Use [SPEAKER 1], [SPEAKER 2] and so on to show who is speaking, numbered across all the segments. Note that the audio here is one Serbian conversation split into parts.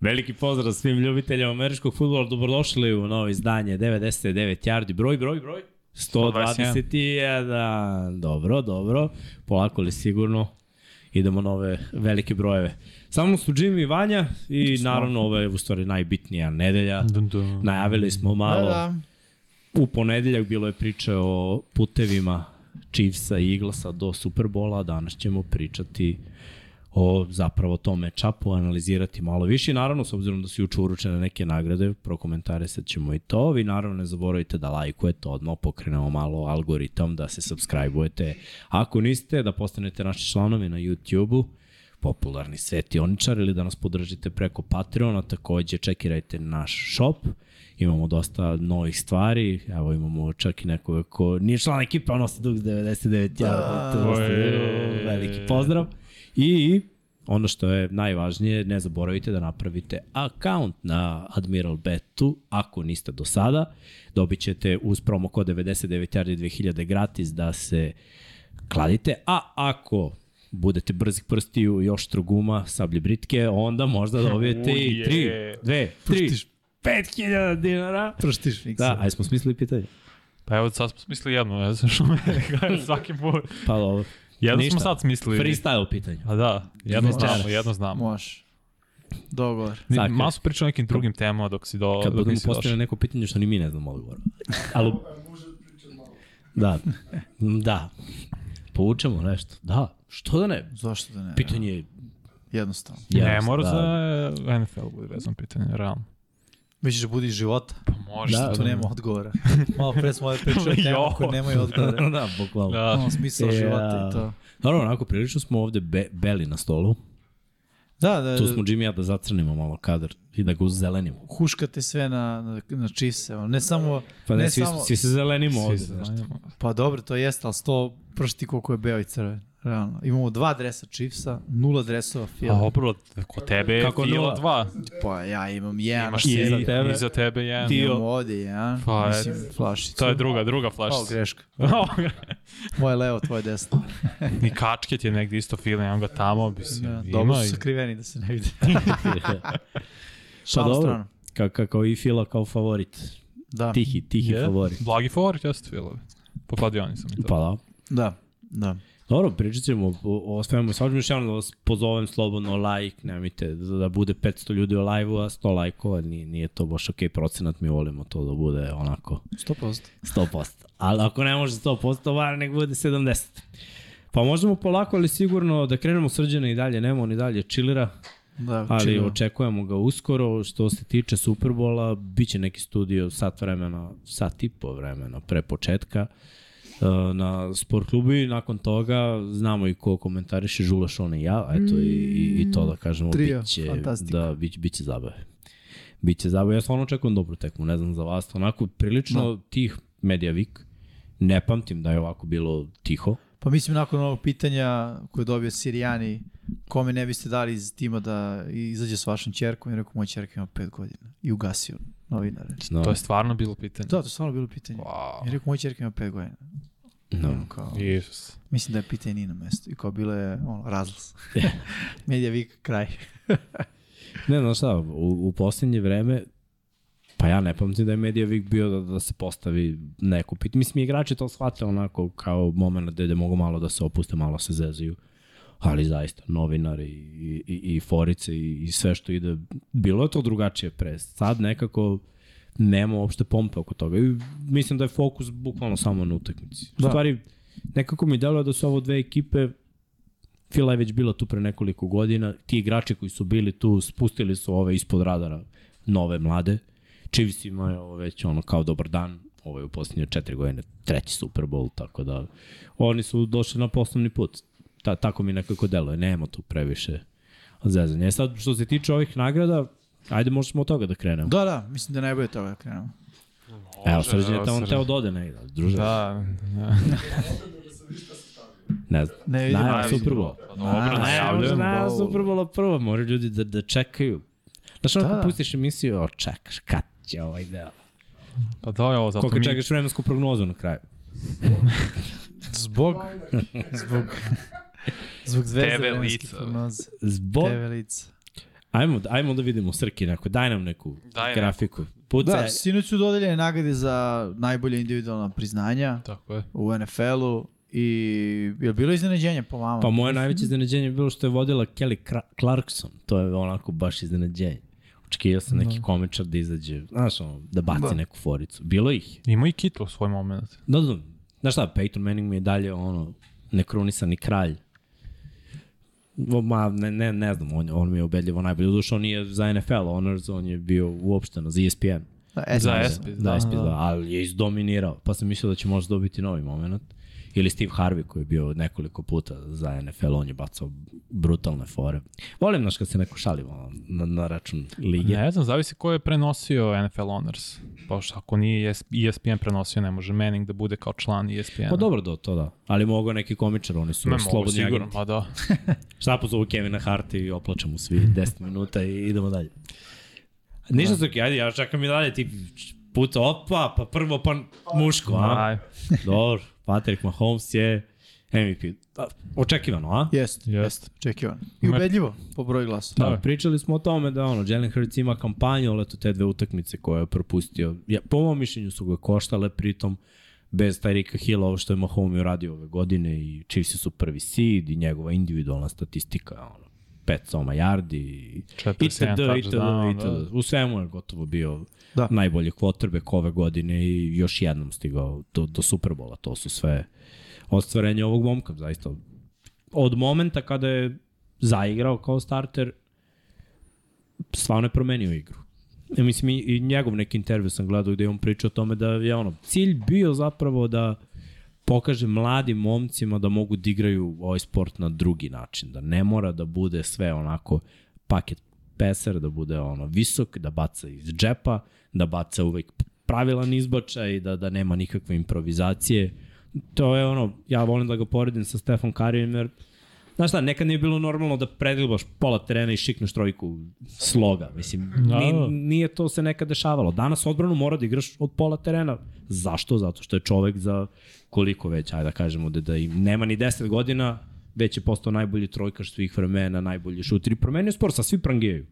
[SPEAKER 1] Veliki pozdrav svim ljubiteljima američkog futbola. Dobrodošli u novo izdanje 99 yardi. Broj, broj, broj. 121. Dobro, dobro. Polako li sigurno idemo na ove velike brojeve. Samo su Jimmy i Vanja i naravno ovo je u stvari najbitnija nedelja.
[SPEAKER 2] Dun, dun.
[SPEAKER 1] Najavili smo malo.
[SPEAKER 3] Da,
[SPEAKER 1] U ponedeljak bilo je priče o putevima Chiefsa i Eaglesa do Superbola, danas ćemo pričati o zapravo tom matchupu, analizirati malo više. I naravno, s obzirom da su juče uručene neke nagrade, prokomentarisat ćemo i to. Vi naravno ne zaboravite da lajkujete, odmah pokrenemo malo algoritam, da se subscribe-ujete. Ako niste, da postanete naši članovi na YouTube-u popularni svetioničar ili da nas podržite preko Patreona, takođe čekirajte naš shop, imamo dosta novih stvari, evo imamo čak i nekoga ko nije član ekipa, ono se dug 99, ja, to je veliki pozdrav. I ono što je najvažnije, ne zaboravite da napravite account na Admiral Betu, ako niste do sada, dobit ćete uz promo kod 99 2000 gratis da se kladite, a ako budete brzih prstiju, još troguma, sablje britke, onda možda dobijete i
[SPEAKER 2] Uje.
[SPEAKER 1] 3, 2, 3,
[SPEAKER 2] Prštiš.
[SPEAKER 1] 5000 dinara.
[SPEAKER 3] Prštiš mikser.
[SPEAKER 1] Da, aj smo smislili pitanje.
[SPEAKER 2] Pa evo sad smo smislili jedno, ja znaš, svaki put.
[SPEAKER 1] Pa dobro.
[SPEAKER 2] Jedno
[SPEAKER 1] Ništa.
[SPEAKER 2] smo sad smislili.
[SPEAKER 1] Freestyle pitanje.
[SPEAKER 2] A da, jedno
[SPEAKER 1] Freestyle.
[SPEAKER 2] znamo, jedno znamo.
[SPEAKER 3] Može. da Dogovor.
[SPEAKER 2] Ni-
[SPEAKER 1] Tako je.
[SPEAKER 2] Malo su pričali o nekim drugim temama dok si do,
[SPEAKER 1] Kad
[SPEAKER 2] dok
[SPEAKER 1] budemo
[SPEAKER 2] nisi
[SPEAKER 1] postavili
[SPEAKER 2] došao.
[SPEAKER 1] neko pitanje što ni mi ne znamo odgovor. Ali... Da, da. Povučemo nešto. Da, što da ne?
[SPEAKER 3] Zašto da ne?
[SPEAKER 1] Pitanje je
[SPEAKER 3] Jednostavno.
[SPEAKER 2] Ne,
[SPEAKER 1] jasno,
[SPEAKER 2] mora
[SPEAKER 1] da.
[SPEAKER 2] za NFL bude vezan pitanje, realno.
[SPEAKER 3] Misliš da budi života?
[SPEAKER 2] Pa može.
[SPEAKER 1] Da,
[SPEAKER 2] Da,
[SPEAKER 3] Tu nema odgovora. Malo pre smo ove pričali o temama koje nemaju odgovora.
[SPEAKER 1] da, bukvalno. Da.
[SPEAKER 2] da.
[SPEAKER 3] Ono smisla
[SPEAKER 1] Ja.
[SPEAKER 3] života i to.
[SPEAKER 1] Naravno, onako, prilično smo ovde be, beli na stolu.
[SPEAKER 3] Da, da,
[SPEAKER 1] Tu smo Jimmy i ja da zacrnimo malo kadar i da ga uzzelenimo.
[SPEAKER 3] huškate sve na, na, na Chiefs-e. ono. Ne samo...
[SPEAKER 1] Pa ne,
[SPEAKER 3] Ne
[SPEAKER 1] svi,
[SPEAKER 3] samo-
[SPEAKER 1] svi se zelenimo
[SPEAKER 2] Svi
[SPEAKER 1] ovde.
[SPEAKER 2] se
[SPEAKER 1] znaš.
[SPEAKER 2] znamo.
[SPEAKER 3] Pa dobro, to jeste, ali sto pršti koliko je beo i crven. Realno. Imamo dva dresa Chiefsa, nula dresova
[SPEAKER 2] A
[SPEAKER 3] Fila.
[SPEAKER 2] opravo, kod tebe je
[SPEAKER 1] Kako
[SPEAKER 2] Fila
[SPEAKER 1] nula?
[SPEAKER 2] 2.
[SPEAKER 3] Pa ja imam jedan.
[SPEAKER 2] Imaš
[SPEAKER 1] I
[SPEAKER 2] ti,
[SPEAKER 1] iza tebe.
[SPEAKER 2] i za tebe jedan.
[SPEAKER 1] Ti-
[SPEAKER 3] Imam ovde jedan.
[SPEAKER 2] Pa,
[SPEAKER 3] mislim,
[SPEAKER 2] eto.
[SPEAKER 3] flašicu.
[SPEAKER 2] To je druga, druga
[SPEAKER 3] O,
[SPEAKER 2] flašica.
[SPEAKER 3] greška. Moje levo, tvoje desno.
[SPEAKER 2] I kačket je negdje isto Fila, imam ga tamo.
[SPEAKER 1] Da,
[SPEAKER 2] Mislim,
[SPEAKER 3] Ja,
[SPEAKER 2] ima
[SPEAKER 3] dobro su
[SPEAKER 2] i-
[SPEAKER 3] sakriveni da se ne vidi.
[SPEAKER 1] Pa
[SPEAKER 3] Šalu
[SPEAKER 1] dobro,
[SPEAKER 3] stranu.
[SPEAKER 1] ka, ka, kao i Fila kao favorit.
[SPEAKER 3] Da,
[SPEAKER 1] Tihi, tihi
[SPEAKER 2] Je.
[SPEAKER 1] favorit.
[SPEAKER 2] Blagi favorit, jeste Filovi. Po kladioni sam i to.
[SPEAKER 1] Pa da.
[SPEAKER 3] da, da.
[SPEAKER 1] Dobro, pričat ćemo o, o svemu. Sad ću još jednom da vas pozovem slobodno like, nemojte da da bude 500 ljudi u live-u, a 100 lajkova nije, nije to baš okej okay procenat, mi volimo to da bude onako
[SPEAKER 3] 100%.
[SPEAKER 1] 100%. Ali ako ne može 100%, bar nek bude 70. Pa možemo polako, ali sigurno da krenemo srđana i dalje, nema on i dalje čilira,
[SPEAKER 3] Da,
[SPEAKER 1] ali
[SPEAKER 3] čilo.
[SPEAKER 1] očekujemo ga uskoro. Što se tiče Superbola, bit će neki studio sat vremena, sat i po vremena pre početka e, na sport klubu i nakon toga znamo i ko komentariše Žula Šon i ja, a eto i, i, i to da kažemo
[SPEAKER 3] Trio,
[SPEAKER 1] biće,
[SPEAKER 3] fantastika.
[SPEAKER 1] da, bić, biće zabave. Biće zabave, ja stvarno očekujem dobru tekmu, ne znam za vas, onako prilično
[SPEAKER 3] Da.
[SPEAKER 1] tih medijavik, ne pamtim da je ovako bilo tiho.
[SPEAKER 3] Pa mislim nakon ovog pitanja koje je dobio Sirijani, kome ne biste dali iz tima da izađe s vašom ćerkom, je rekao moja ćerka ima 5 godina i ugasio novinare.
[SPEAKER 1] No,
[SPEAKER 2] To je stvarno bilo pitanje.
[SPEAKER 3] Da, to je stvarno bilo pitanje.
[SPEAKER 2] Wow.
[SPEAKER 3] Je rekao moja ćerka ima 5 godina.
[SPEAKER 1] no.
[SPEAKER 3] Ono Kao,
[SPEAKER 2] Isus.
[SPEAKER 3] mislim da je pitanje nije na mestu. I kao bilo je ono, razlas. Medija vik, kraj.
[SPEAKER 1] Ne, znaš šta, u, u posljednje vreme, pa ja ne pamtim da je Medijavik bio da, da se postavi neko pitanje. Mislim, igrači to shvate onako kao moment gde, gde mogu malo da se opuste, malo se zezaju. Ali zaista, novinari i, i, i forice i, i sve što ide, bilo je to drugačije pre. Sad nekako nema uopšte pompe oko toga. I mislim da je fokus bukvalno samo na utakmici. Da. U
[SPEAKER 3] Da.
[SPEAKER 1] stvari, nekako mi deluje da su ovo dve ekipe Fila je već bila tu pre nekoliko godina, ti igrači koji su bili tu spustili su ove ispod radara nove mlade. Chiefs ima je ovo već ono kao dobar dan, ovo je u posljednje četiri godine treći Super Bowl, tako da oni su došli na poslovni put. Ta, tako mi nekako deluje, nema tu previše zezanja. E sad, što se tiče ovih nagrada, ajde možemo od toga da krenemo.
[SPEAKER 3] Da, da, mislim da je najbolje od toga da krenemo.
[SPEAKER 1] Evo, Srđan je tamo teo da ode negdje, druže.
[SPEAKER 2] Da, da.
[SPEAKER 1] Ne znam.
[SPEAKER 3] Ne vidim.
[SPEAKER 1] Najava
[SPEAKER 3] ali-
[SPEAKER 1] Super Bowl.
[SPEAKER 2] Pa dobro,
[SPEAKER 3] A,
[SPEAKER 2] najavljujem.
[SPEAKER 3] najavljeno.
[SPEAKER 1] Najava
[SPEAKER 3] Bowl.
[SPEAKER 1] Super Bowl prvo, moraju ljudi da, da čekaju. Znaš, ono
[SPEAKER 3] Da.
[SPEAKER 1] kad pustiš emisiju, o, čekaš, kad će ovaj deo.
[SPEAKER 2] Pa da je ovo, zato
[SPEAKER 1] Koliko
[SPEAKER 2] mi...
[SPEAKER 1] čekaš vremensku prognozu na kraju?
[SPEAKER 3] Zbog, zbog, zbog zvezde
[SPEAKER 2] Tebe
[SPEAKER 3] vremenske
[SPEAKER 2] lica.
[SPEAKER 3] prognoze.
[SPEAKER 1] Zbog,
[SPEAKER 3] Tebe lica.
[SPEAKER 1] Ajmo, ajmo da vidimo Srki neko, daj nam neku
[SPEAKER 2] Daj nam.
[SPEAKER 1] grafiku. Pucaj, Pa
[SPEAKER 3] Da, sinoć su dodeljene nagrade za najbolje individualna priznanja
[SPEAKER 2] Tako je.
[SPEAKER 3] u NFL-u i je li bilo iznenađenje po vama?
[SPEAKER 1] Pa moje najveće iznenađenje je bilo što je vodila Kelly Kra- Clarkson. To je onako baš iznenađenje. Očekio sam neki komičar da izađe, znaš, ono, da baci neku foricu. Bilo ih. je.
[SPEAKER 2] Imao i Kitlo svoj moment.
[SPEAKER 1] Da, da, da. Znaš šta, Peyton Manning mi je dalje ono, nekrunisani kralj. O, Ma, ne, ne, ne znam, on, on mi je ubedljivo najbolji. Uduš, on nije za NFL honors, on je bio uopšteno za ESPN.
[SPEAKER 3] Da, e,
[SPEAKER 2] Za
[SPEAKER 3] da.
[SPEAKER 2] SP.
[SPEAKER 1] Da, SP, da, ali je izdominirao. Pa sam mislio da će možda dobiti novi moment. Ili Steve Harvey koji je bio nekoliko puta za NFL, on je bacao brutalne fore. Volim naš kad se neko šalimo na, na račun lige.
[SPEAKER 2] Ne znam, zavisi ko je prenosio NFL Honors. Pošto ako nije ES- E ESPN prenosio, ne može Manning da bude kao član ESPN-a.
[SPEAKER 1] Pa dobro do to da, ali mogu neki komičar, oni su
[SPEAKER 2] Ne
[SPEAKER 1] ne,
[SPEAKER 2] mogu,
[SPEAKER 1] slobodni
[SPEAKER 2] sigurno,
[SPEAKER 1] agenti.
[SPEAKER 2] pa da.
[SPEAKER 1] Šta pozovu Kevina Harta i oplačem mu svi 10 minuta i idemo dalje. Ništa su, ajde, ja čekam i dalje, ti puta opa, pa prvo pa muško, a?
[SPEAKER 2] Aj,
[SPEAKER 1] Dobro, Patrick Mahomes je MVP. Da, Očekivano, a?
[SPEAKER 3] Jest,
[SPEAKER 2] Jest.
[SPEAKER 3] jest, očekivan. I ubedljivo po broju glasa.
[SPEAKER 1] Da,
[SPEAKER 2] Da.
[SPEAKER 1] pričali smo o tome da ono, Jalen Hurts ima kampanju, ali eto te dve utakmice koje je propustio. Ja, po mom mišljenju su ga koštale, pritom bez Tyrika Hilla, ovo što je Mahomes uradio ove godine i Chiefs su prvi seed i njegova individualna statistika, ono, 5 soma yardi i itd.
[SPEAKER 2] 47
[SPEAKER 1] itd.
[SPEAKER 2] touchdown,
[SPEAKER 1] itd. U svemu je gotovo bio
[SPEAKER 3] Da.
[SPEAKER 1] najbolji quarterback ove godine i još jednom stigao do, do Superbola. To su sve ostvarenje ovog momka, zaista. Od momenta kada je zaigrao kao starter, stvarno je promenio igru. Ja mislim, i- i njegov neki intervju sam gledao gde je on pričao o tome da je ono, cilj bio zapravo da pokaže mladim momcima da mogu da igraju ovaj sport na drugi način, da ne mora da bude sve onako paket peser, da bude ono visok, da baca iz džepa, da baca uvek pravilan izbačaj, da, da nema nikakve improvizacije. To je ono, ja volim da ga poredim sa Stefan Karijem, jer Znaš šta, nekad nije bilo normalno da predglebaš pola terena i šikneš trojku sloga. Mislim,
[SPEAKER 2] Da,
[SPEAKER 1] ni,
[SPEAKER 2] da.
[SPEAKER 1] nije to se nekad dešavalo. Danas odbranu mora da igraš od pola terena. Zašto? Zato što je čovek za koliko već, ajde da kažemo, da, da im nema ni 10 godina, već je postao najbolji trojkaš svih vremena, najbolji šuter i promenio sport, sa svi prangijaju.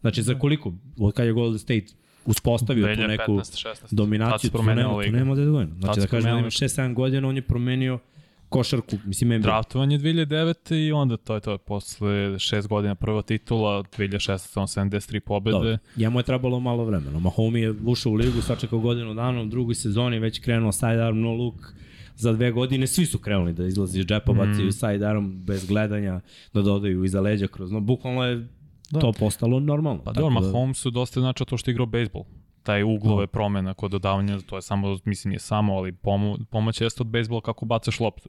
[SPEAKER 1] Znači, za koliko? Od kada je Golden State uspostavio tu neku
[SPEAKER 2] 15-16.
[SPEAKER 1] dominaciju, tu nema, tu nema da dvojno.
[SPEAKER 2] Tad
[SPEAKER 1] Znači,
[SPEAKER 2] su
[SPEAKER 1] da kažemo da ima
[SPEAKER 2] promenili.
[SPEAKER 1] 6-7 godina, on je promenio košarku, mislim, NBA.
[SPEAKER 2] Draftovan je 2009. i onda to je to posle šest godina prva titula, 2016. on 73 pobede.
[SPEAKER 1] Dobro, njemu je trebalo malo vremena. Mahomi je ušao u ligu, sačekao godinu dana, u drugoj sezoni je već krenuo sidearm no look za dve godine, svi su krenuli da izlazi iz
[SPEAKER 2] Mhm.
[SPEAKER 1] džepa, bacaju sidearm bez gledanja, da dodaju iza leđa kroz, no bukvalno je
[SPEAKER 3] Da.
[SPEAKER 1] to postalo normalno.
[SPEAKER 2] Pa
[SPEAKER 1] Tako da
[SPEAKER 2] dobro, Mahomesu dosta znači to što je igrao bejsbol. Taj uglove promena kod dodavanja, to je samo, mislim, nije samo, ali pomo, pomoć jeste od bejsbola kako bacaš loptu.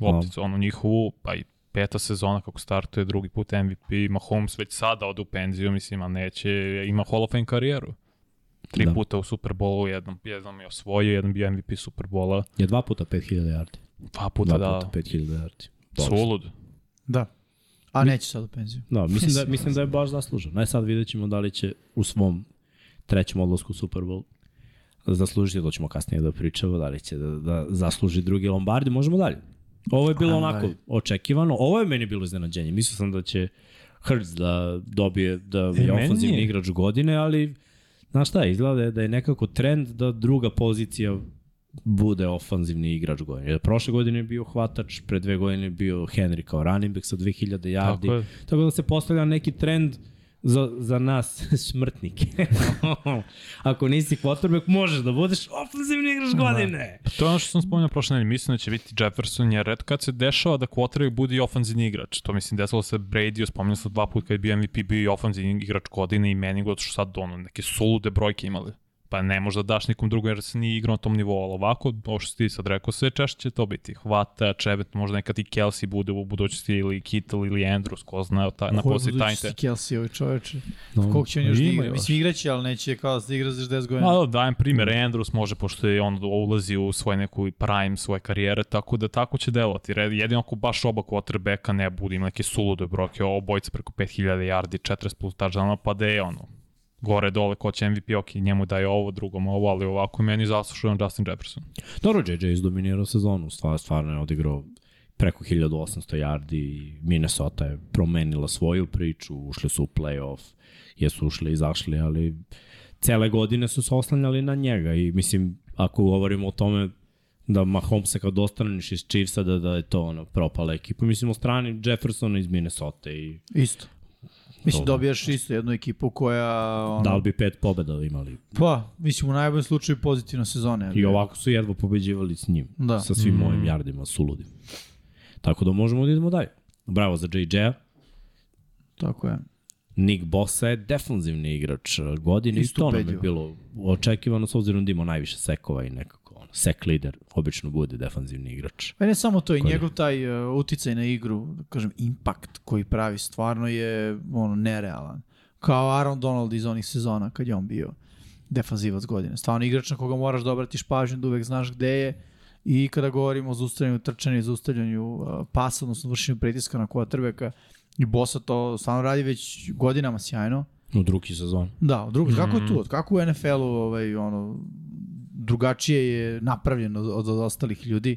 [SPEAKER 2] Lopticu,
[SPEAKER 1] Da.
[SPEAKER 2] ono njihovu, pa i peta sezona kako startuje, drugi put MVP, Mahomes već sada ode u penziju, mislim, a neće, ima Hall of Fame karijeru. Tri
[SPEAKER 1] Da.
[SPEAKER 2] da. puta u Superbolu, jednom, jednom je osvojio, jednom bio MVP Superbola,
[SPEAKER 1] Je dva puta 5000 yardi.
[SPEAKER 2] dva puta
[SPEAKER 1] Dva
[SPEAKER 2] da,
[SPEAKER 1] puta 5000 yardi. Dobro.
[SPEAKER 2] sulud.
[SPEAKER 3] Da. A neće sad u penziju.
[SPEAKER 1] Da, mislim da, mislim da je baš zasluženo. Aj sad vidjet ćemo da li će u svom trećem odlasku u Super Bowl zaslužiti, to ćemo kasnije da pričamo, da li će da, da zasluži drugi Lombardi, možemo dalje. Ovo je bilo
[SPEAKER 3] Ajmo
[SPEAKER 1] onako
[SPEAKER 3] dalje.
[SPEAKER 1] očekivano, ovo je meni bilo iznenađenje. Mislio sam da će Hurts da dobije, da je
[SPEAKER 2] meni
[SPEAKER 1] ofenzivni
[SPEAKER 2] je.
[SPEAKER 1] igrač godine, ali znaš šta, izgleda je da je nekako trend da druga pozicija bude ofanzivni igrač godine. Jer Prošle godine je bio hvatač, pre dve godine je bio Henry kao running back sa 2000 yardi.
[SPEAKER 2] Tako je.
[SPEAKER 1] Tako da se postavlja neki trend za, za nas smrtnike. Ako nisi quarterback, možeš da budeš ofenzivni igrač
[SPEAKER 2] Da.
[SPEAKER 1] godine.
[SPEAKER 2] Pa To je ono što sam spomenuo prošle nedelje, mislim da će biti Jefferson, jer red kad se dešava da quarterback bude i ofanzivni igrač. To mislim desilo se Brady, spomenuo sam dva puta kad je bio MVP, bio i ofanzivni igrač godine i Manning, zato što sad ono, neke sulude brojke imali. Pa ne možda daš nikom drugom jer se nije igrao na tom nivou, ali ovako, ovo što si ti sad rekao, sve češće će to biti. Hvata, Čebet, možda nekad i Kelsey bude u budućnosti ili Kittle ili Andrews, ko zna, ta, na
[SPEAKER 3] Ko je
[SPEAKER 2] poslije
[SPEAKER 3] budućnosti
[SPEAKER 2] tajnte.
[SPEAKER 3] Kelsey, ovaj čoveče.
[SPEAKER 1] No,
[SPEAKER 3] Koliko će on još da
[SPEAKER 2] ima
[SPEAKER 3] igra?
[SPEAKER 2] još.
[SPEAKER 3] Mislim, igraće, ali neće kao da igra za 60 godina.
[SPEAKER 2] Ma da, dajem primjer, Andrews može, pošto je on ulazi u svoj neku prime svoje karijere, tako da tako će delovati. Red- Jedino ako baš oba quarterbacka ne budu imali neke sulude broke, obojica preko 5000 yardi, 40 plus touchdowna, pa da je ono, gore dole ko će MVP, ok, njemu daje ovo, drugom ovo, ali ovako meni zaslušujem Justin Jefferson.
[SPEAKER 1] Dobro, JJ izdominirao sezonu, stvar, stvarno je odigrao preko 1800 yardi i Minnesota je promenila svoju priču, ušli su u playoff, jesu ušli i izašli, ali cele godine su se oslanjali na njega i mislim, ako govorimo o tome da Mahomesa kad ostaneš iz Chiefsa da, da je to ono, propala ekipa, mislim o strani Jeffersona iz Minnesota i
[SPEAKER 3] Isto. Mislim,
[SPEAKER 1] Dobro.
[SPEAKER 3] dobijaš isto jednu ekipu koja... Ono,
[SPEAKER 1] da li bi pet pobeda imali.
[SPEAKER 3] Pa, mislim, u najboljem slučaju pozitivna sezona. ali-
[SPEAKER 1] I ovako su jedva pobeđivali s njim,
[SPEAKER 3] Da.
[SPEAKER 1] sa svim mm. ovim jardima, suludim. Tako da možemo da idemo dalje. Bravo za JJ-a.
[SPEAKER 3] Tako je.
[SPEAKER 1] Nick Bosa je defanzivni igrač godine i
[SPEAKER 3] Isto
[SPEAKER 1] to nam je
[SPEAKER 3] ubedljivo.
[SPEAKER 1] bilo očekivano s obzirom da imao najviše sekova i nekako ono, sek lider obično bude defanzivni igrač.
[SPEAKER 3] Pa i ne samo to, i
[SPEAKER 1] Koji?
[SPEAKER 3] njegov taj uh, uticaj na igru, da kažem, impakt koji pravi stvarno je ono, nerealan. Kao Aaron Donald iz onih sezona kad je on bio defanzivac godine. Stvarno igrač na koga moraš da obratiš pažnju, da uvek znaš gde je i kada govorimo o zaustavljanju trčanja i zaustavljanju uh, pasa, odnosno vršenju pritiska na kvotrbeka, i Bosa to stvarno radi već godinama sjajno.
[SPEAKER 1] U drugi sezon.
[SPEAKER 3] Da, drugo, kako je tu?
[SPEAKER 1] Mm.
[SPEAKER 3] Od Kako u NFL-u ovaj, ono, drugačije je napravljeno od, od ostalih ljudi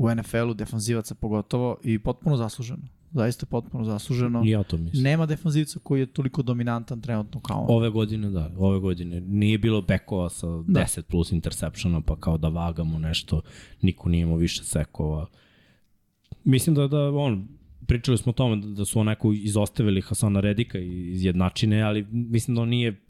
[SPEAKER 3] u NFL-u, defanzivaca pogotovo, i potpuno zasluženo. Zaista potpuno zasluženo.
[SPEAKER 1] I ja to mislim. Ne.
[SPEAKER 3] Nema defanzivca koji je toliko dominantan trenutno kao on.
[SPEAKER 1] Ove godine da, ove godine nije bilo bekova sa
[SPEAKER 2] Da.
[SPEAKER 1] 10 plus intersepšona pa kao da vagamo nešto, niko nije imao više sekova. Mislim da, da on, pričali smo o tome da, da su onako izostavili Hasana Redika iz jednačine, ali mislim da on nije,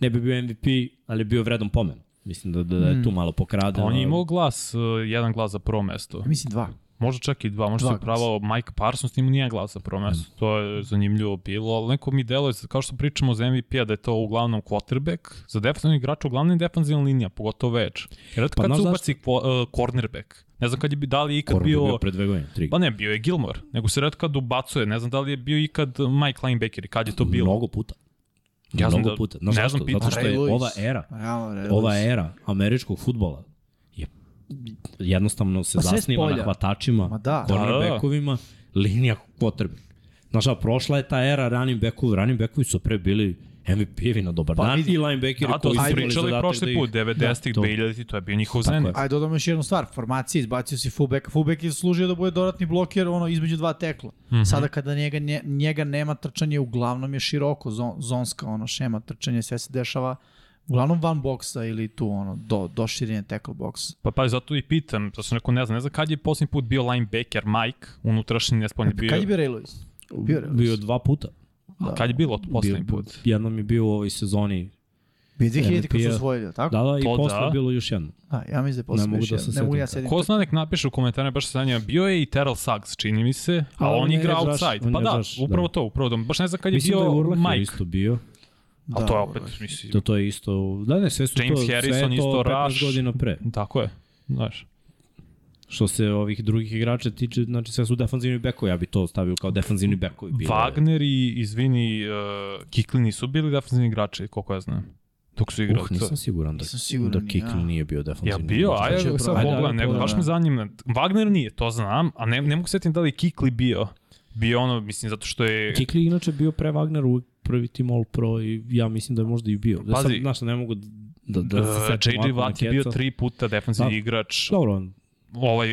[SPEAKER 1] ne bi bio MVP, ali je bio vredan pomen. Mislim da, da, da je tu malo
[SPEAKER 2] Pa
[SPEAKER 1] pokraden.
[SPEAKER 2] on je
[SPEAKER 1] ali-
[SPEAKER 2] imao glas, uh, jedan glas za prvo mesto.
[SPEAKER 3] Mislim dva.
[SPEAKER 2] Možda čak i dva, možda
[SPEAKER 3] Dva
[SPEAKER 2] se pravao Mike Parsons, njemu nije glas za prvo mesto.
[SPEAKER 1] Mm.
[SPEAKER 2] To je zanimljivo bilo, ali neko mi deluje, kao što pričamo za MVP-a, da je to uglavnom quarterback, za defanzivni igrač uglavnom je defanzivna linija, pogotovo več. Jer
[SPEAKER 1] Pa
[SPEAKER 2] pa, kad
[SPEAKER 1] znaš
[SPEAKER 2] se ubaci ko, uh, cornerback, ne znam kad je bi da li je ikad
[SPEAKER 1] Korbu bio...
[SPEAKER 2] bio...
[SPEAKER 1] bio pre dve godine, tri.
[SPEAKER 2] Pa ne, bio je Gilmore, nego se redko kad ubacuje, ne znam da li je bio ikad Mike Linebacker i kad je to bilo.
[SPEAKER 1] Mnogo puta.
[SPEAKER 2] Ja znam
[SPEAKER 1] Mnogo
[SPEAKER 2] da-
[SPEAKER 1] puta.
[SPEAKER 2] ne
[SPEAKER 1] Znaš
[SPEAKER 2] znam,
[SPEAKER 1] zašto?
[SPEAKER 2] pitam.
[SPEAKER 1] Zato što je
[SPEAKER 3] Ray Lewis.
[SPEAKER 1] ova era,
[SPEAKER 3] Realno, realno.
[SPEAKER 1] ova era američkog futbola je jednostavno se
[SPEAKER 3] Pa sve s
[SPEAKER 1] zasniva na
[SPEAKER 3] polja.
[SPEAKER 1] hvatačima,
[SPEAKER 3] Ma da.
[SPEAKER 1] cornerbackovima, linija potrebe. Znaš, a prošla je ta era running backova, running backovi su pre bili MVP-evi na dobar
[SPEAKER 3] Pa
[SPEAKER 1] dan
[SPEAKER 3] vidi.
[SPEAKER 1] i linebackeri
[SPEAKER 2] Da, to
[SPEAKER 1] koji
[SPEAKER 2] smo
[SPEAKER 1] su imali
[SPEAKER 2] pričali
[SPEAKER 1] zadatak da
[SPEAKER 2] prošli
[SPEAKER 1] ih-
[SPEAKER 2] put, 90-ih,
[SPEAKER 1] to.
[SPEAKER 2] 2000-ih, to je bio njihov
[SPEAKER 1] Tako je.
[SPEAKER 2] zenit.
[SPEAKER 3] Ajde, dodamo još jednu stvar. Formacije, izbacio si fullback. Fullback je služio da bude dodatni bloker ono, između dva tekla.
[SPEAKER 1] Mhm.
[SPEAKER 3] Sada kada njega, nje, njega nema trčanje, uglavnom je široko zon, zonska ono, šema trčanje, sve se dešava uglavnom van boksa ili tu ono, do, do širine tekla boksa.
[SPEAKER 2] Pa pa zato i pitam, zato sam rekao ne znam, ne znam kad je posljednji put bio linebacker Mike, unutrašnji nespolni bio.
[SPEAKER 3] Kad je bio Ray Lewis? Bio Ray Lewis.
[SPEAKER 1] Bio dva puta.
[SPEAKER 2] A kad je bilo to posljednji
[SPEAKER 1] Da. Bio-
[SPEAKER 2] put?
[SPEAKER 1] Jednom je bio u ovoj sezoni.
[SPEAKER 3] Bio 2000 kad
[SPEAKER 1] MVP-a.
[SPEAKER 3] su osvojili, jel tako?
[SPEAKER 1] Da, da, i
[SPEAKER 2] To
[SPEAKER 1] posle
[SPEAKER 2] da.
[SPEAKER 1] je bilo još jedno.
[SPEAKER 3] Da, ja mislim da je posle
[SPEAKER 1] Ne mogu
[SPEAKER 3] još
[SPEAKER 1] da
[SPEAKER 3] jedan.
[SPEAKER 1] se
[SPEAKER 3] Ne mogu
[SPEAKER 1] setim
[SPEAKER 3] ja
[SPEAKER 1] kako.
[SPEAKER 3] sedim.
[SPEAKER 2] Ko zna nek napiše u komentarima baš se zanima, bio je i Terrell Suggs, čini mi se, a,
[SPEAKER 1] Ali
[SPEAKER 2] on,
[SPEAKER 1] on je
[SPEAKER 2] igra
[SPEAKER 1] edge rusher,
[SPEAKER 2] outside.
[SPEAKER 1] on
[SPEAKER 2] Pa
[SPEAKER 1] je
[SPEAKER 2] da,
[SPEAKER 1] edge rusher,
[SPEAKER 2] upravo
[SPEAKER 1] da.
[SPEAKER 2] to, upravo da. Baš ne znam kad je
[SPEAKER 1] Mislim da je
[SPEAKER 2] bio
[SPEAKER 1] Urlacher
[SPEAKER 2] Mike.
[SPEAKER 1] isto bio.
[SPEAKER 2] A to je opet, mislim,
[SPEAKER 1] Da to je isto, da ne, sve su
[SPEAKER 2] James
[SPEAKER 1] to, sve
[SPEAKER 2] Harrison
[SPEAKER 1] je
[SPEAKER 2] isto,
[SPEAKER 1] to 15
[SPEAKER 2] Rush.
[SPEAKER 1] godina pre.
[SPEAKER 2] tako je. Znaš.
[SPEAKER 1] Što se ovih drugih igrača tiče, znači sve su defanzivni bekovi, ja bi to stavio kao defanzivni bekovi. Bilo je.
[SPEAKER 2] Wagner i, izvini, uh, Kiklini su bili defensivni igrači, koliko ja znam. Dok su igrali.
[SPEAKER 1] Uh, nisam siguran da,
[SPEAKER 3] Nisam siguran
[SPEAKER 1] da
[SPEAKER 3] ni
[SPEAKER 1] Kikli
[SPEAKER 3] ja.
[SPEAKER 1] nije bio
[SPEAKER 2] Ja
[SPEAKER 1] defanzivni.
[SPEAKER 2] bio,
[SPEAKER 1] igrač.
[SPEAKER 3] Znači,
[SPEAKER 2] ajde sad
[SPEAKER 3] ajde,
[SPEAKER 2] pogledam,
[SPEAKER 3] ajde,
[SPEAKER 2] nego baš
[SPEAKER 3] da.
[SPEAKER 2] me zanima. Wagner nije, to znam, a ne, ne mogu setim da li je Kikli bio. Bio ono, mislim, zato što je...
[SPEAKER 1] Kikli je inače bio pre Wagner uvijek prvi tim All Pro i ja mislim da je možda i bio. Da
[SPEAKER 2] Pazi.
[SPEAKER 1] sad, znaš, ne mogu da, da, da se
[SPEAKER 2] Uh,
[SPEAKER 1] setim
[SPEAKER 2] JJ
[SPEAKER 1] ovako na
[SPEAKER 2] Watt je bio
[SPEAKER 1] keca.
[SPEAKER 2] tri puta defensivni
[SPEAKER 1] Da.
[SPEAKER 2] igrač.
[SPEAKER 1] Dobro, on,
[SPEAKER 2] Ovaj,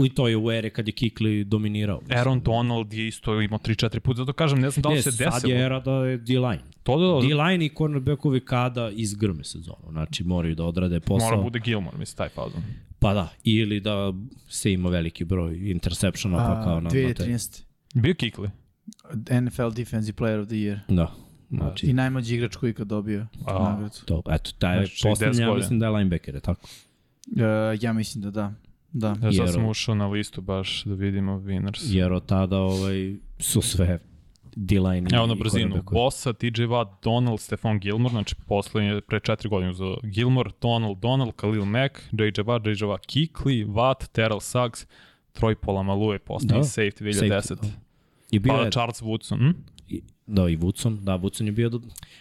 [SPEAKER 1] u i to je u ere kad je Kikli dominirao.
[SPEAKER 2] Aaron Donald je isto imao 3-4 puta, zato kažem, ne znam da li
[SPEAKER 1] Ne,
[SPEAKER 2] se
[SPEAKER 1] Sad je
[SPEAKER 2] desilo.
[SPEAKER 1] era da je D-line.
[SPEAKER 2] To da, da
[SPEAKER 1] D-line i cornerbackovi kada izgrme sezonu. Znači moraju da odrade posao.
[SPEAKER 2] mora bude Gilmore, mislim, taj fazon.
[SPEAKER 1] Pa da, ili da se ima veliki broj intersepšona, pa kao na, na te...
[SPEAKER 3] 2013.
[SPEAKER 2] Bio Kikli.
[SPEAKER 3] NFL Defensive Player of the Year.
[SPEAKER 1] Da,
[SPEAKER 3] I
[SPEAKER 1] znači,
[SPEAKER 3] najmlađi igrač koji je ikad dobio
[SPEAKER 2] A.
[SPEAKER 3] nagradu.
[SPEAKER 1] to, eto, taj je
[SPEAKER 2] Znači,
[SPEAKER 1] posljednji,
[SPEAKER 2] 10
[SPEAKER 1] ja
[SPEAKER 2] godina.
[SPEAKER 1] mislim da je linebacker, je tako?
[SPEAKER 3] E, ja mislim da da. Da.
[SPEAKER 2] Ja sad
[SPEAKER 1] Jer-
[SPEAKER 2] sam ušao na listu baš da vidimo winners.
[SPEAKER 1] Jer od tada ovaj, su sve D-line i
[SPEAKER 2] Evo na brzinu,
[SPEAKER 1] cornerbackovi.
[SPEAKER 2] Bosa, TJ Watt, Donald, Stefan Gilmore, znači poslednje, pre četiri godine za Gilmore, Donald, Donald, Khalil Mack, JJ Watt, JJ Watt, Kikli, Watt, Terrell Suggs, Troy Polamalu je postao
[SPEAKER 1] Da.
[SPEAKER 2] da. safety 2010.
[SPEAKER 1] Safety, I bio
[SPEAKER 2] Pa
[SPEAKER 1] je,
[SPEAKER 2] Charles Woodson. Hm?
[SPEAKER 1] i- da, i Woodson, da, Woodson je bio, do,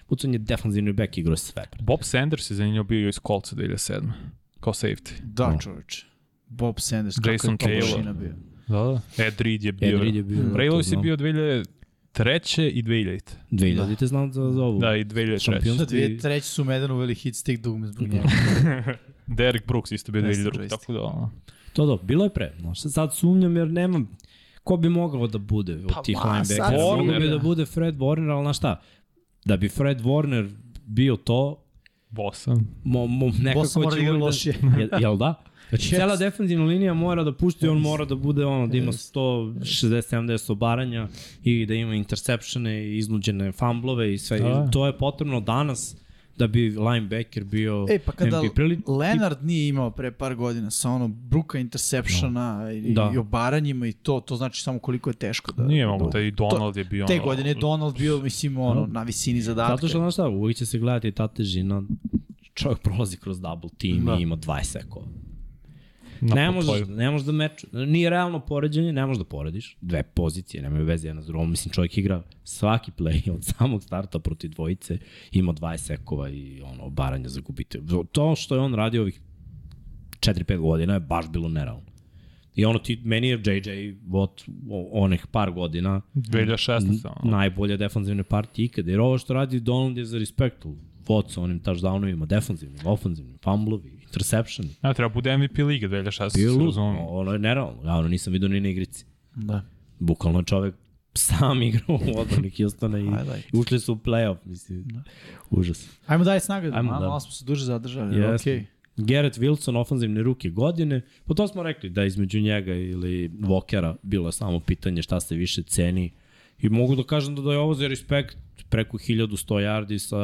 [SPEAKER 1] Woodson je defanzivni back igrao sve.
[SPEAKER 2] Bob Sanders je zanimljivo bio iz Colca 2007. Kao safety.
[SPEAKER 3] Da, čoveče. Bob Sanders, kako
[SPEAKER 2] Jason
[SPEAKER 3] je to
[SPEAKER 2] Taylor.
[SPEAKER 3] mašina bio.
[SPEAKER 2] Da, da. Ed Reed je bio.
[SPEAKER 1] Ed Reed je bio, da,
[SPEAKER 2] Ray
[SPEAKER 1] to
[SPEAKER 2] Lewis je
[SPEAKER 1] znam.
[SPEAKER 2] bio 2003. i 2000.
[SPEAKER 1] 2000 te znam za, za ovu.
[SPEAKER 2] Da, i 2003.
[SPEAKER 1] Šampion.
[SPEAKER 3] Da, dvije treće su u Medenu uveli hit stick dugme zbog njega.
[SPEAKER 2] Derek Brooks isto bio 2002.
[SPEAKER 3] 220.
[SPEAKER 2] Tako da, ono.
[SPEAKER 1] To da, bilo je pre. Znaš, sad sumnjam jer nemam ko bi mogao da bude od
[SPEAKER 3] Pa,
[SPEAKER 1] tih
[SPEAKER 3] ma, sad
[SPEAKER 1] linebackera. Mogao bi
[SPEAKER 2] Warner.
[SPEAKER 1] da bude Fred Warner, ali znaš šta? Da bi Fred Warner bio to,
[SPEAKER 2] Bosa.
[SPEAKER 1] mo, mo, nekako
[SPEAKER 3] Bosa mora da igra
[SPEAKER 1] uvek
[SPEAKER 3] lošije.
[SPEAKER 1] Jel, jel da? Znači,
[SPEAKER 3] Yes.
[SPEAKER 1] cela defensivna linija mora da pušti, on mora da bude ono, da ima
[SPEAKER 3] Yes.
[SPEAKER 1] 160-70 obaranja i da ima interceptione i iznuđene famblove i sve.
[SPEAKER 2] Da.
[SPEAKER 1] I to je potrebno danas da bi linebacker bio
[SPEAKER 3] E, pa kada
[SPEAKER 1] MVP. Prili,
[SPEAKER 3] Leonard nije imao pre par godina sa ono bruka interceptiona no. i,
[SPEAKER 1] Da.
[SPEAKER 3] i obaranjima i to, to znači samo koliko je teško da...
[SPEAKER 2] Nije mogu, taj Donald je bio...
[SPEAKER 3] Te
[SPEAKER 2] ono-
[SPEAKER 3] godine je Donald bio, mislim, ono, na visini zadatka.
[SPEAKER 1] Zato što, znaš šta, uvijek će se gledati ta težina, čovjek prolazi kroz double team
[SPEAKER 3] Da.
[SPEAKER 1] da. i ima 20 sekova.
[SPEAKER 2] na
[SPEAKER 1] Ne možeš,
[SPEAKER 2] potoju.
[SPEAKER 1] ne možeš da meč, nije realno poređenje, ne možeš da porediš. Dve pozicije, nemaju veze jedna s drugom. Mislim, čovjek igra svaki play od samog starta protiv dvojice, ima 20 sekova i ono, baranja za gubite. To što je on radio ovih 4-5 godina je baš bilo nerealno. I ono ti, meni je JJ Watt o- onih par godina
[SPEAKER 2] 2016. ono.
[SPEAKER 1] najbolja defanzivne partije ikada, jer ovo što radi Donald je za respektu. Vod sa onim touchdownovima, defanzivnim, ofanzivnim, fumblovi, interception.
[SPEAKER 2] Ne, treba bude MVP Liga 2016.
[SPEAKER 1] Bio je lud,
[SPEAKER 2] razumem.
[SPEAKER 1] ono je nerealno, ja ono nisam vidio ni na igrici.
[SPEAKER 3] Da.
[SPEAKER 1] Bukvalno je čovek sam igrao u odbrani Houstona i,
[SPEAKER 3] Highlight.
[SPEAKER 1] i ušli su u playoff, mislim. Užas.
[SPEAKER 3] Ajmo dalje s nagradama,
[SPEAKER 1] Ajmo
[SPEAKER 3] Ajmo,
[SPEAKER 1] dalje.
[SPEAKER 3] malo smo se duže zadržali, yes.
[SPEAKER 1] Jesmo.
[SPEAKER 3] okej.
[SPEAKER 1] Garrett Wilson, ofanzivne ruke godine, pa to smo rekli da između njega ili Walkera bilo je samo pitanje šta se više ceni. I mogu da kažem da, da je ovo za respekt preko 1100 yardi sa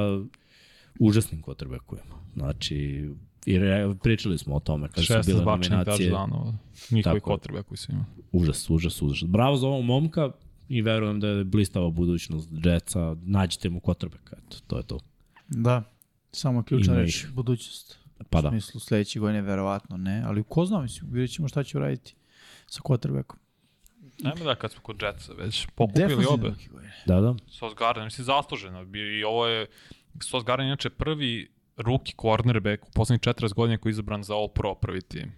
[SPEAKER 1] užasnim quarterbackovima. Znači, i re, pričali smo o tome kada su
[SPEAKER 2] 16
[SPEAKER 1] bile
[SPEAKER 2] bačenih da,
[SPEAKER 1] nominacije.
[SPEAKER 2] touchdownova. Njihovi
[SPEAKER 1] Tako je.
[SPEAKER 2] kotrbe koji su imali.
[SPEAKER 1] Užas, užas, užas. Bravo za ovog momka i verujem da je blistava budućnost Jetsa. Nađite mu quarterbacka, eto, to je to.
[SPEAKER 3] Da, samo je ključna
[SPEAKER 1] Ima
[SPEAKER 3] reč,
[SPEAKER 1] ih.
[SPEAKER 3] budućnost.
[SPEAKER 1] Pa
[SPEAKER 3] U
[SPEAKER 1] da.
[SPEAKER 3] smislu sledeće godine verovatno ne, ali ko zna, mislim, vidjet ćemo šta će uraditi sa quarterbackom.
[SPEAKER 2] Ajme da, kad smo kod Jetsa već, pokupili
[SPEAKER 3] Defanzivne
[SPEAKER 2] obe.
[SPEAKER 3] ruke godine.
[SPEAKER 1] Da, da.
[SPEAKER 2] Sos Garden, mislim, zasluženo. bi- I ovo je, Sos Garden je inače prvi rookie cornerback u poslednjih 40 godina koji je izabran za All Pro prvi tim.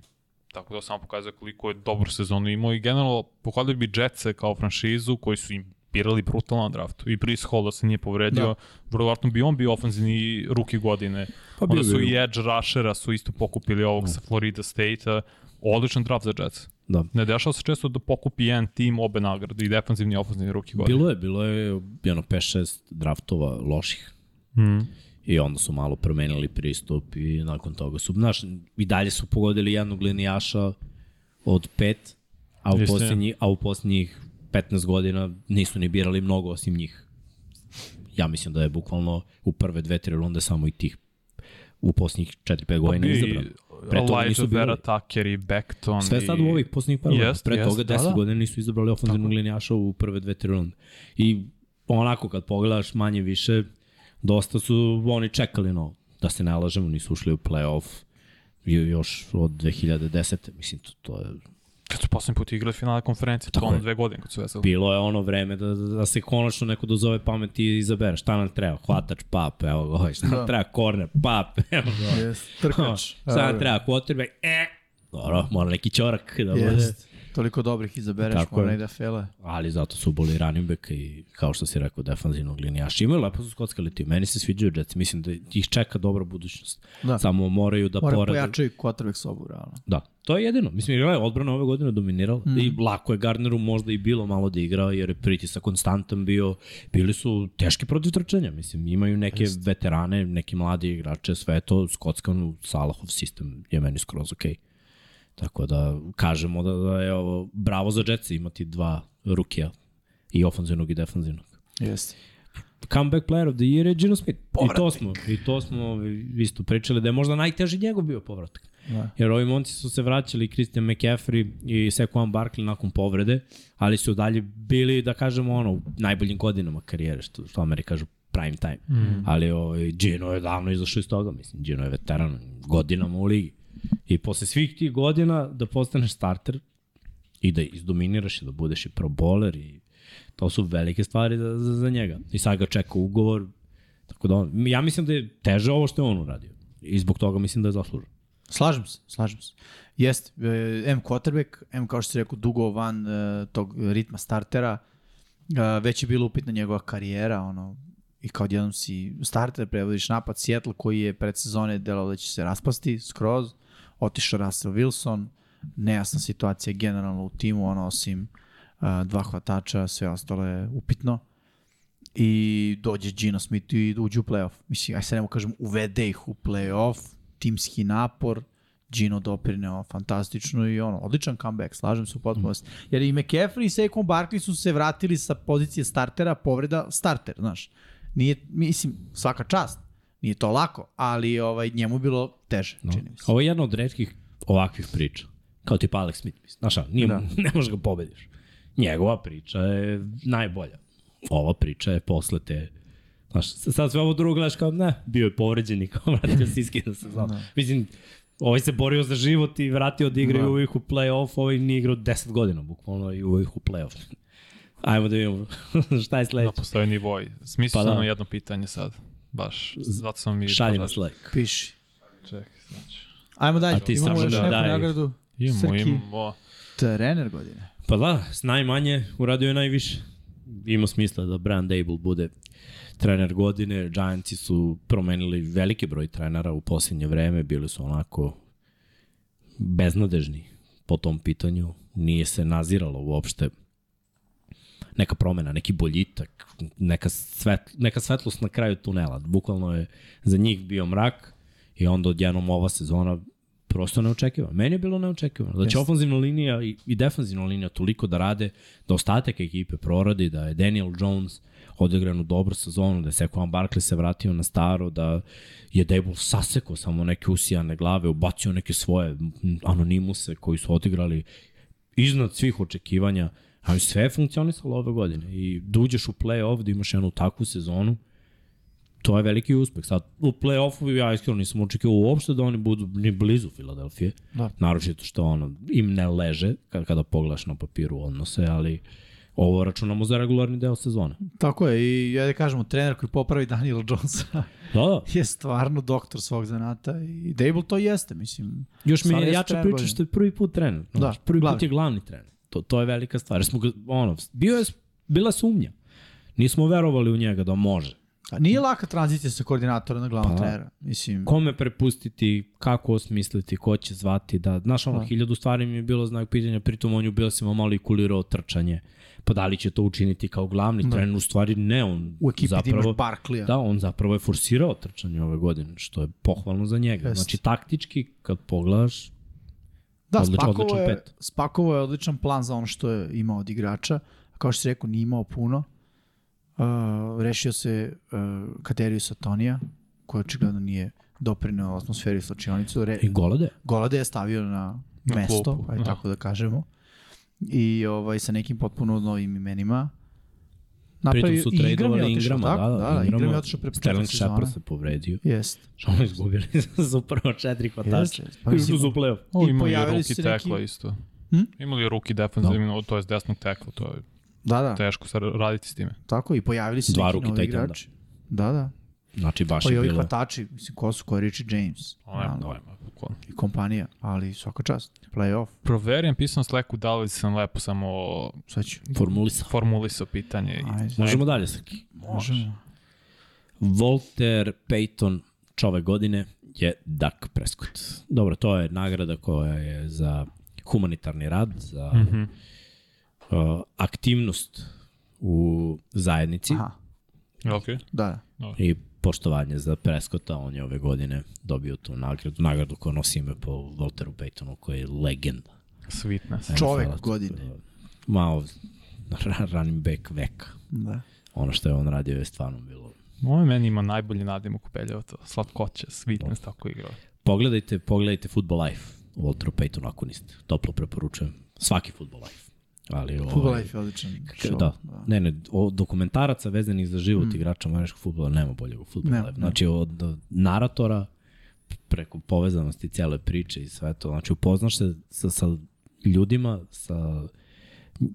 [SPEAKER 2] Tako da samo pokazuje koliko je dobru sezonu imao i generalno pohvalio bi Jetsa kao franšizu koji su im birali brutalno na draftu. I Brees Hall da se nije povredio, da.
[SPEAKER 3] Da.
[SPEAKER 2] vrlo vjerojatno bi on bio ofenzivni ruki godine.
[SPEAKER 1] Pa
[SPEAKER 2] Onda
[SPEAKER 1] bio
[SPEAKER 2] su
[SPEAKER 1] bi.
[SPEAKER 2] i Edge Rushera su isto pokupili ovog sa Florida State-a. Odličan draft za Jets.
[SPEAKER 1] da.
[SPEAKER 2] Ne dešava se često da pokupi jedan tim obe nagrade i defanzivni i ofenzivni ruki godine.
[SPEAKER 1] Bilo je, bilo je jedno 5-6 draftova loših
[SPEAKER 2] Mm.
[SPEAKER 1] i onda su malo promenili pristup i nakon toga su, znaš, i dalje su pogodili jednog linijaša od pet, a u,
[SPEAKER 2] Jeste.
[SPEAKER 1] posljednji, a u posljednjih 15 godina nisu ni birali mnogo osim njih. Ja mislim da je bukvalno u prve dve, tri runde samo i tih u posljednjih 4-5 godina
[SPEAKER 2] Bio
[SPEAKER 1] izabrano.
[SPEAKER 2] i
[SPEAKER 1] Pre toga
[SPEAKER 2] Pa Elijah
[SPEAKER 1] nisu bili.
[SPEAKER 2] Vera Tucker i Beckton.
[SPEAKER 1] Sve sad
[SPEAKER 2] i...
[SPEAKER 1] u ovih posljednjih par godina.
[SPEAKER 2] Jest,
[SPEAKER 1] Pre
[SPEAKER 2] jest,
[SPEAKER 1] toga
[SPEAKER 2] da,
[SPEAKER 1] 10
[SPEAKER 2] da.
[SPEAKER 1] godina nisu izabrali ofenzivnog linijaša u prve dve, tri runde. I onako kad pogledaš manje više, dosta su oni čekali no, da se ne lažemo, nisu ušli u play-off jo- još od 2010. Mislim, to, to je,
[SPEAKER 2] Kad su poslednji put igrali finale konferencije, to
[SPEAKER 1] Tako
[SPEAKER 2] ono
[SPEAKER 1] je.
[SPEAKER 2] dve godine kad su veseli.
[SPEAKER 1] bilo je ono vreme da, da, da se konačno neko dozove pameti i izabere. Šta nam treba? Hvatač, pap, evo ga, ovaj. šta nam
[SPEAKER 3] Da.
[SPEAKER 1] treba? Korner, pap, evo ga. ovaj.
[SPEAKER 3] Yes, trkač.
[SPEAKER 1] Šta nam treba? Quarterback, e, dobro, mora neki ćorak da bude.
[SPEAKER 3] Yes. Toliko dobrih izabereš, da
[SPEAKER 1] Tako
[SPEAKER 3] mora
[SPEAKER 1] je. Da
[SPEAKER 3] negde fele.
[SPEAKER 1] ali zato su boli running back i kao što si rekao defanzivnog linijaša. Imaju lepo su skockali tim. Meni se sviđaju Jets. Mislim da ih čeka dobra budućnost.
[SPEAKER 3] Da.
[SPEAKER 1] Samo moraju da
[SPEAKER 3] Mora
[SPEAKER 1] porade.
[SPEAKER 3] pojačaju quarterback sobu, realno.
[SPEAKER 1] Da, to je jedino. Mislim, igrala je odbrana ove godine dominirala mm. i lako je Gardneru možda i bilo malo da igra jer je pritisak konstantan bio. Bili su teški protiv trčanja, mislim, imaju neke Just. veterane, neke mlade igrače, sve je to skockan Salahov sistem je meni skroz okej. Okay. Tako da kažemo da, da je ovo bravo za Jetsa imati dva rukija i ofanzivnog i defanzivnog.
[SPEAKER 3] Jeste.
[SPEAKER 1] Comeback player of the year je Gino Smith. I to smo, i to smo isto pričali da je možda najteži njegov bio povratak.
[SPEAKER 3] Da.
[SPEAKER 1] Jer ovi momci su se vraćali, Christian McCaffrey i Saquon Barkley nakon povrede, ali su dalje bili, da kažemo, ono, u najboljim godinama karijere, što, što Ameri kažu prime time. Mm. Ali ovaj, Gino je davno izašao iz toga, mislim, Gino je veteran godinama u ligi. I posle svih tih godina da postaneš starter i da izdominiraš i da budeš i pro bowler i to su velike stvari za, za, za njega. I sad ga čeka ugovor, tako da on, ja mislim da je teže ovo što je on uradio. I zbog toga mislim da je zaslužen.
[SPEAKER 3] Slažem se, slažem se. Jeste, e, M quarterback, M kao što si rekao, dugo van e, tog ritma startera, e, već je bilo upitna njegova karijera, ono, i kao odjednom si starter, prevodiš napad Seattle koji je pred sezone delao da će se raspasti skroz, otišao Russell Wilson, nejasna situacija generalno u timu, ono osim uh, dva hvatača, sve ostalo je upitno i dođe Gino Smith i uđe u playoff. Mislim, aj se nemo kažem, uvede ih u playoff, timski napor, Gino doprineo fantastično i ono, odličan comeback, slažem se u potpunosti. Jer i McCaffrey i Saquon Barkley su se vratili sa pozicije startera, povreda starter, znaš. Nije, mislim, svaka čast, nije to lako, ali ovaj, njemu je bilo teže, no. čini mi se.
[SPEAKER 1] Ovo je jedna od redkih ovakvih priča. Kao tipa Alex Smith, mislim. Znaš, šta, nije, da. ne možeš ga pobediš. Njegova priča je najbolja. Ova priča je posle te Znaš, sad sve ovo drugo gledaš kao, ne, bio je povređen i kao vratio se iskida se znam.
[SPEAKER 3] Da.
[SPEAKER 1] Mislim, ovaj se borio za život i vratio od igre
[SPEAKER 3] Da.
[SPEAKER 1] da. uvijek u play-off, ovaj nije igrao 10 godina, bukvalno i uvijek u play-off. Ajmo da vidimo šta je
[SPEAKER 2] Da
[SPEAKER 1] sledeće.
[SPEAKER 2] postoje nivoj. Smislio
[SPEAKER 1] Pa
[SPEAKER 2] pa,
[SPEAKER 1] da.
[SPEAKER 2] da. jedno pitanje sad. Baš, zato sam i...
[SPEAKER 1] Šalji
[SPEAKER 3] znači.
[SPEAKER 1] nas
[SPEAKER 2] požar-
[SPEAKER 1] like.
[SPEAKER 3] Piši.
[SPEAKER 2] Čekaj, znači.
[SPEAKER 3] Ajmo dalje.
[SPEAKER 1] A ti
[SPEAKER 3] Imamo
[SPEAKER 1] samo
[SPEAKER 3] još
[SPEAKER 1] da
[SPEAKER 3] neku
[SPEAKER 1] daj.
[SPEAKER 3] nagradu.
[SPEAKER 2] Imamo,
[SPEAKER 3] Srki.
[SPEAKER 2] imamo.
[SPEAKER 3] Trener godine.
[SPEAKER 1] Pa da, s najmanje uradio je najviše. Ima smisla da Brian Dable bude trener godine. Giantsi su promenili veliki broj trenera u posljednje vreme. Bili su onako beznadežni po tom pitanju. Nije se naziralo uopšte neka promena, neki boljitak, neka, svet, neka svetlost na kraju tunela. Bukvalno je za njih bio mrak i onda odjednom ova sezona prosto neočekivano. Meni je bilo neočekivano. Da će
[SPEAKER 3] Jeste.
[SPEAKER 1] ofanzivna linija i, i defanzivna linija toliko da rade, da ostatak ekipe proradi, da je Daniel Jones odigran u dobru sezonu, da je Saquon Barkley se vratio na staro, da je Dable sasekao samo neke usijane glave, ubacio neke svoje m, anonimuse koji su odigrali iznad svih očekivanja, ali sve je funkcionisalo ove godine i da uđeš u play-off, da imaš jednu takvu sezonu, to je veliki uspeh. Sad, u play-offu ja iskreno nisam očekio uopšte da oni budu ni blizu Filadelfije,
[SPEAKER 3] Da.
[SPEAKER 1] naročito što ono, im ne leže kada, kada pogledaš na papiru odnose, ali ovo računamo za regularni deo sezone.
[SPEAKER 3] Tako je, i ja da kažemo, trener koji popravi Daniela Jonesa
[SPEAKER 1] Da, da.
[SPEAKER 3] je stvarno doktor svog zanata i Dable to jeste, mislim.
[SPEAKER 1] Još mi
[SPEAKER 3] Stvarno
[SPEAKER 1] je
[SPEAKER 3] jeste
[SPEAKER 1] jača
[SPEAKER 3] trener
[SPEAKER 1] priča
[SPEAKER 3] godine.
[SPEAKER 1] što je prvi put trener.
[SPEAKER 3] Da,
[SPEAKER 1] Znaš, prvi
[SPEAKER 3] glavni.
[SPEAKER 1] put je glavni trener. To, to je velika stvar. Jer Smo ga, ono, bio je, bila sumnja. Nismo verovali u njega da može.
[SPEAKER 3] A nije laka tranzicija sa koordinatora na glavnog
[SPEAKER 1] Pa.
[SPEAKER 3] trenera, mislim.
[SPEAKER 1] kome prepustiti, kako osmisliti, ko će zvati, da, znaš, ono,
[SPEAKER 3] Da.
[SPEAKER 1] hiljadu stvari mi je bilo znak pitanja, pritom on je bilo se malo i kulirao trčanje, pa da li će to učiniti kao glavni
[SPEAKER 3] Da.
[SPEAKER 1] trener, u stvari ne, on
[SPEAKER 3] U ekipi ti imaš pa-
[SPEAKER 1] zapravo,
[SPEAKER 3] Barklija.
[SPEAKER 1] da, on zapravo je forsirao trčanje ove godine, što je pohvalno za njega.
[SPEAKER 3] Jest.
[SPEAKER 1] Znači, taktički, kad pogledaš,
[SPEAKER 3] Da,
[SPEAKER 1] Odličan-
[SPEAKER 3] spakovo,
[SPEAKER 1] odličan
[SPEAKER 3] je,
[SPEAKER 1] pet.
[SPEAKER 3] spakovo je odličan plan za ono što je imao od igrača. Kao što si rekao, nije imao puno. Uh, rešio se uh, Kateriju Satonija, koji očigledno nije doprineo atmosferi u slačionicu. Re,
[SPEAKER 1] i golade.
[SPEAKER 3] Golade je stavio na
[SPEAKER 2] Na
[SPEAKER 3] mesto,
[SPEAKER 2] klupu,
[SPEAKER 3] aj
[SPEAKER 2] da.
[SPEAKER 3] tako da kažemo. I ovaj, sa nekim potpuno novim imenima.
[SPEAKER 1] Pritom su
[SPEAKER 3] i Ingram je
[SPEAKER 1] tradeovali
[SPEAKER 3] otišao,
[SPEAKER 1] Ingrama,
[SPEAKER 3] tako?
[SPEAKER 1] da, da,
[SPEAKER 3] da, Ingram je otišao pre početka
[SPEAKER 1] Sterling
[SPEAKER 3] sezone.
[SPEAKER 1] Shepard se povredio.
[SPEAKER 3] Jeste.
[SPEAKER 1] Što ono izgubili za prvo četiri hvatača.
[SPEAKER 3] Jeste.
[SPEAKER 1] Pa, Išli su u play-off.
[SPEAKER 2] O,
[SPEAKER 3] I
[SPEAKER 2] imali
[SPEAKER 3] pojavili
[SPEAKER 2] ruki
[SPEAKER 3] su se
[SPEAKER 2] tekla
[SPEAKER 3] neki-
[SPEAKER 2] neki... isto.
[SPEAKER 3] Hm?
[SPEAKER 2] Imali ruki defensivno, no. to je desnog tekla, to je
[SPEAKER 3] Da, da,
[SPEAKER 2] teško sad raditi s time.
[SPEAKER 3] tako i pojavili se
[SPEAKER 1] Dva
[SPEAKER 3] neki
[SPEAKER 1] ruki
[SPEAKER 3] novi
[SPEAKER 1] tight enda.
[SPEAKER 3] igrači. Da, da.
[SPEAKER 1] Znači, baš
[SPEAKER 3] Pa i
[SPEAKER 1] je
[SPEAKER 3] ovi
[SPEAKER 1] bilo... Pa
[SPEAKER 3] hvatači, mislim, ko su, ko je Richie James.
[SPEAKER 2] Ono je
[SPEAKER 3] naravno,
[SPEAKER 2] pojma, bukvalno.
[SPEAKER 3] I kompanija, ali svaka čast. Playoff,
[SPEAKER 2] Proverijem pisao na Slacku da li sam lepo samo
[SPEAKER 3] sad ću.
[SPEAKER 1] Formulisao.
[SPEAKER 2] formulisao pitanje. i-
[SPEAKER 3] Ajde.
[SPEAKER 1] Možemo dalje, Srki.
[SPEAKER 3] Možemo.
[SPEAKER 1] Walter Payton čove godine je Dak Prescott. Dobro, to je nagrada koja je za humanitarni rad, za mm -hmm. uh, aktivnost u zajednici Aha.
[SPEAKER 3] Aha,
[SPEAKER 2] Okej.
[SPEAKER 3] da, da.
[SPEAKER 1] i poštovanje za Prescotta. On je ove godine dobio tu nagradu, nagradu koju nosi ime po Walteru Paytonu, koji je legenda.
[SPEAKER 2] Sweetness.
[SPEAKER 3] Čovek
[SPEAKER 1] NFL-a.
[SPEAKER 3] godine.
[SPEAKER 1] Mao ra- running back veka.
[SPEAKER 3] da.
[SPEAKER 1] Ono što je on radio je stvarno bilo
[SPEAKER 2] Ovo je meni ima najbolji nadimak u Peljevaca. Slatkoće, sweetness, tako igrao.
[SPEAKER 1] Pogledajte, pogledajte Football Life u Walteru Paytonu ako niste. Toplo preporučujem. Svaki Football Life. Ali,
[SPEAKER 3] Football
[SPEAKER 1] ovaj,
[SPEAKER 3] Life je odličan
[SPEAKER 1] Da.
[SPEAKER 3] show. da.
[SPEAKER 1] Ne, ne, o, dokumentaraca vezanih za život mm. igrača američkog futbola nema boljeg u futbolu.
[SPEAKER 3] Nema,
[SPEAKER 1] Ne, znači, od od naratora preko povezanosti cele priče i sve to. Znači, upoznaš se sa, sa ljudima, sa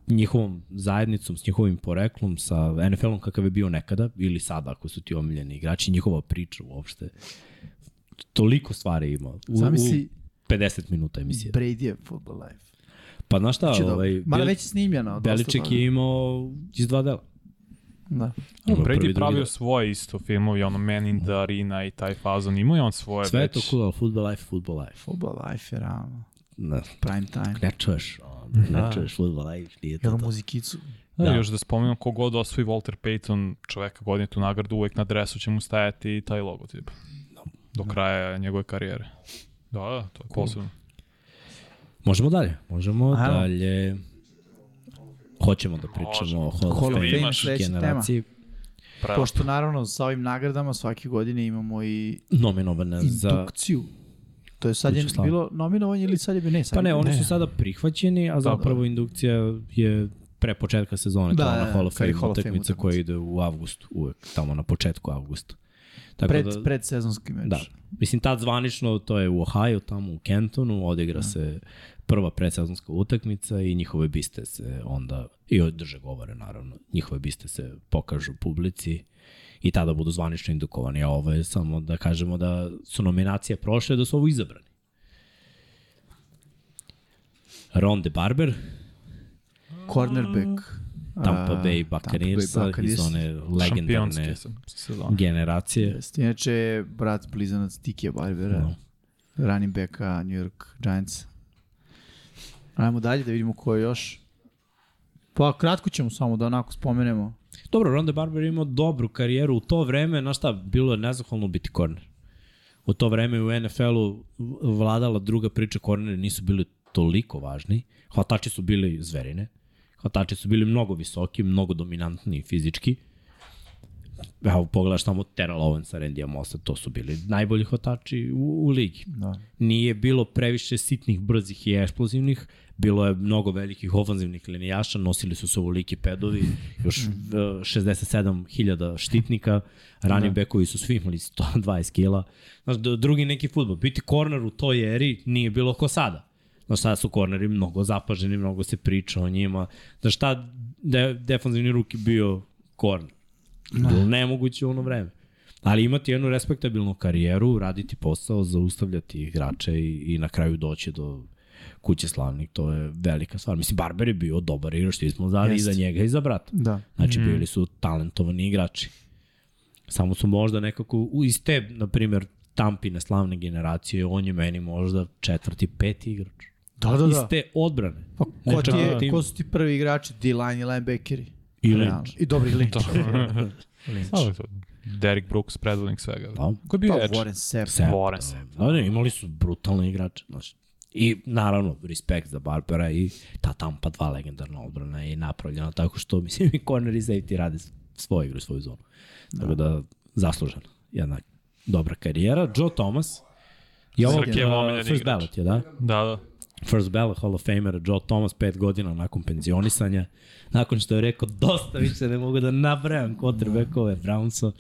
[SPEAKER 1] njihovom zajednicom, s njihovim poreklom, sa NFL-om kakav je bio nekada ili sada ako su ti omiljeni igrači, njihova priča uopšte. Toliko stvari ima. U,
[SPEAKER 3] Zamisli
[SPEAKER 1] 50 minuta emisije.
[SPEAKER 3] Brady je Football Life.
[SPEAKER 1] Pa znaš šta,
[SPEAKER 3] Znači,
[SPEAKER 1] ovaj,
[SPEAKER 3] ovaj, Mada
[SPEAKER 1] Bel-
[SPEAKER 3] već je snimljeno. dosta
[SPEAKER 1] Beliček
[SPEAKER 3] toga.
[SPEAKER 1] je imao iz dva dela.
[SPEAKER 3] Da.
[SPEAKER 1] Dobro, prvi,
[SPEAKER 2] Brady
[SPEAKER 1] drugi,
[SPEAKER 2] pravio
[SPEAKER 1] da.
[SPEAKER 2] svoje isto filmovi, ono Man in the Arena i taj fazon, imao je on svoje
[SPEAKER 1] Sve je
[SPEAKER 2] već.
[SPEAKER 1] to cool, ali Football Life, Football Life.
[SPEAKER 3] Football life je ravno.
[SPEAKER 1] Ne,
[SPEAKER 3] Prime time.
[SPEAKER 1] ne čuješ, ono, ne
[SPEAKER 3] Da.
[SPEAKER 1] čuješ Football Life, nije to
[SPEAKER 3] Jel
[SPEAKER 1] to.
[SPEAKER 3] muzikicu?
[SPEAKER 2] Da.
[SPEAKER 1] Da.
[SPEAKER 2] Još da spomenem, kogod osvoji Walter Payton, čoveka godine tu nagradu, uvek na dresu će mu stajati taj logotip.
[SPEAKER 1] Da.
[SPEAKER 2] Do kraja njegove karijere. Da, da, to je posebno.
[SPEAKER 1] Možemo dalje, možemo
[SPEAKER 3] Ajmo.
[SPEAKER 1] dalje. Hoćemo da pričamo o Hall of Fame
[SPEAKER 3] Hall of Fame je sledeća tema.
[SPEAKER 1] generaciji.
[SPEAKER 2] Pravo.
[SPEAKER 3] Pošto naravno sa ovim nagradama svake godine imamo i
[SPEAKER 1] Nominovana za...
[SPEAKER 3] indukciju. To je sad je
[SPEAKER 1] Kuću slave.
[SPEAKER 3] bilo nominovanje ili sad je bilo ne? Sad
[SPEAKER 1] Pa ne,
[SPEAKER 3] je,
[SPEAKER 1] oni su sada prihvaćeni, a zapravo indukcija je pre početka sezone,
[SPEAKER 3] Da,
[SPEAKER 1] da,
[SPEAKER 3] da,
[SPEAKER 1] ona Hall of
[SPEAKER 3] kad je
[SPEAKER 1] Fame
[SPEAKER 3] Hall of Fame
[SPEAKER 1] utakmica
[SPEAKER 3] utakmica.
[SPEAKER 1] koja ide u avgustu, uvek tamo na početku avgusta. Tako
[SPEAKER 3] pred,
[SPEAKER 1] da,
[SPEAKER 3] pred sezonski meč.
[SPEAKER 1] da, mislim tad zvanično to je u Ohio, tamo u Kentonu, odigra se prva predsezonska utakmica i njihove biste se onda, i održe govore naravno, njihove biste se pokažu publici i tada budu zvanično indukovani, a ovo je samo da kažemo da su nominacije prošle, da su ovo izabrani. Ronde Barber,
[SPEAKER 3] Cornerback.
[SPEAKER 1] Tampa
[SPEAKER 3] a,
[SPEAKER 1] Bay
[SPEAKER 3] Tampa
[SPEAKER 1] Buccaneers iz
[SPEAKER 3] Buccaneers.
[SPEAKER 1] one legendarne
[SPEAKER 2] Šampionske se- sezone.
[SPEAKER 1] generacije.
[SPEAKER 3] Jeste. Inače, brat blizanac Tikija Barbera,
[SPEAKER 1] No.
[SPEAKER 3] running backa New York Giants. Ajmo dalje da vidimo ko je još. Pa kratko ćemo samo da onako spomenemo.
[SPEAKER 1] Dobro, Ronde Barber je imao dobru karijeru u to vreme, znaš šta, bilo je nezahvalno biti korner. U to vreme u NFL-u vladala druga priča, korneri nisu bili toliko važni, hvatači su bili zverine, hvatači su bili mnogo visoki, mnogo dominantni fizički. Evo, pogledaš tamo Terrell Owensa, Randy Mossa, to su bili najbolji hvatači u, u ligi
[SPEAKER 3] Da.
[SPEAKER 1] nije bilo previše sitnih, brzih i eksplozivnih, bilo je mnogo velikih ofanzivnih linijaša, nosili su se ovoliki pedovi, još eh, 67.000 štitnika, rani da. bekovi su svi imali 120 kila. Znaš, d- drugi neki futbol, biti korner u toj eri nije bilo ko sada. Znaš, sada su korneri mnogo zapaženi, mnogo se priča o njima. Znaš, šta de, defanzivni ruki bio korner?
[SPEAKER 3] Da.
[SPEAKER 1] Bilo nemoguće u ono vreme. Ali imati jednu respektabilnu karijeru, raditi posao, zaustavljati igrače i, i na kraju doći do kuće slavnih, to je velika stvar. Mislim, Barber je bio dobar igrač, svi smo znali i
[SPEAKER 3] Jeste.
[SPEAKER 1] za njega i za brata.
[SPEAKER 3] Da.
[SPEAKER 1] Znači, mm. bili su talentovani igrači. Samo su možda nekako, u- iz te, na primjer, Tampine slavne generacije, on je meni možda četvrti, peti igrač.
[SPEAKER 3] Da, da,
[SPEAKER 1] Iz
[SPEAKER 3] da.
[SPEAKER 1] te odbrane. Znači,
[SPEAKER 3] Pa, ko, ti
[SPEAKER 1] Nečak-
[SPEAKER 3] je, ko su ti prvi igrači? D-line i linebackeri.
[SPEAKER 1] I Da.
[SPEAKER 3] Realno.
[SPEAKER 1] Lynch.
[SPEAKER 3] I dobri Lynch.
[SPEAKER 2] To- Slažem se. Derrick Brooks, predvodnik svega.
[SPEAKER 1] Da.
[SPEAKER 2] Ko je bio
[SPEAKER 3] Pa,
[SPEAKER 2] edge?
[SPEAKER 3] Warren Sapp.
[SPEAKER 1] Sepp.
[SPEAKER 2] Warren Sapp,
[SPEAKER 1] Da, ne, imali su brutalne igrače. Znači. I naravno, respekt za Barbera i ta Tampa 2 legendarna odbrana je napravljena tako što, mislim, i corner i safety rade s- svoju igru, svoju zonu. Tako da, zaslužena. Jedna dobra karijera. Joe Thomas. I ovo
[SPEAKER 2] Srkev omiljeni
[SPEAKER 1] uh, first
[SPEAKER 2] igrač.
[SPEAKER 1] ballot je, da?
[SPEAKER 2] Da, da.
[SPEAKER 1] First ballot Hall of Famer Joe Thomas pet godina nakon penzionisanja. Nakon što je rekao dosta više ne mogu da nabrajam quarterbackove Brownsa.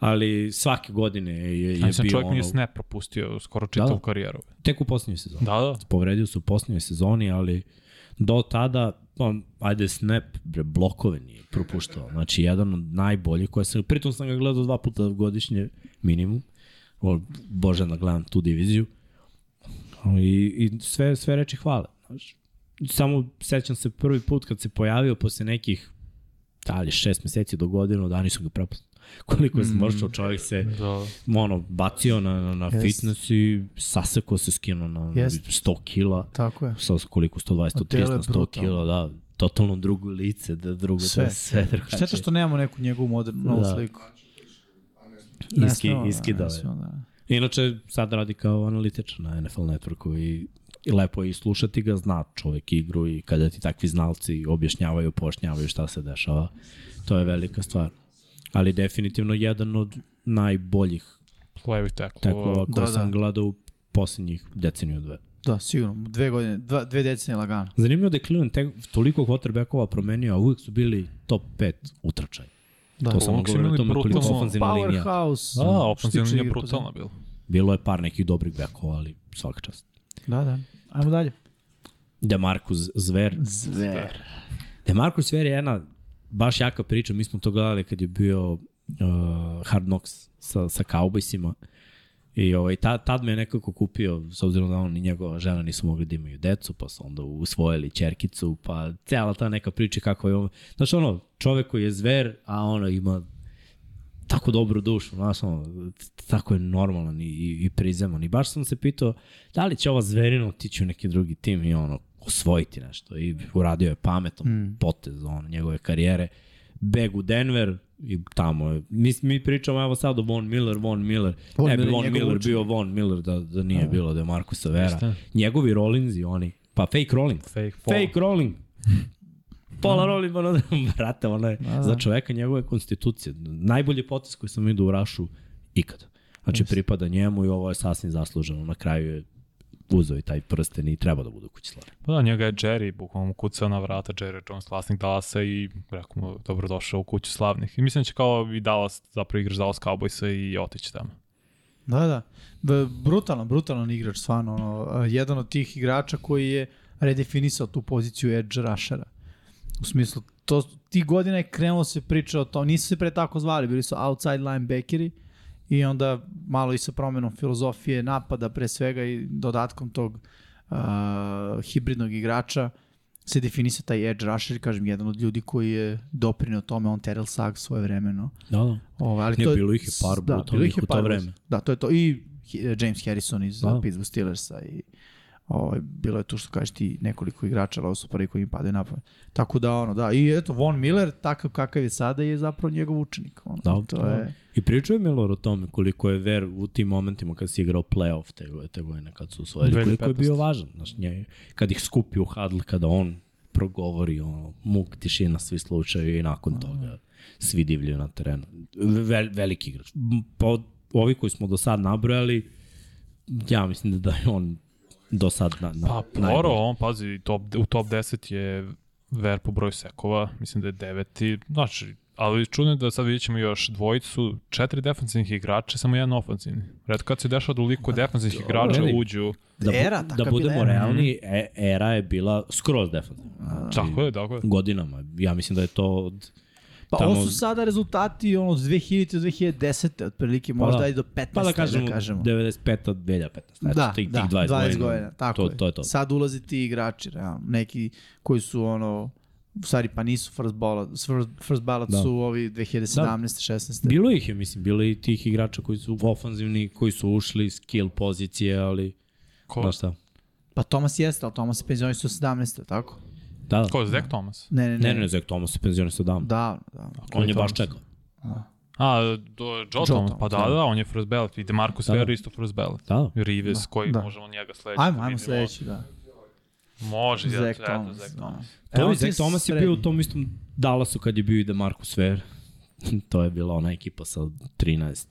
[SPEAKER 1] Ali svake godine je, je,
[SPEAKER 2] Ja
[SPEAKER 1] je
[SPEAKER 2] sam
[SPEAKER 1] bio
[SPEAKER 2] čovjek
[SPEAKER 1] ono...
[SPEAKER 2] nije snap propustio skoro čitavu
[SPEAKER 1] da.
[SPEAKER 2] karijeru.
[SPEAKER 1] Tek u posljednjoj sezoni
[SPEAKER 2] Da, da.
[SPEAKER 1] povredio se u posljednjoj sezoni, ali do tada, pa, ajde snap, bre, blokove nije propuštao. Znači, jedan od najboljih koje sam, pritom sam ga gledao dva puta godišnje, minimum. O, Bože, da gledam tu diviziju. I, i sve, sve reči hvale. Znaš. Samo sećam se prvi put kad se pojavio posle nekih dalje šest meseci do godinu, dani su ga prepoznali. Koliko je smršao, čovjek se
[SPEAKER 2] da.
[SPEAKER 1] ono, bacio na, na, na
[SPEAKER 3] Jest.
[SPEAKER 1] fitness i saseko se skinuo na
[SPEAKER 3] Jest.
[SPEAKER 1] 100 kila.
[SPEAKER 3] Tako je.
[SPEAKER 1] Sa koliko, 120,
[SPEAKER 3] A telo
[SPEAKER 1] 130,
[SPEAKER 3] je
[SPEAKER 1] 100
[SPEAKER 3] brutalno.
[SPEAKER 1] kila, da. Totalno drugo lice, da drugo
[SPEAKER 3] Sve.
[SPEAKER 1] sve, sve drugačije.
[SPEAKER 3] Šteta što nemamo neku njegovu modernu novu
[SPEAKER 1] Da.
[SPEAKER 3] sliku. Ne
[SPEAKER 1] Iski,
[SPEAKER 3] smemo, da,
[SPEAKER 1] iskidao
[SPEAKER 3] ne
[SPEAKER 1] je.
[SPEAKER 3] smemo, da.
[SPEAKER 1] Inače, sad radi kao analitičan na NFL Networku i, i lepo je i slušati ga, zna čovek igru i kada ti takvi znalci objašnjavaju, pojašnjavaju šta se dešava, to je velika stvar. Ali definitivno jedan od najboljih
[SPEAKER 2] Levi tackle.
[SPEAKER 1] tekova koje
[SPEAKER 3] Da,
[SPEAKER 1] da,
[SPEAKER 3] da.
[SPEAKER 1] sam gledao u poslednjih deceniju dve.
[SPEAKER 3] Da, sigurno. Dve godine, dva, dve decenije lagano.
[SPEAKER 1] Zanimljivo da je Cleveland tek toliko quarterbackova promenio, a uvek su bili top 5 utrčaj.
[SPEAKER 3] Da.
[SPEAKER 1] to samo
[SPEAKER 2] Uvek su
[SPEAKER 1] govori o
[SPEAKER 2] imali
[SPEAKER 1] tome koliko
[SPEAKER 2] brutalno-
[SPEAKER 1] ofanzivna linija.
[SPEAKER 3] Powerhouse.
[SPEAKER 2] Da,
[SPEAKER 3] što se tiče
[SPEAKER 2] ofenzivna nije
[SPEAKER 3] igre po
[SPEAKER 2] brutalna bila.
[SPEAKER 1] Bilo je par nekih dobrih bekova, ali svaka čast.
[SPEAKER 3] zemlji. Da, da. Ajmo dalje.
[SPEAKER 1] Demarcus Zver.
[SPEAKER 3] Zver.
[SPEAKER 1] Demarcus Zver Da je jedna baš jaka priča. Mi smo to gledali kad je bio uh, Hard Knocks sa, sa Cowboysima. I ovaj, tad, tad me je nekako kupio, s obzirom da on i njegova žena nisu mogli da imaju decu, pa su onda usvojili čerkicu, pa cijela ta neka priča kako je on... Znaš, ono, čovek koji je zver, a ono ima tako dobru dušu, znaš, ono, t- tako je normalan i, i, i prizeman. I baš sam se pitao da li će ova zverina otići u neki drugi tim i ono, osvojiti nešto. I uradio je pametan mm. potez ono, njegove karijere. Beg u Denver i tamo je. Mi, mi pričamo evo sad o Von Miller, Von Miller. Von
[SPEAKER 3] Von
[SPEAKER 1] ne bi
[SPEAKER 3] Miller je
[SPEAKER 1] Von
[SPEAKER 3] njegov
[SPEAKER 1] Miller
[SPEAKER 3] učenik.
[SPEAKER 1] bio Von Miller da, da nije bilo da je Marko Savera.
[SPEAKER 2] Jeste.
[SPEAKER 1] Njegovi Rollins i oni. Pa fake Rollins.
[SPEAKER 2] Fake,
[SPEAKER 1] Fake rolling. Pola rolling, ono, brate, ono je za čoveka njegove konstitucije. Najbolji potes koji sam vidio u Rašu ikada. Znači, pripada njemu i ovo je sasvim zasluženo. Na kraju je uzeo i taj prsten i treba da bude u kući slave.
[SPEAKER 2] Pa da, njega je Jerry, bukvalno mu kucao na vrata Jerry Jones, vlasnik Dallasa i rekao mu dobrodošao u kuću slavnih. I mislim da će kao i Dallas, zapravo igraš Dallas Cowboysa i otići tamo.
[SPEAKER 3] Da, da. B- brutalan, brutalan igrač, stvarno. Ono, a, jedan od tih igrača koji je redefinisao tu poziciju edge rushera. U smislu, to, ti godina je krenulo se priča o tom, nisu se pre tako zvali, bili su outside linebackeri i onda malo i sa promenom filozofije napada pre svega i dodatkom tog uh, hibridnog igrača se definisa taj edge rusher, kažem, jedan od ljudi koji je doprineo tome, on Terrell Suggs svoje vremeno.
[SPEAKER 1] Da, da.
[SPEAKER 3] Ovaj, ali
[SPEAKER 1] Ne,
[SPEAKER 3] to je,
[SPEAKER 1] bilo ih je par
[SPEAKER 3] da,
[SPEAKER 1] brutalnih
[SPEAKER 3] bilo ih je
[SPEAKER 1] u to
[SPEAKER 3] par
[SPEAKER 1] vreme.
[SPEAKER 3] brutalnih. Da, to je to. I Hi- James Harrison iz
[SPEAKER 1] Da.
[SPEAKER 3] da. Pittsburgh Steelersa i ovaj, bilo je tu što kažeš ti nekoliko igrača, ali ovo su prvi koji im padaju na pamet. Tako da ono, da. I eto, Von Miller, takav kakav je sada, je zapravo njegov učenik. Ono,
[SPEAKER 1] Da,
[SPEAKER 3] to
[SPEAKER 1] da.
[SPEAKER 3] je...
[SPEAKER 1] I pričao je Milor o tome koliko je ver u tim momentima kad si igrao playoff te, go- te godine kad su osvojili,
[SPEAKER 2] 2015.
[SPEAKER 1] koliko je bio važan. Znaš, nje, kad ih skupi u hadl, kada on progovori, ono, muk, tišina, svi slučaju i nakon toga svi divljaju na terenu. Vel, veliki igrač. M, Po, ovi koji smo do sad nabrojali, ja mislim da, da je on do sad na, na,
[SPEAKER 2] Pa Ploro,
[SPEAKER 1] najbolji.
[SPEAKER 2] on pazi, top, u top 10 je ver po broju sekova, mislim da je deveti, znači, ali čudno je da sad vidjet ćemo još dvojicu, četiri defensivnih igrača, samo jedan ofensivni. Redko kad se dešava da liko defensivnih igrača
[SPEAKER 1] Pa, vidi.
[SPEAKER 2] uđu,
[SPEAKER 1] Da, bu-
[SPEAKER 3] Era,
[SPEAKER 1] da
[SPEAKER 3] takva je bila
[SPEAKER 1] budemo
[SPEAKER 3] era.
[SPEAKER 1] realni, e, era je bila skroz defensivna. Znači,
[SPEAKER 2] tako je, tako je.
[SPEAKER 1] godinama. Ja mislim da je to od
[SPEAKER 3] Pa
[SPEAKER 1] Tamo-
[SPEAKER 3] ovo su sada rezultati ono, od 2000 do 2010. otprilike,
[SPEAKER 1] Pa
[SPEAKER 3] možda
[SPEAKER 1] da.
[SPEAKER 3] i do 15.
[SPEAKER 1] Pa da kažemo,
[SPEAKER 3] da kažemo.
[SPEAKER 1] 95 od 2015. Znači,
[SPEAKER 3] da,
[SPEAKER 1] tih,
[SPEAKER 3] da,
[SPEAKER 1] tih 20,
[SPEAKER 3] 20 godina, tako
[SPEAKER 1] to,
[SPEAKER 3] je.
[SPEAKER 1] To je to.
[SPEAKER 3] Sad ulaze ti igrači, realno. Neki koji su ono, u stvari pa nisu first ballot, first, first ballot
[SPEAKER 1] Da.
[SPEAKER 3] su ovi 2017.
[SPEAKER 1] Da.
[SPEAKER 3] 16.
[SPEAKER 1] Bilo ih je, mislim, bilo je i tih igrača koji su ofanzivni, koji su ušli, skill pozicije, ali,
[SPEAKER 2] Ko,
[SPEAKER 1] znaš šta.
[SPEAKER 3] Pa Thomas jeste, ali Thomas je penzionisao 17. tako?
[SPEAKER 1] Da, da.
[SPEAKER 2] ko je Zach Thomas?
[SPEAKER 3] Ne, ne, ne.
[SPEAKER 1] Ne, ne, ne, Zach Thomas je penzioner sa dam. Da,
[SPEAKER 3] Davno, davno.
[SPEAKER 1] on je baš čekao.
[SPEAKER 2] A, do, Joe, Thomas,
[SPEAKER 3] Thomas,
[SPEAKER 2] pa da,
[SPEAKER 3] da.
[SPEAKER 2] da, on je first ballot, i Demarcus
[SPEAKER 1] Da,
[SPEAKER 2] da,
[SPEAKER 1] da.
[SPEAKER 2] Ware isto first ballot.
[SPEAKER 1] Da, da.
[SPEAKER 2] Rives, koji
[SPEAKER 3] da.
[SPEAKER 2] možemo njega sledeći.
[SPEAKER 3] Ajmo,
[SPEAKER 2] da
[SPEAKER 3] ajmo
[SPEAKER 2] vidimo.
[SPEAKER 3] sledeći, da.
[SPEAKER 2] Može, ja,
[SPEAKER 3] Zach
[SPEAKER 2] eto,
[SPEAKER 3] Thomas.
[SPEAKER 2] Zach
[SPEAKER 3] da.
[SPEAKER 2] Thomas.
[SPEAKER 1] To
[SPEAKER 3] Evo
[SPEAKER 1] je,
[SPEAKER 3] ti
[SPEAKER 1] Zach Thomas je
[SPEAKER 3] srednji.
[SPEAKER 1] bio u tom istom Dallasu kad je bio i DeMarcus Ware. to je bila ona ekipa sa 13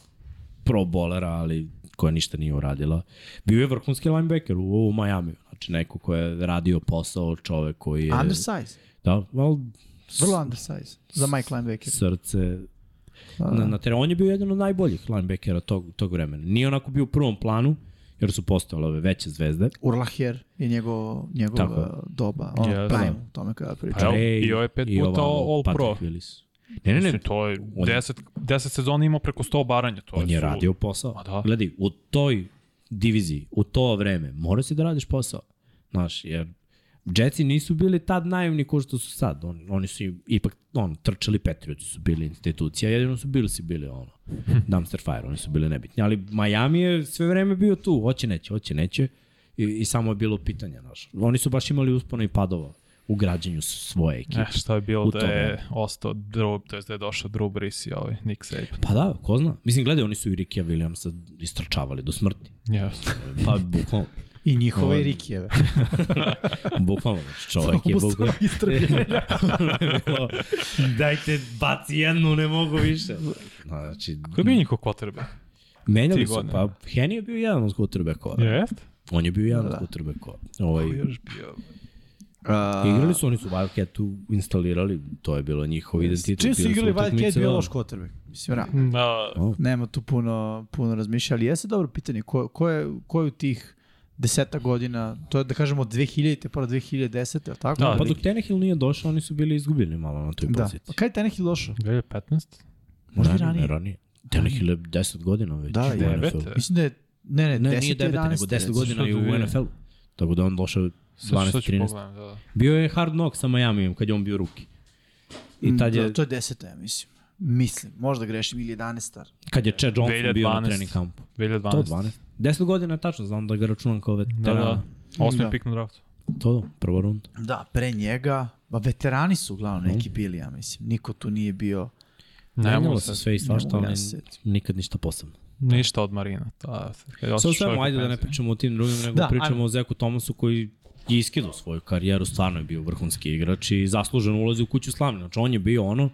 [SPEAKER 1] pro bolera, ali koja ništa nije uradila. Bio je vrhunski linebacker u, u Miami. Znači, neko ko je radio posao, čovek koji je...
[SPEAKER 3] Undersize,
[SPEAKER 1] Da, ali
[SPEAKER 3] vrlo undersize. Za Mike Linebacker.
[SPEAKER 1] srce
[SPEAKER 3] Da,
[SPEAKER 1] na, na terenu. On je bio jedan od najboljih linebackera tog, tog vremena. Nije onako bio u prvom planu, jer su postojale ove veće zvezde.
[SPEAKER 3] Urlacher je njegov, njegov
[SPEAKER 1] Tako je.
[SPEAKER 3] uh, doba, ono,
[SPEAKER 2] Jeste.
[SPEAKER 3] prime, u tome kada pričamo.
[SPEAKER 2] Pa evo,
[SPEAKER 1] Trey
[SPEAKER 2] bio je pet
[SPEAKER 1] i
[SPEAKER 2] puta
[SPEAKER 1] ovamo
[SPEAKER 2] All
[SPEAKER 1] Patrick
[SPEAKER 2] Pro.
[SPEAKER 1] Willis. Ne, ne, ne,
[SPEAKER 2] Mislim, to je
[SPEAKER 1] on je-
[SPEAKER 2] 10, 10 sezona imao preko 100 baranja. To
[SPEAKER 1] on je
[SPEAKER 2] su-
[SPEAKER 1] radio posao.
[SPEAKER 2] Ma da.
[SPEAKER 1] Gledaj, u toj diviziji, u to vreme, mora si da radiš posao. Znaš, jer Jetsi nisu bili tad naivni ko što su sad. On, oni su im ipak on, trčali Patrioti su bili institucija, jedino su bili si bili ono, dumpster fire, oni su bili nebitni. Ali Miami je sve vreme bio tu, hoće neće, hoće neće. I, i samo je bilo pitanje. Znaš. Oni su baš imali uspona i padova u građanju svoje ekipe.
[SPEAKER 2] Eh, šta je bilo
[SPEAKER 1] U
[SPEAKER 2] da
[SPEAKER 1] to
[SPEAKER 2] je
[SPEAKER 1] vreme.
[SPEAKER 2] ostao Drew, to je da je došao Drew Brees i ovaj Nick Saban.
[SPEAKER 1] Pa da, ko zna. Mislim, gledaj, oni su i Rikija Williamsa istrčavali do smrti.
[SPEAKER 2] Yes.
[SPEAKER 1] Pa, bukvalno.
[SPEAKER 3] I
[SPEAKER 1] Ovaj-
[SPEAKER 3] njihove i Rikijeve.
[SPEAKER 1] Bukvalno, znači, čovjek je bukvalno. Dajte, baci jednu, ne mogu više. Znači,
[SPEAKER 2] Ko je bio njihov quarterback?
[SPEAKER 1] menjali
[SPEAKER 2] Ti
[SPEAKER 1] su,
[SPEAKER 2] godine.
[SPEAKER 1] pa Henry je bio jedan od quarterbackova.
[SPEAKER 2] Jest?
[SPEAKER 1] On je bio jedan
[SPEAKER 3] Da.
[SPEAKER 1] od quarterbackova. Ovaj,
[SPEAKER 2] Još bio.
[SPEAKER 1] igrali su, oni su Wildcatu instalirali, to je bilo njihov identitet.
[SPEAKER 3] Čim su
[SPEAKER 1] bile
[SPEAKER 3] igrali Wildcat,
[SPEAKER 1] utakmice,
[SPEAKER 3] bio
[SPEAKER 1] da.
[SPEAKER 3] loš quarterback. Mislim, realno.
[SPEAKER 2] Na,
[SPEAKER 3] Nema tu puno, puno razmišlja, ali jeste dobro pitanje. Ko, ko, je, ko je u tih deseta godina, to je da kažemo od 2000. pa do 2010. je li tako?
[SPEAKER 2] Da,
[SPEAKER 1] Pa dok Tenehill nije došao, oni su bili izgubljeni malo na toj
[SPEAKER 3] da. Pa
[SPEAKER 1] poziciji.
[SPEAKER 3] kada je Tenehill došao?
[SPEAKER 2] 2015?
[SPEAKER 3] možda i
[SPEAKER 1] Ne, ne,
[SPEAKER 3] ranije.
[SPEAKER 1] ranije. Tenehill je 10 godina već.
[SPEAKER 3] Da,
[SPEAKER 1] u
[SPEAKER 3] je.
[SPEAKER 1] NFL-u.
[SPEAKER 2] Devet.
[SPEAKER 3] Mislim da je Ne, ne,
[SPEAKER 1] Ne,
[SPEAKER 3] 10.
[SPEAKER 1] nije 9,
[SPEAKER 3] 11.
[SPEAKER 1] nego 10
[SPEAKER 2] što
[SPEAKER 1] godina i
[SPEAKER 2] dvije.
[SPEAKER 1] u NFL-u. Tako da on došao
[SPEAKER 2] Sad, sad ću
[SPEAKER 1] 12-13.
[SPEAKER 2] pogledam, da, da.
[SPEAKER 1] Bio je hard knock sa Miamiom kad je on bio ruki. I tad
[SPEAKER 3] Mm, To,
[SPEAKER 1] je,
[SPEAKER 3] to je 10. ja mislim. Mislim, možda grešim ili 11.
[SPEAKER 1] kad je Chad Johnson bio na
[SPEAKER 2] 2012.
[SPEAKER 1] trening kampu. To
[SPEAKER 2] 2012.
[SPEAKER 1] 12. 10 godina je tačno, znam da ga računam kao
[SPEAKER 2] Da,
[SPEAKER 1] veterana.
[SPEAKER 2] da. Osmi
[SPEAKER 3] Da.
[SPEAKER 2] pik na draftu.
[SPEAKER 1] To da, prva runda.
[SPEAKER 3] Da, pre njega, ba veterani su
[SPEAKER 1] Mhm.
[SPEAKER 3] uglavnom neki bili, ja mislim. Niko tu nije bio,
[SPEAKER 2] Ne mogu
[SPEAKER 1] Menjalo se
[SPEAKER 2] se.
[SPEAKER 1] sve i
[SPEAKER 3] ne
[SPEAKER 1] svašta,
[SPEAKER 3] mogu ja
[SPEAKER 1] ali
[SPEAKER 3] se setim.
[SPEAKER 1] nikad ništa posebno.
[SPEAKER 2] Ništa od Marina. Da, kad je
[SPEAKER 1] Sad
[SPEAKER 2] otišao čovjek
[SPEAKER 1] samo,
[SPEAKER 2] u
[SPEAKER 1] ajde da ne
[SPEAKER 2] penziju.
[SPEAKER 1] pričamo o tim drugim, nego
[SPEAKER 3] Da,
[SPEAKER 1] da, pričamo
[SPEAKER 3] ajde.
[SPEAKER 1] o Zeku Thomasu koji je iskidao svoju karijeru, stvarno je bio vrhunski igrač i zasluženo ulazi u kuću slavne. Znači, on je bio ono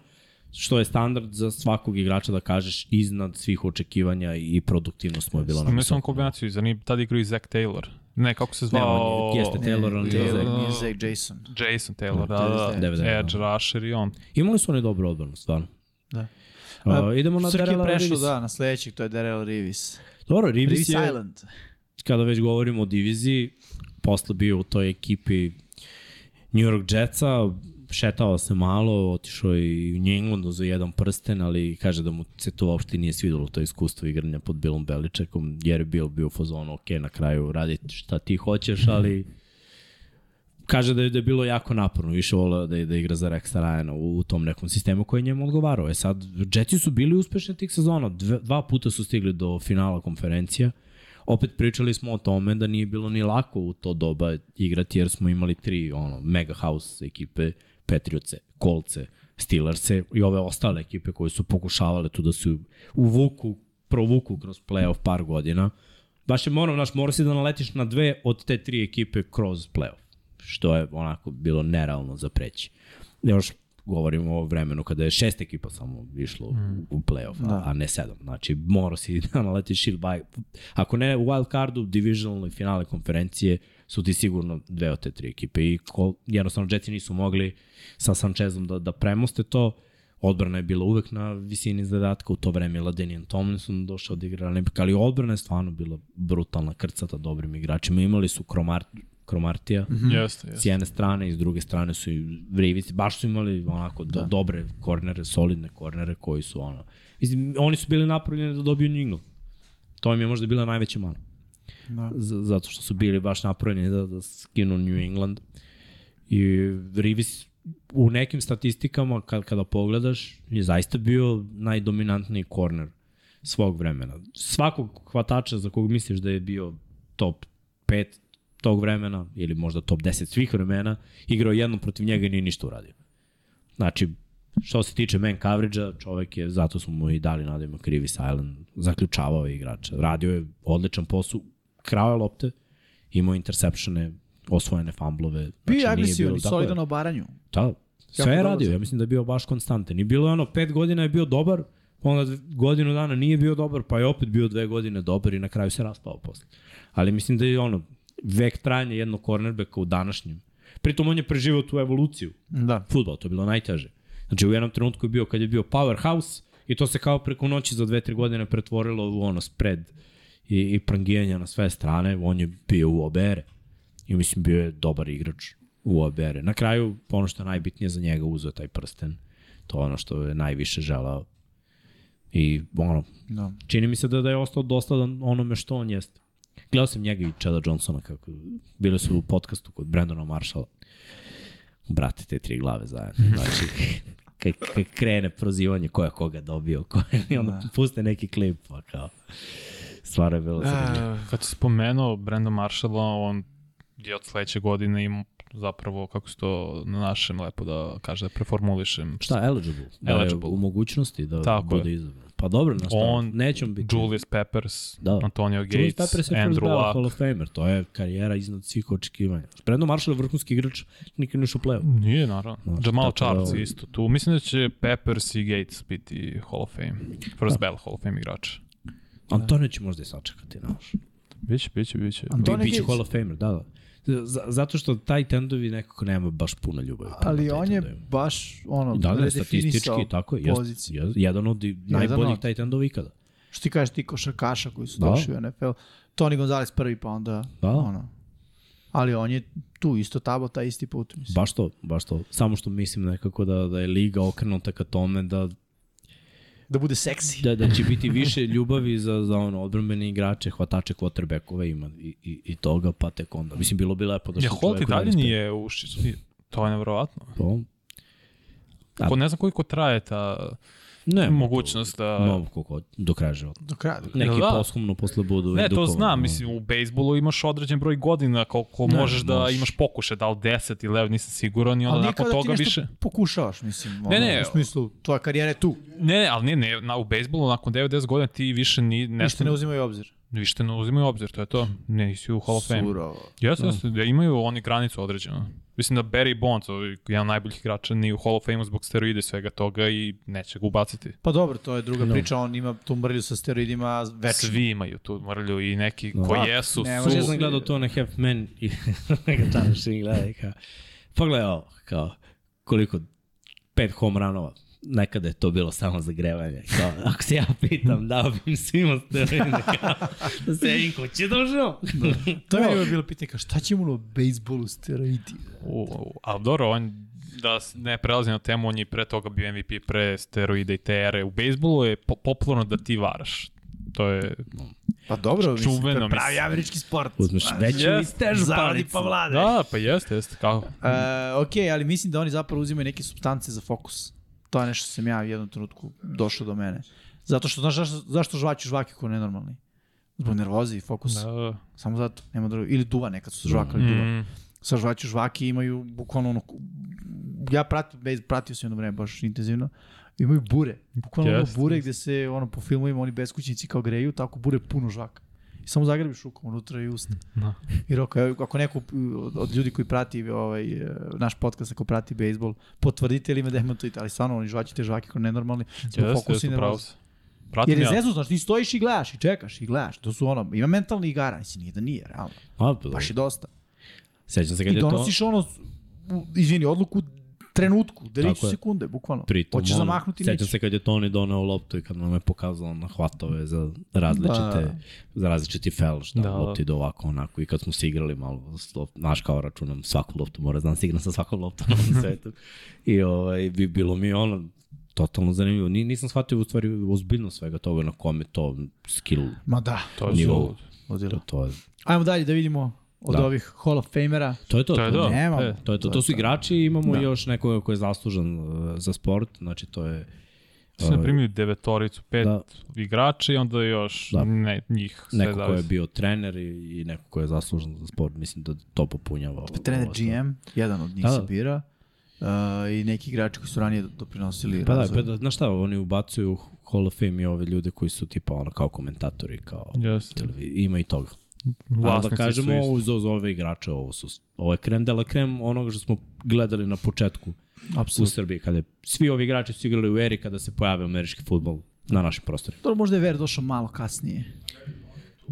[SPEAKER 1] što je standard za svakog igrača da kažeš iznad svih očekivanja i produktivnost mu je bila na
[SPEAKER 2] Imaju samo
[SPEAKER 1] visokom.
[SPEAKER 2] kombinaciju, zar nije tada igrao i Zach Taylor? Ne, kako se
[SPEAKER 1] Ne,
[SPEAKER 2] zvao?
[SPEAKER 1] on je, jeste Taylor, on
[SPEAKER 3] ne,
[SPEAKER 1] je Zek.
[SPEAKER 3] Taylor, nije Zach Jason.
[SPEAKER 2] Jason Taylor, da,
[SPEAKER 3] Da,
[SPEAKER 2] da,
[SPEAKER 1] 99,
[SPEAKER 2] da. Edge, Rusher i on.
[SPEAKER 1] Imali su oni dobru odbranu, stvarno.
[SPEAKER 3] Da.
[SPEAKER 1] A, idemo na
[SPEAKER 3] Srki
[SPEAKER 1] Darrella
[SPEAKER 3] je prešao,
[SPEAKER 1] Rivisa.
[SPEAKER 3] da, na sledećeg, to je Darrell Rivis.
[SPEAKER 1] Dobro,
[SPEAKER 3] Rivis
[SPEAKER 1] Rivis je,
[SPEAKER 3] Island.
[SPEAKER 1] kada već govorimo o diviziji, posle bio u toj ekipi New York Jetsa, šetao se malo, otišao i u New Englandu za jedan prsten, ali kaže da mu se to uopšte nije svidelo, to iskustvo igranja pod Billom Beličekom, jer je Bill bio u fazonu, ok, na kraju radi šta ti
[SPEAKER 3] Mhm.
[SPEAKER 1] hoćeš, ali kaže da je, da je bilo jako naporno, više volao da, je- da igra za Rexa Ryana u, u tom nekom sistemu koji je njemu odgovarao. E sad, Jetsi su bili uspešni tih sezona, Dve, dva puta su stigli do finala konferencija, opet pričali smo o tome da nije bilo ni lako u to doba igrati jer smo imali tri ono, mega house ekipe, Patriotse, Kolce, Steelerse i ove ostale ekipe koje su pokušavale tu da se uvuku, provuku kroz playoff par godina. Baš je moram, naš, moraš si da naletiš na dve od te tri ekipe kroz playoff što je onako bilo nerealno za preći. Još govorimo o vremenu kada je šest ekipa samo išlo mm. u play-off, a,
[SPEAKER 3] Da.
[SPEAKER 1] a ne sedam. Znači, morao si da naletiš ili baj. Ako ne, u wild cardu, divisionalnoj finale konferencije su ti sigurno dve od te tri ekipe i ko, jednostavno Jetsi nisu mogli sa Sanchezom da, da premoste to. Odbrana je bila uvek na visini zadatka, u to vreme je Ladenijan Tomlinson došao da igra, ali- ali odbrana je stvarno bila brutalna krcata dobrim igračima. Imali su Kromar, Kromartija, mm
[SPEAKER 2] Jeste,
[SPEAKER 1] s
[SPEAKER 2] jeste.
[SPEAKER 1] jedne strane i s druge strane su i Rivici, baš su imali onako
[SPEAKER 2] Da.
[SPEAKER 1] do, dobre kornere, solidne kornere koji su ono, mislim, oni su bili napravljeni da dobiju New England. To im je možda bila najveća mana.
[SPEAKER 3] Da.
[SPEAKER 1] Z- zato što su bili baš napravljeni da, da skinu New England. I Rivis u nekim statistikama kad, kada pogledaš je zaista bio najdominantniji korner svog vremena. Svakog hvatača za kog misliš da je bio top 5 tog vremena ili možda top 10 svih vremena, igrao je jednom protiv njega i nije ništa uradio. Znači, što se tiče man coverage-a, čovek je, zato smo mu i dali nadajmo Krivis Island, zaključavao je igrača. Radio je odličan posao, krao je lopte, imao interceptione, osvojene fumblove. Znači,
[SPEAKER 3] Bio je
[SPEAKER 1] nije
[SPEAKER 3] agresivan
[SPEAKER 1] bilo-
[SPEAKER 3] i
[SPEAKER 1] tako je.
[SPEAKER 3] solidan na obaranju.
[SPEAKER 1] Da, sve
[SPEAKER 3] Jako
[SPEAKER 1] je
[SPEAKER 3] dobro
[SPEAKER 1] radio,
[SPEAKER 3] za-
[SPEAKER 1] ja mislim da je bio baš konstantan. I bilo je ono, pet godina je bio dobar, onda dv- godinu dana nije bio dobar, pa je opet bio dve godine dobar i na kraju se raspao posle. Ali mislim da je ono, vek trajanja jednog cornerbacka u današnjem. Pritom on je preživao tu evoluciju
[SPEAKER 3] Da.
[SPEAKER 1] futbol, to je bilo najteže. Znači u jednom trenutku je bio kad je bio powerhouse i to se kao preko noći za 2-3 godine pretvorilo u ono spread i, i prangijanja na sve strane, on je bio u obere i mislim bio je dobar igrač u obere. Na kraju, ono što je najbitnije za njega, uzeo je taj prsten, to je ono što je najviše želao i ono,
[SPEAKER 3] da.
[SPEAKER 1] čini mi se da, da je ostao dostadan onome što on jeste. Gledao sam njega i Chada Johnsona kako bili su u podcastu kod Brandona Marshalla. Brate, te tri glave zajedno. Znači, kad, kad krene prozivanje ko je koga dobio, ko je, i onda da. puste neki klip, pa kao. Stvarno je bilo
[SPEAKER 3] Da.
[SPEAKER 1] zanimljivo.
[SPEAKER 2] Kad si spomenuo Brandon Marshalla, on je od sledeće godine im zapravo, kako se to na našem lepo da kaže, da preformulišem.
[SPEAKER 1] Šta, eligible? Da je
[SPEAKER 2] Eligible.
[SPEAKER 1] u mogućnosti da
[SPEAKER 2] Tako je.
[SPEAKER 1] bude izabran. Pa dobro, na šta,
[SPEAKER 2] On,
[SPEAKER 1] nećem biti.
[SPEAKER 2] Julius Peppers,
[SPEAKER 1] Da.
[SPEAKER 2] Antonio
[SPEAKER 1] Julius
[SPEAKER 2] Gates,
[SPEAKER 1] Peppers je first
[SPEAKER 2] Andrew
[SPEAKER 1] ballot Hall
[SPEAKER 2] Luck.
[SPEAKER 1] of Famer, to je karijera iznad svih očekivanja. Brandon Marshall je vrhunski igrač, nikad nije ušao u play-off.
[SPEAKER 2] Nije, naravno.
[SPEAKER 1] Znaš,
[SPEAKER 2] Jamal
[SPEAKER 1] tako da
[SPEAKER 2] Charles
[SPEAKER 1] ovo-
[SPEAKER 2] je isto tu. Mislim da će Peppers i Gates biti Hall of Fame.
[SPEAKER 1] Da.
[SPEAKER 2] First bell Hall of Fame igrača.
[SPEAKER 3] Da.
[SPEAKER 1] Antonio će možda i sačekati, znaš.
[SPEAKER 2] Biće, biće, biće.
[SPEAKER 3] Antonio
[SPEAKER 1] Bi, biće
[SPEAKER 3] Gates.
[SPEAKER 1] Hall of Famer, da, da. Z- Zato što taj tendovi nekako nema baš puno ljubavi. prema
[SPEAKER 3] Ali on pa, da je
[SPEAKER 1] tight endovima.
[SPEAKER 3] baš ono,
[SPEAKER 1] Da, da,
[SPEAKER 3] redefinisao
[SPEAKER 1] statistički, tako je. Jest,
[SPEAKER 3] poziciju.
[SPEAKER 1] jest, jedan od i- najboljih
[SPEAKER 3] od.
[SPEAKER 1] tight endova ikada.
[SPEAKER 3] Što ti kažeš ti košarkaša koji su
[SPEAKER 1] Da.
[SPEAKER 3] došli u NFL. Tony Gonzalez prvi pa onda
[SPEAKER 1] Da.
[SPEAKER 3] ono. Ali on je tu isto tabo, taj isti put. Mislim.
[SPEAKER 1] Baš to, baš to. Samo što mislim nekako da, da je liga okrenuta ka tome da
[SPEAKER 3] da bude seksi.
[SPEAKER 1] da, da će biti više ljubavi za, za ono, odbrambene igrače, hvatače quarterbackove ima i, i, i toga, pa tek onda. Mislim, bilo bi lepo da
[SPEAKER 2] Ja,
[SPEAKER 1] što
[SPEAKER 2] Holt i dalje nije u Švicarskoj. To je nevjerovatno.
[SPEAKER 1] To, Da.
[SPEAKER 2] Ko ne znam koliko traje ta
[SPEAKER 1] ne,
[SPEAKER 2] mogućnost da...
[SPEAKER 1] Mom koliko, do kraja života.
[SPEAKER 3] Do kraja. do kraja.
[SPEAKER 1] Neki
[SPEAKER 2] da?
[SPEAKER 1] da? poslovno posle budu
[SPEAKER 2] Ne, to
[SPEAKER 1] edukovani,
[SPEAKER 2] znam,
[SPEAKER 1] ono.
[SPEAKER 2] mislim, u bejsbolu imaš određen broj godina koliko
[SPEAKER 1] da. Ne,
[SPEAKER 2] možeš da
[SPEAKER 1] možeš.
[SPEAKER 2] imaš pokušaj, da li 10 ili evo, nisam siguran i onda
[SPEAKER 3] nije
[SPEAKER 2] nakon
[SPEAKER 3] kao da
[SPEAKER 2] toga
[SPEAKER 3] ti nešto
[SPEAKER 2] više...
[SPEAKER 3] pokušavaš, mislim. Ono,
[SPEAKER 2] ne,
[SPEAKER 3] u smislu, tvoja karijera je tu.
[SPEAKER 2] Ne, ne, ali ne, ne, na, u bejsbolu nakon 9-10 godina ti više ni, ne,
[SPEAKER 3] Nešto ne uzimaju u obzir.
[SPEAKER 2] više ne uzimaju u obzir, to je to. Ne, nisi u Hall of Fame.
[SPEAKER 3] Surovo.
[SPEAKER 2] Jeste, jeste, da imaju oni granicu određenu. Mislim da Barry Bonds, ovaj, jedan od najboljih igrača, ni u Hall of Fame zbog steroide i svega toga i neće ga ubaciti.
[SPEAKER 3] Pa dobro, to je druga
[SPEAKER 1] No.
[SPEAKER 3] priča, on ima tu mrlju sa steroidima večno.
[SPEAKER 2] Svi imaju tu mrlju i neki
[SPEAKER 1] Da.
[SPEAKER 2] koji jesu,
[SPEAKER 3] Ne,
[SPEAKER 2] su...
[SPEAKER 1] Možda ja sam gledao to na Half Men i neka tadašnji i gleda i kao, pogledaj ovo, kao, koliko, pet home runova. Nekada je to bilo samo zagrevanje. Kao, ako se ja pitam, dao bi im svima steroide. Kao, da se jedin ko će da uživam.
[SPEAKER 3] To je meni bilo pitanje, kao šta ćemo u bejsbolu steroidi?
[SPEAKER 2] U, u, ali dobro, on da s- ne prelazi na temu, on je i pre toga bio MVP pre steroida i TR-e. U bejsbolu je po popularno da ti varaš. To je...
[SPEAKER 3] Pa dobro, mislim, to
[SPEAKER 2] Čuveno,
[SPEAKER 3] je pravi
[SPEAKER 2] mislim.
[SPEAKER 3] američki sport.
[SPEAKER 1] Uzmeš
[SPEAKER 3] Znaš,
[SPEAKER 1] veću i
[SPEAKER 2] jest,
[SPEAKER 1] stežu
[SPEAKER 3] Zaradi
[SPEAKER 1] palicu.
[SPEAKER 3] Znači, pa vlade.
[SPEAKER 2] Da, pa jeste, jeste, kako.
[SPEAKER 3] E, ok, ali mislim da oni zapravo uzimaju neke substance za fokus. To je nešto što sam ja u jednom trenutku došlo do mene. Zato što, znaš, zašto, zašto žvaću žvake ko nenormalni? Zbog nervoze i fokusa.
[SPEAKER 2] Da.
[SPEAKER 3] Samo zato, nema drugo. Ili duva nekad su žvakali duva.
[SPEAKER 2] Mm,
[SPEAKER 3] Sa žvaću žvake imaju bukvalno ono... Ja pratim, bejz- pratio sam jedno vreme baš intenzivno. Imaju bure. Bukvalno ono
[SPEAKER 2] Jeste.
[SPEAKER 3] bure gde se ono, po filmovima oni beskućnici kao greju, tako bure puno žvaka. I samo zagrebiš rukom unutra i usta.
[SPEAKER 2] da.
[SPEAKER 3] I Roko, evo, ako neko od, od ljudi koji prati ovaj, e, naš podcast, ako prati bejsbol, potvrdite li me da ima to i to, ali stvarno oni žvaći te žvake kao nenormalni, zbog
[SPEAKER 2] Jeste,
[SPEAKER 3] fokusa
[SPEAKER 2] jeste,
[SPEAKER 3] i
[SPEAKER 2] pravo
[SPEAKER 3] nervoza.
[SPEAKER 2] se. Pratim
[SPEAKER 3] Jer je
[SPEAKER 2] ja.
[SPEAKER 3] zezu, znaš, ti stojiš i gledaš i čekaš i gledaš, to su ono, ima mentalni igara, mislim, nije da nije, realno,
[SPEAKER 1] A, pa,
[SPEAKER 2] Da.
[SPEAKER 3] baš je dosta.
[SPEAKER 1] Sećam se kad
[SPEAKER 3] I
[SPEAKER 1] je to...
[SPEAKER 3] donosiš ono, u, izvini, odluku u trenutku, deliću
[SPEAKER 1] Tako je.
[SPEAKER 3] sekunde, bukvalno.
[SPEAKER 1] Pritom,
[SPEAKER 3] Hoćeš
[SPEAKER 1] ono,
[SPEAKER 3] zamahnuti,
[SPEAKER 1] Sećam
[SPEAKER 3] nećeš.
[SPEAKER 1] se kad je Tony doneo loptu i kad nam je pokazao na hvatove za različite,
[SPEAKER 3] Da.
[SPEAKER 1] da. za različiti fel, šta
[SPEAKER 2] Da.
[SPEAKER 1] da. lopti do ovako onako i kad smo se igrali malo, s lop- znaš kao računam svaku loptu, mora znam da se igram sa svakom loptom na ovom svetu. I ovaj, bi, bilo mi je ono, totalno zanimljivo. Ni, nisam shvatio u stvari ozbiljno svega toga na kom je to skill
[SPEAKER 3] Ma da,
[SPEAKER 2] To je
[SPEAKER 1] nivou.
[SPEAKER 2] suludo.
[SPEAKER 1] To,
[SPEAKER 3] odjelo.
[SPEAKER 1] to, je,
[SPEAKER 3] Ajmo dalje da vidimo od
[SPEAKER 1] Da.
[SPEAKER 3] ovih Hall of Famera.
[SPEAKER 1] to je to.
[SPEAKER 2] To je to.
[SPEAKER 3] Nemamo.
[SPEAKER 2] E,
[SPEAKER 1] To, je to, to su igrači i imamo
[SPEAKER 3] Da.
[SPEAKER 1] da. još nekoga ko je zaslužan uh, za sport, znači to je
[SPEAKER 2] Su
[SPEAKER 1] Ovaj.
[SPEAKER 2] na primjer devetoricu, pet
[SPEAKER 1] Da.
[SPEAKER 2] igrača i onda još
[SPEAKER 1] Da.
[SPEAKER 2] ne, njih sve
[SPEAKER 1] neko ko je
[SPEAKER 2] zavisi.
[SPEAKER 1] bio trener i, i neko ko je zaslužen za sport, mislim da to popunjava. ovo-
[SPEAKER 3] Pa trener
[SPEAKER 1] ovo sve.
[SPEAKER 3] GM, jedan od njih
[SPEAKER 1] Da,
[SPEAKER 3] se
[SPEAKER 1] da.
[SPEAKER 3] bira. Uh, i neki igrači koji su ranije doprinosili
[SPEAKER 1] Pa da,
[SPEAKER 3] razvoju.
[SPEAKER 1] pa da, znaš šta, oni ubacuju u Hall of Fame i ove ljude koji su tipa ono kao komentatori, kao
[SPEAKER 2] Jeste.
[SPEAKER 1] televi- ima i toga. Ali da
[SPEAKER 2] Vlasnici
[SPEAKER 1] kažemo,
[SPEAKER 2] su isti.
[SPEAKER 1] uz, uz ove igrače, ovo su, ovo je krem de la krem onoga što smo gledali na početku u
[SPEAKER 3] Apsolutno.
[SPEAKER 1] Srbiji, kada je, svi ovi igrači su igrali u eri kada se pojavio američki futbol na našim prostorima.
[SPEAKER 3] Dobro, možda je Ver došao malo kasnije.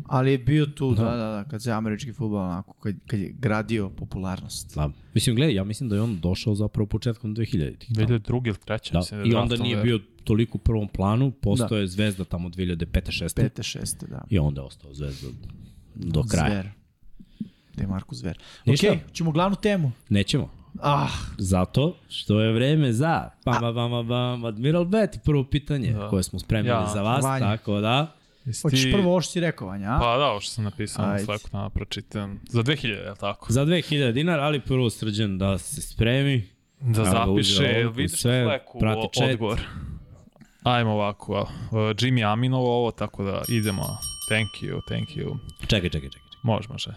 [SPEAKER 3] Ali je bio tu, da, da, da, kad se američki futbol, onako, kad, kad je gradio popularnost.
[SPEAKER 1] Da. Mislim, gledaj, ja mislim da je on došao zapravo početkom 2000-ih. tamo.
[SPEAKER 2] 2002. ili 3.
[SPEAKER 1] Da.
[SPEAKER 2] mislim je
[SPEAKER 1] I onda
[SPEAKER 2] draftovan
[SPEAKER 1] nije
[SPEAKER 2] Ver.
[SPEAKER 1] bio toliko u prvom planu,
[SPEAKER 3] Da.
[SPEAKER 1] postao je zvezda tamo 2005. 6.
[SPEAKER 3] Pete, šeste, da.
[SPEAKER 1] I onda je ostao zvezda do kraja.
[SPEAKER 3] Zver. Te Marko Zver.
[SPEAKER 1] Ništa.
[SPEAKER 3] Okej, ćemo glavnu temu.
[SPEAKER 1] Nećemo.
[SPEAKER 3] Ah,
[SPEAKER 1] Zato što je vreme za pa, bam, bam, bam, bam, Admiral Bet, prvo pitanje
[SPEAKER 2] Da.
[SPEAKER 1] da. koje smo spremili
[SPEAKER 2] Ja,
[SPEAKER 1] ja, za vas,
[SPEAKER 3] Vanja.
[SPEAKER 1] tako da.
[SPEAKER 2] Jesi
[SPEAKER 3] hoćeš
[SPEAKER 2] ti-
[SPEAKER 3] prvo ovo što si rekao, Vanja, a?
[SPEAKER 2] Pa da, ovo što sam napisao,
[SPEAKER 3] Ajde.
[SPEAKER 2] Ajde. svako nama pročitam. Za 2000, je li tako?
[SPEAKER 1] Za 2000 dinara, ali prvo srđan da se spremi.
[SPEAKER 2] Da
[SPEAKER 1] Evo ga,
[SPEAKER 2] zapiše,
[SPEAKER 1] uzeo
[SPEAKER 2] jel
[SPEAKER 1] odgovor,
[SPEAKER 2] vidiš
[SPEAKER 1] sve,
[SPEAKER 2] sve, fleku,
[SPEAKER 1] prati
[SPEAKER 2] o-
[SPEAKER 1] chat.
[SPEAKER 2] odgovor. Ajmo ovako, a, e, Jimmy Aminovo ovo, tako da idemo. Thank you, thank you.
[SPEAKER 1] Čekaj, čekaj, čekaj. čekaj.
[SPEAKER 2] Može, može.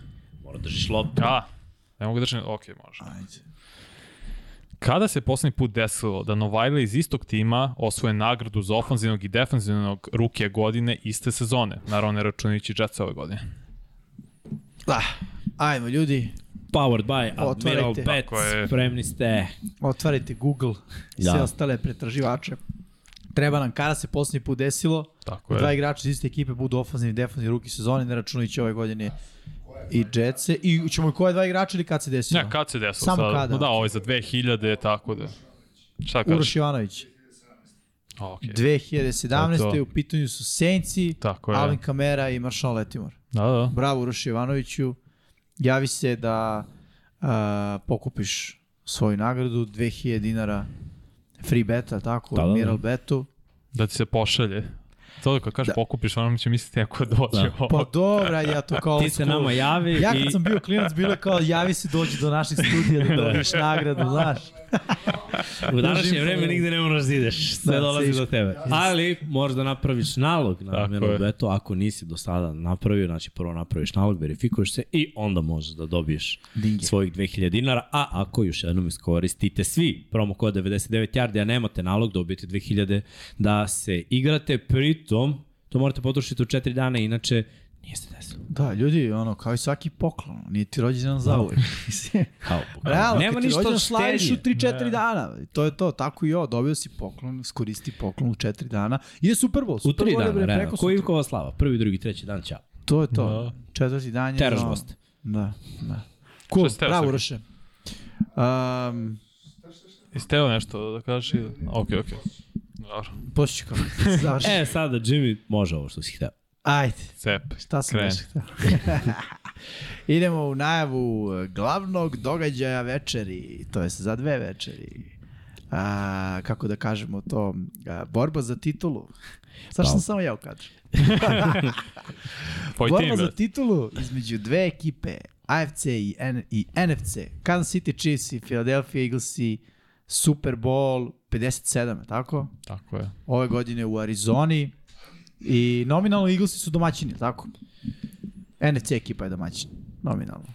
[SPEAKER 1] Mora držiš loptu.
[SPEAKER 2] A, ne mogu držati, ok, može.
[SPEAKER 3] Ajde.
[SPEAKER 2] Kada se poslednji put desilo da Novajle iz istog tima osvoje nagradu za ofanzivnog i defanzivnog ruke godine iste sezone? Naravno, ne računajući Jetsa ove godine.
[SPEAKER 3] Da. Ajmo, ljudi,
[SPEAKER 1] Powered by Admiral
[SPEAKER 3] Otvarajte.
[SPEAKER 1] Bet,
[SPEAKER 2] Tako je.
[SPEAKER 1] spremni ste.
[SPEAKER 3] otvarajte Google i
[SPEAKER 1] Da.
[SPEAKER 3] sve ostale pretraživače. Treba nam, kada se posljednji put desilo,
[SPEAKER 2] Tako
[SPEAKER 3] Dva
[SPEAKER 2] je.
[SPEAKER 3] igrača iz iste ekipe budu ofanzivni i defanzivni ruki sezone, ne računajući ove godine i Jetsi. I ćemo i koje dva igrača ili kad se desilo?
[SPEAKER 2] Ne, kad se desilo
[SPEAKER 3] Samo
[SPEAKER 2] sad?
[SPEAKER 3] kada?
[SPEAKER 2] No da, ovo je za 2000, tako da. Šta kažeš?
[SPEAKER 3] Uroš Jovanović.
[SPEAKER 2] Ok,
[SPEAKER 3] 2017.
[SPEAKER 2] To je to.
[SPEAKER 3] u pitanju su Senci,
[SPEAKER 2] tako je.
[SPEAKER 3] Alvin Kamara i Maršal Letimor.
[SPEAKER 2] Da, da.
[SPEAKER 3] Bravo Uroš Jovanoviću. Javi se da a, pokupiš svoju nagradu, 2000 dinara free beta, tako,
[SPEAKER 1] Da, da, da.
[SPEAKER 3] Admiral betu.
[SPEAKER 2] Da ti se pošalje. To kad kažeš da. pokupiš, ono će misliti ako dođe da. ovo.
[SPEAKER 3] Pa dobra, ja to kao...
[SPEAKER 1] Ti se
[SPEAKER 3] old school.
[SPEAKER 1] nama javi
[SPEAKER 3] Ja
[SPEAKER 1] i
[SPEAKER 3] kad sam bio klinac, bilo je kao, javi se, dođi do naših studija da dobiješ nagradu, znaš.
[SPEAKER 1] u današnje vreme nigde ne moraš da ideš. Sve
[SPEAKER 3] Da,
[SPEAKER 1] dolazi
[SPEAKER 3] sviš-
[SPEAKER 1] do tebe. Ali možda napraviš nalog na
[SPEAKER 2] Tako
[SPEAKER 1] namjerno
[SPEAKER 2] je.
[SPEAKER 1] veto. Ako nisi do sada napravio, znači prvo napraviš nalog, verifikuješ se i onda možeš da dobiješ
[SPEAKER 3] Dinge.
[SPEAKER 1] svojih 2000 dinara, a ako još jednom iskoristite svi promo kod 99 yardi, a nemate nalog, dobijete 2000 da se igrate, pritom to morate potrošiti u 4 dana, inače nije se desilo.
[SPEAKER 3] Da, ljudi, ono, kao i svaki poklon, nije ti rođendan zauvek. Mislim,
[SPEAKER 1] Kao, kao.
[SPEAKER 3] Realno,
[SPEAKER 1] Da. Nema
[SPEAKER 3] kad ti
[SPEAKER 1] ništa od
[SPEAKER 3] rođendan slaviš u
[SPEAKER 1] štednje. Da.
[SPEAKER 3] 3-4 dana. To je to, tako i ovo, dobio si poklon, skoristi poklon u 4 dana. Ide Super Bowl,
[SPEAKER 1] U
[SPEAKER 3] Super
[SPEAKER 1] tri
[SPEAKER 3] Bowl je
[SPEAKER 1] dana,
[SPEAKER 3] bre,
[SPEAKER 1] realno.
[SPEAKER 3] preko
[SPEAKER 1] Koji
[SPEAKER 3] sutra.
[SPEAKER 1] je kova slava? Prvi, drugi, treći dan, ćao.
[SPEAKER 3] To je to,
[SPEAKER 2] Da.
[SPEAKER 3] četvrti dan je...
[SPEAKER 1] Teraš
[SPEAKER 3] ono,
[SPEAKER 1] goste.
[SPEAKER 3] Da, da. Cool,
[SPEAKER 2] si teo,
[SPEAKER 3] bravo,
[SPEAKER 2] Srki?
[SPEAKER 3] Roše. Um,
[SPEAKER 2] Jesi teo nešto da kažeš? ili- Ok, ok. Dobro.
[SPEAKER 3] Pošto ću kao, završi.
[SPEAKER 1] E, sada, Jimmy, može ovo što si hteo.
[SPEAKER 3] Ajde.
[SPEAKER 2] Cep.
[SPEAKER 3] Šta sam
[SPEAKER 2] Kreni.
[SPEAKER 3] još htio? Idemo u najavu e, glavnog događaja večeri, to je za dve večeri. A, kako da kažemo to, a, borba za titulu. Zašto sam
[SPEAKER 1] Bravo.
[SPEAKER 3] samo ja u kadru?
[SPEAKER 2] Tvoj
[SPEAKER 3] borba
[SPEAKER 2] tim,
[SPEAKER 3] za
[SPEAKER 2] bre.
[SPEAKER 3] titulu između dve ekipe, AFC i, N i NFC. Kansas City Chiefs i Philadelphia Eagles i Super Bowl 57, je tako?
[SPEAKER 2] Tako je.
[SPEAKER 3] Ove godine u Arizoni. I nominalno Eaglesi su domaćini, je tako? NFC ekipa je domaćin, nominalno.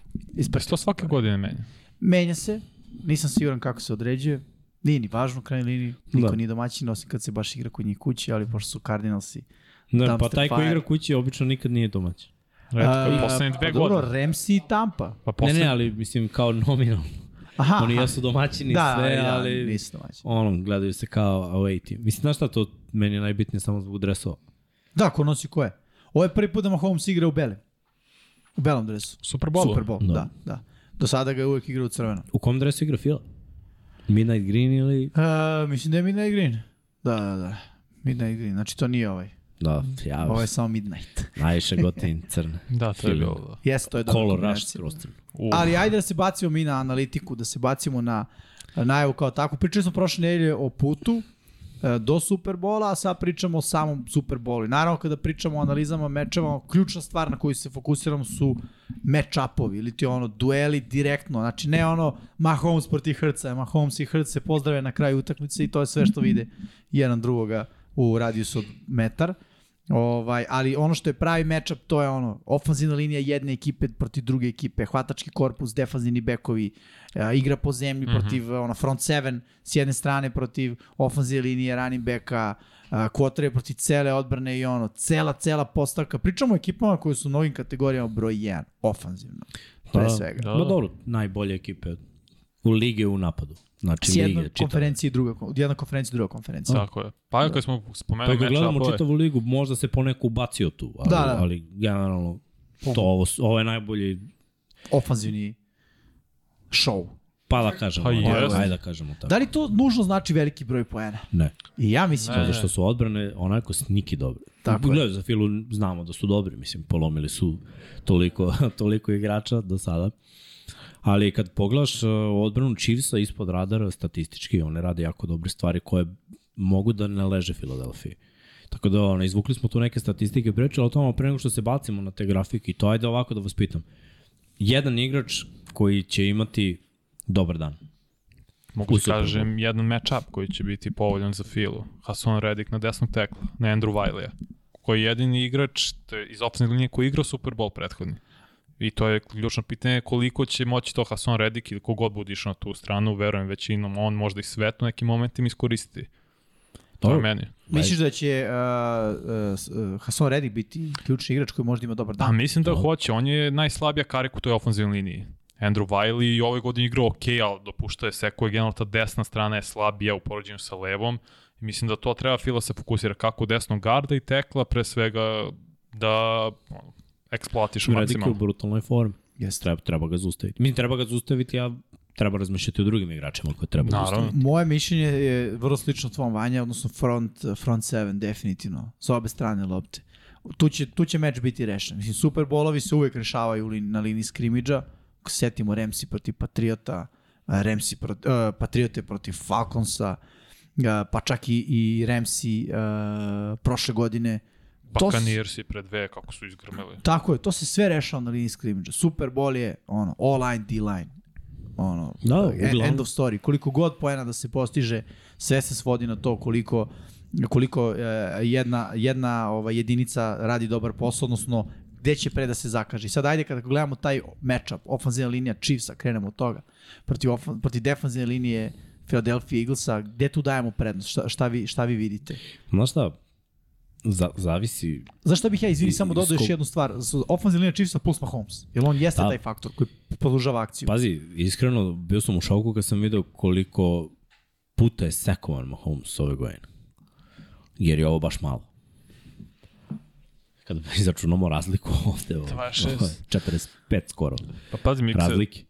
[SPEAKER 2] Pa što svake godine menja?
[SPEAKER 3] Menja se, nisam siguran kako se određuje. Nije ni važno u krajnjoj liniji, niko
[SPEAKER 1] Da.
[SPEAKER 3] nije domaćin, osim kad se baš igra kod njih kući, ali pošto su Cardinalsi.
[SPEAKER 1] Ne, pa
[SPEAKER 3] Dumpster
[SPEAKER 1] taj ko
[SPEAKER 3] fire.
[SPEAKER 1] igra kući obično nikad nije domaćin.
[SPEAKER 2] Redko je
[SPEAKER 3] A,
[SPEAKER 2] poslednje dve
[SPEAKER 3] pa Dobro,
[SPEAKER 2] godine.
[SPEAKER 3] Ramsey i Tampa.
[SPEAKER 2] Pa
[SPEAKER 1] Ne, ne,
[SPEAKER 2] poslednje...
[SPEAKER 1] ali mislim kao nominalno.
[SPEAKER 3] Aha,
[SPEAKER 1] Oni
[SPEAKER 3] aha.
[SPEAKER 1] jesu domaćini
[SPEAKER 3] da,
[SPEAKER 1] sve,
[SPEAKER 3] da,
[SPEAKER 1] ali...
[SPEAKER 3] nisu domaćini.
[SPEAKER 1] ono, gledaju se kao away team. Mislim, znaš šta to meni je najbitnije samo zbog dresova?
[SPEAKER 3] Da, ko nosi ko je. Ovo je prvi put da Mahomes igra u belem. U belom dresu.
[SPEAKER 2] Super Bowl.
[SPEAKER 3] Super Bowl,
[SPEAKER 1] Da.
[SPEAKER 3] da. da, Do sada ga je uvek igrao u crvenom.
[SPEAKER 1] U kom dresu igra Fila? Midnight Green ili...
[SPEAKER 3] E, mislim da je Midnight Green. Da, da, da. Midnight Green, znači to nije ovaj.
[SPEAKER 1] Da, ja
[SPEAKER 3] Ovo je
[SPEAKER 1] Ove...
[SPEAKER 3] samo Midnight.
[SPEAKER 1] najviše gotivim crne.
[SPEAKER 2] Da, to je
[SPEAKER 1] Feeling.
[SPEAKER 2] bilo. da.
[SPEAKER 3] Jes, to je dobra
[SPEAKER 1] Color rush
[SPEAKER 3] kombinacija.
[SPEAKER 1] skroz crno.
[SPEAKER 2] U,
[SPEAKER 3] Ali ajde da se bacimo mi na analitiku, da se bacimo na na najavu kao tako. Pričali smo prošle nedelje o putu e, do Superbola, a sad pričamo o samom Superbolu. Naravno, kada pričamo o analizama mečeva, ključna stvar na koju se fokusiramo su match-upovi, ili ti ono, dueli direktno. Znači, ne ono Mahomes protiv Hrca, Mahomes i Hrc se pozdrave na kraju utakmice i to je sve što vide jedan drugoga u radijusu od metar. Ovaj, ali ono što je pravi matchup to je ono ofanzivna linija jedne ekipe protiv druge ekipe, hvatački korpus, defanzivni bekovi, e, igra po zemlji protiv mm -hmm. ono front seven s jedne strane protiv ofanzivne linije running beka, kvotre protiv cele odbrane i ono cela cela postavka. Pričamo o ekipama koje su u novim kategorijama broj 1 ofanzivno pre
[SPEAKER 1] Da.
[SPEAKER 3] svega.
[SPEAKER 2] Da,
[SPEAKER 1] Ma
[SPEAKER 2] da.
[SPEAKER 1] dobro, najbolje ekipe u lige u napadu. Znači,
[SPEAKER 3] S jedne
[SPEAKER 1] lige, čitave.
[SPEAKER 3] konferencije i druga, kon- jedna konferencija i druga konferencija.
[SPEAKER 2] Tako je. Pa ako smo
[SPEAKER 1] Pa
[SPEAKER 2] spomenuli
[SPEAKER 1] ako gledamo
[SPEAKER 2] match-upove,
[SPEAKER 1] čitavu ligu, možda se poneko ubacio tu, ali,
[SPEAKER 3] Da, da.
[SPEAKER 1] ali generalno to, ovo, su- ovo je najbolji,
[SPEAKER 3] Ofanzivni show.
[SPEAKER 1] pa da kažemo,
[SPEAKER 2] Pa
[SPEAKER 1] ajde,
[SPEAKER 2] jest.
[SPEAKER 1] ajde da kažemo tako.
[SPEAKER 3] Da li to nužno znači veliki broj poena?
[SPEAKER 1] Ne.
[SPEAKER 3] I ja mislim
[SPEAKER 2] Ne,
[SPEAKER 1] Zato što su odbrane onako sniki dobre.
[SPEAKER 3] da. Tako je.
[SPEAKER 1] Gledaj, za Filu znamo da su dobri, mislim, polomili su toliko, toliko igrača do sada. Ali kad pogledaš uh, odbranu Chiefsa ispod radara statistički, one rade jako dobre stvari koje mogu da ne leže Filadelfiji. Tako da, ono, izvukli smo tu neke statistike, pričali o tome pre nego što se bacimo na te grafike i to, ajde ovako da vas pitam. Jedan igrač koji će imati dobar dan.
[SPEAKER 2] mogu
[SPEAKER 1] u Super
[SPEAKER 2] da kažem jedan match-up koji će biti povoljan za Filu. Hasan Reddick na desnog tekla, na Andrew Wiley-a, koji je jedini igrač to je iz ofensivne linije koji je igrao Super Bowl prethodni. I to je ključno pitanje koliko će moći to Hasan Reddick ili kogod bude išao na tu stranu, verujem većinom on možda i svet u nekim momentima iskoristi. To je
[SPEAKER 1] Dobro.
[SPEAKER 2] meni.
[SPEAKER 3] Misliš da će uh, uh, uh, Hasan Redick biti ključni igrač koji možda ima dobar
[SPEAKER 2] Da,
[SPEAKER 3] dan?
[SPEAKER 2] mislim da hoće. On je najslabija karika u toj ofenzivnoj liniji. Andrew Wiley i ove godine igrao ok, ali dopuštao je seko je generalno ta desna strana je slabija u poređenju sa levom. I mislim da to treba Fila se fokusira kako u desnom garda i tekla, pre svega da ono, eksploatišu
[SPEAKER 1] Redik je u
[SPEAKER 2] maksimalno.
[SPEAKER 1] brutalnoj formi.
[SPEAKER 3] Jeste.
[SPEAKER 1] treba, treba ga zaustaviti. Mislim, treba ga zaustaviti, a treba razmišljati o drugim igračima koje treba
[SPEAKER 2] Naravno.
[SPEAKER 1] zaustaviti.
[SPEAKER 3] Moje mišljenje je vrlo slično tvom Vanja, odnosno front, front seven, definitivno, sa obe strane lopte. Tu će, tu će meč biti rešen. Mislim, Super Bowlovi se uvek rešavaju u lin- na liniji skrimidža. Ako se setimo Remsi protiv Patriota, Remsi proti, uh, Patriote protiv Falconsa, a, pa čak i, i Ramsey a, prošle godine. To s-
[SPEAKER 2] Buccaneers i pre dve kako su izgrmeli.
[SPEAKER 3] Tako je, to se sve rešava na liniji skrimidža. Super Bowl je ono, all-line, D-line. Ono,
[SPEAKER 1] Da,
[SPEAKER 3] e-
[SPEAKER 1] uglavnom.
[SPEAKER 3] end of story. Koliko god poena da se postiže, sve se svodi na to koliko koliko e, jedna, jedna ova jedinica radi dobar posao, odnosno gde će pre da se zakaže. I sad ajde kada gledamo taj matchup, ofanzivna linija Chiefsa, krenemo od toga, protiv, ofan, protiv defanzivne linije Philadelphia Eaglesa, gde tu dajemo prednost? Šta, šta, vi, šta vi vidite?
[SPEAKER 1] Znaš šta, za, zavisi
[SPEAKER 3] Zašto bih ja izvini
[SPEAKER 1] I-
[SPEAKER 3] samo
[SPEAKER 1] i
[SPEAKER 3] dodao još
[SPEAKER 1] skup-
[SPEAKER 3] jednu stvar? Ofenzivna linija Chiefsa plus Mahomes. Jer on jeste
[SPEAKER 1] Da. Pa,
[SPEAKER 3] taj faktor koji produžava akciju.
[SPEAKER 1] Pazi, iskreno, bio sam u šoku kad sam video koliko puta je sekovan Mahomes ove godine. Jer je ovo baš malo. Kada izračunamo razliku ovde, ovo,
[SPEAKER 2] 26.
[SPEAKER 1] ovo je 45 skoro
[SPEAKER 2] Pa pazi, Mikse,
[SPEAKER 1] razlike.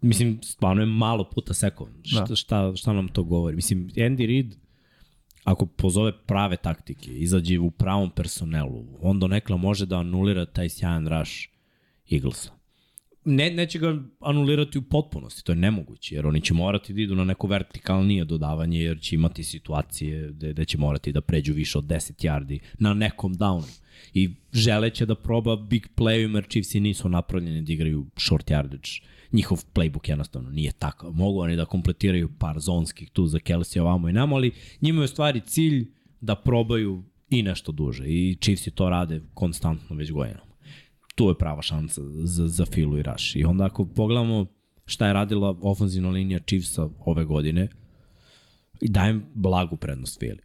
[SPEAKER 1] Mislim, stvarno je malo puta sekovan. Šta, šta, šta nam to govori? Mislim, Andy Reid, ako pozove prave taktike, izađe u pravom personelu, on donekle može da anulira taj sjajan raš Eaglesa. Ne, neće ga anulirati u potpunosti, to je nemoguće, jer oni će morati da idu na neko vertikalnije dodavanje, jer će imati situacije gde, gde će morati da pređu više od 10 yardi na nekom downu. I želeće da proba big play, jer Chiefsi nisu napravljeni da igraju short yardage. Njihov playbook jednostavno nije takav. Mogu oni da kompletiraju par zonskih tu za Kelsey ovamo i namo, ali njima je u stvari cilj da probaju i nešto duže. I Chiefsi to rade konstantno već godinama tu je prava šansa za, za Filu i Raš. I onda ako pogledamo šta je radila ofenzivna linija Chiefsa ove godine, i dajem blagu prednost Fili.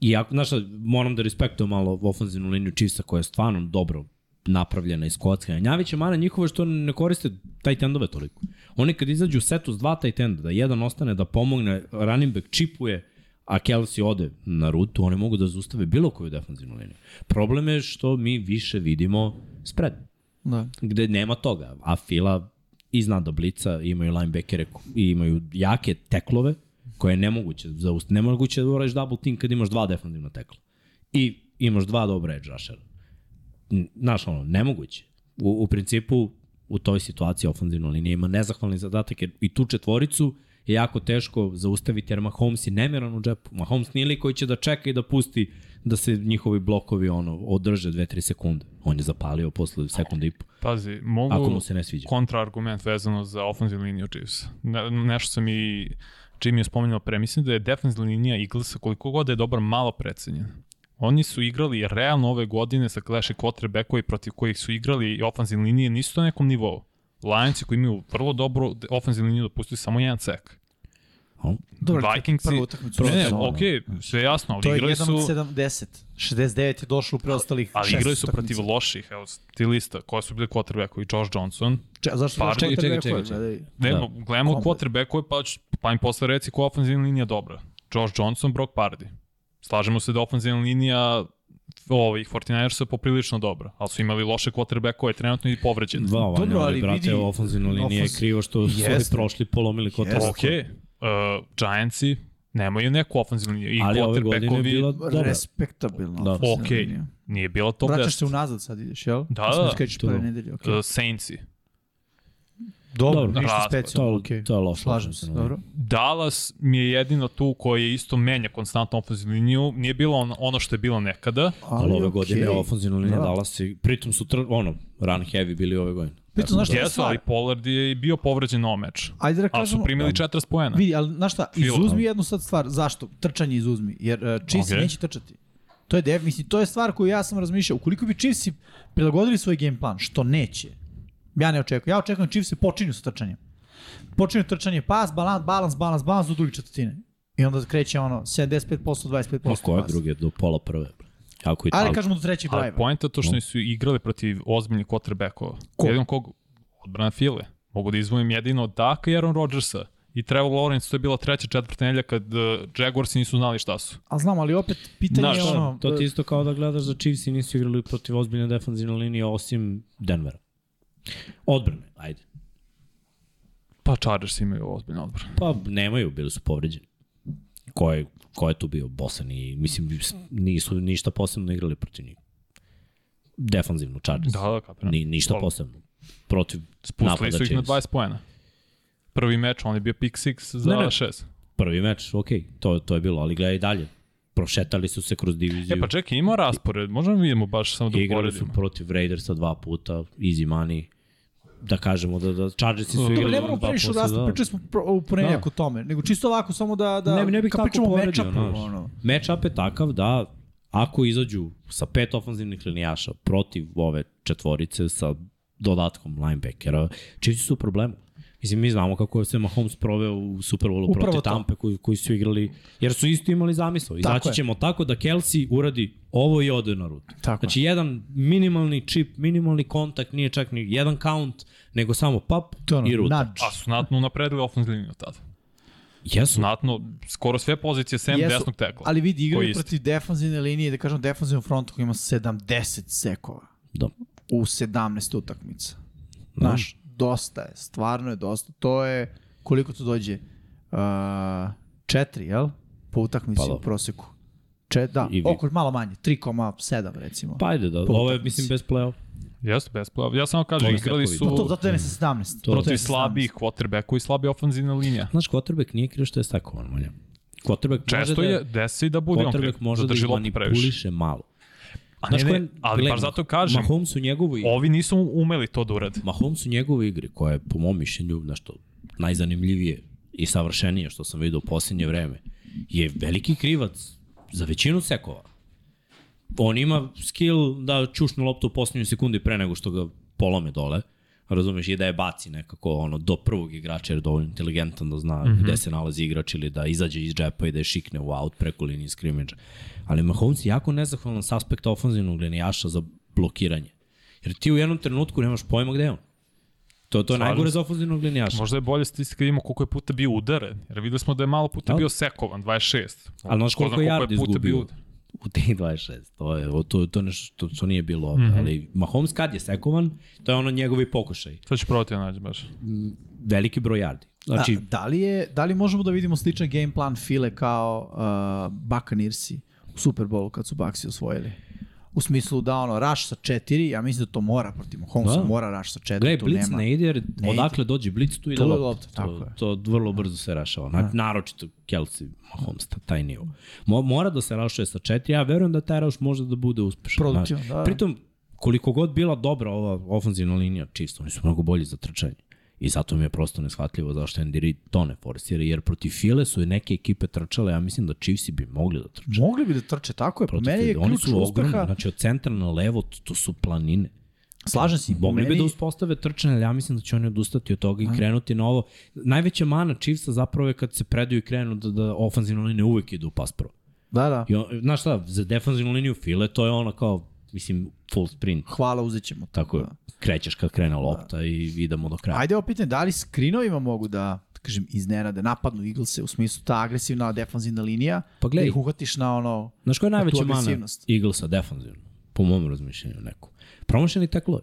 [SPEAKER 1] I ako, znaš šta, moram da respektujem malo ofenzivnu liniju Chiefsa koja je stvarno dobro napravljena iz kockanja. Njavić je mana njihova što ne koriste taj tendove toliko. Oni kad izađu u setu s dva taj tenda, da jedan ostane da pomogne, running back čipuje, a Kelsey ode na rutu, oni mogu da zaustave bilo koju defensivnu liniju. Problem je što mi više vidimo spread,
[SPEAKER 3] Da.
[SPEAKER 1] gde nema toga, a Fila i zna da blica, imaju linebackere ko- i imaju jake teklove koje je nemoguće zaustaviti. Nemoguće da uradiš double team kad imaš dva defensivna tekla. I imaš dva dobra edge rushera. N- Znaš, ono, nemoguće. U, u principu, u toj situaciji ofenzivna linija ima nezahvalni zadatak jer i tu četvoricu je jako teško zaustaviti jer Mahomes je nemiran u džepu. Mahomes nije li koji će da čeka i da pusti da se njihovi blokovi ono održe 2-3 sekunde. On je zapalio posle sekunde i po.
[SPEAKER 2] pazi, mogu...
[SPEAKER 1] Ako mu se ne sviđa.
[SPEAKER 2] kontraargument vezano za ofenzivnu liniju Chiefs. Ne, nešto sam i Jimmy je spomenuo pre, mislim da je defensivna linija Eaglesa koliko god da je dobar malo precenjena. Oni su igrali realno ove godine sa kleše quarterbackova i protiv kojih su igrali i ofenzivne linije nisu na nekom nivou. Lionsi koji imaju vrlo dobru de- ofenzivnu liniju dopustili samo jedan sek.
[SPEAKER 1] O,
[SPEAKER 3] Dobro,
[SPEAKER 2] Vikingsi-
[SPEAKER 3] prvu utakmicu.
[SPEAKER 2] Ne, ne,
[SPEAKER 3] sezone.
[SPEAKER 2] okej, sve jasno, ali
[SPEAKER 3] To je
[SPEAKER 2] igrali
[SPEAKER 3] 1
[SPEAKER 2] su...
[SPEAKER 3] od 70. 69 je došlo u preostalih
[SPEAKER 2] Ali
[SPEAKER 3] šest
[SPEAKER 2] igrali su
[SPEAKER 3] utakmica.
[SPEAKER 2] protiv loših, evo, stilista, koja su bili quarterbackovi, Josh Johnson,
[SPEAKER 3] Če, zašto
[SPEAKER 2] Par-
[SPEAKER 3] pa, čekaj, čekaj, čekaj,
[SPEAKER 2] Ne,
[SPEAKER 1] Da.
[SPEAKER 2] da. gledamo
[SPEAKER 3] Kombo.
[SPEAKER 2] quarterbackove, pa, ću- pa im posle reci koja ofenzivna linija je dobra. Josh Johnson, Brock Pardy. Slažemo se da ofenzivna linija ovih 49ersa je poprilično dobra, ali su imali loše quarterbackove, trenutno i povređene.
[SPEAKER 1] Dva vanja,
[SPEAKER 3] Dobro,
[SPEAKER 1] ali,
[SPEAKER 3] ali
[SPEAKER 1] brate,
[SPEAKER 3] vidi-
[SPEAKER 1] vidi, ofenzivna linija je
[SPEAKER 3] ofenz-
[SPEAKER 1] krivo što su ovi
[SPEAKER 3] Jeste.
[SPEAKER 1] prošli polomili kod
[SPEAKER 3] Jeste.
[SPEAKER 2] Ok, uh, Giantsi nemaju neku ofenzivnu liniju i
[SPEAKER 1] Ali ove godine je
[SPEAKER 2] quarterbackovi
[SPEAKER 1] bila
[SPEAKER 2] bila...
[SPEAKER 1] dobra.
[SPEAKER 3] Respektabilno.
[SPEAKER 1] Da.
[SPEAKER 3] ofenzivna
[SPEAKER 2] Ok.
[SPEAKER 3] linija.
[SPEAKER 2] nije bila top
[SPEAKER 3] Vraćaš
[SPEAKER 2] 10.
[SPEAKER 3] se unazad sad ideš, jel?
[SPEAKER 2] Da,
[SPEAKER 3] Smo
[SPEAKER 2] da.
[SPEAKER 3] skrećeš
[SPEAKER 1] To-
[SPEAKER 3] prve nedelje, okej.
[SPEAKER 2] Uh, Saintsi.
[SPEAKER 3] Dobro,
[SPEAKER 1] dobro.
[SPEAKER 3] ništa
[SPEAKER 2] Raspad.
[SPEAKER 3] specijalno,
[SPEAKER 1] To,
[SPEAKER 3] okej.
[SPEAKER 1] to je loša
[SPEAKER 3] Slažem se,
[SPEAKER 1] ofenzivna
[SPEAKER 3] dobro.
[SPEAKER 2] Dallas mi je jedina tu koja je isto menja konstantno ofenzivnu liniju. Nije bilo on, ono što je bilo nekada.
[SPEAKER 1] Ali, ove godine je
[SPEAKER 3] okej.
[SPEAKER 1] ofenzivna linija
[SPEAKER 3] Da.
[SPEAKER 1] da. Dallas i pritom su tr, ono, run heavy bili ove godine.
[SPEAKER 3] Pritom, znaš šta je
[SPEAKER 2] Jesu, ali
[SPEAKER 3] stvar?
[SPEAKER 2] Pollard je i bio povređen na ovom meču.
[SPEAKER 3] Ajde da
[SPEAKER 2] Ali su
[SPEAKER 3] kažemo,
[SPEAKER 2] primili 40 pojena.
[SPEAKER 3] Vidi, ali znaš šta,
[SPEAKER 2] Filo.
[SPEAKER 3] izuzmi jednu sad stvar. Zašto? Trčanje izuzmi. Jer uh, Chiefs
[SPEAKER 2] Okej.
[SPEAKER 3] okay. neće trčati. To je def, mislim, to je stvar koju ja sam razmišljao. Ukoliko bi Chiefs prilagodili svoj game plan, što neće, ja ne očekujem. Ja očekujem da Chiefs se počinju sa trčanjem. Počinju trčanje pas, balans, balans, balans, balans do druge četvrtine. I onda kreće ono 75%, 25%.
[SPEAKER 1] Pa koje
[SPEAKER 3] pas.
[SPEAKER 1] druge do pola prve? Ako i
[SPEAKER 3] Ajde
[SPEAKER 1] tako.
[SPEAKER 3] kažemo do trećeg
[SPEAKER 2] Ali
[SPEAKER 3] drive.
[SPEAKER 2] poenta je to što su igrali protiv ozbiljnih quarterbackova. Ko? Jedino kog? Odbrana File. Mogu da izvojim jedino Daka i Aaron Rodgersa. I Trevor Lawrence, to je bila treća, četvrta nelja kad uh, Jaguarsi nisu znali šta su.
[SPEAKER 3] A znam, ali opet pitanje
[SPEAKER 2] Znaš,
[SPEAKER 3] je ono...
[SPEAKER 1] to ti isto kao da gledaš da Chiefs i nisu igrali protiv ozbiljne defanzivne linije osim Denvera. Odbrane, ajde.
[SPEAKER 2] Pa Chargers imaju ozbiljnu odbranu.
[SPEAKER 1] Pa nemaju, bili su povređeni. Ko je, ko je tu bio bosan i mislim nisu ništa posebno igrali protiv njih. Defanzivno Chargers.
[SPEAKER 2] Da, da, kapiram.
[SPEAKER 1] Ni, ništa
[SPEAKER 2] Dobro.
[SPEAKER 1] posebno. Protiv
[SPEAKER 2] Spustili
[SPEAKER 1] napada
[SPEAKER 2] su ih na
[SPEAKER 1] Chiefs.
[SPEAKER 2] 20 pojena. Prvi meč, on je bio pick 6 za
[SPEAKER 1] Ne, ne.
[SPEAKER 2] 6.
[SPEAKER 1] prvi meč, ok, to, to je bilo, ali gledaj dalje. Prošetali su se kroz diviziju.
[SPEAKER 2] E pa čekaj, ima raspored, možemo vidimo baš samo da
[SPEAKER 1] igrali su
[SPEAKER 2] uporedimo.
[SPEAKER 1] protiv Raidersa dva puta, easy money. Da kažemo da, da Chargersi su
[SPEAKER 2] Dobro,
[SPEAKER 1] igrali
[SPEAKER 3] Ne moramo
[SPEAKER 1] dva
[SPEAKER 3] previše
[SPEAKER 1] puta,
[SPEAKER 3] odasno,
[SPEAKER 1] da.
[SPEAKER 3] pričali smo pro, u ponedjeljak
[SPEAKER 1] Da.
[SPEAKER 3] o tome, nego čisto ovako samo da, da
[SPEAKER 1] Ne, ne bih
[SPEAKER 3] kad
[SPEAKER 1] tako
[SPEAKER 3] pričamo o
[SPEAKER 1] poredio,
[SPEAKER 3] matchupu,
[SPEAKER 1] znaš.
[SPEAKER 3] ono.
[SPEAKER 1] Matchup je takav da ako izađu sa pet ofanzivnih linijaša protiv ove četvorice sa dodatkom linebackera, Chiefs su u problemu. Mislim, mi znamo kako je se Mahomes proveo u Super Bowlu
[SPEAKER 3] Upravo
[SPEAKER 1] protiv
[SPEAKER 3] to.
[SPEAKER 1] Tampe koji, koji su igrali, jer su isto imali zamisao. Izaći
[SPEAKER 3] je.
[SPEAKER 1] ćemo tako da Kelsey uradi ovo i ode na rutu.
[SPEAKER 3] Tako je.
[SPEAKER 1] znači, jedan minimalni čip, minimalni kontakt, nije čak ni jedan count, nego samo pap
[SPEAKER 3] To je ono,
[SPEAKER 1] i ruta.
[SPEAKER 3] nudge.
[SPEAKER 2] A su natno napredili ofenzivnu liniju tada.
[SPEAKER 1] Jesu,
[SPEAKER 2] Znatno, skoro sve pozicije sem
[SPEAKER 3] Jesu,
[SPEAKER 2] desnog tekla.
[SPEAKER 3] Ali vidi,
[SPEAKER 2] Koji
[SPEAKER 3] igraju
[SPEAKER 2] isto.
[SPEAKER 3] protiv defanzivne linije, da kažem defanzivnu frontu koji ima 70 sekova
[SPEAKER 1] da.
[SPEAKER 3] u 17 utakmica. Znaš, dosta je, stvarno je dosta. To je, koliko to dođe? Uh, četiri, jel? Po utakmici
[SPEAKER 1] Pa da.
[SPEAKER 3] u proseku. Čet, da,
[SPEAKER 1] I vi-
[SPEAKER 3] oko malo manje, 3,7 recimo.
[SPEAKER 1] Pa ajde da,
[SPEAKER 3] Po
[SPEAKER 1] ovo je,
[SPEAKER 3] utakmici.
[SPEAKER 1] mislim, bez play-off.
[SPEAKER 2] Jeste, bez plava. Ja samo kažem,
[SPEAKER 1] Toga se
[SPEAKER 2] igrali
[SPEAKER 1] jako vidi.
[SPEAKER 2] su
[SPEAKER 3] to, zato je ne sa 17. To,
[SPEAKER 2] protiv slabijih quarterbacka i slabija ofenzivna linija.
[SPEAKER 1] Pa Znaš, quarterback nije kriv što je stakovan, Molja. Quarterback može
[SPEAKER 2] Često
[SPEAKER 1] da,
[SPEAKER 2] je, desi da bude on kriv.
[SPEAKER 1] quarterback može da
[SPEAKER 2] Zadrži
[SPEAKER 1] ih
[SPEAKER 2] loptu previše.
[SPEAKER 1] manipuliše malo.
[SPEAKER 2] A ne,
[SPEAKER 1] Znaš ko
[SPEAKER 2] ne,
[SPEAKER 1] je-
[SPEAKER 2] ali
[SPEAKER 1] gledaj,
[SPEAKER 2] baš zato kažem,
[SPEAKER 1] Mahomes u njegovoj igri,
[SPEAKER 2] ovi nisu umeli to da urade.
[SPEAKER 1] Mahomes u njegovoj igri, koja je po mom mišljenju nešto najzanimljivije i savršenije što sam vidio u posljednje vreme, je veliki krivac za većinu sekova. On ima skill da čušne loptu u posljednjoj sekundi pre nego što ga polome dole, razumeš, i da je baci nekako ono, do prvog igrača jer je dovoljno inteligentan da zna mm -hmm. gde se nalazi igrač ili da izađe iz džepa i da je šikne u aut preko linije skrimidža. Ali Mahomes je jako nezahvalan s aspekta ofenzivnog linijaša za blokiranje. Jer ti u jednom trenutku nemaš pojma gde je on. To, to je
[SPEAKER 2] Slažem
[SPEAKER 1] najgore
[SPEAKER 2] se.
[SPEAKER 1] za ofenzivnog linijaša.
[SPEAKER 2] Možda je bolje statistika da vidimo koliko je puta bio udaren, jer videli smo da je malo puta
[SPEAKER 1] Da.
[SPEAKER 2] bio sekovan, 26.
[SPEAKER 1] Pa, Ali znaš
[SPEAKER 2] Ko zna
[SPEAKER 1] koliko je
[SPEAKER 2] puta
[SPEAKER 1] yardi
[SPEAKER 2] bio
[SPEAKER 1] izgubio
[SPEAKER 2] udaren.
[SPEAKER 1] u tih 26. To je, o, to, to, nešto, to, to nije bilo ovde. Mm -hmm. Ali Mahomes kad je sekovan, to je ono njegovi pokušaj.
[SPEAKER 2] To ću probati da nađem baš.
[SPEAKER 1] Veliki broj yardi. Znači,
[SPEAKER 3] da, da, li je, da li možemo da vidimo sličan game plan File kao uh, Buccaneersi u Super Bowlu kad su Bucksi osvojili? U smislu da ono, rush sa četiri, ja mislim da to mora protiv Mahomesa,
[SPEAKER 1] Da.
[SPEAKER 3] mora rush sa četiri,
[SPEAKER 1] Gle,
[SPEAKER 3] tu
[SPEAKER 1] Blitz
[SPEAKER 3] nema.
[SPEAKER 1] ne ide jer
[SPEAKER 3] Ne ide.
[SPEAKER 1] odakle dođe Blitz tu ide
[SPEAKER 3] Tu je
[SPEAKER 1] lopta.
[SPEAKER 3] lopta, tako
[SPEAKER 1] to,
[SPEAKER 3] je. Da.
[SPEAKER 1] to vrlo brzo se rašava. Na, naročito Kelsey Mahomes, ta- taj nivo. Mo, mora da se rašuje sa četiri, ja verujem da taj raš može da bude uspešan.
[SPEAKER 3] Produktivan,
[SPEAKER 1] Znaš,
[SPEAKER 3] da, da.
[SPEAKER 1] Pritom, koliko god bila dobra ova ofenzivna linija, čisto, oni su mnogo bolji za trčanje. I zato mi je prosto neshvatljivo zašto Andy Reid to ne forsira, jer protiv File su i neke ekipe trčale, ja mislim da Chiefsi bi mogli da trče.
[SPEAKER 3] Mogli bi da trče, tako je. Po
[SPEAKER 1] Protiv
[SPEAKER 3] meni je
[SPEAKER 1] File. Oni
[SPEAKER 3] ključ
[SPEAKER 1] su ogromni,
[SPEAKER 3] uspeha.
[SPEAKER 1] znači od centra na levo, to, to su planine.
[SPEAKER 3] Slažem se. po
[SPEAKER 1] Mogli bi
[SPEAKER 3] meni-
[SPEAKER 1] da uspostave trčanje, ali ja mislim da će oni odustati od toga i krenuti na ovo. Najveća mana Chiefsa zapravo je kad se predaju i krenu da, da ofenzivna linija uvek ide u pas pro.
[SPEAKER 3] Da, da.
[SPEAKER 1] I on, znaš šta, za defanzivnu liniju file to je ono kao, mislim, full sprint.
[SPEAKER 3] Hvala, uzet ćemo. to,
[SPEAKER 1] Tako je,
[SPEAKER 3] da.
[SPEAKER 1] krećeš kad krene lopta i idemo do kraja.
[SPEAKER 3] Ajde, ovo pitanje, da li skrinovima mogu da, da kažem, iznenade, napadnu Eaglese u smislu ta agresivna defanzivna linija,
[SPEAKER 1] Pa
[SPEAKER 3] da
[SPEAKER 1] gledaj,
[SPEAKER 3] ih uhvatiš na ono...
[SPEAKER 1] Znaš koja je najveća mana
[SPEAKER 3] Pa agresivnost.
[SPEAKER 1] Eaglesa defanzivno? Po mom razmišljenju neko. Promošeni teklovi.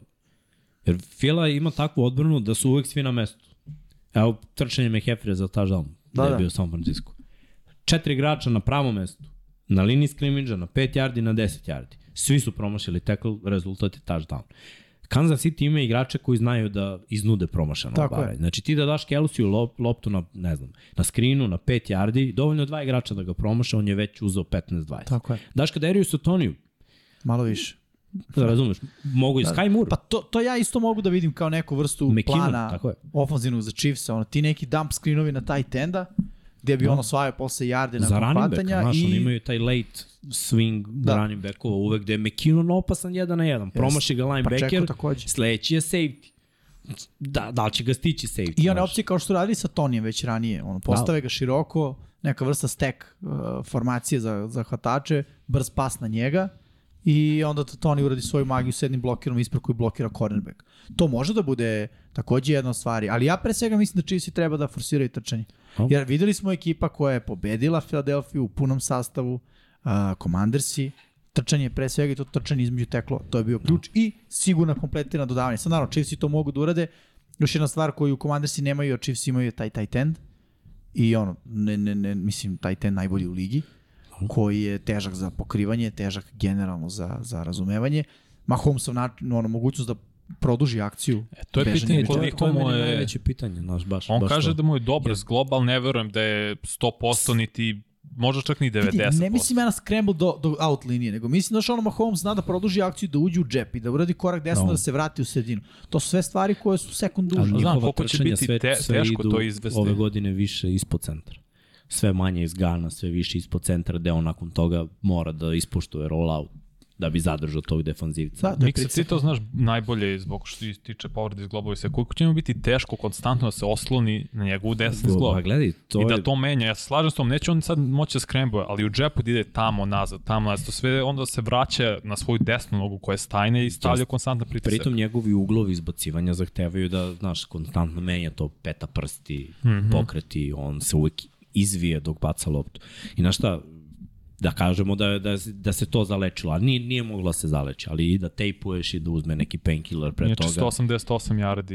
[SPEAKER 1] Jer Fila ima takvu odbranu da su uvek svi na mestu. Evo, trčanje McHeffrey za ta žalom. Da,
[SPEAKER 3] Da,
[SPEAKER 1] da, je
[SPEAKER 3] da.
[SPEAKER 1] bio u San Francisco. Četiri igrača na pravom mestu. Na liniji skrimidža, na 5 yardi, na 10 yardi. Svi su promašili tekl, rezultat je touchdown. Kansas City ima igrače koji znaju da iznude promašano
[SPEAKER 3] Tako je.
[SPEAKER 1] obaranje. Znači ti da daš Kelsiju lop, loptu na, ne znam, na skrinu, na 5 yardi, dovoljno je dva igrača da ga promaša, on je već uzeo 15-20.
[SPEAKER 3] Tako je.
[SPEAKER 1] Daš kad Darius Sotoniju,
[SPEAKER 3] Malo više.
[SPEAKER 1] da razumeš, mogu i Sky Moore.
[SPEAKER 3] Pa to, to ja isto mogu da vidim kao neku vrstu
[SPEAKER 1] McKinnon,
[SPEAKER 3] plana
[SPEAKER 1] tako je.
[SPEAKER 3] ofanzivnog za Chiefsa, ono, ti neki dump screenovi na taj tenda, gdje bi no. on osvajao posle jarde
[SPEAKER 1] Da. za
[SPEAKER 3] nakon
[SPEAKER 1] running back,
[SPEAKER 3] hvatanja
[SPEAKER 1] znaš, i... oni
[SPEAKER 3] i
[SPEAKER 1] imaju taj late swing da.
[SPEAKER 3] Da.
[SPEAKER 1] running backova uvek gde je McKinnon opasan jedan na jedan, promaši ga linebacker,
[SPEAKER 3] Pa takođe.
[SPEAKER 1] sledeći je safety. Da, da li će ga stići safety?
[SPEAKER 3] I one
[SPEAKER 1] znaš? Da.
[SPEAKER 3] opcije kao što radili sa Tonijem već ranije, ono, postave ga široko, neka vrsta stek uh, formacije za, za hvatače, brz pas na njega i onda to Toni uradi svoju magiju s jednim blokirom ispred koji blokira cornerback. To može da bude takođe jedna od stvari, ali ja pre svega mislim da Chiefs i treba da forsiraju trčanje.
[SPEAKER 1] Oh.
[SPEAKER 3] Jer videli smo ekipa koja je pobedila Filadelfiju u punom sastavu, uh, Commandersi, trčanje pre svega i to trčanje između teklo, to je bio ključ i sigurno kompletirano dodavanje. Sad naravno, Chiefs i to mogu da urade, Još jedna stvar koju Commandersi nemaju, a Chiefs imaju je taj tight end. I ono, ne, ne, ne, mislim, tight end najbolji u ligi,
[SPEAKER 1] Mhm.
[SPEAKER 3] koji je težak za pokrivanje, težak generalno za, za razumevanje. Mahomesov način, ono, mogućnost da produži akciju.
[SPEAKER 2] E, to je
[SPEAKER 3] Bežanje
[SPEAKER 2] pitanje
[SPEAKER 3] bi
[SPEAKER 1] to,
[SPEAKER 2] koliko
[SPEAKER 1] to je
[SPEAKER 2] mu
[SPEAKER 1] meni
[SPEAKER 2] je...
[SPEAKER 1] najveće pitanje, znaš, baš.
[SPEAKER 2] On
[SPEAKER 1] baš
[SPEAKER 2] kaže
[SPEAKER 1] to.
[SPEAKER 2] da mu je dobar zglob, ali ne verujem da je 100% niti, možda čak ni 90%.
[SPEAKER 3] Vidi, ne mislim ja na scramble do, do out linije, nego mislim da što ono Mahomes zna da produži akciju, da uđe u džep i da uradi korak desno,
[SPEAKER 1] No.
[SPEAKER 3] da se vrati u sredinu. To su sve stvari koje su sekund
[SPEAKER 1] A
[SPEAKER 3] duže.
[SPEAKER 2] njih-
[SPEAKER 1] njihova
[SPEAKER 2] koliko će
[SPEAKER 1] trčanja
[SPEAKER 2] biti
[SPEAKER 1] sve,
[SPEAKER 2] te-
[SPEAKER 1] sve
[SPEAKER 2] teško
[SPEAKER 1] idu
[SPEAKER 2] to izvesti.
[SPEAKER 1] Ove godine više ispod centra. Sve manje iz Gana, sve više ispod centra, gde on nakon toga mora da ispuštuje rollout da bi zadržao tog defanzivca.
[SPEAKER 3] Da, da je
[SPEAKER 2] Miksa, ti
[SPEAKER 3] pritisak.
[SPEAKER 2] to znaš najbolje zbog što se tiče povrede zglobova i sve. Koliko će mu biti teško konstantno da se osloni na njegovu desnu zglob.
[SPEAKER 1] Pa gledaj, to
[SPEAKER 2] I
[SPEAKER 1] je...
[SPEAKER 2] da to menja. Ja se slažem s tom, neće on sad moći da skrembuje, ali u džepu da ide tamo nazad, tamo nazad. To sve onda se vraća na svoju desnu nogu koja je stajna i stavlja
[SPEAKER 1] Just.
[SPEAKER 2] konstantan pritisak.
[SPEAKER 1] Pritom njegovi uglovi izbacivanja zahtevaju da, znaš, konstantno menja to peta prsti, mm
[SPEAKER 2] Mhm.
[SPEAKER 1] -hmm. pokreti, on se uvek izvije dok baca loptu. I znaš šta, da kažemo da, da, da se to zalečilo, a nije, nije mogla se zaleći, ali i da tejpuješ i da uzme neki painkiller pre
[SPEAKER 2] Inače,
[SPEAKER 1] toga.
[SPEAKER 2] 188 yardi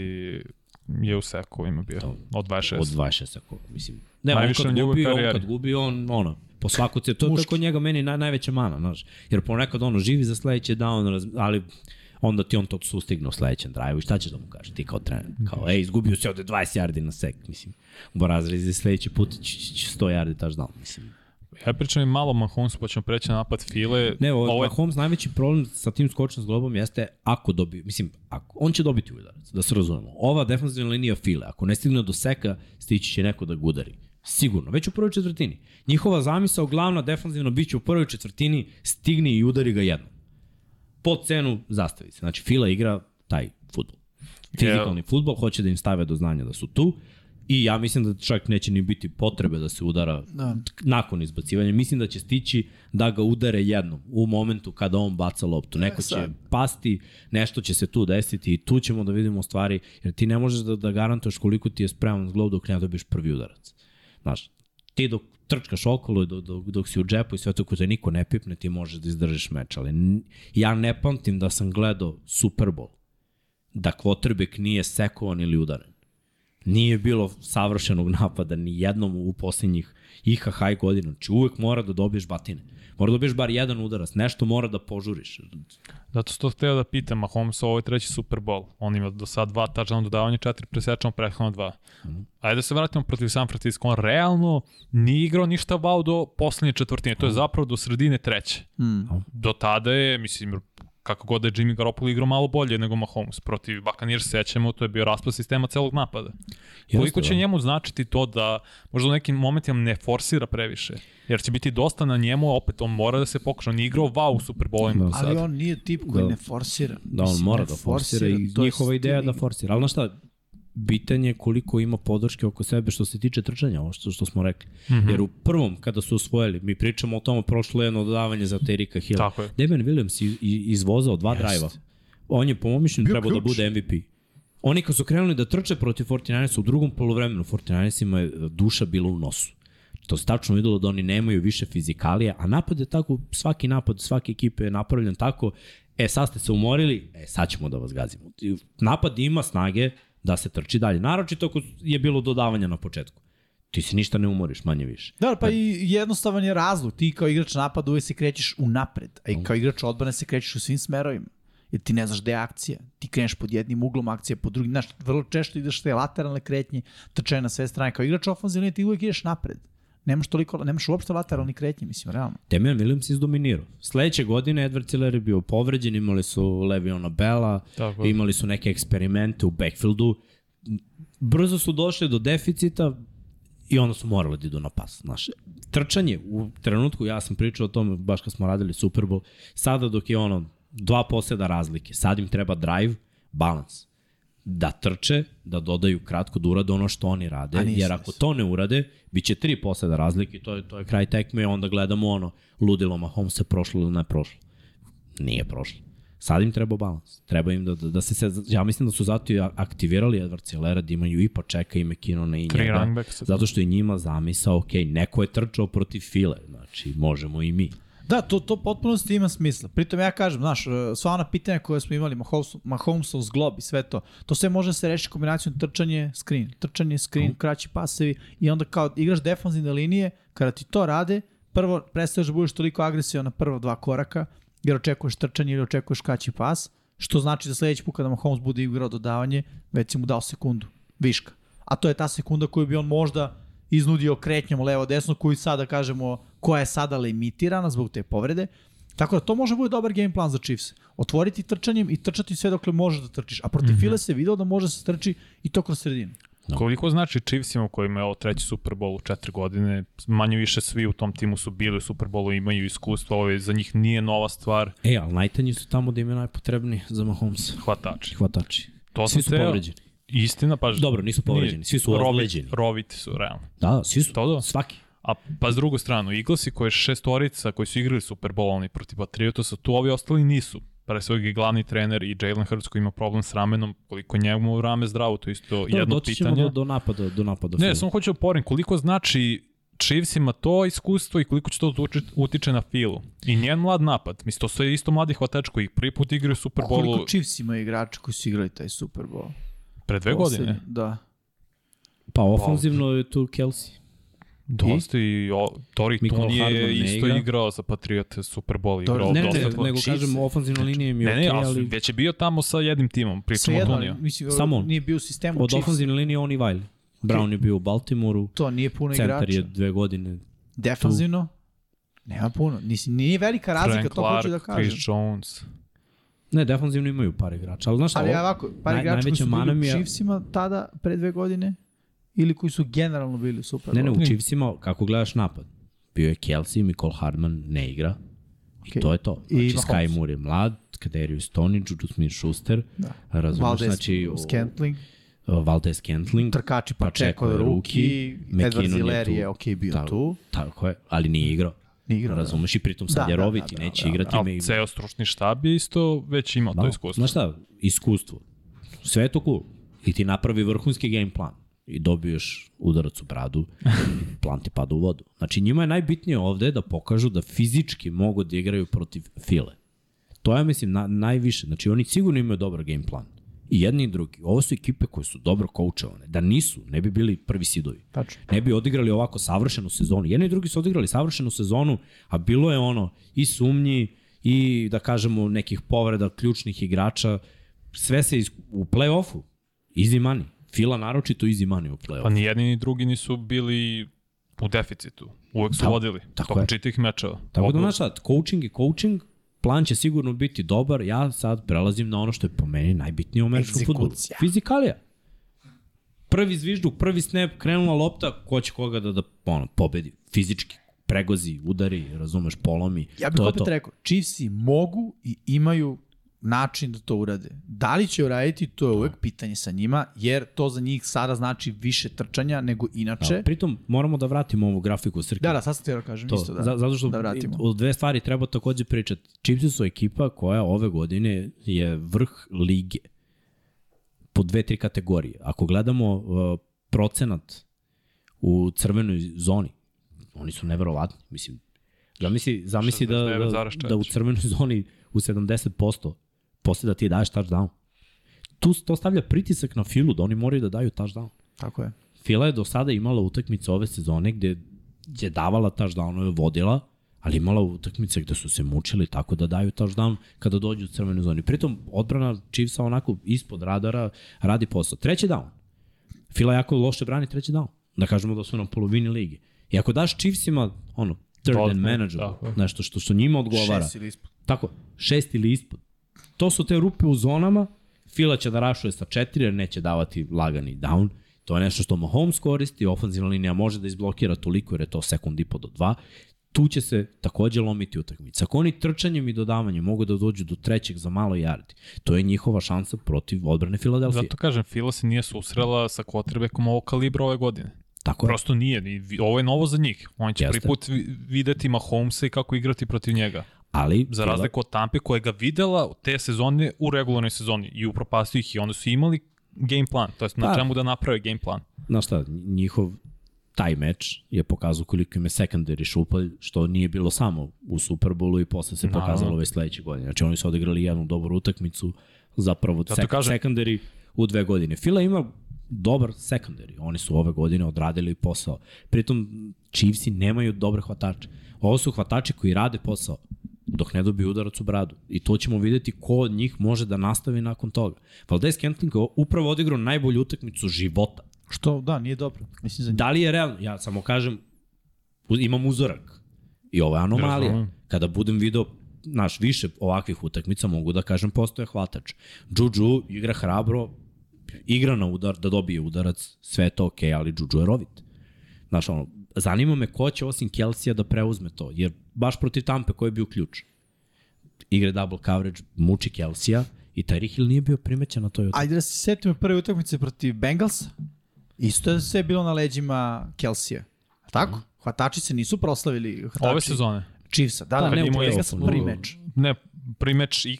[SPEAKER 2] je u seku ima bio. Od 26.
[SPEAKER 1] od 26 ako, mislim. Ne, on
[SPEAKER 2] Najviše u
[SPEAKER 1] kad
[SPEAKER 2] njegovoj
[SPEAKER 1] gubi, on
[SPEAKER 2] karijeri.
[SPEAKER 1] kad gubi, on, ono, po svaku cijelu, to je tako njega meni naj, najveća mana, znaš, jer ponekad ono živi za sledeće down, raz, ali onda ti on to sustigne u sledećem drive-u i šta ćeš da mu kažeš ti kao trener? Kao, ej, izgubio si ovde 20 yardi na sek, mislim. Borazri za sledeći put će- će će 100 yardi taš down, mislim.
[SPEAKER 2] Ja pričam i malo o Mahomesu, pa ćemo preći na napad File.
[SPEAKER 1] Ne, ovo,
[SPEAKER 2] Ovo je-
[SPEAKER 1] Mahomes najveći problem sa tim skočnom zglobom jeste ako dobije, mislim, ako, on će dobiti udarac, da se razumemo. Ova defensivna linija file, ako ne stigne do seka, stići će neko da ga udari. Sigurno, već u prvoj četvrtini. Njihova zamisao glavna defensivno biće u prvoj četvrtini, stigni i udari ga jednom. Po cenu zastavice. Znači, fila igra taj futbol. Fizikalni yeah. futbol, hoće da im stave do znanja da su tu i ja mislim da čak neće ni biti potrebe da se udara
[SPEAKER 3] Da.
[SPEAKER 1] nakon izbacivanja. Mislim da će stići da ga udare jednom u momentu kada on baca loptu. Neko će
[SPEAKER 3] E, sad.
[SPEAKER 1] pasti, nešto će se tu desiti i tu ćemo da vidimo stvari, jer ti ne možeš da, da garantuješ koliko ti je spreman zglob dok ne dobiješ prvi udarac. Znaš, ti dok trčkaš okolo, i dok, dok, dok si u džepu i sve to koje te niko ne pipne, ti možeš da izdržiš meč, ali n- ja ne pamtim da sam gledao Super Bowl, da kvotrbek nije sekovan ili udaren nije bilo savršenog napada ni jednom u posljednjih IHH godina. Znači uvek mora da dobiješ batine. Mora da dobiješ bar jedan udarac, nešto mora da požuriš.
[SPEAKER 2] Zato što hteo da pitam, Mahomes ovo je treći Super Bowl. On ima do sad dva tačna dodavanja, četiri presečano, prethodno dva.
[SPEAKER 1] Mhm.
[SPEAKER 2] Ajde da se vratimo protiv San Francisco. On realno nije igrao ništa vao do poslednje četvrtine.
[SPEAKER 1] Mhm.
[SPEAKER 2] To je zapravo do sredine treće.
[SPEAKER 3] Mm.
[SPEAKER 2] Do tada je, mislim, kako god da je Jimmy Garoppolo igrao malo bolje nego Mahomes. Protiv Buccaneers sećamo, to je bio raspad sistema celog napada. Koliko će
[SPEAKER 1] da.
[SPEAKER 2] njemu značiti to da možda u nekim momentima ne forsira previše? Jer će biti dosta na njemu, opet on mora da se pokuša. On je igrao vau u Super Bowlima.
[SPEAKER 1] Da.
[SPEAKER 3] Ali
[SPEAKER 1] sad.
[SPEAKER 3] on nije tip koji
[SPEAKER 1] Da.
[SPEAKER 3] ne forsira.
[SPEAKER 1] Da, on
[SPEAKER 3] Mislim,
[SPEAKER 1] mora
[SPEAKER 3] ne
[SPEAKER 1] da forsira i
[SPEAKER 3] to je
[SPEAKER 1] njihova ideja je da
[SPEAKER 3] stil
[SPEAKER 1] forsira. Ali znaš šta, pitanje je koliko ima podrške oko sebe što se tiče trčanja, ovo što, što smo rekli. Mm -hmm. Jer u prvom, kada su osvojili, mi pričamo o tome, prošlo je jedno dodavanje za Terika Hill.
[SPEAKER 2] Tako je.
[SPEAKER 1] Damian Williams i- i- izvozao dva
[SPEAKER 2] Jeste.
[SPEAKER 1] drajva. On je po mom mišljenju
[SPEAKER 3] Bio
[SPEAKER 1] trebao da
[SPEAKER 3] ključ.
[SPEAKER 1] bude MVP. Oni kad su krenuli da trče protiv 49 u drugom polovremenu, 49 je e, duša bila u nosu. To se tačno videlo da oni nemaju više fizikalije, a napad je tako, svaki napad, svake ekipe je napravljen tako, e sad ste se umorili, e sad ćemo da vas gazimo. I Napad ima snage da se trči dalje. Naročito ako je bilo dodavanja na početku. Ti se ništa ne umoriš, manje više.
[SPEAKER 3] Da, pa i jednostavan je razlog. Ti kao igrač napada uvek se krećeš u napred, a i kao igrač odbrane se krećeš u svim smerovima. Jer ti ne znaš gde je akcija. Ti kreneš pod jednim uglom, akcija pod drugim. Znaš, vrlo često ideš te lateralne kretnje, trčaje na sve strane. Kao igrač ofenzivne linije ti uvek ideš napred. Nemaš toliko, nemaš uopšte lateralni kretnje, mislim, realno.
[SPEAKER 1] Damian Williams je izdominirao. Sledeće godine Edward Tiller je bio povređen, imali su Le'Veona Bella,
[SPEAKER 2] Tako je.
[SPEAKER 1] imali su neke eksperimente u backfieldu. Brzo su došli do deficita i onda su morali da idu na pas. Znaš, trčanje, u trenutku ja sam pričao o tome baš kad smo radili Super Bowl, sada dok je ono dva poseda razlike, sad im treba drive, balans da trče, da dodaju kratko, da urade ono što oni rade,
[SPEAKER 3] A nisu,
[SPEAKER 1] jer ako
[SPEAKER 3] nisu.
[SPEAKER 1] to ne urade, bit će tri poseda razlike i to je, to je kraj tekme i onda gledamo ono, ludilo Mahomesa prošlo ili ne prošlo. Nije prošlo. Sad im treba balans. Treba im da, da, da se, se, ja mislim da su zato i aktivirali Edward Cilera, da imaju i počeka i McKinnona i
[SPEAKER 2] Tri
[SPEAKER 1] njega.
[SPEAKER 2] running backs.
[SPEAKER 1] Zato što je njima zamisao, ok, neko je trčao protiv file, znači možemo i mi.
[SPEAKER 3] Da, to, to potpuno s ima smisla. Pritom ja kažem, znaš, e, sva ona pitanja koje smo imali, Mahomes- Mahomesov zglob i sve to, to sve može da se reši kombinacijom trčanje, screen, trčanje, screen, kraći pasevi i onda kao igraš defanzivne linije, kada ti to rade, prvo prestaješ da budeš toliko agresivan na prva dva koraka, jer očekuješ trčanje ili očekuješ kraći pas, Što znači da sledeći put kada Mahomes bude igrao dodavanje, već si mu dao sekundu viška. A to je ta sekunda koju bi on možda iznudio kretnjom levo-desno, koju sada kažemo koja je sada limitirana zbog te povrede. Tako da to može bude dobar game plan za Chiefs. Otvoriti trčanjem i trčati sve dokle možeš da trčiš. A protiv mm -hmm. Fila se video da može da se trči i to kroz sredinu.
[SPEAKER 2] Da. Koliko znači Chiefsima kojima je ovo treći Super Bowl u četiri godine, manje više svi u tom timu su bili u Super Bowlu, imaju iskustva, ovo je, za njih nije nova stvar,
[SPEAKER 1] E, ali najtanji su tamo da im je najpotrebniji za Mahomesa.
[SPEAKER 2] hvatači.
[SPEAKER 1] Hvatači.
[SPEAKER 2] To
[SPEAKER 1] Svi
[SPEAKER 2] sam
[SPEAKER 1] su
[SPEAKER 2] teo-
[SPEAKER 1] povređeni.
[SPEAKER 2] Istina, pa
[SPEAKER 1] Dobro, nisu povređeni, svi su ozleđeni.
[SPEAKER 2] Roviti su, realno.
[SPEAKER 1] Da, da, svi su.
[SPEAKER 2] To da?
[SPEAKER 1] Svaki.
[SPEAKER 2] A pa s drugu stranu, Eaglesi koje šestorica koji su igrali Super Bowl oni protiv Patriotasa, tu ovi ostali nisu. Pre svega je glavni trener i Jalen Hurts koji ima problem s ramenom, koliko je njemu rame zdravo, to je isto
[SPEAKER 1] Dobro,
[SPEAKER 2] jedno
[SPEAKER 1] Da, doći ćemo
[SPEAKER 2] pitanje.
[SPEAKER 1] Do, do napada, do napada.
[SPEAKER 2] Ne,
[SPEAKER 1] Fila.
[SPEAKER 2] samo hoću da porim, koliko znači Chiefsima to iskustvo i koliko će to utiče, utiče na filu. I njen mlad napad. Mislim, to su isto mladi hvatač koji prvi put igraju u Super
[SPEAKER 3] Koliko
[SPEAKER 2] Bowlu
[SPEAKER 3] Chiefs ima igrača koji su igrali taj Super Bowl?
[SPEAKER 2] pre dve godine.
[SPEAKER 3] Poslednji, Da.
[SPEAKER 1] Pa ofanzivno je tu Kelsey.
[SPEAKER 2] Dosta i o, Tori
[SPEAKER 1] Michael
[SPEAKER 2] Tun je
[SPEAKER 1] Hardman ne
[SPEAKER 2] isto
[SPEAKER 1] igra.
[SPEAKER 2] igrao za Patriote Super Bowl.
[SPEAKER 3] Dobro,
[SPEAKER 2] Igrao
[SPEAKER 1] Ne, ne,
[SPEAKER 2] Pa, dosta
[SPEAKER 1] ne,
[SPEAKER 2] po-
[SPEAKER 1] nego
[SPEAKER 3] Chiefs.
[SPEAKER 1] kažem ofanzivna linija im je
[SPEAKER 2] Ne, ne,
[SPEAKER 1] okej,
[SPEAKER 2] ali,
[SPEAKER 1] ali
[SPEAKER 2] već je bio tamo sa jednim timom, pričamo o
[SPEAKER 3] Svejedno,
[SPEAKER 2] Tuniju.
[SPEAKER 3] ali, mislim,
[SPEAKER 1] Samo on.
[SPEAKER 3] nije bio u sistemu
[SPEAKER 1] od
[SPEAKER 3] Chiefs.
[SPEAKER 1] ofanzivne linije on i Vajli. Brown je bio u Baltimoru,
[SPEAKER 3] To nije puno
[SPEAKER 1] centar
[SPEAKER 3] igrača.
[SPEAKER 1] je dve godine.
[SPEAKER 3] Defanzivno? Nema puno. Nisi, nije velika razlika,
[SPEAKER 2] Frank
[SPEAKER 3] to hoću da
[SPEAKER 2] Clark,
[SPEAKER 3] kažem.
[SPEAKER 2] Chris Jones.
[SPEAKER 1] Ne, defanzivno imaju par igrača, ali znaš šta,
[SPEAKER 3] Ali ja
[SPEAKER 1] ovo-
[SPEAKER 3] ovako, par
[SPEAKER 1] naj-
[SPEAKER 3] igrača koji
[SPEAKER 1] najveća
[SPEAKER 3] su
[SPEAKER 1] mana mi
[SPEAKER 3] bili u
[SPEAKER 1] je-
[SPEAKER 3] Chiefsima tada, pre dve godine, ili koji su generalno bili u Super
[SPEAKER 1] ne, ne,
[SPEAKER 3] Bowlu.
[SPEAKER 1] u Chiefsima, kako gledaš napad, bio je Kelsey, Nicole Hardman ne igra, I
[SPEAKER 3] Okej.
[SPEAKER 1] to je to.
[SPEAKER 3] I
[SPEAKER 1] Znači,
[SPEAKER 3] Mahomes.
[SPEAKER 1] Sky Moore je mlad, Kaderius Stoney, Juju Smith-Schuster,
[SPEAKER 3] Da.
[SPEAKER 1] razumiješ,
[SPEAKER 3] Valdez,
[SPEAKER 1] znači, o-
[SPEAKER 3] Scantling,
[SPEAKER 1] o, Valdez Kentling,
[SPEAKER 3] trkači pa
[SPEAKER 1] Pacheco
[SPEAKER 3] čeko
[SPEAKER 1] je
[SPEAKER 3] ruki,
[SPEAKER 1] rookie,
[SPEAKER 3] Edward
[SPEAKER 1] McKinnon je
[SPEAKER 3] Ziller
[SPEAKER 1] tu.
[SPEAKER 3] je ok bio
[SPEAKER 1] Da.
[SPEAKER 3] tu,
[SPEAKER 1] tako je, ali nije igrao.
[SPEAKER 3] ni igrao. da.
[SPEAKER 1] Razumeš, i pritom sad
[SPEAKER 3] Da,
[SPEAKER 1] je
[SPEAKER 3] da,
[SPEAKER 1] rovit
[SPEAKER 3] da,
[SPEAKER 1] i
[SPEAKER 3] da,
[SPEAKER 1] neće
[SPEAKER 3] da,
[SPEAKER 1] igrati. ima
[SPEAKER 2] Ali
[SPEAKER 1] i-
[SPEAKER 2] ceo stručni štab je isto već imao to
[SPEAKER 1] Da.
[SPEAKER 2] iskustvo.
[SPEAKER 1] Znaš šta, iskustvo. Sve je to cool. I ti napravi vrhunski game plan i dobiješ udarac u bradu, plan ti pada u vodu. Znači njima je najbitnije ovde da pokažu da fizički mogu da igraju protiv file. To ja mislim na, najviše. Znači oni sigurno imaju dobar game plan. I jedni i drugi. Ovo su ekipe koje su dobro koučevane. Da nisu, ne bi bili prvi sidovi
[SPEAKER 3] Tačno.
[SPEAKER 1] Znači, ne bi odigrali ovako savršenu sezonu. Jedni i drugi su odigrali savršenu sezonu, a bilo je ono i sumnji i da kažemo nekih povreda ključnih igrača. Sve se iz, u play-offu. Easy money. Fila naročito easy money u
[SPEAKER 2] Pa
[SPEAKER 1] play-offu.
[SPEAKER 2] ni jedni ni drugi nisu bili u deficitu. Uvek su
[SPEAKER 1] Da,
[SPEAKER 2] vodili.
[SPEAKER 1] tako
[SPEAKER 2] Tokom
[SPEAKER 1] je.
[SPEAKER 2] čitih mečeva.
[SPEAKER 1] Tako da,
[SPEAKER 2] Odgovor.
[SPEAKER 1] znaš sad, coaching je coaching, plan će sigurno biti dobar, ja sad prelazim na ono što je po meni najbitnije u američkom futbolu.
[SPEAKER 3] Egzekucija.
[SPEAKER 1] Fizikalija. Prvi zvižduk, prvi snap, krenula lopta, ko će koga da, da ono, pobedi. Fizički, pregozi, udari, razumeš, polomi.
[SPEAKER 3] Ja bih
[SPEAKER 1] to je
[SPEAKER 3] opet
[SPEAKER 1] to.
[SPEAKER 3] rekao, Chiefsi mogu i imaju način da to urade. Da li će uraditi, to je
[SPEAKER 1] Da.
[SPEAKER 3] uvek pitanje sa njima, jer to za njih sada znači više trčanja nego inače.
[SPEAKER 1] Da, pritom moramo da vratimo ovu grafiku Srke.
[SPEAKER 3] Da, da, sad sam te da kažem
[SPEAKER 1] to,
[SPEAKER 3] isto. Da.
[SPEAKER 1] za- zato što
[SPEAKER 3] da vratimo.
[SPEAKER 1] o dve stvari treba takođe pričati. Chiefs su ekipa koja ove godine je vrh lige po dve, tri kategorije. Ako gledamo uh, procenat u crvenoj zoni, oni su neverovatni. Mislim, zamisli, zamisli da, da,
[SPEAKER 2] 69,4.
[SPEAKER 1] da u crvenoj zoni u 70% posle da ti daješ touchdown. Tu to stavlja pritisak na filu da oni moraju da daju touchdown.
[SPEAKER 3] Tako je.
[SPEAKER 1] Fila je do sada imala utakmice ove sezone gde je davala touchdownove, vodila, ali imala utakmice gde su se mučili tako da daju touchdown kada dođu u crvenu zonu. Pritom, odbrana Chiefsa onako ispod radara radi posao. Treći down. Fila jako loše brani treći down. Da kažemo da su na polovini ligi. I ako daš Chiefsima, ono, third and
[SPEAKER 2] Dodatno,
[SPEAKER 1] manager,
[SPEAKER 2] tako je.
[SPEAKER 1] nešto što, što njima odgovara.
[SPEAKER 3] Šest ili ispod.
[SPEAKER 1] Tako, šest ili ispod. To su te rupe u zonama, Fila će da rašuje sa četiri, jer neće davati lagani down. To je nešto što Mahomes koristi, ofenzivna linija može da izblokira toliko, jer je to sekund i po do dva. Tu će se takođe lomiti utakmica. Ako oni trčanjem i dodavanjem mogu da dođu do trećeg za malo yardi, to je njihova šansa protiv odbrane Filadelfije.
[SPEAKER 2] Zato kažem, Fila se nije susrela sa kotrbekom ovog kalibra ove godine.
[SPEAKER 1] Tako je.
[SPEAKER 2] Prosto nije. ni- vi- Ovo je novo za njih. Oni će
[SPEAKER 1] Jeste.
[SPEAKER 2] prvi put vi- videti Mahomesa i kako igrati protiv njega.
[SPEAKER 1] Ali,
[SPEAKER 2] Za
[SPEAKER 1] Fila-
[SPEAKER 2] razliku od Tampe koja je ga videla te sezone u regularnoj sezoni i upropastio ih i onda su imali game plan, to jest na
[SPEAKER 1] Pa.
[SPEAKER 2] čemu da naprave game plan.
[SPEAKER 1] znaš šta, njihov taj meč je pokazao koliko im je secondary šupalj, što nije bilo samo u Superbolu i posle se
[SPEAKER 2] Naravno.
[SPEAKER 1] pokazalo ove sledeće godine. Znači oni su odigrali jednu dobru utakmicu, zapravo
[SPEAKER 2] Zato
[SPEAKER 1] sek
[SPEAKER 2] kažem-
[SPEAKER 1] secondary u dve godine. Fila ima dobar secondary, oni su ove godine odradili posao. Pritom Chiefsi nemaju dobre hvatače. Ovo su hvatači koji rade posao. dok ne dobije udarac u bradu. I to ćemo videti ko od njih može da nastavi nakon toga. Valdez Kentling je upravo odigrao najbolju utakmicu života.
[SPEAKER 3] Što, da, nije dobro. Mislim za njih.
[SPEAKER 1] Da li je realno? Ja samo kažem, uz- imam uzorak. I ovo je anomalija.
[SPEAKER 2] Razumem.
[SPEAKER 1] Kada budem video naš više ovakvih utakmica, mogu da kažem postoje hvatač. Juju igra hrabro, igra na udar, da dobije udarac, sve je to okej, ali Juju je rovit. Znaš, ono, zanima me ko će osim Kelsija da preuzme to, jer baš protiv Tampe koji je bio ključ. Igra double coverage, muči Kelsija i Tyreek Hill nije bio primećen na toj utakmici.
[SPEAKER 3] Ajde da se setimo prve utakmice protiv Bengalsa. Isto je sve bilo na leđima Kelsija. A Tako? Hvatači se nisu proslavili.
[SPEAKER 1] Znači-
[SPEAKER 3] Hvatači
[SPEAKER 2] Mhm. Ove sezone.
[SPEAKER 3] Chiefsa. Da, da,
[SPEAKER 1] Pa
[SPEAKER 3] da
[SPEAKER 1] ne,
[SPEAKER 3] ne,
[SPEAKER 1] u
[SPEAKER 3] u Vegas
[SPEAKER 1] play-offu,
[SPEAKER 3] prvi
[SPEAKER 1] no.
[SPEAKER 3] meč.
[SPEAKER 2] Ne, primeč i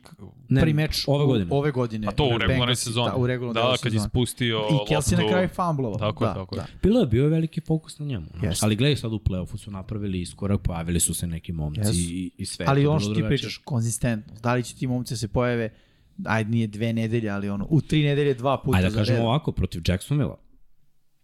[SPEAKER 1] Ne,
[SPEAKER 3] Prvi meč
[SPEAKER 1] ove
[SPEAKER 3] u-
[SPEAKER 1] godine.
[SPEAKER 3] Ove godine.
[SPEAKER 2] A to u
[SPEAKER 3] na
[SPEAKER 2] regularnoj
[SPEAKER 3] Bengalsi,
[SPEAKER 2] sezoni.
[SPEAKER 3] Da, u regularnoj
[SPEAKER 2] da,
[SPEAKER 3] da,
[SPEAKER 2] kad
[SPEAKER 3] sezoni.
[SPEAKER 2] je spustio
[SPEAKER 3] I Kelsey na
[SPEAKER 2] loptu-
[SPEAKER 3] kraju famblovao.
[SPEAKER 2] Tako je,
[SPEAKER 3] da,
[SPEAKER 2] tako je.
[SPEAKER 3] da.
[SPEAKER 1] Bilo je, bio je veliki fokus na njemu. Yes.
[SPEAKER 3] Jeste.
[SPEAKER 1] Ali gledaj sad u play-offu su napravili iskorak, pojavili su se neki momci
[SPEAKER 3] Jesu.
[SPEAKER 1] yes. i, i sve. je
[SPEAKER 3] Ali
[SPEAKER 1] to
[SPEAKER 3] ono
[SPEAKER 1] bilo
[SPEAKER 3] što ti
[SPEAKER 1] drugačije.
[SPEAKER 3] pričaš, konzistentnost. Da li će ti momci se pojave, ajde nije dve nedelje, ali ono, u tri nedelje dva puta
[SPEAKER 1] Ajde da
[SPEAKER 3] za
[SPEAKER 1] kažemo
[SPEAKER 3] redom.
[SPEAKER 1] ovako, protiv Jacksonville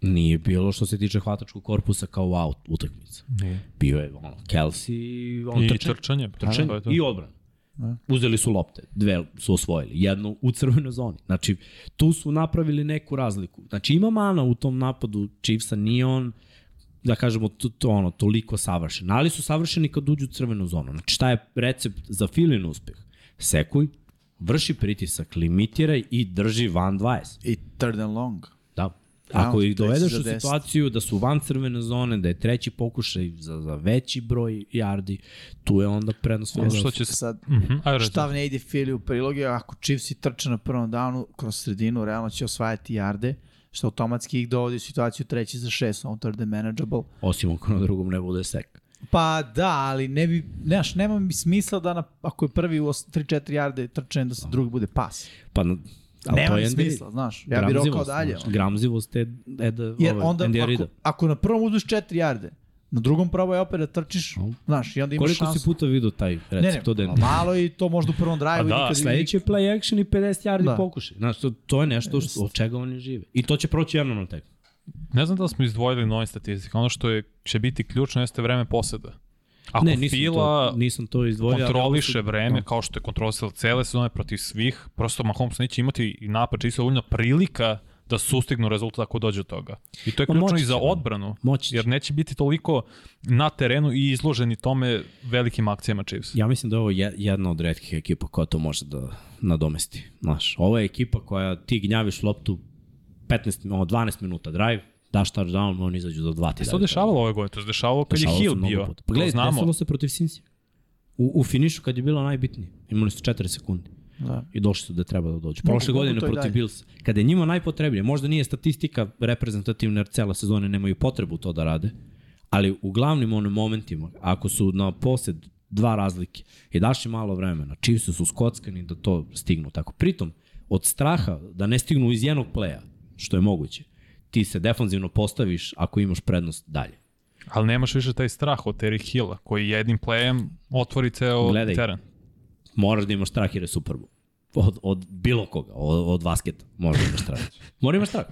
[SPEAKER 1] nije bilo što se tiče hvatačkog korpusa kao wow utakmica.
[SPEAKER 2] Nije.
[SPEAKER 1] Bio je ono, Kelsey, on da,
[SPEAKER 2] I
[SPEAKER 1] trče,
[SPEAKER 2] trčanje.
[SPEAKER 1] trče
[SPEAKER 2] to je to.
[SPEAKER 1] i odbran.
[SPEAKER 3] Da.
[SPEAKER 1] Uzeli su lopte, dve su osvojili, jednu u crvenoj zoni. Znači, tu su napravili neku razliku. Znači, ima mana u tom napadu Chiefsa, nije on, da kažemo, to, to ono, toliko savršen. Ali su savršeni kad uđu u crvenu zonu. Znači, šta je recept za filin uspeh? Sekuj, vrši pritisak, limitiraj i drži van 20.
[SPEAKER 3] I third and long.
[SPEAKER 1] Da. Ako
[SPEAKER 3] Da,
[SPEAKER 1] ih
[SPEAKER 3] treći
[SPEAKER 1] dovedeš
[SPEAKER 3] za
[SPEAKER 1] u
[SPEAKER 3] deset.
[SPEAKER 1] situaciju da su van crvene zone, da je treći pokušaj za, za veći broj jardi, tu je onda prednost.
[SPEAKER 2] Ono što će se...
[SPEAKER 3] Sad,
[SPEAKER 2] Mhm, ajde, reci.
[SPEAKER 3] Šta ne ide Fili u prilog je ako Chiefs trče na prvom downu kroz sredinu, realno će osvajati jarde, što automatski ih dovodi u situaciju treći za šest, on third and manageable.
[SPEAKER 1] Osim ako na drugom ne bude sek.
[SPEAKER 3] Pa da, ali ne bi, znaš, nema mi smisla da na, ako je prvi u os- 3-4 jarde trčanje da se drugi bude pas.
[SPEAKER 1] Pa, na- ali
[SPEAKER 3] Nema
[SPEAKER 1] to
[SPEAKER 3] mi
[SPEAKER 1] je NBA.
[SPEAKER 3] smisla, znaš. Ja bih rokao
[SPEAKER 1] Gramzivost,
[SPEAKER 3] dalje.
[SPEAKER 1] znaš, Gramzivost je Eda,
[SPEAKER 3] Jer
[SPEAKER 1] ovaj,
[SPEAKER 3] onda,
[SPEAKER 1] Andy
[SPEAKER 3] ako,
[SPEAKER 1] Arida.
[SPEAKER 3] ako na prvom uzmeš 4 jarde, na drugom probaj opet da trčiš,
[SPEAKER 1] No.
[SPEAKER 3] znaš, i onda imaš
[SPEAKER 1] Koliko
[SPEAKER 3] šansu.
[SPEAKER 1] si puta vidio taj
[SPEAKER 3] Ne, ne,
[SPEAKER 1] recept od
[SPEAKER 3] pa
[SPEAKER 1] Eda?
[SPEAKER 3] malo i to možda u prvom drive-u.
[SPEAKER 2] A da,
[SPEAKER 3] nikad-
[SPEAKER 1] Pa Sledeći je play action i 50 yardi
[SPEAKER 3] Da.
[SPEAKER 1] da. pokušaj. Znaš, to, to je nešto što, od čega oni žive. I to će proći jednom na tebi.
[SPEAKER 2] Ne znam da li smo izdvojili nove statistike. Ono što je, će biti ključno jeste vreme poseda. Ako
[SPEAKER 1] ne,
[SPEAKER 2] ne,
[SPEAKER 1] nisam,
[SPEAKER 2] Fila
[SPEAKER 1] to, nisam to izdvojio. ali da. ovo su-
[SPEAKER 2] kontroliše vreme kao što je kontrolisao cele sezone protiv svih, prosto Mahomes neće imati i napad čisto dovoljno prilika da sustignu rezultat ako dođe do toga. I to je
[SPEAKER 1] Ma
[SPEAKER 2] ključno
[SPEAKER 1] moći
[SPEAKER 2] i za
[SPEAKER 1] će,
[SPEAKER 2] odbranu,
[SPEAKER 1] Moći će.
[SPEAKER 2] jer neće biti toliko na terenu i izloženi tome velikim akcijama Chiefs.
[SPEAKER 1] Ja mislim da je ovo je- jedna od redkih ekipa koja to može da nadomesti. Znaš, ovo je ekipa koja ti gnjaviš loptu 15, ono, 12 minuta drive, daš touchdown, oni izađu do 2 ti
[SPEAKER 2] Se E, to dešavalo ove godine, to se dešavalo kad je
[SPEAKER 1] da, Dešavalo se
[SPEAKER 2] Hill
[SPEAKER 1] mnogo
[SPEAKER 2] bio.
[SPEAKER 1] puta.
[SPEAKER 2] Pa
[SPEAKER 1] Pa
[SPEAKER 2] gledaj,
[SPEAKER 1] gledaj,
[SPEAKER 2] to znamo.
[SPEAKER 1] desilo se protiv Sinsi. U, u finišu kad je bilo najbitnije. Imali su 4 sekunde
[SPEAKER 3] Da.
[SPEAKER 1] i došli su da treba da dođu. Prošle
[SPEAKER 3] mogu
[SPEAKER 1] godine
[SPEAKER 3] to i
[SPEAKER 1] protiv
[SPEAKER 3] dalje.
[SPEAKER 1] Bills, kada je njima najpotrebnije, možda nije statistika reprezentativna jer cela sezona nemaju potrebu to da rade, ali u glavnim onim momentima, ako su na posed dva razlike i daš im malo vremena, Chiefs su skockani da to stignu tako. Pritom, od straha da ne stignu iz jednog pleja, što je moguće, ti se defanzivno postaviš ako imaš prednost dalje.
[SPEAKER 2] Ali nemaš više taj strah od Terry Hilla, koji jednim playem otvori ceo
[SPEAKER 1] Gledaj.
[SPEAKER 2] teren.
[SPEAKER 1] moraš da imaš strah jer je Super Bowl. Od, od bilo koga, od, od vasketa, moraš da imaš strah. Mora imaš strah.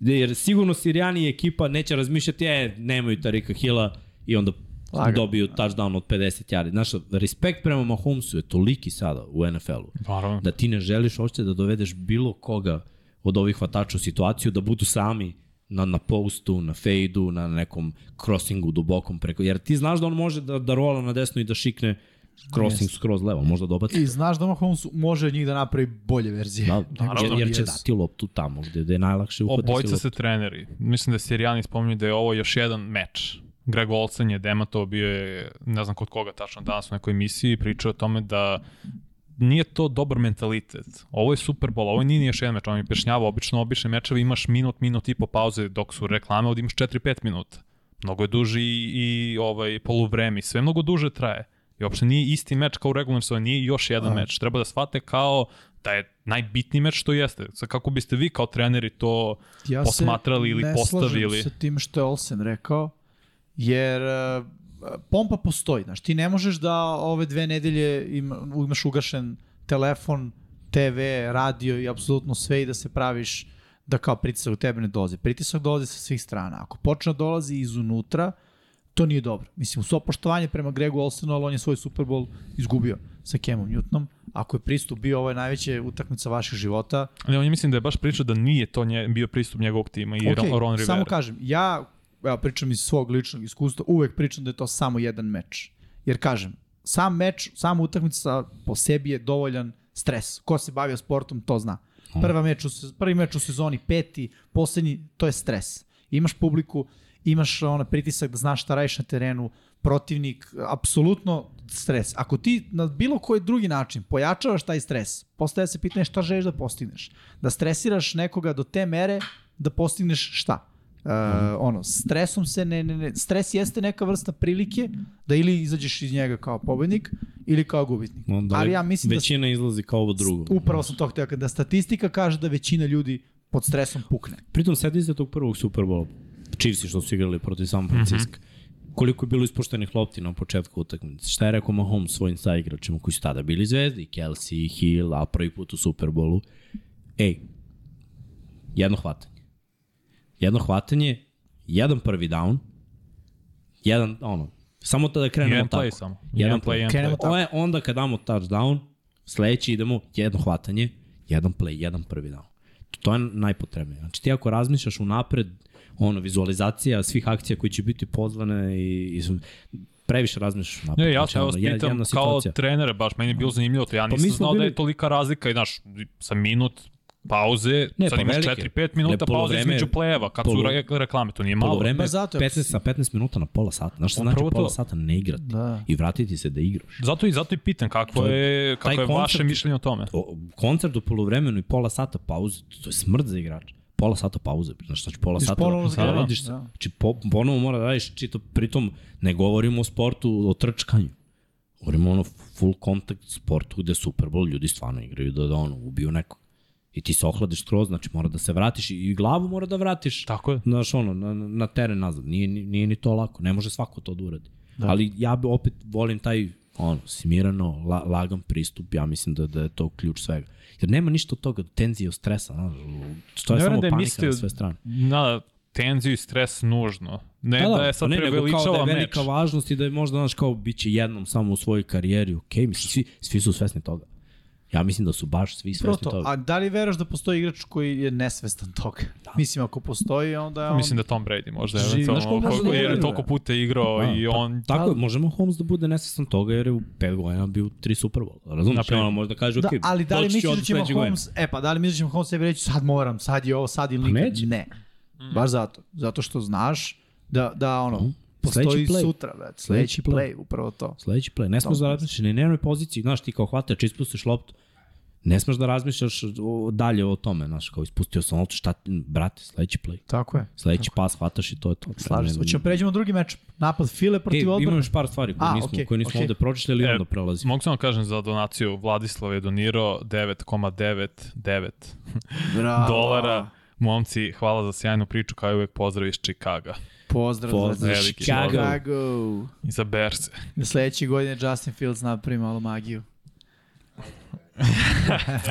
[SPEAKER 1] Jer sigurno Sirijani i ekipa neće razmišljati, e, nemaju Tarika Hila i onda
[SPEAKER 3] Lagan.
[SPEAKER 1] Laga. dobiju touchdown od 50 yardi. Znaš, respekt prema Mahomesu je toliki sada u NFL-u
[SPEAKER 2] Naravno.
[SPEAKER 1] da ti ne želiš uopšte da dovedeš bilo koga od ovih hvatača u situaciju da budu sami na, na postu, na fejdu, na nekom crossingu dubokom preko, jer ti znaš da on može da, da rola na desno i da šikne crossing skroz levo, možda dobaci.
[SPEAKER 3] I znaš da Mahomes može od njih da napravi bolje verzije.
[SPEAKER 1] Da, jer,
[SPEAKER 2] naravno,
[SPEAKER 1] jer će
[SPEAKER 3] jesu.
[SPEAKER 1] dati loptu tamo gde, gde je najlakše uhvatiti
[SPEAKER 2] Obojica
[SPEAKER 1] loptu.
[SPEAKER 2] se treneri. Mislim da Sirijani spominju da je ovo još jedan meč. Greg Olsen je demantovao, bio je, ne znam kod koga tačno danas u nekoj emisiji, i pričao je o tome da nije to dobar mentalitet. Ovo je Super Bowl, ovo nije ni još jedan meč, on mi objašnjava, obično obične mečeve imaš minut, minut i po pauze dok su reklame, ovdje imaš 4-5 minuta. Mnogo je duži i, i ovaj, poluvreme i sve mnogo duže traje. I uopšte nije isti meč kao u regularnom sezoni, nije još jedan meč. Treba da shvate kao da je najbitniji meč što jeste. Sad kako biste vi kao treneri to
[SPEAKER 3] ja se
[SPEAKER 2] posmatrali ili
[SPEAKER 3] ne
[SPEAKER 2] postavili.
[SPEAKER 3] slažem sa tim što je Olsen rekao, jer e, pompa postoji, znaš, ti ne možeš da ove dve nedelje im, imaš ugašen telefon, TV, radio i apsolutno sve i da se praviš da kao pritisak u tebe ne dolazi. Pritisak dolazi sa svih strana. Ako počne da dolazi izunutra, to nije dobro. Mislim, u svo poštovanje prema Gregu Olsenu, ali on je svoj Super Bowl izgubio sa Kemom Newtonom. Ako je pristup bio ovo je najveća utakmica vaših života,
[SPEAKER 2] Ali on je mislim da je baš pričao da nije to nje, bio pristup njegovog tima i okay, Ron Rivera.
[SPEAKER 3] samo kažem, ja evo, pričam iz svog ličnog iskustva, uvek pričam da je to samo jedan meč. Jer kažem, sam meč, sama utakmica po sebi je dovoljan stres. Ko se bavio sportom, to zna. Prva meč u, se- prvi meč u sezoni, peti, poslednji, to je stres. Imaš publiku, imaš ona pritisak da znaš šta radiš na terenu, protivnik, apsolutno stres. Ako ti na bilo koji drugi način pojačavaš taj stres, postaje se pitanje šta želiš da postigneš. Da stresiraš nekoga do te mere da postigneš šta? Uh, ono, stresom se ne, ne, ne, stres jeste neka vrsta prilike da ili izađeš iz njega kao pobednik ili kao gubitnik.
[SPEAKER 1] Onda
[SPEAKER 3] Ali ja mislim da
[SPEAKER 1] većina izlazi kao ovo drugo.
[SPEAKER 3] Upravo sam to htio, da statistika kaže da većina ljudi pod stresom pukne.
[SPEAKER 1] Pritom sedi se tog prvog Superbola, Chiefs što su igrali protiv
[SPEAKER 2] Mhm.
[SPEAKER 1] San Francisco. Mm -hmm. Koliko je bilo ispuštenih lopti na početku utakmice. Šta je rekao Mahomes svojim saigračima koji su tada bili zvezdi, Kelsey, Hill, a prvi put u Superbolu. Ej, jedno hvatanje. Jedno hvatanje, jedan prvi down, jedan, ono, samo tada krenemo
[SPEAKER 2] Jedan
[SPEAKER 1] tako.
[SPEAKER 2] play samo.
[SPEAKER 1] Jedan
[SPEAKER 2] Jedan
[SPEAKER 1] play,
[SPEAKER 2] play, jedan
[SPEAKER 3] Krenemo
[SPEAKER 2] play.
[SPEAKER 3] tako.
[SPEAKER 1] O, e, onda kad damo touchdown, sledeći idemo jedno hvatanje, jedan play, jedan prvi down. To je najpotrebnije. Znači ti ako razmišljaš unapred, ono, vizualizacija svih akcija koje će biti pozvane i, i previše razmišljaš unapred.
[SPEAKER 2] Ne, ja
[SPEAKER 1] Znači,
[SPEAKER 2] te
[SPEAKER 1] ono,
[SPEAKER 2] vas
[SPEAKER 1] jed-
[SPEAKER 2] pitam
[SPEAKER 1] jedna
[SPEAKER 2] kao
[SPEAKER 1] situacija.
[SPEAKER 2] trenere, baš meni je bilo zanimljivo to. Ja
[SPEAKER 1] Pa mi
[SPEAKER 2] nisam
[SPEAKER 1] smo
[SPEAKER 2] znao da
[SPEAKER 1] bili-
[SPEAKER 2] je tolika razlika, i, znaš, sa minut pauze,
[SPEAKER 1] Ne,
[SPEAKER 2] ne, sad
[SPEAKER 1] pa
[SPEAKER 2] imaš
[SPEAKER 1] velike.
[SPEAKER 2] 4-5 minuta
[SPEAKER 1] Ne,
[SPEAKER 2] pauze
[SPEAKER 1] polovreme-
[SPEAKER 2] između play-eva, kad su
[SPEAKER 1] polu-
[SPEAKER 2] re- reklame, to nije malo.
[SPEAKER 1] Polovreme
[SPEAKER 3] Pa
[SPEAKER 1] je
[SPEAKER 3] zato,
[SPEAKER 1] 15, sa 15 minuta na pola sata. Znaš što znači
[SPEAKER 2] Upravo to.
[SPEAKER 1] pola sata ne igrati
[SPEAKER 3] Da.
[SPEAKER 1] i vratiti se da igraš.
[SPEAKER 2] Zato i zato i pitam kakvo
[SPEAKER 1] To
[SPEAKER 2] je, kako je
[SPEAKER 1] taj
[SPEAKER 2] vaše
[SPEAKER 1] koncept-
[SPEAKER 2] mišljenje o tome.
[SPEAKER 1] O, koncert u polovremenu i pola sata pauze, to je smrt za igrača. Pola sata pauze, znaš znači pola
[SPEAKER 3] Ideš
[SPEAKER 1] sata
[SPEAKER 3] ponovo
[SPEAKER 1] da,
[SPEAKER 3] za-
[SPEAKER 1] da, radiš se.
[SPEAKER 3] da.
[SPEAKER 1] Znači po, ponovo mora da radiš čito, pritom ne govorimo o sportu, o trčkanju. Govorimo ono full contact sportu gde Super Bowl ljudi stvarno igraju da, da ono ubiju nekog. I ti se ohladiš skroz, znači mora da se vratiš i, i glavu mora da vratiš.
[SPEAKER 2] Tako je.
[SPEAKER 1] Znaš, ono, na, na teren nazad. Nije, ni- nije ni to lako. Ne može svako to da uradi. Da. Ali ja bi opet volim taj ono, simirano, la, lagan pristup. Ja mislim da, da je to ključ svega. Jer nema ništa od toga, tenzije od stresa. Znaš, to je
[SPEAKER 2] Ne
[SPEAKER 1] samo
[SPEAKER 2] verujem da
[SPEAKER 1] da
[SPEAKER 2] je
[SPEAKER 1] panika
[SPEAKER 2] mislio-
[SPEAKER 1] na sve strane.
[SPEAKER 2] Na tenziju i stres nužno. Ne da, da, je sad
[SPEAKER 1] pa
[SPEAKER 2] ne,
[SPEAKER 1] nego kao
[SPEAKER 2] preveličava
[SPEAKER 1] da je
[SPEAKER 2] meč.
[SPEAKER 1] velika važnost i da je možda, znaš, kao bit će jednom samo u svojoj karijeri, okej, okay, mislim, svi, svi su svesni toga. Ja mislim da su baš svi svesni
[SPEAKER 3] Proto,
[SPEAKER 1] toga.
[SPEAKER 3] a da li veraš da postoji igrač koji je nesvestan toga? Da. Mislim, ako postoji, onda je on...
[SPEAKER 2] Mislim da Tom Brady možda
[SPEAKER 3] Živi-
[SPEAKER 2] eventualno,
[SPEAKER 3] Znaš koliko
[SPEAKER 2] koliko-
[SPEAKER 3] možda
[SPEAKER 2] jer
[SPEAKER 3] igraju?
[SPEAKER 2] je toliko puta igrao
[SPEAKER 1] Da,
[SPEAKER 2] i
[SPEAKER 1] pa-
[SPEAKER 2] on...
[SPEAKER 1] Tako je, možemo Holmes da bude nesvestan toga jer je u pet godina bio tri Super Bowl. Razumiješ,
[SPEAKER 2] Naprimjer.
[SPEAKER 1] ono možda kaže,
[SPEAKER 3] da,
[SPEAKER 1] okej,
[SPEAKER 3] ali da li
[SPEAKER 1] doći
[SPEAKER 3] misliš da
[SPEAKER 1] odmah
[SPEAKER 3] će
[SPEAKER 1] sledeće godine.
[SPEAKER 3] Mahomes, e pa da li misliš da će Mahomes sebi reći sad moram, sad je ovo, sad ili nikad?
[SPEAKER 1] Pa neće.
[SPEAKER 3] Ne. Baš zato. Zato što znaš da, da ono, postoji
[SPEAKER 1] Mhm. Sledeći play.
[SPEAKER 3] sutra, već.
[SPEAKER 1] Sledeći
[SPEAKER 3] Sledeći play, upravo to.
[SPEAKER 1] Sledeći play, ne smeš da razmišljaš ni na jednoj poziciji, znaš ti kao hvatač, ispustiš loptu, ne smeš da razmišljaš o- dalje o tome, znaš, kao ispustio sam loptu, šta, ti- brate, sledeći play,
[SPEAKER 3] Tako je.
[SPEAKER 1] sledeći pas hvataš i to je to.
[SPEAKER 3] Slažem se. Hoćemo pređemo na drugi meč. Napad File protiv
[SPEAKER 1] Protiv
[SPEAKER 3] odbrane.
[SPEAKER 1] Imam još E, par stvari koje
[SPEAKER 3] A,
[SPEAKER 1] nismo,
[SPEAKER 3] okej,
[SPEAKER 1] koje nismo
[SPEAKER 3] okej.
[SPEAKER 1] ovde pročitali, ali
[SPEAKER 2] E,
[SPEAKER 1] onda prelazimo.
[SPEAKER 2] Mogu samo kažem za donaciju, Vladislav je donirao 9,99
[SPEAKER 3] Bravo.
[SPEAKER 2] dolara. Momci, hvala za sjajnu priču, kao i uvek pozdrav iz Čikaga.
[SPEAKER 3] Pozdrav,
[SPEAKER 1] Pozdrav,
[SPEAKER 3] za
[SPEAKER 2] Veliki
[SPEAKER 1] Chicago.
[SPEAKER 3] Chicago.
[SPEAKER 2] I za Berse.
[SPEAKER 3] Da sledeće godine Justin Fields napravi malo magiju.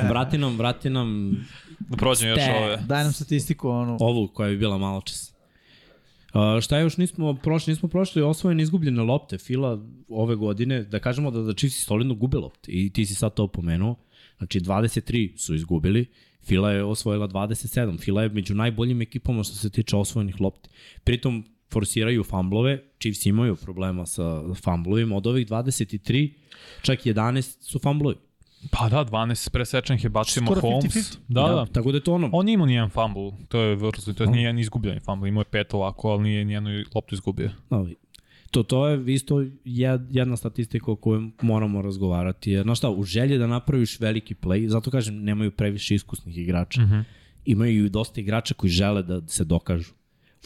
[SPEAKER 1] Vrati nam, vrati nam
[SPEAKER 2] Da prođem još
[SPEAKER 1] Ste.
[SPEAKER 2] ove.
[SPEAKER 3] Daj nam statistiku, ono,
[SPEAKER 1] ovu koja je bila malo čas. Uh, šta još nismo prošli? Nismo prošli osvojene izgubljene lopte Fila ove godine. Da kažemo da, da Chiefs solidno gube lopte i ti si sad to pomenuo. Znači 23 su izgubili, Fila je osvojila 27. Fila je među najboljim ekipama što se tiče osvojenih lopti. Pritom forsiraju famblove, Chiefs imaju problema sa famblovima. Od ovih 23, čak 11 su famblovi.
[SPEAKER 2] Pa da, 12 presečenih je bacio
[SPEAKER 3] Skoro
[SPEAKER 2] Mahomes.
[SPEAKER 3] 50-50.
[SPEAKER 2] Da, da.
[SPEAKER 1] Tako da je to ono,
[SPEAKER 2] On nije imao nijedan fumble, to je vrlo, to je nijedan izgubljeni fumble, imao je pet ovako, ali nije nijednu loptu izgubio.
[SPEAKER 1] Ali, to, to je isto jed- jedna statistika o kojoj moramo razgovarati. Jer, znaš šta, u želji da napraviš veliki play, zato kažem, nemaju previše iskusnih igrača. Mm -hmm. Imaju i dosta igrača koji žele da se dokažu.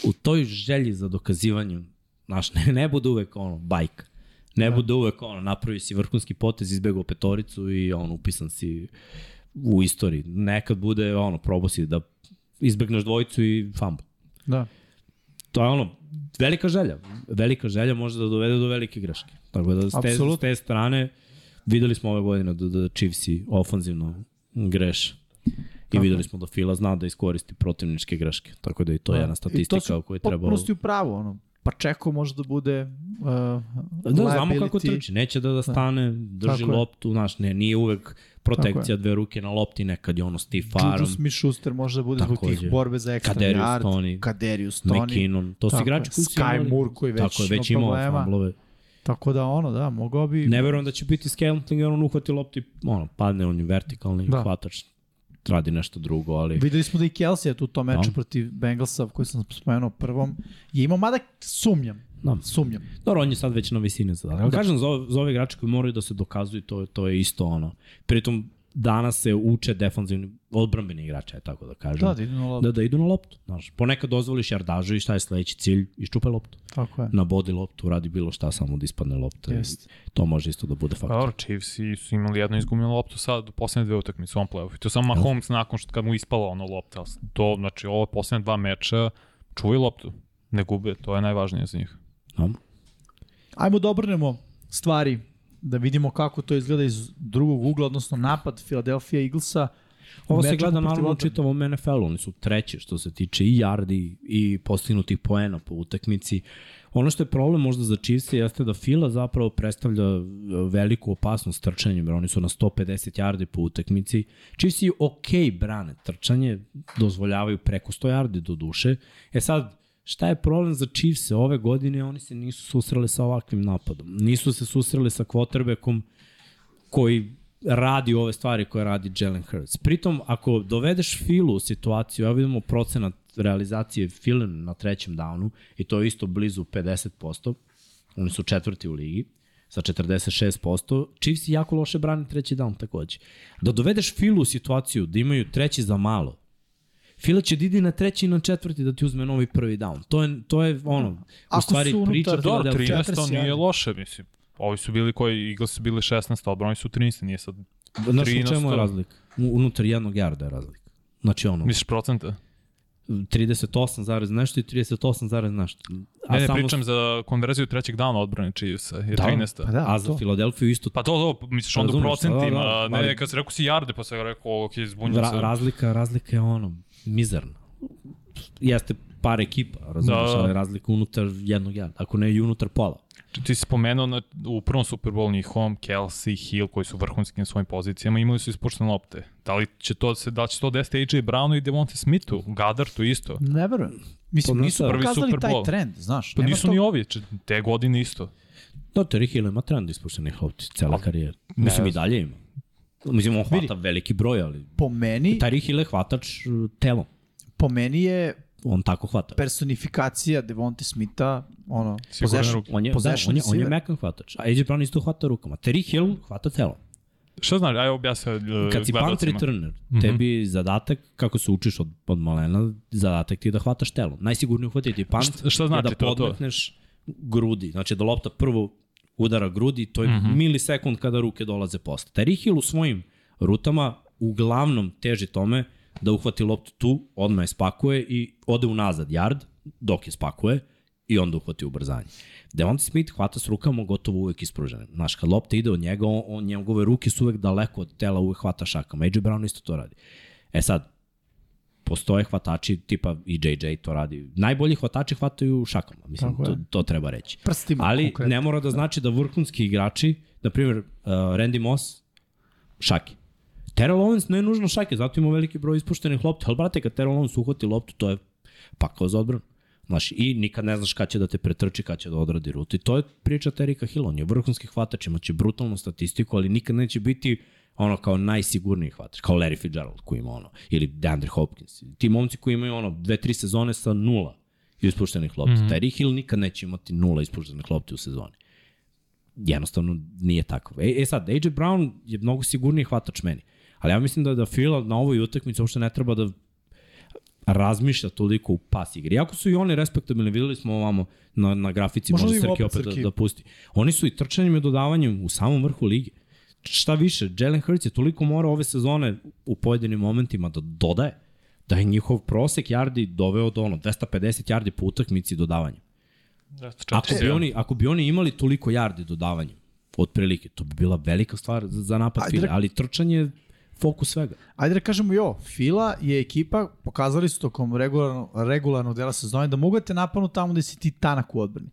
[SPEAKER 1] U toj želji za dokazivanjem, znaš, ne, ne bude uvek ono, bajka. Ne da. bude uvek ono, napravi si vrhunski potez, izbegao petoricu i ono, upisan si u istoriji. Nekad bude ono, probao si da izbegneš dvojicu i fumble
[SPEAKER 3] da.
[SPEAKER 1] to je ono, velika želja. Velika želja može da dovede do velike greške. Tako da s te,
[SPEAKER 3] Apsolutno.
[SPEAKER 1] s te strane videli smo ove godine da, da Chiefsi ofanzivno greše. I videli smo da Fila zna da iskoristi protivničke greške. Tako da i to je
[SPEAKER 3] Da.
[SPEAKER 1] jedna
[SPEAKER 3] I to
[SPEAKER 1] statistika
[SPEAKER 3] su
[SPEAKER 1] o kojoj treba...
[SPEAKER 3] Potpunosti u pravu, ono. pa Čeko može da bude uh,
[SPEAKER 1] Da, znamo kako trči, neće da, da stane, drži
[SPEAKER 3] Tako je.
[SPEAKER 1] loptu, znaš, ne, nije uvek protekcija dve ruke na lopti, nekad je ono Steve Farm,
[SPEAKER 3] Juju Smith-Schuster može da bude zbog
[SPEAKER 1] Takođe.
[SPEAKER 3] tih borbe za ekstra
[SPEAKER 1] Pa, Kadarius
[SPEAKER 3] yard.
[SPEAKER 1] Toney,
[SPEAKER 3] Kaderius Toni.
[SPEAKER 1] McKinnon, to su
[SPEAKER 3] Tako je.
[SPEAKER 1] igrači koji su
[SPEAKER 3] Sky
[SPEAKER 1] imali-
[SPEAKER 3] Moore koji već
[SPEAKER 1] Tako je, već
[SPEAKER 3] ima
[SPEAKER 1] imao
[SPEAKER 3] problema.
[SPEAKER 1] famblove.
[SPEAKER 3] Tako da ono, da, mogao bi...
[SPEAKER 1] Ne verujem da će biti Scantling, jer on uhvati lopti, ono, padne on je vertikalni,
[SPEAKER 3] Da.
[SPEAKER 1] da. hvatač, radi nešto drugo, ali...
[SPEAKER 3] Videli smo da i Kelsey je tu u tom meču
[SPEAKER 1] Da.
[SPEAKER 3] protiv Bengalsa koji sam spomenuo u prvom. Je imao, mada sumnjam,
[SPEAKER 1] Da.
[SPEAKER 3] sumnjam.
[SPEAKER 1] Dobro, on je sad već na visini zadatka. Da. Kažem, za ove, za ove igrače koji moraju da se dokazuju, to, je- to je isto ono. Pritom, danas se uče defanzivni, odbrambeni igrača, je tako da kažem.
[SPEAKER 3] Da, da idu na loptu.
[SPEAKER 1] da, da idu na loptu. Znaš, ponekad dozvoliš jardažu i šta je sledeći cilj? Iščupaj loptu.
[SPEAKER 3] Tako je.
[SPEAKER 1] Na bodi loptu, radi bilo šta, samo da ispadne lopta.
[SPEAKER 3] Jeste.
[SPEAKER 1] To može isto da bude
[SPEAKER 2] Pa
[SPEAKER 1] faktor.
[SPEAKER 2] dobro, Chiefs i su imali jednu izgubljenu loptu sad u poslednje dve utakmice u ovom play-offu. I To je samo Mahomes nakon što kad mu ispala ono lopta. To, znači, ovo poslednje dva meča čuvaj loptu. Ne gube, to je najvažnije za njih.
[SPEAKER 1] Da.
[SPEAKER 3] Ajmo da obrnemo stvari, da vidimo kako to izgleda iz drugog ugla, odnosno napad Philadelphia Eaglesa.
[SPEAKER 1] Ovo se
[SPEAKER 3] Mečem
[SPEAKER 1] gleda
[SPEAKER 3] protiv
[SPEAKER 1] naravno u
[SPEAKER 3] odbrane.
[SPEAKER 1] čitavom NFL-u, oni su treći što se tiče i yardi i postignutih poena po utakmici. Ono što je problem možda za Chiefs jeste da Fila zapravo predstavlja e, veliku opasnost trčanjem, jer oni su na 150 yardi po utakmici. Chiefs i ok brane trčanje, dozvoljavaju preko 100 yardi do duše. E sad, šta je problem za Chiefs ove godine? Oni se nisu susreli sa ovakvim napadom. Nisu se susreli sa quarterbackom koji radi ove stvari koje radi Jalen Hurts. Pritom, ako dovedeš Filu u situaciju, evo vidimo procenat realizacije Filen na trećem downu, i to je isto blizu 50%, oni su četvrti u ligi, sa 46%, Chiefs jako loše brani treći down takođe. Da dovedeš Filu u situaciju da imaju treći za malo, Fila će didi na treći i na četvrti da ti uzme novi prvi down. To je, to je ono,
[SPEAKER 3] Ako
[SPEAKER 1] u stvari
[SPEAKER 3] su unutar-
[SPEAKER 1] priča
[SPEAKER 2] Dobro,
[SPEAKER 1] Philadelphia-
[SPEAKER 2] 13 to
[SPEAKER 3] 41.
[SPEAKER 2] nije loše, mislim. Ovi su bili koji, Eagles su bili 16, odbrani su 13, nije sad.
[SPEAKER 1] Znaš, u
[SPEAKER 2] 13
[SPEAKER 1] čemu je razlika? U- Unutar jednog jarda je razlika. Znači ono,
[SPEAKER 2] Misliš procenta?
[SPEAKER 1] 38 zarez nešto i 38 zarez nešto. A
[SPEAKER 2] Ne, ne,
[SPEAKER 1] samo-
[SPEAKER 2] pričam za konverziju trećeg dana odbrane Chiefsa, je
[SPEAKER 1] Da.
[SPEAKER 2] 13.
[SPEAKER 3] Pa da,
[SPEAKER 1] a za
[SPEAKER 3] to.
[SPEAKER 1] Filadelfiju isto
[SPEAKER 2] Pa to, to, misliš
[SPEAKER 1] Pa
[SPEAKER 2] onda u
[SPEAKER 1] razumeš, da, da,
[SPEAKER 2] procentima,
[SPEAKER 1] da,
[SPEAKER 2] ne,
[SPEAKER 1] ali-
[SPEAKER 2] ne, kad si rekao si jarde, pa sam rekao, ok, zbunjam
[SPEAKER 1] ra,
[SPEAKER 2] se.
[SPEAKER 1] razlika, razlika je ono mizerna. Jeste par ekipa, razumiješ,
[SPEAKER 2] Da.
[SPEAKER 1] da. ali razlika unutar jednog jarda, ako ne i unutar pola.
[SPEAKER 2] Znači, Ti si spomenuo na, u prvom Super Bowl njihovom Kelsey, Hill koji su vrhunski na svojim pozicijama, imali su ispuštene lopte. Da li će to, se, da li će to desiti AJ Brownu i Devonte Smithu, Gaddartu isto.
[SPEAKER 3] Ne verujem. Mislim,
[SPEAKER 1] Podnosio
[SPEAKER 3] nisu
[SPEAKER 1] je
[SPEAKER 2] prvi
[SPEAKER 3] pokazali
[SPEAKER 2] Super
[SPEAKER 3] taj
[SPEAKER 2] Bowl.
[SPEAKER 3] trend, znaš.
[SPEAKER 2] Pa
[SPEAKER 3] nema
[SPEAKER 2] nisu
[SPEAKER 3] to-
[SPEAKER 2] ni ovi, če- te godine isto.
[SPEAKER 1] Da, Terry Hill ima trend ispuštenih lopti, cela karijera. Mislim i dalje ima. Mislim, on hvata veliki broj, ali
[SPEAKER 3] Po meni,
[SPEAKER 1] Terry Hill je hvatač uh, telom.
[SPEAKER 3] po meni je
[SPEAKER 1] On tako hvata.
[SPEAKER 3] personifikacija Devonte Smitha, ono,
[SPEAKER 2] Sigurno
[SPEAKER 3] possession,
[SPEAKER 2] ruku.
[SPEAKER 1] On je, da,
[SPEAKER 3] possession
[SPEAKER 1] on je, on je
[SPEAKER 3] receiver.
[SPEAKER 1] mekan hvatač. A AJ Brown isto hvata rukama. Terry Hill hvata telom.
[SPEAKER 2] Šta znaš, ajde objasnio
[SPEAKER 1] Kad si punt
[SPEAKER 2] gledalcima.
[SPEAKER 1] returner, tebi je zadatak, kako se učiš od, od malena, zadatak ti je da hvataš telo. Najsigurnije uhvatiti punt
[SPEAKER 2] Šta- šta
[SPEAKER 1] je
[SPEAKER 2] znači
[SPEAKER 1] da
[SPEAKER 2] to, to?
[SPEAKER 1] podmetneš grudi. Znači da lopta prvo udara grudi, to je mm
[SPEAKER 2] Mhm.
[SPEAKER 1] -hmm. milisekund kada ruke dolaze posle. Terry Hill u svojim rutama uglavnom teži tome da uhvati loptu tu, odmah je spakuje i ode unazad yard dok je spakuje i onda uhvati ubrzanje. Devonta Smith hvata s rukama gotovo uvek ispruženim. Znaš, kad lopta ide od njega, on, on, njegove ruke su uvek daleko od tela, uvek hvata šakama. AJ Brown isto to radi. E sad, postoje hvatači tipa i JJ to radi. Najbolji hvatači hvataju šakama, mislim,
[SPEAKER 3] Tako je.
[SPEAKER 1] to, to treba reći.
[SPEAKER 3] prstima
[SPEAKER 1] Ali
[SPEAKER 3] konkretno.
[SPEAKER 1] ne mora da znači da vrhunski igrači, na primjer uh, Randy Moss, šaki. Terrell Owens ne nužno šake, zato ima veliki broj ispuštenih lopti, ali brate, kad Terrell Owens uhvati loptu, to je pakao za odbranu. Znaš, i nikad ne znaš kada će da te pretrči, kada će da odradi rutu. I to je priča Terika Hilla, on je vrhunski hvatač, imaće brutalnu statistiku, ali nikad neće biti ono kao najsigurniji hvatač, kao Larry Fitzgerald koji ima ono, ili DeAndre Hopkins. Ti momci koji imaju ono dve, tri sezone sa nula ispuštenih lopti. Mm -hmm. Terry Hill nikad neće imati nula ispuštenih lopti u sezoni jednostavno nije tako. E, e sad, AJ Brown je mnogo sigurniji hvatač meni. Ali ja mislim da da Fila na ovoj utakmici uopšte ne treba da razmišlja toliko u pas igri. Iako su i oni respektabilni, videli smo ovamo na, na grafici,
[SPEAKER 3] Možda
[SPEAKER 1] možda,
[SPEAKER 3] da im
[SPEAKER 1] možda Srki
[SPEAKER 3] opet
[SPEAKER 1] opet da,
[SPEAKER 3] Srki.
[SPEAKER 1] da pusti. Oni su i trčanjem i dodavanjem u samom vrhu ligi. Šta više, Jalen Hurts je toliko mora ove sezone u pojedinim momentima da dodaje, da je njihov prosek yardi doveo do ono 250 yardi po utakmici dodavanjem.
[SPEAKER 2] Da,
[SPEAKER 1] Ako
[SPEAKER 2] Znači,
[SPEAKER 1] bi, oni, ako bi oni imali toliko jardi dodavanjem, otprilike, to bi bila velika stvar za, za napad
[SPEAKER 3] Ajde,
[SPEAKER 1] Fila,
[SPEAKER 3] rek-
[SPEAKER 1] ali trčanje fokus svega.
[SPEAKER 3] Ajde da kažemo i ovo, Fila je ekipa, pokazali su tokom regularno, regularno dela sezone da mogu da te napanu tamo gde si ti tanak u odbrani.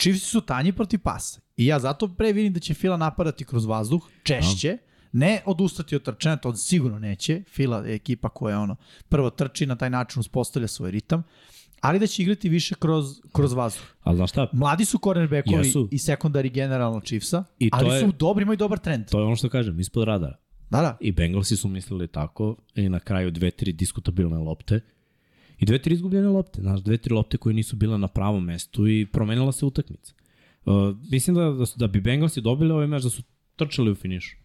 [SPEAKER 3] Chiefs su tanji protiv pasa i ja zato pre vidim da će Fila napadati kroz vazduh češće, ne odustati od trčanja, to on sigurno neće. Fila je ekipa koja ono, prvo trči, na taj način uspostavlja svoj ritam, ali da će igrati više kroz, kroz vazduh.
[SPEAKER 1] Ali znaš šta,
[SPEAKER 3] Mladi su cornerbackovi
[SPEAKER 1] Jesu.
[SPEAKER 3] i sekundari generalno Chiefsa,
[SPEAKER 1] I to
[SPEAKER 3] ali
[SPEAKER 1] je-
[SPEAKER 3] su dobri, imaju dobar trend.
[SPEAKER 1] to je ono što kažem, ispod radara.
[SPEAKER 3] Da, da.
[SPEAKER 1] I Bengalsi su mislili tako i na kraju dve, tri diskutabilne lopte i dve, tri izgubljene lopte. Znaš, dve, tri lopte koje nisu bile na pravom mestu i promenila se utakmica. Uh, mislim da, da, su, da bi Bengalsi dobili ovaj meč da su trčali u finišu.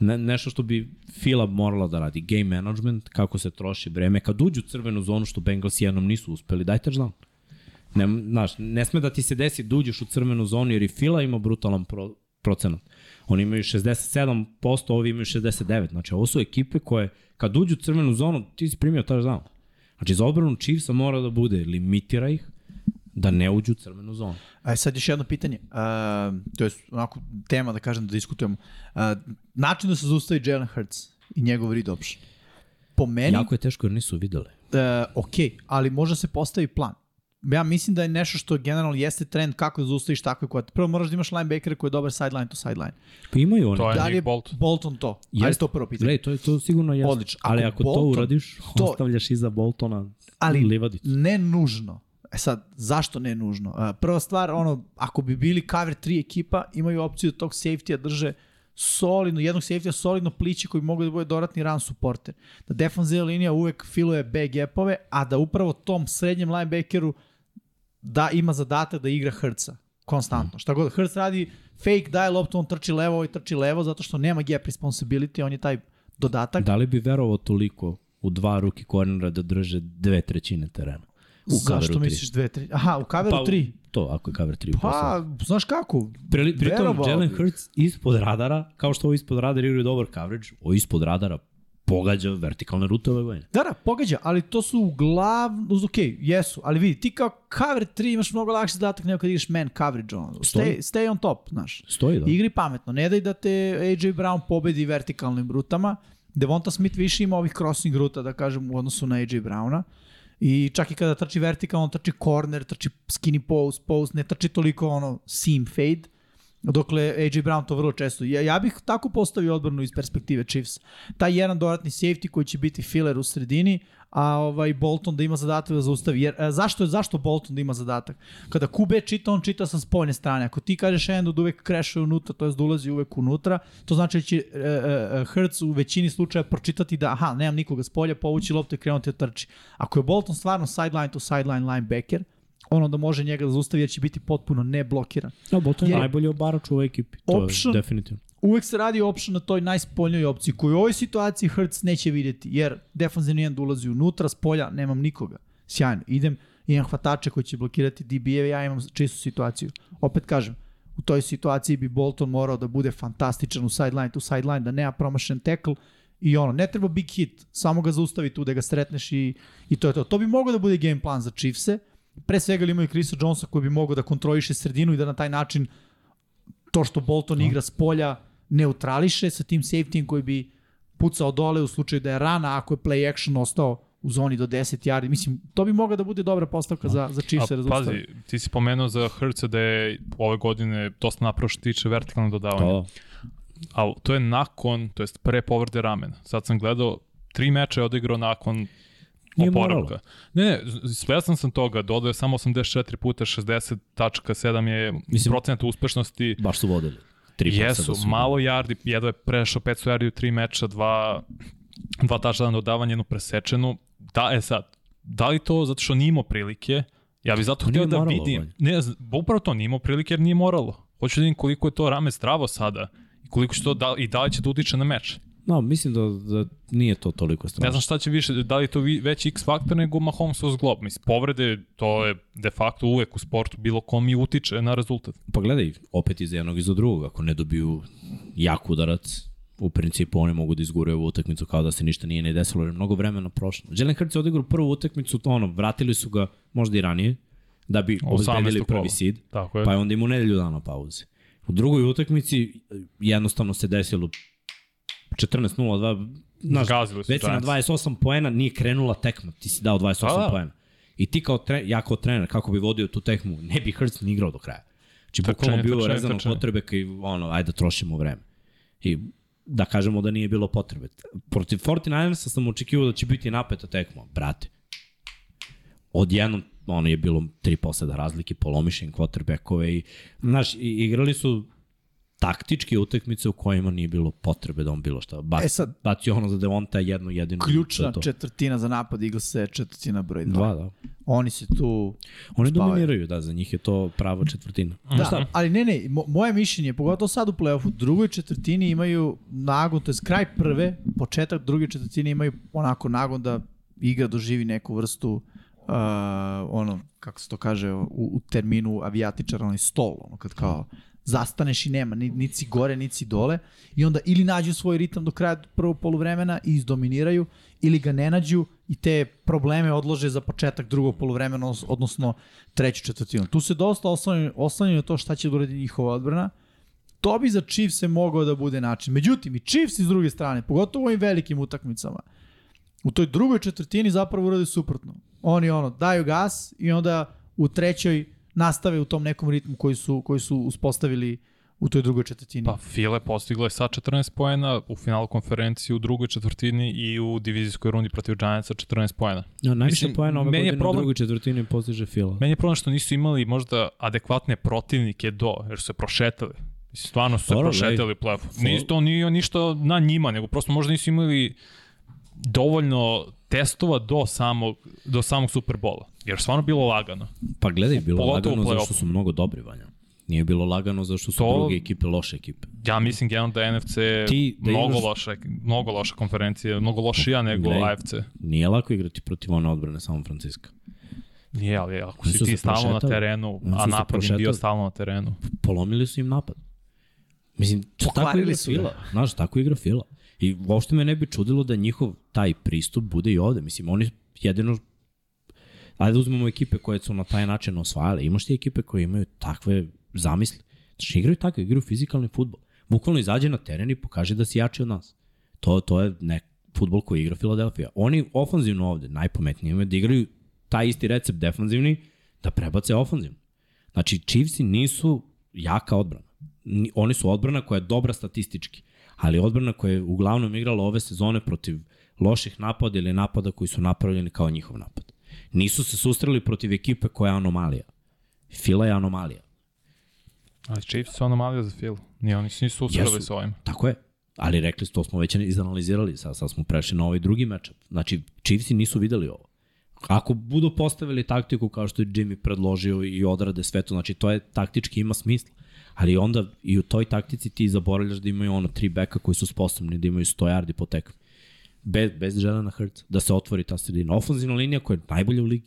[SPEAKER 1] Ne, nešto što bi Fila morala da radi. Game management, kako se troši vreme. Kad uđu u crvenu zonu što Bengalsi jednom nisu uspeli, dajte znam. Ne, znaš, ne sme da ti se desi da uđeš u crvenu zonu jer i Fila ima brutalan pro, procenat. Oni imaju 67%, ovi imaju 69%. Znači, ovo su ekipe koje kad uđu u crvenu zonu, ti si primio taš down. Znači, za obranu Chiefsa mora da bude limitira ih da ne uđu u crvenu zonu.
[SPEAKER 3] A sad još jedno pitanje, uh, to je onako tema da kažem da diskutujemo. Uh, način da se zaustavi Jalen Hurts i njegov read option. Po meni,
[SPEAKER 1] Jako je teško jer nisu videli.
[SPEAKER 3] uh, ok, ali može se postavi plan. Ja mislim da je nešto što generalno jeste trend kako da zaustaviš takve koje. Prvo moraš da imaš linebackera koji je dobar sideline to sideline.
[SPEAKER 1] Pa imaju oni.
[SPEAKER 2] To je
[SPEAKER 3] Da li je
[SPEAKER 2] Nick Bolton.
[SPEAKER 3] Bolton to? Jeste. Ajde
[SPEAKER 1] Jeste.
[SPEAKER 3] to prvo pitanje.
[SPEAKER 1] Gledaj, to, je, to sigurno jasno.
[SPEAKER 3] Odlično. Ako
[SPEAKER 1] Ali ako to
[SPEAKER 3] Bolton-
[SPEAKER 1] uradiš,
[SPEAKER 3] to-
[SPEAKER 1] to... ostavljaš iza Boltona
[SPEAKER 3] Ali-
[SPEAKER 1] ali... livadicu.
[SPEAKER 3] Ne nužno. E sad, zašto ne nužno? Uh, prva stvar, ono, ako bi bili cover 3 ekipa, imaju opciju da tog safety-a drže solidno, jednog safety-a solidno pliće koji mogu da bude dodatni run supporter. Da defanzivna linija uvek filuje B gapove, a da upravo tom srednjem linebackeru da ima zadatak da igra Hrca
[SPEAKER 1] Mhm.
[SPEAKER 3] konstantno. Šta god Hrc radi, fake daje loptu, on trči levo, ovaj trči levo, zato što nema gap responsibility, on je taj dodatak.
[SPEAKER 1] Da li bi verovao toliko u dva ruki kornera da drže dve trećine terena? U
[SPEAKER 3] Zašto
[SPEAKER 1] coveru tri. Pa,
[SPEAKER 3] misliš 2 3? Aha, u coveru 3.
[SPEAKER 1] To, ako je cover 3 pa,
[SPEAKER 3] Pa, znaš kako?
[SPEAKER 1] Pri, pritom,
[SPEAKER 3] verovao
[SPEAKER 1] Jalen
[SPEAKER 3] bih.
[SPEAKER 1] Hurts ispod radara, kao što ovo ispod radara igraju dobar coverage, ovo ispod radara pogađa vertikalne rute ove godine.
[SPEAKER 3] Da, da, pogađa, ali to su uglavnom, uz ok, jesu, ali vidi, ti kao cover 3 imaš mnogo lakši zadatak nego kad igraš man coverage, ono, stay,
[SPEAKER 1] Stoji.
[SPEAKER 3] stay on top, znaš.
[SPEAKER 1] Stoji da.
[SPEAKER 3] Igri pametno, ne daj da te AJ Brown pobedi vertikalnim rutama, Devonta Smith više ima ovih crossing ruta, da kažem, u odnosu na AJ Browna, i čak i kada trči vertikalno, trči corner, trči skinny pose, pose, ne trči toliko ono seam fade, Dokle AJ Brown to vrlo često. Ja, ja bih tako postavio odbranu iz perspektive Chiefs. Taj jedan dodatni safety koji će biti filler u sredini, a ovaj Bolton da ima zadatak da zaustavi. Jer, e, zašto, je- zašto Bolton da ima zadatak? Kada QB čita, on čita sa spoljne strane. Ako ti kažeš end da uvek krešuje unutra, to je da ulazi uvek unutra, to znači da će e, e, e, Hertz u većini slučaja pročitati da aha, nemam nikoga s polja, povući loptu i krenuti da trči. Ako je Bolton stvarno sideline to sideline linebacker, ono da može njega da zaustavi jer će biti potpuno neblokiran.
[SPEAKER 1] No, Bolton Da, je
[SPEAKER 3] je-
[SPEAKER 1] najbolji obarač u ovoj ekipi. To
[SPEAKER 3] Option-
[SPEAKER 1] je definitivno.
[SPEAKER 3] uvek se radi option na toj najspoljnoj opciji koju u ovoj situaciji Hertz neće vidjeti jer defensivni end ulazi unutra, s polja nemam nikoga. Sjajno, idem, imam hvatače koji će blokirati DB-eve, ja imam čistu situaciju. Opet kažem, u toj situaciji bi Bolton morao da bude fantastičan u sideline to sideline, da nema promašen tackle i ono, ne treba big hit, samo ga zaustavi tu da ga sretneš i, i to je to. To bi mogao da bude game plan za Chiefse, pre svega li imaju Chrisa Jonesa koji bi mogao da kontroliše sredinu i da na taj način to što Bolton igra s polja neutrališe sa tim safetyjem koji bi pucao dole u slučaju da je rana ako je play action ostao u zoni do 10 yardi. Mislim, to bi mogla da bude dobra postavka za, za Chiefs
[SPEAKER 2] A, pazi, ti si pomenuo za Hrca da je ove godine dosta napravo što se tiče vertikalnog dodavanja.
[SPEAKER 1] To,
[SPEAKER 2] ali to je nakon, to jest pre povrede ramena. Sad sam gledao, tri meča je odigrao nakon
[SPEAKER 1] Nije
[SPEAKER 2] oporavka.
[SPEAKER 1] moralo.
[SPEAKER 2] Ne, ne, s- svestan sam toga, dodao je samo 84 puta 60.7 je Mislim,
[SPEAKER 1] Mislim-
[SPEAKER 2] procenat uspešnosti.
[SPEAKER 1] baš su vodili. Tri puta
[SPEAKER 2] Jesu,
[SPEAKER 1] sada su-
[SPEAKER 2] malo yardi, jedva je prešao 500 yardi u tri meča, dva, dva tačna dodavanja, jednu presečenu. Da, e sad, da li to zato što nije imao prilike? Ja bih zato
[SPEAKER 1] Pa
[SPEAKER 2] htio
[SPEAKER 1] nije
[SPEAKER 2] da
[SPEAKER 1] moralo,
[SPEAKER 2] vidim.
[SPEAKER 1] Vanja.
[SPEAKER 2] Ne, z- upravo to nije imao prilike jer nije moralo. Hoću da vidim koliko je to rame zdravo sada i koliko će to da, i da li će to utiče na meč.
[SPEAKER 1] No, mislim da, da nije to toliko strašno.
[SPEAKER 2] Ne znam šta će više, da li je to vi- veći x faktor nego Mahomesov zglob. Mislim, povrede, to je de facto uvek u sportu bilo kom i utiče na rezultat.
[SPEAKER 1] Pa gledaj, opet iz jednog i za drugog, ako ne dobiju jak udarac, u principu oni mogu da izguraju ovu utakmicu kao da se ništa nije ne desilo, jer je mnogo vremena prošlo. Jalen Hurts je odigrao prvu utakmicu, to ono, vratili su ga možda i ranije, da bi
[SPEAKER 2] 18.
[SPEAKER 1] obezbedili
[SPEAKER 2] kolo.
[SPEAKER 1] prvi sid,
[SPEAKER 2] Tako je.
[SPEAKER 1] pa je onda imao nedelju dana pauze. e, U drugoj utakmici jednostavno se desilo 14-0-2 znaš,
[SPEAKER 2] Zgazili su
[SPEAKER 1] već si na
[SPEAKER 2] Giants.
[SPEAKER 1] 28 poena, nije krenula tekma, ti si dao 28
[SPEAKER 2] Da,
[SPEAKER 1] da,
[SPEAKER 2] da.
[SPEAKER 1] poena. I ti kao tre, ja kao trener, kako bi vodio tu tekmu, ne bi Hurts ni igrao do kraja. Znači,
[SPEAKER 2] Trčanje,
[SPEAKER 1] bukvalno bilo
[SPEAKER 2] trčanje,
[SPEAKER 1] rezano
[SPEAKER 2] trčanje.
[SPEAKER 1] potrebe i ono, ajde da trošimo vreme. I da kažemo da nije bilo potrebe. Protiv 49ersa sam očekivao da će biti napeta tekma, brate. Odjednom ono je bilo tri poseda razlike, polomišen quarterbackove i, znaš, i, igrali su taktičke utakmice u kojima nije bilo potrebe da on bilo šta. Bac,
[SPEAKER 3] E
[SPEAKER 1] e
[SPEAKER 3] sad-
[SPEAKER 1] sad, bacio ono za Devonta jednu jedinu.
[SPEAKER 3] Ključna
[SPEAKER 1] to je to.
[SPEAKER 3] četvrtina za napad Eaglesa je četvrtina broj 2.
[SPEAKER 1] Dva, da.
[SPEAKER 3] Oni se tu...
[SPEAKER 1] Oni
[SPEAKER 3] Spavaju.
[SPEAKER 1] dominiraju, da, za njih je to prava četvrtina.
[SPEAKER 3] Da, ali ne, ne, mo, moje mišljenje, pogotovo sad u play-offu, u drugoj četvrtini imaju nagon, to je kraj prve, početak druge četvrtine imaju onako nagon da igra doživi neku vrstu uh, ono, kako se to kaže, u, u terminu avijatičara, onaj stol, ono kad kao zastaneš i nema, ni, niti si gore, niti si dole, i onda ili nađu svoj ritam do kraja prvog poluvremena i izdominiraju, ili ga ne nađu i te probleme odlože za početak drugog poluvremena, odnos- odnosno treću četvrtinu. Tu se dosta oslanjaju, oslanjaju na to šta će da uradi njihova odbrana. To bi za Chiefs se mogao da bude način. Međutim, i Chiefs iz druge strane, pogotovo u ovim velikim utakmicama, u toj drugoj četvrtini zapravo urade suprotno. Oni ono, daju gas i onda u trećoj nastave u tom nekom ritmu koji su, koji su uspostavili u toj drugoj četvrtini.
[SPEAKER 2] Pa File postigla je sa 14 poena u finalu konferenciji u drugoj četvrtini i u divizijskoj rundi protiv Giantsa 14 poena.
[SPEAKER 1] No, Da, najviše
[SPEAKER 2] Mislim,
[SPEAKER 1] poena ove
[SPEAKER 2] meni je
[SPEAKER 1] godine problem...
[SPEAKER 2] problem-
[SPEAKER 1] u drugoj četvrtini postiže Fila.
[SPEAKER 2] Meni je problem što nisu imali možda adekvatne protivnike do, jer su se prošetali. Mislim, stvarno su se
[SPEAKER 1] Dobro,
[SPEAKER 2] prošetali u play-offu. Nije to nije ništa na njima, nego prosto možda nisu imali dovoljno testova do samog, do samog Superbola. Jer stvarno bilo lagano.
[SPEAKER 1] Pa gledaj, bilo
[SPEAKER 2] Pogotovo u
[SPEAKER 1] lagano
[SPEAKER 2] play-offu.
[SPEAKER 1] zašto su mnogo dobri, Vanja. Nije bilo lagano zašto su
[SPEAKER 2] To-
[SPEAKER 1] to... druge ekipe loše ekipe.
[SPEAKER 2] Ja mislim generalno da je NFC
[SPEAKER 1] Ti da
[SPEAKER 2] mnogo,
[SPEAKER 1] imaš-
[SPEAKER 2] loša, mnogo loša konferencija, mnogo lošija nego
[SPEAKER 1] Ne.
[SPEAKER 2] AFC.
[SPEAKER 1] Nije lako igrati protiv one odbrane San Francisco.
[SPEAKER 2] Nije, ali ako
[SPEAKER 1] Oni
[SPEAKER 2] si
[SPEAKER 1] su
[SPEAKER 2] ti
[SPEAKER 1] se
[SPEAKER 2] stalno na
[SPEAKER 1] prošetali.
[SPEAKER 2] terenu,
[SPEAKER 1] Oni
[SPEAKER 2] a
[SPEAKER 1] su se
[SPEAKER 2] napad im bio
[SPEAKER 1] prošetali.
[SPEAKER 2] stalno na terenu.
[SPEAKER 1] Polomili su im napad. Mislim, to tako
[SPEAKER 3] Pokvarili
[SPEAKER 1] igra
[SPEAKER 3] su ga.
[SPEAKER 1] Fila. Znaš, tako igra Fila. I uopšte me ne bi čudilo da njihov taj pristup bude i ovde. Mislim, oni jedino ajde da uzmemo ekipe koje su na taj način osvajale. Imaš ti ekipe koje imaju takve zamisli. Znači, igraju tako, igraju fizikalni futbol. Bukvalno izađe na teren i pokaže da si jači od nas. To, to je nek futbol koji igra Filadelfija. Oni ofanzivno ovde, najpametnije imaju da igraju taj isti recept defanzivni, da prebace ofanzivno. Znači, Chiefsi nisu jaka odbrana. Ni- Oni su odbrana koja je dobra statistički, ali odbrana koja je uglavnom igrala ove sezone protiv loših napada ili napada koji su napravljeni kao njihov napad. Nisu se sustreli protiv ekipe koja je anomalija. Fila je anomalija.
[SPEAKER 2] Ali Chiefs su anomalija za Phil. Nije, oni se nisu usrali
[SPEAKER 1] Jesu.
[SPEAKER 2] s ovim.
[SPEAKER 1] Tako je. Ali rekli, to smo već izanalizirali, sad, sad smo prešli na ovaj drugi meč. Znači, Chiefsi nisu videli ovo. Ako budu postavili taktiku kao što je Jimmy predložio i odrade sve to, znači to je taktički ima smisla. Ali onda i u toj taktici ti zaboravljaš da imaju ono tri beka koji su sposobni da imaju 100 yardi po tekmi. Bez, bez Jelena Hurts, da se otvori ta sredina. Ofanzivna linija koja je najbolja u ligi.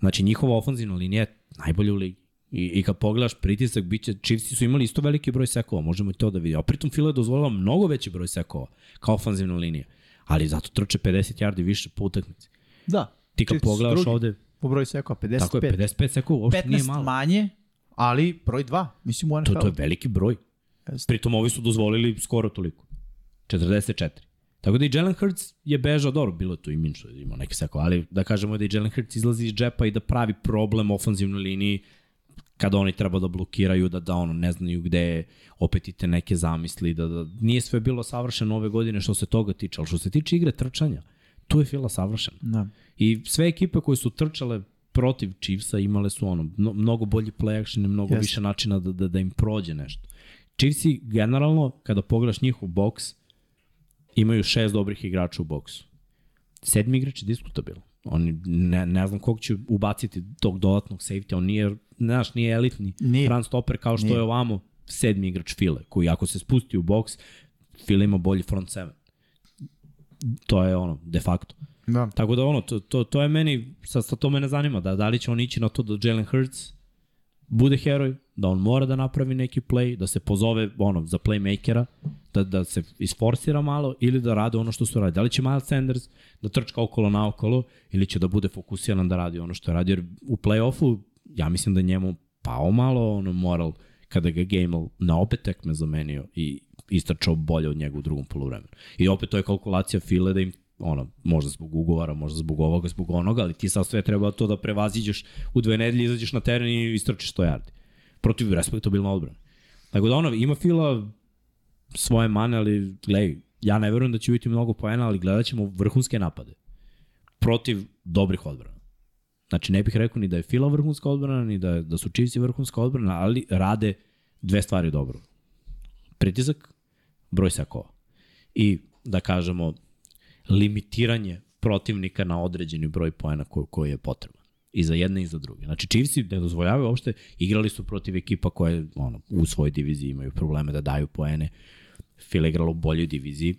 [SPEAKER 1] Znači, njihova ofanzivna linija je najbolja u ligi. I, I kad pogledaš pritisak, bit će, Chiefs su imali isto veliki broj sekova, možemo i to da vidimo. A Pritom Fila je dozvolila mnogo veći broj sekova kao ofanzivna linija. Ali zato trče 50 yardi više po utakmici.
[SPEAKER 3] Da.
[SPEAKER 1] Ti kad
[SPEAKER 3] Chiefs
[SPEAKER 1] pogledaš
[SPEAKER 3] drugi
[SPEAKER 1] ovde,
[SPEAKER 3] Po broju sekova, 55.
[SPEAKER 1] tako je, 55 sekova uopšte nije
[SPEAKER 3] 15
[SPEAKER 1] malo.
[SPEAKER 3] manje, ali broj 2, mislim u NFL.
[SPEAKER 1] To, to je veliki broj.
[SPEAKER 3] Jeste.
[SPEAKER 1] Pritom ovi su dozvolili skoro toliko. 44. Tako da i Jalen Hurts je bežao, dobro, bilo je tu i Minšu, imao neke sekove, ali da kažemo da i Jalen Hurts izlazi iz džepa i da pravi problem ofanzivnoj liniji kada oni treba da blokiraju, da, da ono, ne znaju gde je, opet i te neke zamisli, da, da nije sve bilo savršeno ove godine što se toga tiče, ali što se tiče igre trčanja, tu je Fila savršena.
[SPEAKER 3] Da.
[SPEAKER 1] I sve ekipe koje su trčale protiv Chiefsa imale su ono, mno, mnogo bolji play action i mnogo
[SPEAKER 3] Jeste.
[SPEAKER 1] yes. više načina da, da, da im prođe nešto. Chiefsi generalno, kada pogledaš njihov boks, imaju šest dobrih igrača u boksu. Sedmi igrač je diskutabilan. Oni, ne, ne znam kog će ubaciti tog dodatnog safety, on nije, ne znaš, nije elitni
[SPEAKER 3] Nije.
[SPEAKER 1] run stopper kao što
[SPEAKER 3] Nije.
[SPEAKER 1] je ovamo sedmi igrač File, koji ako se spusti u boks, File ima bolji front seven. To je ono, de facto.
[SPEAKER 3] Da.
[SPEAKER 1] Tako da ono, to, to, to je meni, sad, sad to mene zanima, da, da li će on ići na to da Jalen Hurts bude heroj, da on mora da napravi neki play, da se pozove ono, za playmakera, da, da se isforsira malo ili da rade ono što su radili. Da li će Miles Sanders da trčka okolo naokolo ili će da bude fokusiran da radi ono što je radio. Jer u play-offu ja mislim da je njemu pao malo ono moral kada ga Gamel na obe tekme zamenio i istračao bolje od njega u drugom poluvremenu. I opet to je kalkulacija File da im ono, možda zbog ugovara, možda zbog ovoga, zbog onoga, ali ti sad sve treba to da prevaziđeš u dve nedelje, izađeš na teren i istračiš 100 yardi. Protiv respektabilna odbrana. Tako da ono, ima Fila svoje mane, ali gledaj, ja ne verujem da će biti mnogo poena, ali gledat ćemo vrhunske napade protiv dobrih odbrana. Znači, ne bih rekao ni da je Fila vrhunska odbrana, ni da, da su Chiefs vrhunska odbrana, ali rade dve stvari dobro. Pritisak, broj sakova. I, da kažemo, limitiranje protivnika na određeni broj poena ko, koji je potreban. I za jedne i za druge. Znači, Chiefs ne dozvoljavaju uopšte, igrali su protiv ekipa koje ono, u svojoj diviziji imaju probleme da daju poene. Fila je igrala u boljoj diviziji,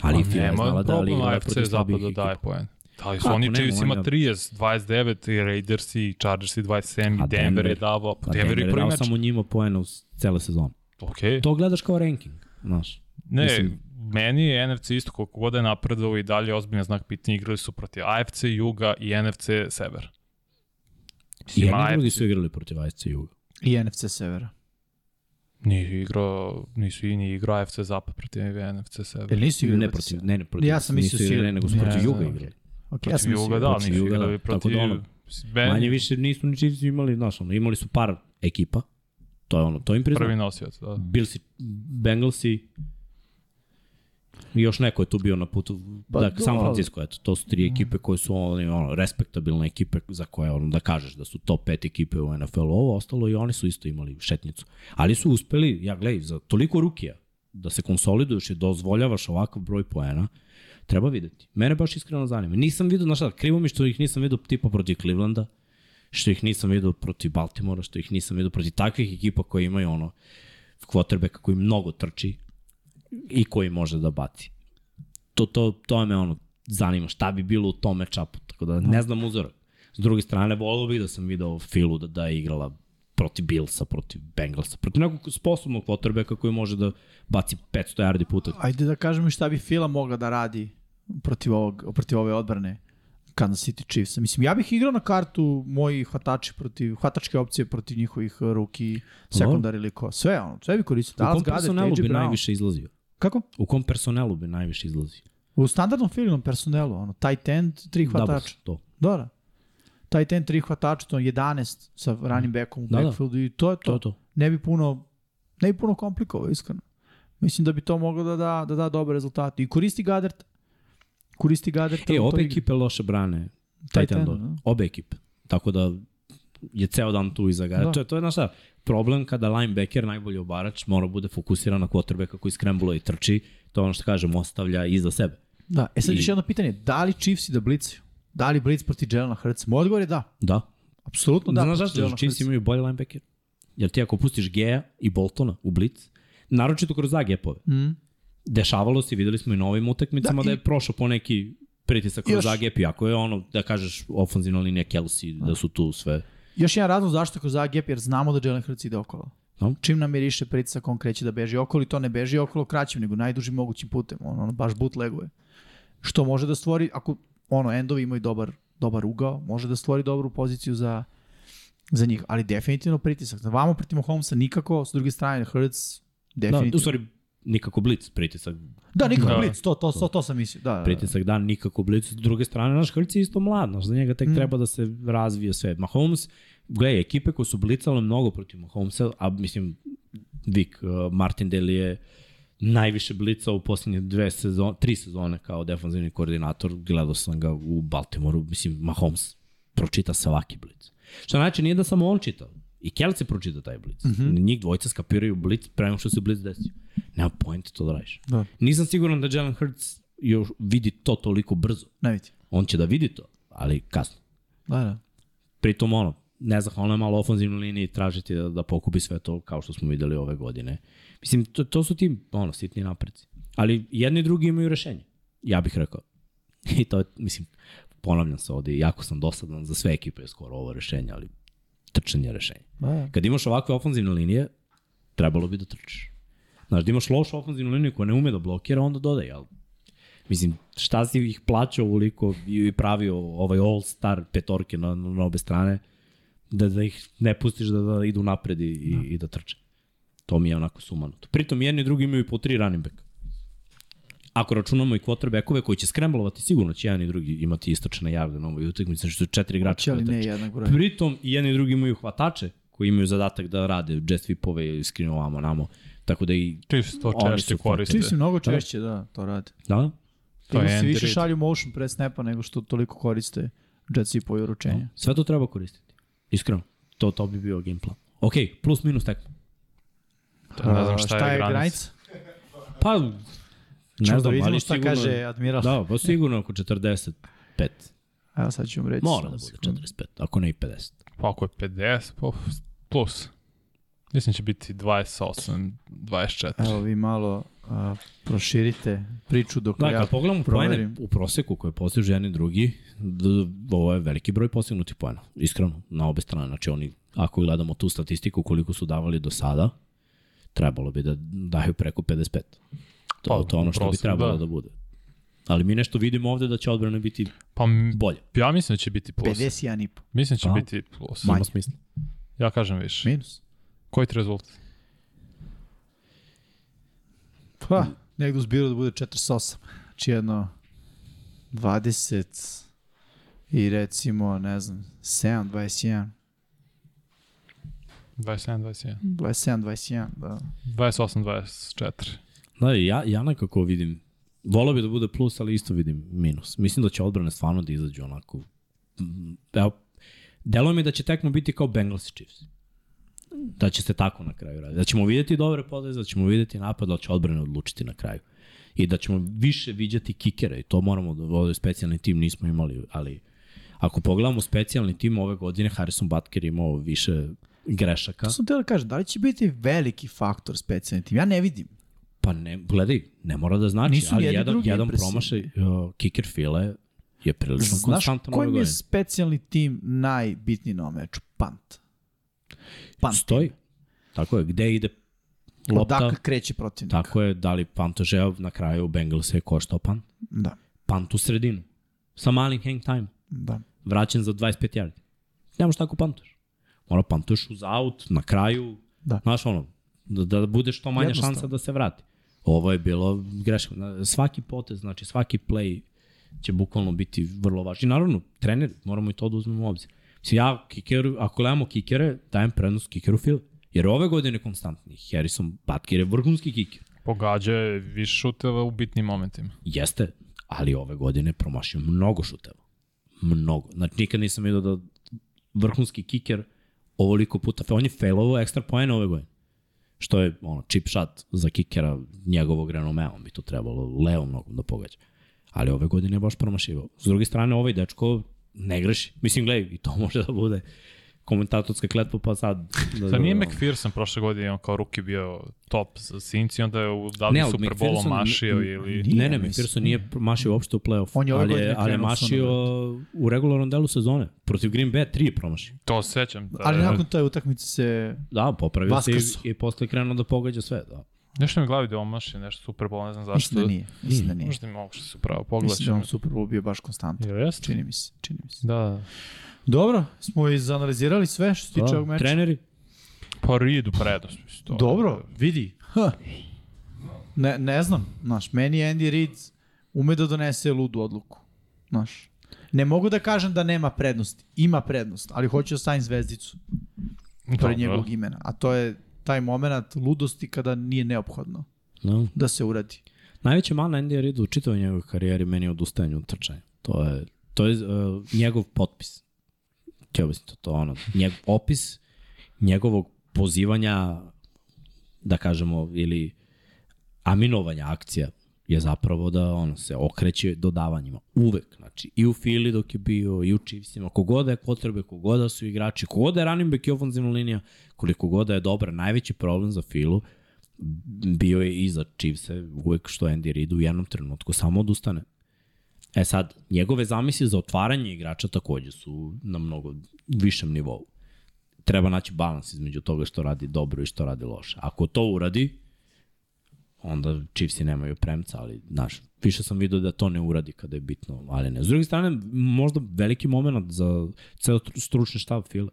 [SPEAKER 1] ali Fila je znala da ali igrala
[SPEAKER 2] AFC
[SPEAKER 1] protiv slabih
[SPEAKER 2] zapada
[SPEAKER 1] ekipa.
[SPEAKER 2] daje poen. Da, su
[SPEAKER 1] Kako
[SPEAKER 2] oni
[SPEAKER 1] ne,
[SPEAKER 2] Chiefs ima
[SPEAKER 1] oni-
[SPEAKER 2] 30, 29, i Raiders i Chargers i 27,
[SPEAKER 1] A
[SPEAKER 2] i Denver je
[SPEAKER 1] Denver?
[SPEAKER 2] davao, pa
[SPEAKER 1] Pa
[SPEAKER 2] Denver je prvi
[SPEAKER 1] dao
[SPEAKER 2] meč.
[SPEAKER 1] samo njima poena u s- cele sezone.
[SPEAKER 2] Okej.
[SPEAKER 1] To gledaš kao ranking, znaš.
[SPEAKER 2] Ne,
[SPEAKER 1] Mislim-
[SPEAKER 2] meni je NFC isto koliko god je napredovao i dalje ozbiljna znak pitanja igrali su protiv AFC Juga i NFC Sever.
[SPEAKER 1] I
[SPEAKER 2] Mislim,
[SPEAKER 1] jedni i
[SPEAKER 2] AFC
[SPEAKER 1] drugi su igrali protiv AFC Juga.
[SPEAKER 3] I NFC Severa.
[SPEAKER 2] Nisu igrao, nisu i ni igrao AFC Zapad protiv NFC Sever.
[SPEAKER 3] Jel nisu igrali
[SPEAKER 1] Ne
[SPEAKER 3] protiv
[SPEAKER 1] protiv,
[SPEAKER 3] Severa?
[SPEAKER 1] ne, ne protiv.
[SPEAKER 3] Ja sam
[SPEAKER 1] nisu
[SPEAKER 3] mislio si-
[SPEAKER 1] igrali, nego su
[SPEAKER 3] ne,
[SPEAKER 1] protiv
[SPEAKER 2] ne,
[SPEAKER 1] Juga
[SPEAKER 2] ne,
[SPEAKER 1] igrali.
[SPEAKER 3] Ok,
[SPEAKER 2] Protiv
[SPEAKER 3] ja sam
[SPEAKER 2] Juga,
[SPEAKER 3] mislio.
[SPEAKER 2] da,
[SPEAKER 1] protiv
[SPEAKER 2] nisu
[SPEAKER 1] Juga,
[SPEAKER 2] igrali
[SPEAKER 1] da. Tako
[SPEAKER 2] protiv...
[SPEAKER 1] da ono,
[SPEAKER 2] Ben-
[SPEAKER 1] Manje više nisu ni Chiefs imali, znaš, ono, imali su par ekipa. To je ono, to im
[SPEAKER 2] Prvi
[SPEAKER 1] priznam.
[SPEAKER 2] nosioc, da.
[SPEAKER 1] Bilsi, Bengalsi, I još neko je tu bio na putu,
[SPEAKER 3] Pa
[SPEAKER 1] pa, da, Mhm.
[SPEAKER 3] do-
[SPEAKER 1] San Francisco, eto, to su tri ekipe koje su ono, ono, respektabilne ekipe za koje ono, da kažeš da su top 5 ekipe u NFL-u, ovo ostalo i oni su isto imali šetnicu. Ali su uspeli, ja gledaj, za toliko rukija da se konsoliduješ i dozvoljavaš ovakav broj poena, treba videti. Mene baš iskreno zanima. Nisam vidio, znaš šta, krivo mi što ih nisam vidio tipa protiv Clevelanda, što ih nisam vidio protiv Baltimora, što ih nisam vidio protiv takvih ekipa koje imaju ono, kvotrbeka koji mnogo trči i koji može da baci. To, to, to me ono zanima šta bi bilo u tom matchupu, tako da ne znam uzorak. S druge strane, volio bih da sam video Filu da, da je igrala protiv Billsa, protiv Bengalsa, protiv nekog sposobnog quarterbacka koji može da baci 500 yardi puta.
[SPEAKER 3] Ajde da kažem mi šta bi Fila mogla da radi protiv, ovog, protiv ove odbrane Kansas City Chiefsa. Mislim, ja bih igrao na kartu moji hvatači protiv, hvatačke opcije protiv njihovih uh, ruki, sekundar ili ko. Sve, ono, sve bi koristio.
[SPEAKER 1] U kom
[SPEAKER 3] Dallas Goddard,
[SPEAKER 1] personelu
[SPEAKER 3] AJ
[SPEAKER 1] bi
[SPEAKER 3] Brown.
[SPEAKER 1] najviše izlazio?
[SPEAKER 3] Kako?
[SPEAKER 1] U kom personelu bi najviše izlazio?
[SPEAKER 3] U standardnom filinom personelu, ono, tight end, tri hvatača.
[SPEAKER 1] Doubles, to.
[SPEAKER 3] Dobro. Tight end, tri hvatača, to je 11 sa running backom u
[SPEAKER 1] Da, da.
[SPEAKER 3] backfieldu i to je to.
[SPEAKER 1] To je to.
[SPEAKER 3] Ne bi puno, ne bi puno komplikovao, iskreno. Mislim da bi to moglo da da, da, da dobre rezultate. I koristi Gadert. Koristi Gadert.
[SPEAKER 1] E, obe ekipe loše brane.
[SPEAKER 3] Tight
[SPEAKER 1] Tight
[SPEAKER 3] end,
[SPEAKER 1] endove.
[SPEAKER 3] da.
[SPEAKER 1] Obe ekipe. Tako da je ceo dan tu iza gara.
[SPEAKER 3] Da.
[SPEAKER 1] Da. To je, to je, znaš šta, problem kada linebacker, najbolji obarač, mora bude fokusiran na quarterbacka koji skremblo i trči. To je ono što kažem, ostavlja iza sebe.
[SPEAKER 3] Da, e sad
[SPEAKER 1] I-
[SPEAKER 3] još jedno pitanje. Da li Chiefs i da blicaju? Da li blic protiv Jelena Hrca? Moj odgovor je da.
[SPEAKER 1] Da.
[SPEAKER 3] Apsolutno da.
[SPEAKER 1] da Znaš
[SPEAKER 3] protiv
[SPEAKER 1] zašto?
[SPEAKER 3] Jelena
[SPEAKER 1] Jer Chiefs
[SPEAKER 3] Hurtsa.
[SPEAKER 1] imaju bolje linebacker. Jer ti ako pustiš Gea i Boltona u blitz, naročito kroz A gepove,
[SPEAKER 3] Mm.
[SPEAKER 1] dešavalo se, i videli smo i na ovim utakmicama
[SPEAKER 3] Da,
[SPEAKER 1] da,
[SPEAKER 3] i-
[SPEAKER 1] da je prošao po neki pritisak kroz
[SPEAKER 3] Još-
[SPEAKER 1] A gep, iako je ono, da kažeš, ofenzivna linija Kelsey, da su tu sve...
[SPEAKER 3] Još jedan razlog zašto kroz AGP, jer znamo da Jalen Hurts ide okolo.
[SPEAKER 1] Da.
[SPEAKER 3] Čim namiriše pritisak, on kreće da beži okolo i to ne beži okolo kraćim, nego najdužim mogućim putem. On, on baš bootleguje. Što može da stvori, ako ono, endovi imaju dobar, dobar ugao, može da stvori dobru poziciju za, za njih. Ali definitivno pritisak. Na vamo protiv Holmesa nikako, s druge strane Hurts
[SPEAKER 1] Da, u
[SPEAKER 3] definitivno.
[SPEAKER 1] stvari, nikako blitz, pritisak
[SPEAKER 3] Da, nikako
[SPEAKER 2] Da.
[SPEAKER 3] blitz, to, to, to, to sam mislio. Da, da, da.
[SPEAKER 1] pritisak da nikako blicu. S druge strane, naš Hrc je isto mlad, znaš, za njega tek
[SPEAKER 3] Mm.
[SPEAKER 1] mm. treba da se razvije sve. Mahomes, gledaj, ekipe koje su blicale mnogo protiv Mahomesa, a mislim, Vic uh, Martindale je najviše blicao u posljednje dve sezone, tri sezone kao defanzivni koordinator, gledao sam ga u Baltimoru, mislim, Mahomes pročita svaki blic. Što znači, nije da samo on čita, i Kelce pročita taj blic. Mm
[SPEAKER 3] Mhm.
[SPEAKER 1] -hmm. Njih dvojica skapiraju blic prema što se blic desio. Nema pojente to da radiš.
[SPEAKER 3] Da.
[SPEAKER 1] Nisam siguran da Jalen Hurts još vidi to toliko brzo.
[SPEAKER 3] Ne vidi.
[SPEAKER 1] On će da vidi to, ali kasno.
[SPEAKER 3] Da, da.
[SPEAKER 1] Pritom ono, nezahvalno je malo ofenzivnoj liniji tražiti da, da pokupi sve to kao što smo videli ove godine. Mislim, to, to su ti ono, sitni napreci. Ali jedni i drugi imaju rešenje. Ja bih rekao. I to je, mislim, ponavljam se ovde, jako sam dosadan za sve ekipe je skoro ovo rešenje, ali trčanje je rešenje.
[SPEAKER 3] Da, da.
[SPEAKER 1] Kad imaš ovakve ofenzivne linije, trebalo bi da trčiš. Znaš, da imaš lošu ofenzivnu liniju koja ne ume da blokira, onda dodaj, ali mislim, šta si ih plaćao ovoliko i i pravio ovaj all-star petorke na, na na obe strane, da, da ih ne pustiš da, da idu napred i, i, i da trče. To mi je onako sumanuto. Pritom jedni i drugi imaju po tri running back. Ako računamo i quarterbackove koji će skremblovati, sigurno će jedan i drugi imati istočne jarde na ovoj utakmici, znači što je četiri igrača.
[SPEAKER 3] Hoće ali ne
[SPEAKER 1] hvatača.
[SPEAKER 3] jednak broj.
[SPEAKER 1] Pritom i jedni i drugi imaju hvatače koji imaju zadatak da rade jet sweepove i screen ovamo namo. Tako da i...
[SPEAKER 2] Chiefs to
[SPEAKER 1] Oni
[SPEAKER 2] češće
[SPEAKER 1] su
[SPEAKER 2] koriste.
[SPEAKER 3] Svi si mnogo češće, da, to rade.
[SPEAKER 1] Da?
[SPEAKER 2] To je
[SPEAKER 3] Eagles
[SPEAKER 2] Andy
[SPEAKER 3] više
[SPEAKER 2] Reid.
[SPEAKER 3] šalju motion pre snapa nego što toliko koriste jet sweep i uručenja.
[SPEAKER 1] Sve to treba koristiti. Iskreno. To, to bi bio game plan. Ok, plus minus tekma.
[SPEAKER 2] Da, ne znam
[SPEAKER 3] A,
[SPEAKER 2] šta, je granica.
[SPEAKER 1] Pa, ne
[SPEAKER 3] Ćemo da
[SPEAKER 1] znam,
[SPEAKER 3] vidimo
[SPEAKER 1] ali
[SPEAKER 3] šta
[SPEAKER 1] sigurno...
[SPEAKER 3] kaže admiral.
[SPEAKER 1] Da, pa sigurno oko 45.
[SPEAKER 3] Evo sad ću vam reći.
[SPEAKER 1] Mora
[SPEAKER 3] samo
[SPEAKER 1] da
[SPEAKER 3] sekundu.
[SPEAKER 1] bude 45, ako ne i 50.
[SPEAKER 2] Pa ako je 50, pa plus. Mislim da će biti 28, 24.
[SPEAKER 3] Evo vi malo a, proširite priču dok
[SPEAKER 1] Da,
[SPEAKER 3] ja
[SPEAKER 1] kad pogledamo poene
[SPEAKER 3] proverim.
[SPEAKER 1] u proseku koje postižu jedni i drugi, d- ovo je veliki broj postignutih poena, iskreno, na obe strane. Znači oni, ako gledamo tu statistiku koliko su davali do sada, trebalo bi da daju preko 55. To,
[SPEAKER 2] Pa,
[SPEAKER 1] to je ono što bi
[SPEAKER 2] prosim,
[SPEAKER 1] trebalo
[SPEAKER 2] da.
[SPEAKER 1] da. bude. Ali mi nešto vidimo ovde da će odbrana biti
[SPEAKER 2] Pa m-
[SPEAKER 1] bolje.
[SPEAKER 2] ja mislim da će biti plus.
[SPEAKER 3] 51 i po.
[SPEAKER 2] Mislim da će
[SPEAKER 1] Pa.
[SPEAKER 2] biti plus.
[SPEAKER 1] Manje. smisla.
[SPEAKER 2] Ja kažem više.
[SPEAKER 3] Minus.
[SPEAKER 2] Koji ti je rezultat?
[SPEAKER 3] Pa, negdje uzbiro da bude 48. Znači jedno 20 i recimo, ne znam, 7, 21.
[SPEAKER 2] 27, 21.
[SPEAKER 3] 27, 21, da.
[SPEAKER 2] 28, 24.
[SPEAKER 1] Da, ja, ja nekako vidim, volao bi da bude plus, ali isto vidim minus. Mislim da će odbrane stvarno da izađu onako. mm, Evo, deluje mi da će tekmo biti kao Bengals i Chiefs. Da će se tako na kraju raditi. Da ćemo vidjeti dobre podeze, da ćemo vidjeti napad, da će odbrane odlučiti na kraju. I da ćemo više viđati kikere i to moramo, da ovde specijalni tim nismo imali, ali ako pogledamo specijalni tim ove godine, Harrison Butker je imao više grešaka.
[SPEAKER 3] To sam teo da kažem, da li će biti veliki faktor specijalni tim? Ja ne vidim.
[SPEAKER 1] Pa ne, gledaj, ne mora da znači,
[SPEAKER 3] Nisu
[SPEAKER 1] ali
[SPEAKER 3] jedni
[SPEAKER 1] jedan,
[SPEAKER 3] drugi
[SPEAKER 1] jedan
[SPEAKER 3] impresivni.
[SPEAKER 1] promašaj uh, kicker file je prilično
[SPEAKER 3] Znaš
[SPEAKER 1] konstantan ove
[SPEAKER 3] koji mi je
[SPEAKER 1] godine.
[SPEAKER 3] specijalni tim najbitniji na ovom meču? Pant. Pant.
[SPEAKER 1] Stoji. Tako je, gde ide lopta,
[SPEAKER 3] Odakle kreće protivnik.
[SPEAKER 1] tako je, da li pantožev na kraju Bengals je koštao pan.
[SPEAKER 3] Da,
[SPEAKER 1] Pant u sredinu. Sa malim hang time.
[SPEAKER 3] da.
[SPEAKER 1] Vraćen za 25 yardi. da Nemoš tako pantoš. Mora pantoš uz out, na kraju.
[SPEAKER 3] Da.
[SPEAKER 1] Znaš ono, da, da bude što manja
[SPEAKER 3] Jednostavno.
[SPEAKER 1] šansa da se vrati. Ovo je bilo greška. Na- Svaki potez, znači svaki play će bukvalno biti vrlo važan. I naravno, trener, moramo i to da uzmemo u obzir. Mislim, ja kikeru, ako gledamo kikere, dajem prednost kikeru Phil. Jer ove godine konstantni. Harrison Butker je vrhunski kiker.
[SPEAKER 2] Pogađa je više šuteva u bitnim momentima.
[SPEAKER 1] Jeste, ali ove godine promašio mnogo šuteva. Mnogo. Znači, nikad nisam vidio da vrhunski kiker ovoliko puta, fe- on je failovao ekstra poena ove godine. Što je ono, chip shot za kikera njegovog renomea, on bi to trebalo levom nogom da pogađa. Ali ove godine je baš promašivao. S druge strane, ovaj dečko ne greši. Mislim, gledaj, i to može da bude komentatorska kletva, pa sad... Da,
[SPEAKER 2] Da nije
[SPEAKER 1] da-
[SPEAKER 2] McPherson prošle godine on kao ruki bio top za Sinci, onda je u
[SPEAKER 1] Ne,
[SPEAKER 2] davni
[SPEAKER 1] ali
[SPEAKER 2] Super Bowl
[SPEAKER 1] McPherson-
[SPEAKER 2] mašio ili...
[SPEAKER 3] Nije,
[SPEAKER 1] ne, ne,
[SPEAKER 3] mislim.
[SPEAKER 1] McPherson nije mašio uopšte u play-off.
[SPEAKER 3] On je ove
[SPEAKER 1] ali,
[SPEAKER 3] godine
[SPEAKER 1] ali je
[SPEAKER 3] krenuo sa
[SPEAKER 1] mašio u regularnom delu sezone. Protiv Green Bay 3 je promašio.
[SPEAKER 2] To sećam. Da,
[SPEAKER 3] Ali nakon te utakmice se...
[SPEAKER 1] Da, popravio
[SPEAKER 3] Vaskrso.
[SPEAKER 1] se i, i posle krenuo da pogađa sve. Da.
[SPEAKER 2] Nešto mi je u glavi da on mašio nešto Super Bowl, ne znam zašto.
[SPEAKER 3] Mislim da nije. Mislim
[SPEAKER 1] Mm.
[SPEAKER 3] da nije.
[SPEAKER 2] Pa Možda mi mogu što su pravo pogledat.
[SPEAKER 3] Mislim da je
[SPEAKER 2] ćemo.
[SPEAKER 3] on Super Bowl bio baš konstantan.
[SPEAKER 2] Jel jeste?
[SPEAKER 3] Čini mi se, čini mi se.
[SPEAKER 2] Da, Da,
[SPEAKER 3] Dobro, smo izanalizirali sve što se tiče ovog meča.
[SPEAKER 1] Da. Treneri,
[SPEAKER 2] pa ridu prednost. Mislim, to.
[SPEAKER 3] Dobro, vidi. Ha. Ne, ne znam, znaš, meni Andy Reid ume da donese ludu odluku. Znaš, ne mogu da kažem da nema prednosti. Ima prednost, ali hoću da stavim zvezdicu
[SPEAKER 2] Dobro.
[SPEAKER 3] pored njegovog imena. A to je taj moment ludosti kada nije neophodno
[SPEAKER 1] da.
[SPEAKER 3] da se uradi.
[SPEAKER 1] najveća mana Andy Reid u čitavoj njegovoj karijeri meni je odustajanje od trčanja. To je, to je uh, njegov potpis. Ti objasniti to, ono, njegov opis njegovog pozivanja, da kažemo, ili aminovanja akcija je zapravo da ono se okreće dodavanjima. Uvek, znači, i u Fili dok je bio, i u Chiefsima, kogoda je potrebe, kogoda su igrači, kogoda je running back i ofenzivna linija, koliko god da je dobra, najveći problem za Filu bio je iza Chiefse uvek što Andy Reid u jednom trenutku samo odustane. E sad, njegove zamisli za otvaranje igrača takođe su na mnogo višem nivou. Treba naći balans između toga što radi dobro i što radi loše. Ako to uradi, onda Chiefsi nemaju premca, ali znaš, više sam vidio da to ne uradi kada je bitno, ali ne. S druge strane, možda veliki moment za ceo tru- stručni štab File.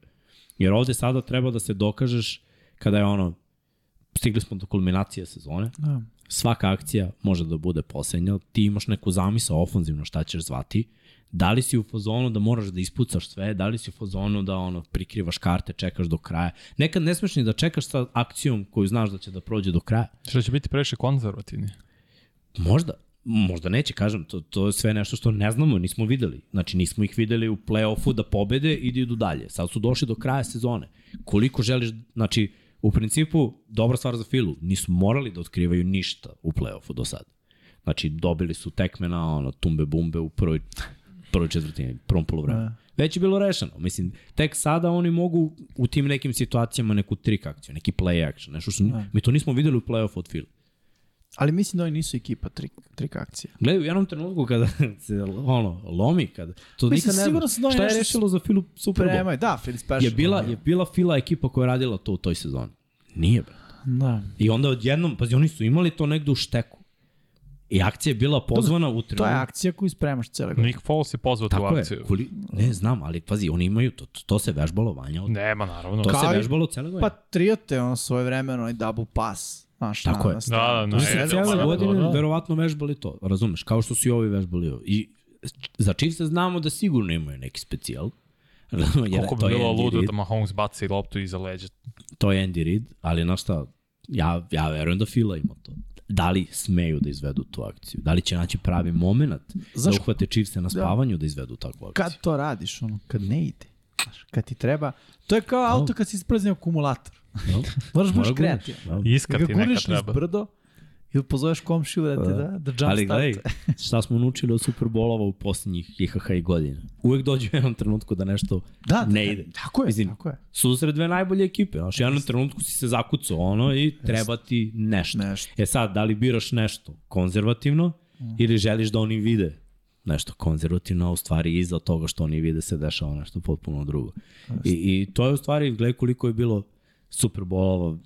[SPEAKER 1] Jer ovde sada treba da se dokažeš kada je ono, stigli smo do kulminacije sezone.
[SPEAKER 3] Da.
[SPEAKER 1] Svaka akcija može da bude posljednja. Ti imaš neku zamisa ofanzivno šta ćeš zvati. Da li si u fazonu da moraš da ispucaš sve, da li si u fazonu da ono prikrivaš karte, čekaš do kraja. Nekad ne smeš ni da čekaš sa akcijom koju znaš da će da prođe do kraja.
[SPEAKER 2] Što će biti previše konzervativni.
[SPEAKER 1] Možda, možda neće, kažem, to, to je sve nešto što ne znamo, nismo videli. Znači, nismo ih videli u play-offu da pobede i da idu dalje. Sad su došli do kraja sezone. Koliko želiš, znači, u principu, dobra stvar za Filu, nisu morali da otkrivaju ništa u play-offu do sada. Znači, dobili su tekme na ono, tumbe bumbe u prvoj, prvoj četvrtini, prvom polovremenu. Već je bilo rešeno. Mislim, tek sada oni mogu u tim nekim situacijama neku trik akciju, neki play action, nešto što ne. mi to nismo videli u play-offu od Fila.
[SPEAKER 3] Ali mislim da oni nisu ekipa trik, trik akcija.
[SPEAKER 1] Gledaj, u jednom trenutku kada se ono, lomi, kada, to
[SPEAKER 3] Mislim,
[SPEAKER 1] nikad ne
[SPEAKER 3] sigurno su
[SPEAKER 1] zna.
[SPEAKER 3] oni
[SPEAKER 1] Šta je
[SPEAKER 3] nešto-
[SPEAKER 1] rešilo za Filu Super Bowl?
[SPEAKER 3] Prema, da, Phil Special.
[SPEAKER 1] Je bila, je bila Fila ekipa koja je radila to u toj sezoni? Nije, bre.
[SPEAKER 3] Da.
[SPEAKER 1] I onda odjednom, pazi, oni su imali to negde u šteku. I akcija je bila pozvana u trenutku.
[SPEAKER 3] To je akcija koju spremaš cele godine.
[SPEAKER 2] Nick Foles je pozvao tu
[SPEAKER 1] Tako je.
[SPEAKER 2] akciju.
[SPEAKER 1] Koli, ne znam, ali pazi, oni imaju, to, to, to se vežbalo vanja. od-
[SPEAKER 2] Nema, naravno.
[SPEAKER 1] To
[SPEAKER 2] To...
[SPEAKER 1] se
[SPEAKER 3] Kao i Pa,
[SPEAKER 1] vežbalo cele godine.
[SPEAKER 3] Patriote, ono, svoje vremeno, onaj double pass. Znaš,
[SPEAKER 1] Tako
[SPEAKER 3] na,
[SPEAKER 1] je.
[SPEAKER 3] Na
[SPEAKER 2] Da,
[SPEAKER 3] stranu.
[SPEAKER 2] da, na
[SPEAKER 1] Oni su
[SPEAKER 2] Edelmana,
[SPEAKER 1] cijele godine
[SPEAKER 2] da, da.
[SPEAKER 1] verovatno vežbali to, razumeš, kao što su i ovi vežbali ovo. I za Chiefs znamo da sigurno imaju neki specijal. razumeš, jer
[SPEAKER 2] Koliko
[SPEAKER 1] to
[SPEAKER 2] bi
[SPEAKER 1] je
[SPEAKER 2] bilo
[SPEAKER 1] Andy
[SPEAKER 2] ludo
[SPEAKER 1] Reid.
[SPEAKER 2] da Mahomes baci loptu iza leđa.
[SPEAKER 3] Da
[SPEAKER 1] to je Andy Reid, ali znaš šta, ja, ja verujem da Fila ima to. Da li smeju da izvedu tu akciju? Da li će naći pravi moment
[SPEAKER 3] Znaš-
[SPEAKER 1] da uhvate Chiefse na spavanju da, izvedu takvu akciju?
[SPEAKER 3] Kad to radiš, ono, kad ne ide. Znaš, kad ti treba... To je kao auto kad si ispraznio akumulator.
[SPEAKER 1] No?
[SPEAKER 3] Moraš
[SPEAKER 1] Mora
[SPEAKER 3] budeš
[SPEAKER 1] gurneš,
[SPEAKER 3] kreativan.
[SPEAKER 1] da.
[SPEAKER 2] Iska
[SPEAKER 3] Kad
[SPEAKER 2] ti
[SPEAKER 3] ga
[SPEAKER 2] neka
[SPEAKER 3] gurneš niz
[SPEAKER 2] treba.
[SPEAKER 3] brdo ili pozoveš komšiju da te da, da jump
[SPEAKER 1] Pa, Ali gledaj, šta smo naučili od Superbolova u posljednjih IHH i godina. Uvek dođe u jednom trenutku da nešto
[SPEAKER 3] Da,
[SPEAKER 1] ne ide.
[SPEAKER 3] Tako je,
[SPEAKER 1] Mislim,
[SPEAKER 3] tako je.
[SPEAKER 1] susret dve najbolje ekipe. Znaš, u jednom trenutku si se zakucao ono i treba ti nešto.
[SPEAKER 3] Nešto.
[SPEAKER 1] E sad, da li biraš nešto konzervativno ili želiš da oni vide nešto konzervativno, a u stvari iza toga što oni vide se dešava nešto potpuno drugo. I, i to je u stvari, gledaj koliko je bilo Super Bowlova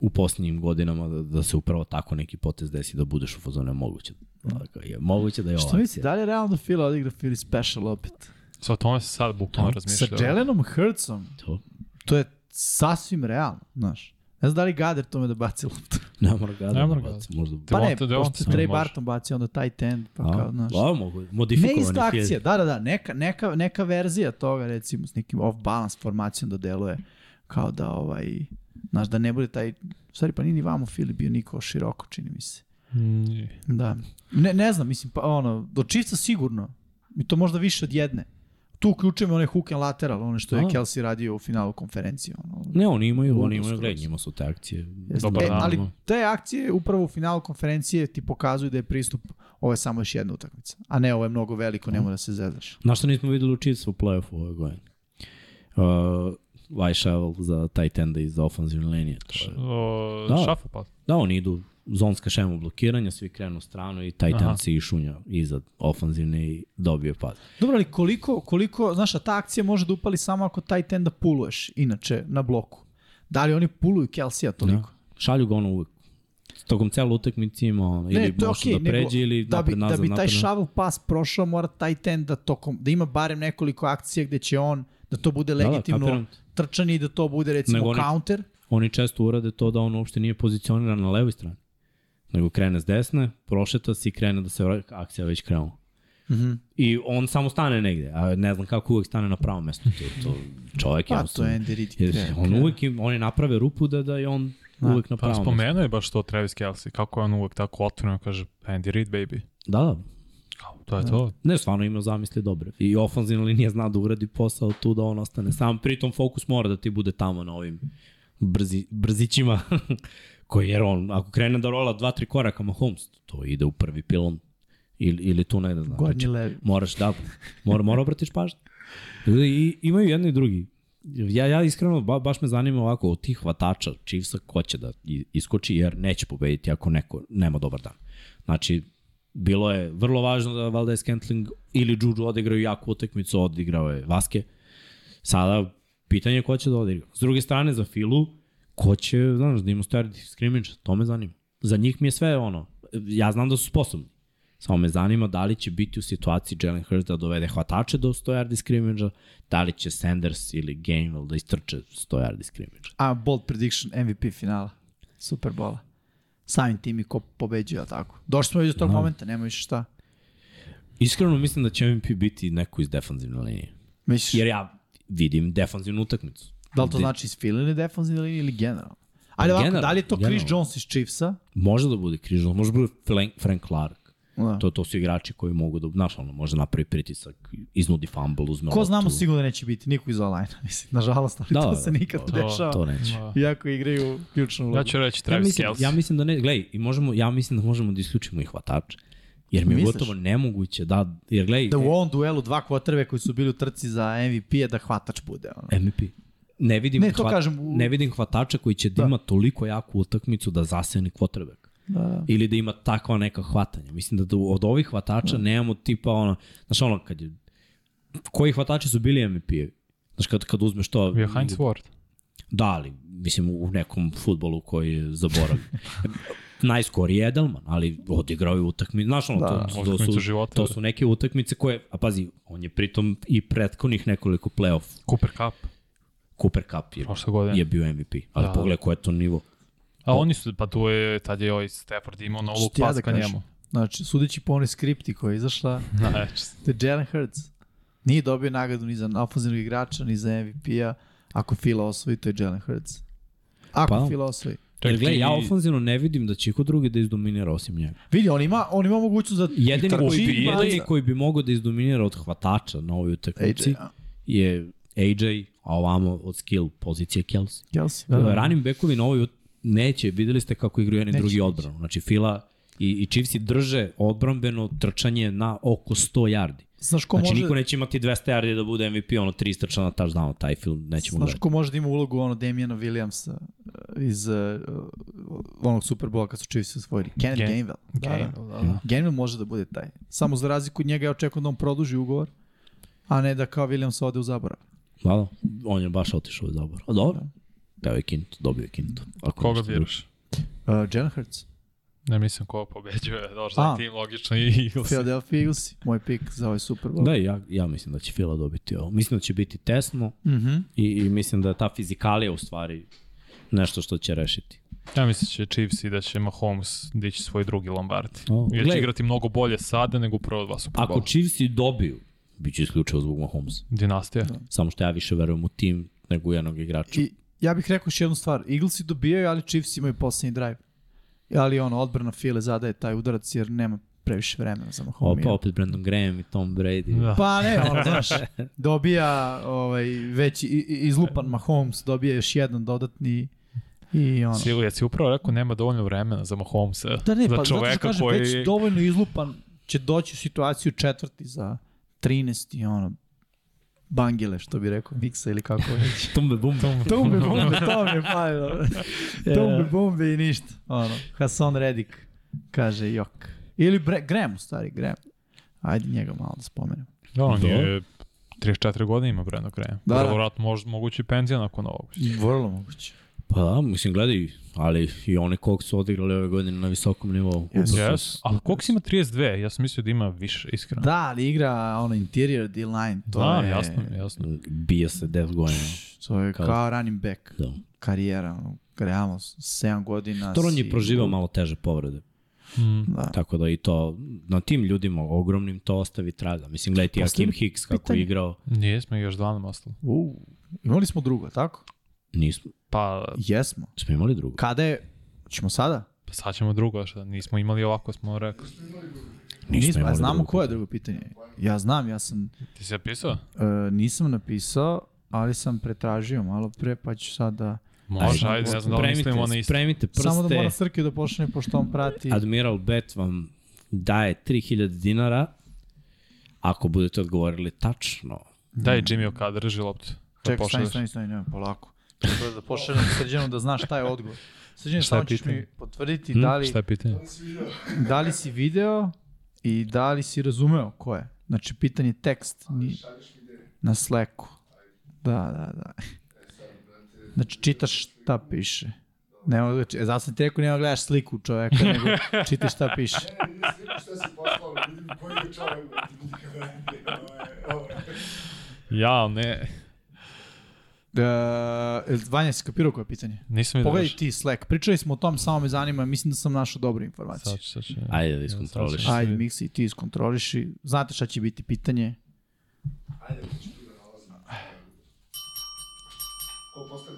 [SPEAKER 1] u posljednjim godinama da, da se upravo tako neki potez desi da budeš u fazone moguće. Dakle, je moguće da je
[SPEAKER 3] Što
[SPEAKER 1] ova
[SPEAKER 3] mislite,
[SPEAKER 1] akcija.
[SPEAKER 3] da li je realno Phil odigra Phil Special opet?
[SPEAKER 2] Sa o tome se sad bukvalno
[SPEAKER 3] Da, Sa
[SPEAKER 2] razmišljao.
[SPEAKER 3] Jelenom Hurtsom,
[SPEAKER 1] To,
[SPEAKER 3] to je sasvim realno, znaš. Ne znam da li Gader tome da baci loptu.
[SPEAKER 1] ne mora ga da
[SPEAKER 2] Ne mora ga.
[SPEAKER 1] baci, možda...
[SPEAKER 3] Pa ne,
[SPEAKER 2] Devonta- Devonta
[SPEAKER 3] pošto
[SPEAKER 2] Smith
[SPEAKER 3] Trey
[SPEAKER 2] da može.
[SPEAKER 3] Barton baci onda taj tend, pa
[SPEAKER 1] A,
[SPEAKER 3] kao, znaš.
[SPEAKER 1] da, mogu,
[SPEAKER 3] Ne
[SPEAKER 1] modifikovani
[SPEAKER 3] ista
[SPEAKER 1] field.
[SPEAKER 3] akcija, da, da, da, neka, neka, neka verzija toga, recimo, s nekim off-balance formacijom da deluje, kao da, ovaj, znaš, da ne bude taj, u stvari, pa nije ni vamo Fili bio niko široko, čini mi se.
[SPEAKER 2] Mm,
[SPEAKER 3] Da. Ne, ne znam, mislim, pa ono, do čivca sigurno. I to možda više od jedne. Tu uključujemo one hook and lateral, one što je
[SPEAKER 1] A.
[SPEAKER 3] Kelsey radio u finalu konferencije. Ono.
[SPEAKER 1] Ne, oni imaju,
[SPEAKER 3] Ludo
[SPEAKER 1] oni imaju,
[SPEAKER 3] skroz.
[SPEAKER 1] gledaj, njima su te akcije.
[SPEAKER 3] Jeste.
[SPEAKER 2] Dobar
[SPEAKER 3] e,
[SPEAKER 2] dan.
[SPEAKER 3] ali te akcije upravo u finalu konferencije ti pokazuju da je pristup ovo je samo još jedna utakmica. A ne, ovo je mnogo veliko, ne mora da se zezaš.
[SPEAKER 1] Na što nismo videli u Chiefs u play-offu ove godine? Uh, Vaj Shovel za tight enda i za ofenzivne linije. To je-
[SPEAKER 2] o,
[SPEAKER 1] Da.
[SPEAKER 2] Šafu pa.
[SPEAKER 1] Da, oni idu zonska šema blokiranja, svi krenu u stranu i tight
[SPEAKER 2] Aha.
[SPEAKER 1] end se išunja iza ofenzivne i dobije Da. pad.
[SPEAKER 3] Dobro, ali koliko, koliko, znaš, a ta akcija može da upali samo ako taj tenda puluješ, inače, na bloku. Da li oni puluju Kelsija toliko?
[SPEAKER 1] Da. Šalju ga ono uvek. Tokom cele utakmice ima ono, ili
[SPEAKER 3] to je
[SPEAKER 1] može
[SPEAKER 3] okej,
[SPEAKER 1] da pređe
[SPEAKER 3] nego
[SPEAKER 1] ili
[SPEAKER 3] da bi,
[SPEAKER 1] napred, nazad,
[SPEAKER 3] da bi taj
[SPEAKER 1] napred, nazad.
[SPEAKER 3] shovel pass prošao, mora taj ten da, tokom, da ima barem nekoliko akcija gde će on, da to bude
[SPEAKER 1] da,
[SPEAKER 3] legitimno da,
[SPEAKER 1] kapiram.
[SPEAKER 3] trčanje i da to bude recimo
[SPEAKER 1] Nego oni-
[SPEAKER 3] counter.
[SPEAKER 1] Oni često urade to da on uopšte nije pozicioniran na levoj strani. Nego krene s desne, prošeta se i krene da se vra- akcija već krenula.
[SPEAKER 3] Mhm.
[SPEAKER 1] I on samo stane negde, a ne znam kako uvek stane na pravo mesto. To, to čovjek
[SPEAKER 3] Pa to
[SPEAKER 1] jednostavno-
[SPEAKER 3] je Andy Reid.
[SPEAKER 1] Jer
[SPEAKER 3] kre-
[SPEAKER 1] on
[SPEAKER 3] kre-
[SPEAKER 1] uvek, im, oni naprave rupu da, da je on
[SPEAKER 3] Da.
[SPEAKER 1] uvek na
[SPEAKER 2] Pa
[SPEAKER 1] pravom. mestu.
[SPEAKER 2] spomenuo je baš to Travis Kelsey, kako je on uvek tako otvoreno kaže Andy Reid, baby. Da.
[SPEAKER 1] Da, da.
[SPEAKER 2] Kao, to je to.
[SPEAKER 1] Ne, stvarno ima zamisli dobre. I ofanzivna linija zna da uradi posao tu da on ostane sam. Pritom fokus mora da ti bude tamo na ovim brzi, brzićima. koji jer on, ako krene da rola dva, tri koraka Mahomes, to ide u prvi pilon. Ili, ili tu ne da znam.
[SPEAKER 3] Gornji levi.
[SPEAKER 1] Moraš da, mora, mora obratiš pažnju. Ljudi, i, imaju jedni i drugi. Ja, ja iskreno, ba, baš me zanima ovako od tih hvatača Chiefsa ko će da i- iskoči, jer neće pobediti ako neko nema dobar dan. Znači, bilo je vrlo važno da Valdez Scantling ili Juju odigraju jaku utakmicu, odigrao je Vaske. Sada, pitanje je ko će da odigra. S druge strane, za Filu, ko će, znaš, da ima started scrimmage, to me zanima. Za njih mi je sve ono, ja znam da su sposobni. Samo me zanima da li će biti u situaciji Jalen Hurts da dovede hvatače do 100 yardi scrimmage da li će Sanders ili Gainwell da istrče 100 yardi scrimmage
[SPEAKER 3] A bold prediction MVP finala. Superbola. Samim tim i ko pobeđuje, ali tako. Došli smo već do tog
[SPEAKER 1] Da.
[SPEAKER 3] momenta, nema više šta.
[SPEAKER 1] Iskreno mislim da će MVP biti neko iz defanzivne linije.
[SPEAKER 3] Misliš,
[SPEAKER 1] Jer ja vidim defanzivnu utakmicu.
[SPEAKER 3] da li to znači iz filine defanzivne linije ili generalno? Ajde ovako,
[SPEAKER 1] Pa Generalno,
[SPEAKER 3] da li je to Chris
[SPEAKER 1] generalno.
[SPEAKER 3] Jones iz Chiefsa?
[SPEAKER 1] Može da bude križno, može da bude Flan- Frank Clark.
[SPEAKER 3] Da.
[SPEAKER 1] To, to su igrači koji mogu da, znaš, ono, može da napravi pritisak, iznudi fumble, uzme
[SPEAKER 3] Ko
[SPEAKER 1] loptu.
[SPEAKER 3] znamo sigurno da neće biti, niko iz online, mislim, nažalost, ali
[SPEAKER 1] Da,
[SPEAKER 3] to
[SPEAKER 1] da,
[SPEAKER 3] se nikad
[SPEAKER 1] to-
[SPEAKER 3] ne dešava.
[SPEAKER 1] To da. neće.
[SPEAKER 3] Iako igraju ključnu ulogu.
[SPEAKER 2] Ja ću reći
[SPEAKER 1] Ja
[SPEAKER 2] Da. Travis
[SPEAKER 1] mislim,
[SPEAKER 2] Kelce.
[SPEAKER 1] ja mislim da ne, glej, i možemo, ja mislim da možemo da isključimo i hvatač. Jer mi je
[SPEAKER 3] Misliš?
[SPEAKER 1] gotovo nemoguće da, jer glej,
[SPEAKER 3] da u ovom duelu dva kvotrve koji su bili u trci za MVP je da hvatač bude.
[SPEAKER 2] E,
[SPEAKER 3] Ono.
[SPEAKER 1] MVP. Ne vidim,
[SPEAKER 3] Ne, to kažem u-
[SPEAKER 1] ne vidim hvatača koji će da,
[SPEAKER 3] Da.
[SPEAKER 1] ima toliko jaku utakmicu da zaseni kvotrbek.
[SPEAKER 3] Da.
[SPEAKER 1] Ili da ima takva neka hvatanja. Mislim da, da od ovih hvatača nemamo tipa ono, znaš ono, kad je, koji hvatači su bili MVP-evi? Znaš, kad, kad uzmeš to...
[SPEAKER 2] Bio Heinz Ward.
[SPEAKER 1] Da, ali mislim u nekom futbolu koji je zaboravio. Najskori je Edelman, ali odigrao je utakmice. Znaš ono,
[SPEAKER 3] Da,
[SPEAKER 1] to, to,
[SPEAKER 2] Utakmicu
[SPEAKER 1] su,
[SPEAKER 2] života.
[SPEAKER 1] to su neke utakmice koje, a pazi, on je pritom i prethodnih nekoliko play-off.
[SPEAKER 2] Cooper Cup.
[SPEAKER 1] Cooper Cup je,
[SPEAKER 2] Prošle godine.
[SPEAKER 1] je bio MVP, ali
[SPEAKER 2] Da.
[SPEAKER 1] da. pogledaj koje je to nivo.
[SPEAKER 2] A oni su, pa tu je, tad je ovaj Stafford imao na luk
[SPEAKER 3] Šta ti ja
[SPEAKER 2] pas
[SPEAKER 3] da
[SPEAKER 2] ka
[SPEAKER 3] kažem?
[SPEAKER 2] njemu.
[SPEAKER 3] Znači, sudeći po onoj skripti koja je izašla,
[SPEAKER 2] Znači,
[SPEAKER 3] da Jalen Hurts nije dobio nagradu ni za ofenzivnog igrača, ni za MVP-a. Ako Fila osvoji, to je Jalen Hurts. Ako
[SPEAKER 1] Pa.
[SPEAKER 3] Fila osvoji.
[SPEAKER 1] Jer gledaj, ja
[SPEAKER 2] i-
[SPEAKER 1] ofenzivno ne vidim da će iko drugi da izdominira osim njega.
[SPEAKER 3] Vidi, on ima, on ima mogućnost da...
[SPEAKER 1] Jedini
[SPEAKER 3] trči
[SPEAKER 1] koji,
[SPEAKER 2] i
[SPEAKER 1] jedini
[SPEAKER 3] baca.
[SPEAKER 1] koji bi mogao da izdominira od hvatača na ovoj utakmici
[SPEAKER 3] AJ,
[SPEAKER 1] je AJ, a ovamo od skill pozicije Kelsey.
[SPEAKER 3] Kelsey.
[SPEAKER 1] Da, da. Ranim bekovi na ovoj ut- neće, videli ste kako igraju jedni
[SPEAKER 3] Mm. Neće,
[SPEAKER 1] drugi
[SPEAKER 3] neće.
[SPEAKER 1] odbranu. Znači, Fila i, i Chiefsi drže odbrambeno trčanje na oko 100 yardi.
[SPEAKER 3] Znaš ko
[SPEAKER 1] Znači,
[SPEAKER 3] može...
[SPEAKER 1] niko neće imati 200 yardi da bude MVP, ono 300 trčana touchdown, taj film nećemo
[SPEAKER 3] Znaš
[SPEAKER 1] gledati.
[SPEAKER 3] ko može da ima ulogu ono Damiana Williamsa eh, iz uh, onog Superbola kad su Chiefs osvojili? Kenneth
[SPEAKER 2] Gan-
[SPEAKER 3] Gainwell. Da,
[SPEAKER 2] Gain-
[SPEAKER 3] da.
[SPEAKER 2] da, da.
[SPEAKER 3] Gainwell može da bude taj. Samo za razliku od njega ja očekujem da on produži ugovor, a ne da kao Williams ode u zaborav.
[SPEAKER 1] Da, da. On je baš otišao u zabor. A dobro. Evo je Kintu, dobio je Kintu. Ako
[SPEAKER 2] Koga
[SPEAKER 1] ništa drugo.
[SPEAKER 2] biraš?
[SPEAKER 3] Uh, Jalen Hurts,
[SPEAKER 2] Ne mislim ko pobeđuje, dobro,
[SPEAKER 3] A.
[SPEAKER 2] za tim logično i Eagles.
[SPEAKER 3] Philadelphia Eagles, moj pik za ovaj Superbol.
[SPEAKER 1] Da, ja, ja mislim da će Fila dobiti ovo. Mislim da će biti tesno
[SPEAKER 3] Mhm.
[SPEAKER 1] i, i mislim da je ta fizikalija u stvari nešto što će rešiti.
[SPEAKER 2] Ja mislim će Chiefs i da će Mahomes dići svoj drugi Lombardi.
[SPEAKER 1] O,
[SPEAKER 2] I da će
[SPEAKER 1] gledaj.
[SPEAKER 2] igrati mnogo bolje sada nego u prvo dva Super
[SPEAKER 1] Ako
[SPEAKER 2] Bowl.
[SPEAKER 1] Chiefs i dobiju, bit će isključivo zbog Mahomesa.
[SPEAKER 2] Dinastija.
[SPEAKER 1] Samo što ja više verujem u tim nego u jednog igrača.
[SPEAKER 3] I ja bih rekao još jednu stvar. Eaglesi dobijaju, ali Chiefs imaju poslednji drive. Ali ono, odbrana File zadaje taj udarac jer nema previše vremena za Mahomija.
[SPEAKER 1] Opa, pa opet Brandon Graham i Tom Brady.
[SPEAKER 2] Da.
[SPEAKER 3] Pa ne, ono, znaš, dobija ovaj, već i- i- izlupan Mahomes, dobija još jedan dodatni i ono.
[SPEAKER 2] Silu, jesi upravo rekao nema dovoljno vremena za Mahomesa.
[SPEAKER 3] Da ne,
[SPEAKER 2] za
[SPEAKER 3] pa zato što
[SPEAKER 2] čoveka
[SPEAKER 3] kažem,
[SPEAKER 2] koji...
[SPEAKER 3] već dovoljno izlupan će doći u situaciju četvrti za 13 i ono, bangile, što bi rekao Miksa ili kako već.
[SPEAKER 1] Tumbe bum.
[SPEAKER 3] Tumbe bombe, to mi je palilo. Tumbe bombe i ništa. Ono, Hasan Redik kaže jok. Ili Bre, Graham, u stvari, Graham. Ajde njega malo da spomenem.
[SPEAKER 2] Da, on
[SPEAKER 1] Da.
[SPEAKER 2] je 34 godine ima Breno Graham.
[SPEAKER 3] Da,
[SPEAKER 2] Da,
[SPEAKER 3] da.
[SPEAKER 2] da. Vrlo mož, mogući penzija nakon ovog.
[SPEAKER 3] Vrlo moguće.
[SPEAKER 1] Pa da, mislim, gledaj, ali i oni kog su odigrali ove godine na visokom nivou.
[SPEAKER 3] Jesu.
[SPEAKER 1] Upravo su-
[SPEAKER 2] Yes. Ali koliko si ima 32? Ja sam mislio da ima više, iskreno.
[SPEAKER 3] Da, ali igra ono interior D-line, to
[SPEAKER 2] da
[SPEAKER 3] je...
[SPEAKER 2] jasno, jasno.
[SPEAKER 1] Bija se 10 godina.
[SPEAKER 3] To je kao,
[SPEAKER 1] Kao-
[SPEAKER 3] running back
[SPEAKER 1] Da.
[SPEAKER 3] karijera, ono, realno, 7 godina
[SPEAKER 1] Dobro, on
[SPEAKER 3] si-
[SPEAKER 1] je proživao malo teže povrede.
[SPEAKER 2] Mm.
[SPEAKER 3] Da.
[SPEAKER 1] Tako da i to, na tim ljudima ogromnim to ostavi traga. Mislim, gledajte
[SPEAKER 3] Postoji
[SPEAKER 1] Akim Hicks kako
[SPEAKER 3] Pa pitanje.
[SPEAKER 1] je igrao.
[SPEAKER 2] Nismo još dva nam ostalo.
[SPEAKER 3] U, imali smo drugo, tako?
[SPEAKER 1] Nismo,
[SPEAKER 2] Pa,
[SPEAKER 3] Jesmo.
[SPEAKER 1] smo imali drugo.
[SPEAKER 3] Kada je, ćemo sada?
[SPEAKER 2] pa sad ćemo drugo, šta nismo imali ovako, smo rekli.
[SPEAKER 3] Nismo, a znamo
[SPEAKER 1] drugo.
[SPEAKER 3] koje je drugo pitanje. Ja znam, ja sam,
[SPEAKER 2] Ti si napisao?
[SPEAKER 3] e, nisam napisao, ali sam pretražio malo pre, pa ću sada...
[SPEAKER 2] Može,
[SPEAKER 1] Ajde,
[SPEAKER 2] ajde, ne znam da li mislimo na isto.
[SPEAKER 1] Spremite prste.
[SPEAKER 3] Samo da mora Srke da počne, pošto on prati.
[SPEAKER 2] da
[SPEAKER 1] Admiral Bet vam daje 3000 dinara ako budete odgovorili tačno.
[SPEAKER 2] Daj Jimmy Okada, drži loptu. Da
[SPEAKER 3] Čekaj, stani,
[SPEAKER 2] pošalješ.
[SPEAKER 3] stani, stani, nema, polako. Treba da pošaljem Srđanu da znaš šta je odgovor. Srđan,
[SPEAKER 2] Šta je
[SPEAKER 3] samo ćeš
[SPEAKER 2] pitanje?
[SPEAKER 3] mi potvrditi
[SPEAKER 1] Hm,
[SPEAKER 3] da li...
[SPEAKER 2] Šta je pitanje?
[SPEAKER 3] da li si video i da li si razumeo ko je. Znači, pitanje je tekst. Ni... Na Slacku. Da, da, da. Znači, čitaš šta piše. Nema, da či- e, zato sam ti rekao, nema da gledaš sliku čoveka, nego čitaš šta piše.
[SPEAKER 2] Ja, ne.
[SPEAKER 3] Uh, Vanja, si kapirao koje pitanje?
[SPEAKER 2] Nisam vidio.
[SPEAKER 3] Pogledaj
[SPEAKER 2] još.
[SPEAKER 3] ti Slack. Pričali smo o tom, samo me zanima. Mislim da sam našao dobru informaciju.
[SPEAKER 2] Sad, ću- sad, ću-
[SPEAKER 1] Ajde da
[SPEAKER 2] sad ću-
[SPEAKER 1] iskontroliš.
[SPEAKER 2] sad ću-
[SPEAKER 3] Ajde, Miksi, ti iskontroliši. Znate šta će biti pitanje?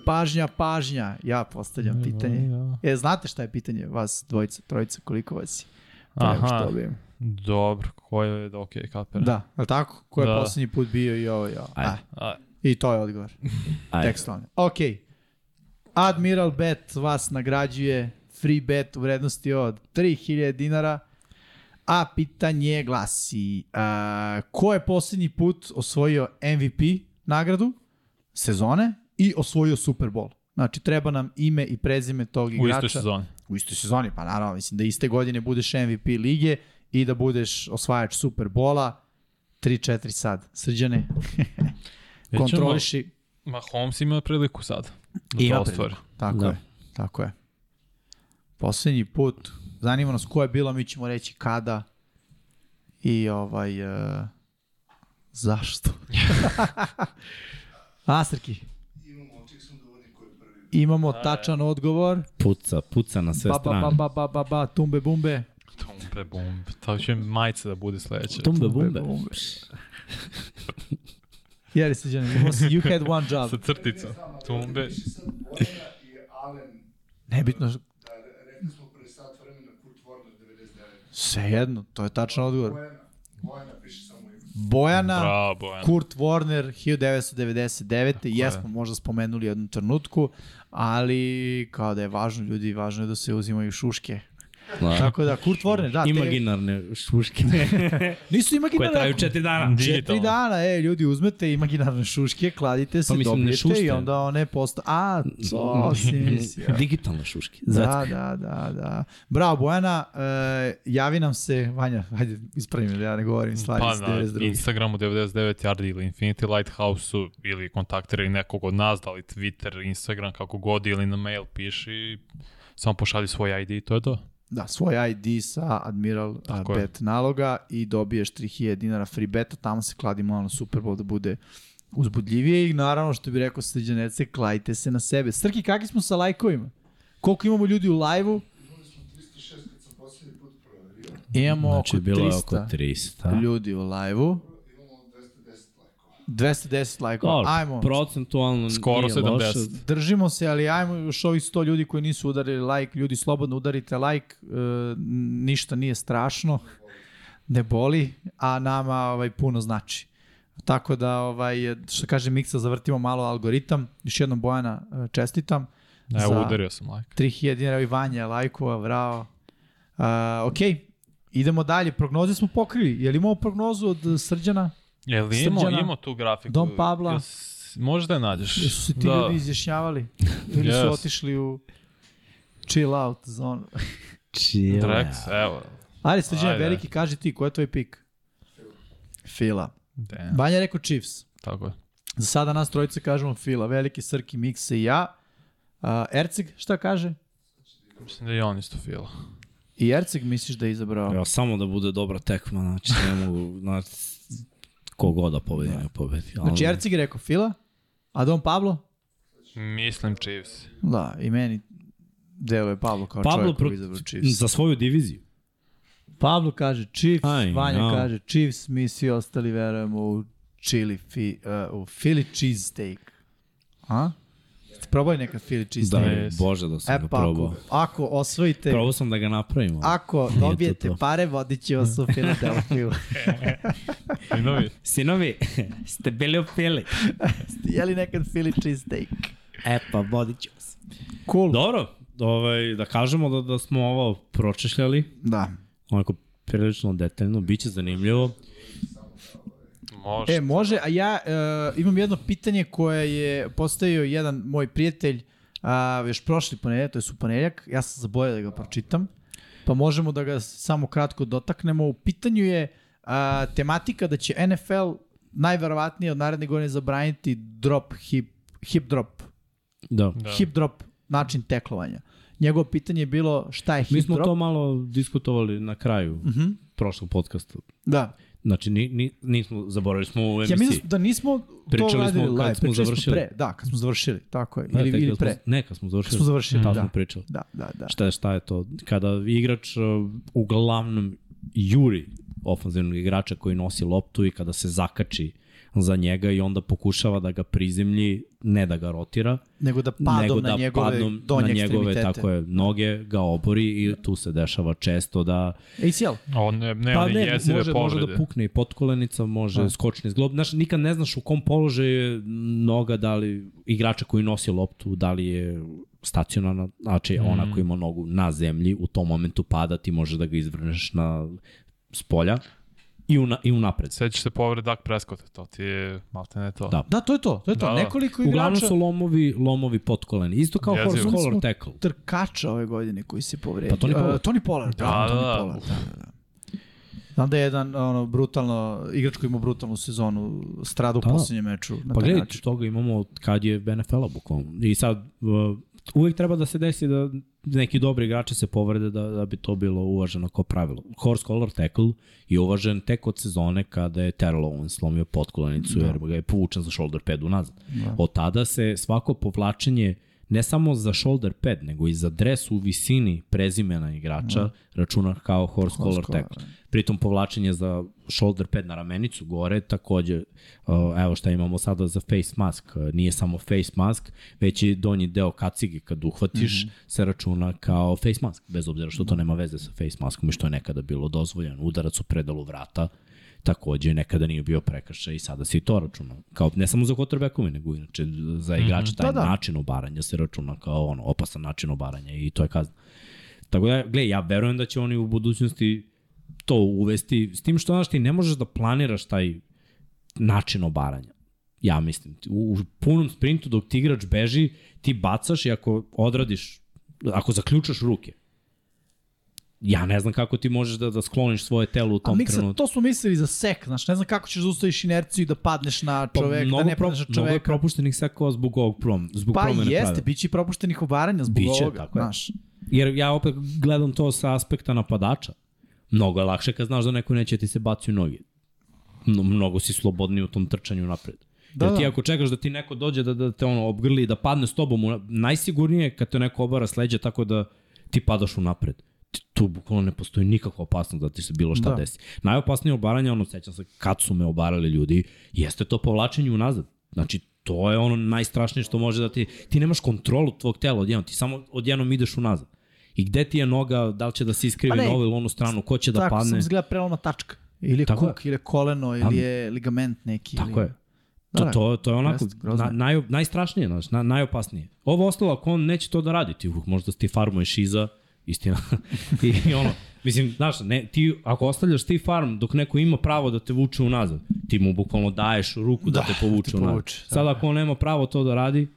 [SPEAKER 3] Pažnja, pažnja. Ja postavljam pitanje.
[SPEAKER 2] Ja.
[SPEAKER 3] E, znate šta je pitanje vas dvojica, trojica, koliko vas je? Pre
[SPEAKER 2] Aha,
[SPEAKER 3] nego što objavim.
[SPEAKER 2] dobro, ko je, da, okej, okay, kapira.
[SPEAKER 3] Da, je li tako? Ko je
[SPEAKER 2] Da.
[SPEAKER 3] poslednji put bio i ovo i ovo.
[SPEAKER 1] Ajde.
[SPEAKER 3] A,
[SPEAKER 2] A,
[SPEAKER 3] I to je odgovor.
[SPEAKER 1] Ajde.
[SPEAKER 3] Tekstualno. Ok. Admiral Bet vas nagrađuje free bet u vrednosti od 3000 dinara. A pitanje glasi, a, ko je posljednji put osvojio MVP nagradu sezone i osvojio Super Bowl? Znači, treba nam ime i prezime tog
[SPEAKER 2] u
[SPEAKER 3] igrača.
[SPEAKER 2] istoj sezoni.
[SPEAKER 3] U istoj sezoni, pa naravno, mislim da iste godine budeš MVP lige i da budeš osvajač Super Bola 3-4 sad. Srđane,
[SPEAKER 2] Vidjet ćemo.
[SPEAKER 3] kontroliši.
[SPEAKER 2] Ma Holmes ima priliku sad. Da
[SPEAKER 3] Ima
[SPEAKER 2] to
[SPEAKER 3] priliku.
[SPEAKER 2] ostvari.
[SPEAKER 3] Tako
[SPEAKER 1] Da.
[SPEAKER 3] je, tako je. Poslednji put, zanima nas ko je bilo, mi ćemo reći kada i ovaj, uh, zašto. A, Srki? Imamo tačan odgovor.
[SPEAKER 1] Puca, puca na sve
[SPEAKER 3] Ba, ba, ba,
[SPEAKER 1] strane.
[SPEAKER 3] ba, ba, ba, ba, tumbe, bumbe.
[SPEAKER 2] Tumbe bumbe. To će majica da bude sledeća.
[SPEAKER 1] Tumbe bumbe.
[SPEAKER 3] bumbe. Jeri se, Đani, imao si you had one job.
[SPEAKER 2] Sa crticom. Tumbe.
[SPEAKER 3] Nebitno. Svejedno, to je tačan odgovor. Bojana,
[SPEAKER 2] Bravo, Bojan.
[SPEAKER 3] Kurt Warner 1999. Jesmo možda spomenuli u jednom trenutku, ali kao da je važno ljudi, važno je da se uzimaju šuške.
[SPEAKER 1] Da.
[SPEAKER 3] Tako da, Kurt Warner, da, te,
[SPEAKER 1] Imaginarne šuške
[SPEAKER 3] nisu
[SPEAKER 1] koje
[SPEAKER 3] imaginarne.
[SPEAKER 1] traju četiri dana.
[SPEAKER 3] Četiri
[SPEAKER 2] Digitalno.
[SPEAKER 3] dana, e, ljudi, uzmete imaginarne šuške, kladite se,
[SPEAKER 1] Pa mislim, ne
[SPEAKER 3] dobijete i
[SPEAKER 1] šušte.
[SPEAKER 3] onda one posta... A, to si mislio.
[SPEAKER 1] Digitalne šuške. Zato.
[SPEAKER 3] Da, da, da, da. Bravo, Bojana, e, javi nam se, Vanja, hajde, ispravim ili ja ne govorim stvari
[SPEAKER 2] Pa
[SPEAKER 1] da,
[SPEAKER 3] iz
[SPEAKER 2] na
[SPEAKER 3] 92.
[SPEAKER 2] Instagramu 99 Yardi ili Infinity Lighthouse-u ili kontaktiraj nekog od nas, da li Twitter, Instagram, kako god, ili na mail piši, samo pošalji svoj ID i to je to.
[SPEAKER 3] Da, svoj ID sa Admiral a,
[SPEAKER 2] Tako je.
[SPEAKER 3] Bet naloga i dobiješ 3000 dinara free beta, tamo se kladi malo na Super Bowl da bude uzbudljivije i naravno što bi rekao sređanece, klajte se na sebe. Srki, kakvi smo sa lajkovima? Koliko imamo ljudi u lajvu? Imamo
[SPEAKER 1] Znači,
[SPEAKER 3] oko
[SPEAKER 1] bilo je oko
[SPEAKER 3] 300
[SPEAKER 1] 300.
[SPEAKER 3] ljudi u lajvu. 210 lajkova.
[SPEAKER 1] Dobro,
[SPEAKER 3] Ajmo.
[SPEAKER 1] procentualno
[SPEAKER 2] Skoro
[SPEAKER 1] nije
[SPEAKER 2] 70.
[SPEAKER 1] loše.
[SPEAKER 3] Držimo se, ali ajmo još ovih 100 ljudi koji nisu udarili like. Ljudi, slobodno udarite like. E, ništa nije strašno. Ne boli, a nama ovaj, puno znači. Tako da, ovaj, što kaže Miksa, zavrtimo malo algoritam. Još jednom Bojana e, čestitam.
[SPEAKER 2] Evo,
[SPEAKER 3] Za-
[SPEAKER 2] udario sam like.
[SPEAKER 3] 3000 dinara i Vanja je lajkova, bravo. Uh, ok, idemo dalje. Prognoze smo pokrili. Je li imamo prognozu od Srđana?
[SPEAKER 2] Je li imao,
[SPEAKER 3] Srđana,
[SPEAKER 2] imao tu grafiku?
[SPEAKER 3] Dom Pabla.
[SPEAKER 2] Jes- Možda je nađeš.
[SPEAKER 3] Jesu se ti
[SPEAKER 2] da.
[SPEAKER 3] da. ljudi izjašnjavali? Ili yes.
[SPEAKER 2] Yes.
[SPEAKER 3] su otišli u chill out zonu?
[SPEAKER 1] Čile.
[SPEAKER 2] Drax, evo.
[SPEAKER 3] Ajde, Srđane,
[SPEAKER 2] Ajde.
[SPEAKER 3] veliki, kaži ti, ko je tvoj pik? Fila.
[SPEAKER 2] Damn.
[SPEAKER 3] Vanja je rekao Chiefs.
[SPEAKER 2] Tako je.
[SPEAKER 3] Za sada nas trojice kažemo Fila. Veliki, Srki, Mikse i ja. Uh, Erceg, šta kaže?
[SPEAKER 2] Mislim da je on isto fila.
[SPEAKER 3] I Erceg misliš da je izabrao?
[SPEAKER 1] Evo, samo da bude dobra tekma, znači ne mogu, znači, kogoda pobedi, ne pobedi. ali-
[SPEAKER 3] Znači, Erceg je rekao Fila, a Don Pablo?
[SPEAKER 2] Mislim Chiefs.
[SPEAKER 3] Da, i meni deluje Pablo kao Pablo
[SPEAKER 1] Pablo
[SPEAKER 3] Pa čovjek koji
[SPEAKER 1] prot-
[SPEAKER 3] izabrao Chiefs.
[SPEAKER 1] Za svoju diviziju.
[SPEAKER 3] Pablo kaže Chiefs,
[SPEAKER 1] Aj,
[SPEAKER 3] Vanja
[SPEAKER 1] no.
[SPEAKER 3] kaže Chiefs, mi svi ostali verujemo u chili, fi, uh, u Philly cheese steak. A? Ste probali neka Philly cheese
[SPEAKER 1] Da,
[SPEAKER 3] steak?
[SPEAKER 1] je, Bože da sam
[SPEAKER 3] E
[SPEAKER 1] ga
[SPEAKER 3] pa
[SPEAKER 1] probao.
[SPEAKER 3] ako, ako osvojite,
[SPEAKER 1] Probao sam da ga napravimo.
[SPEAKER 3] ako
[SPEAKER 1] to
[SPEAKER 3] dobijete
[SPEAKER 1] to.
[SPEAKER 3] pare, vodit će vas u Philadelphia.
[SPEAKER 2] Sinovi,
[SPEAKER 1] Sinovi, ste bili u pili.
[SPEAKER 3] Je li nekad Philly cheese steak?
[SPEAKER 1] E pa, vodit ću vas.
[SPEAKER 3] Cool.
[SPEAKER 1] Dobro, ovaj, da kažemo da, da smo ovo pročešljali,
[SPEAKER 3] Da.
[SPEAKER 1] onako prilično detaljno, bit će zanimljivo.
[SPEAKER 2] može.
[SPEAKER 3] E, može, a ja uh, imam jedno pitanje koje je postavio jedan moj prijatelj uh, još prošli ponedeljak, to je su ponedeljak, ja sam zaboravio da ga pročitam, pa možemo da ga samo kratko dotaknemo. U pitanju je uh, tematika da će NFL najverovatnije od naredne godine zabraniti drop hip, hip drop,
[SPEAKER 1] Da.
[SPEAKER 2] Da.
[SPEAKER 3] da. hip drop način teklovanja. Njegovo pitanje je bilo šta je
[SPEAKER 1] Mi
[SPEAKER 3] hip
[SPEAKER 1] smo
[SPEAKER 3] drop.
[SPEAKER 1] to malo diskutovali na kraju
[SPEAKER 3] Mhm.
[SPEAKER 1] prošlog podcasta.
[SPEAKER 3] Da,
[SPEAKER 1] Znači, ni, ni, nismo, zaboravili smo u emisiji.
[SPEAKER 3] Ja mislim da nismo to
[SPEAKER 1] Pričali smo
[SPEAKER 3] radili
[SPEAKER 1] kad
[SPEAKER 3] live,
[SPEAKER 1] smo
[SPEAKER 3] pričali
[SPEAKER 1] završili.
[SPEAKER 3] smo pre, da, kad smo završili, tako je,
[SPEAKER 1] Da,
[SPEAKER 3] ili,
[SPEAKER 1] tek
[SPEAKER 3] ili
[SPEAKER 1] kad smo-
[SPEAKER 3] pre,
[SPEAKER 1] Ne, kad smo završili.
[SPEAKER 3] kad smo završili,
[SPEAKER 1] Tad
[SPEAKER 3] da,
[SPEAKER 1] smo pričali.
[SPEAKER 3] da, da, da.
[SPEAKER 1] Šta je, šta je to? Kada igrač uh, uglavnom juri ofanzivnog igrača koji nosi loptu i kada se zakači za njega i onda pokušava da ga prizemlji, ne da ga rotira,
[SPEAKER 3] Nego da padom
[SPEAKER 1] nego
[SPEAKER 3] na
[SPEAKER 1] da
[SPEAKER 3] njegove
[SPEAKER 1] padnom
[SPEAKER 3] donje
[SPEAKER 1] na njegove
[SPEAKER 3] ekstremitete.
[SPEAKER 1] tako je, noge, ga obori i tu se dešava često da
[SPEAKER 3] ACL,
[SPEAKER 2] O, ne, ne,
[SPEAKER 1] pa
[SPEAKER 2] one
[SPEAKER 1] ne,
[SPEAKER 2] jezive
[SPEAKER 1] može,
[SPEAKER 2] povrede.
[SPEAKER 1] može da pukne i potkolenica, može
[SPEAKER 3] Da.
[SPEAKER 1] skočni zglob. Znaš, nikad ne znaš u kom položaju je noga, da li igrača koji nosi loptu, da li je stacionarna, znači
[SPEAKER 2] Mhm.
[SPEAKER 1] mm. ona koji ima nogu na zemlji, u tom momentu pada, ti može da ga izvrneš na s polja i, una, i unapred.
[SPEAKER 2] Sećaš se povred Dak Prescott, to ti je malte ne to.
[SPEAKER 1] Da.
[SPEAKER 3] da, to je to, to je to,
[SPEAKER 2] Da, da.
[SPEAKER 3] nekoliko igrača
[SPEAKER 1] Uglavnom su lomovi, lomovi potkoleni. Isto kao
[SPEAKER 2] Jezivo.
[SPEAKER 1] horse
[SPEAKER 3] Imali
[SPEAKER 1] collar
[SPEAKER 3] smo
[SPEAKER 1] tackle.
[SPEAKER 3] trkača ove godine koji se
[SPEAKER 1] Pa
[SPEAKER 3] povredio.
[SPEAKER 1] Tony Pollard.
[SPEAKER 3] Uh, Tony Pollard,
[SPEAKER 2] Da,
[SPEAKER 3] da, da,
[SPEAKER 2] da, da.
[SPEAKER 3] Tony Pollard, da, da. Znam da je jedan ono, brutalno, igrač koji ima brutalnu sezonu, strada u
[SPEAKER 1] Da.
[SPEAKER 3] poslednjem meču. Na
[SPEAKER 1] Pa
[SPEAKER 3] taj
[SPEAKER 1] gledaj,
[SPEAKER 3] način.
[SPEAKER 1] toga imamo od kad je NFL-a bukvalno. I sad, uh, uvek treba da se desi da neki dobri igrači se povrede da, da bi to bilo uvaženo kao pravilo. Horse collar tackle je uvažen tek od sezone kada je Terrell Owens slomio potkolenicu jer ga je povučen za shoulder pad unazad.
[SPEAKER 3] Da.
[SPEAKER 1] Od tada se svako povlačenje ne samo za shoulder pad, nego i za dres u visini prezimena igrača računa kao horse collar
[SPEAKER 3] Da. collar,
[SPEAKER 1] tackle. Pritom povlačenje za shoulder pad na ramenicu gore takođe uh, evo šta imamo sada za face mask, uh, nije samo face mask, već i donji deo kacige kad uhvatiš mm
[SPEAKER 3] Mhm.
[SPEAKER 1] -hmm. se računa kao face mask, bez obzira
[SPEAKER 3] Da.
[SPEAKER 1] što to nema veze sa face maskom i što je nekada bilo dozvoljeno. Udarac u predalu vrata takođe nekada nije bio prekršaj i sada se i to računa. Kao, ne samo za quarterbackove, nego inače za igrača taj
[SPEAKER 3] Da, da.
[SPEAKER 1] način obaranja se računa kao ono, opasan način obaranja i to je kazna. Tako da, gle, ja verujem da će oni u budućnosti to uvesti, s tim što, znaš, ti ne možeš da planiraš taj način obaranja. Ja mislim, ti u, u punom sprintu dok ti igrač beži, ti bacaš i ako odradiš, ako zaključaš ruke, ja ne znam kako ti možeš da, da skloniš svoje telo u
[SPEAKER 3] A
[SPEAKER 1] tom
[SPEAKER 3] Miksa,
[SPEAKER 1] trenutku.
[SPEAKER 3] to smo mislili za sek, znaš, ne znam kako ćeš da ustaviš inerciju i da padneš na čoveka, da ne
[SPEAKER 1] pro-
[SPEAKER 3] padneš na
[SPEAKER 1] Pa mnogo je
[SPEAKER 3] čoveka.
[SPEAKER 1] propuštenih sekova zbog ovog prom, zbog
[SPEAKER 3] Pa
[SPEAKER 1] promene
[SPEAKER 3] jeste,
[SPEAKER 1] pravila.
[SPEAKER 3] bit će i propuštenih obaranja zbog
[SPEAKER 1] Biće,
[SPEAKER 3] ovoga,
[SPEAKER 1] tako je.
[SPEAKER 3] znaš.
[SPEAKER 1] Jer ja opet gledam to sa aspekta napadača. Mnogo je lakše kad znaš da neko neće ti se baci u noge. No, mnogo si slobodniji u tom trčanju napred. Da,
[SPEAKER 3] Da,
[SPEAKER 1] Jer ti
[SPEAKER 3] da.
[SPEAKER 1] ako čekaš da ti neko dođe da, da te ono obgrli i da padne s tobom, u na- najsigurnije je kad te neko obara s leđa tako da ti padaš u napred. Tu bukvalno ne postoji nikakva opasnost da ti se bilo šta da.
[SPEAKER 3] Da.
[SPEAKER 1] desi. Najopasnije obaranje, ono sećam se kad su me obarali ljudi, jeste to povlačenje unazad. Znači, to je ono najstrašnije što može da ti... Ti nemaš kontrolu tvog tela odjednom, ti samo odjednom ideš unazad. I gde ti je noga, da li će da se iskrivi
[SPEAKER 3] Pa ne,
[SPEAKER 1] na ovu ili onu stranu, ko će da
[SPEAKER 3] tako
[SPEAKER 1] padne.
[SPEAKER 3] sam izgleda preloma tačka. Ili je
[SPEAKER 1] Tako je.
[SPEAKER 3] kuk, ili je koleno, ili je ligament neki.
[SPEAKER 1] Tako
[SPEAKER 3] ili...
[SPEAKER 1] je. To,
[SPEAKER 3] Da,
[SPEAKER 1] to, to je onako
[SPEAKER 3] jeste, grozno
[SPEAKER 1] na,
[SPEAKER 3] je.
[SPEAKER 1] naj, najstrašnije, znaš, na, najopasnije. Ovo ostalo, ako on neće to da radi, ti uh, možda ti farmuješ iza, istina. I, I ono, mislim, znaš, ne, ti, ako ostavljaš ti farm dok neko ima pravo da te vuče unazad, ti mu bukvalno daješ ruku da,
[SPEAKER 3] Da,
[SPEAKER 1] te povuče
[SPEAKER 3] da te
[SPEAKER 1] unazad.
[SPEAKER 3] povuče,
[SPEAKER 1] Sad ako on nema pravo to da radi,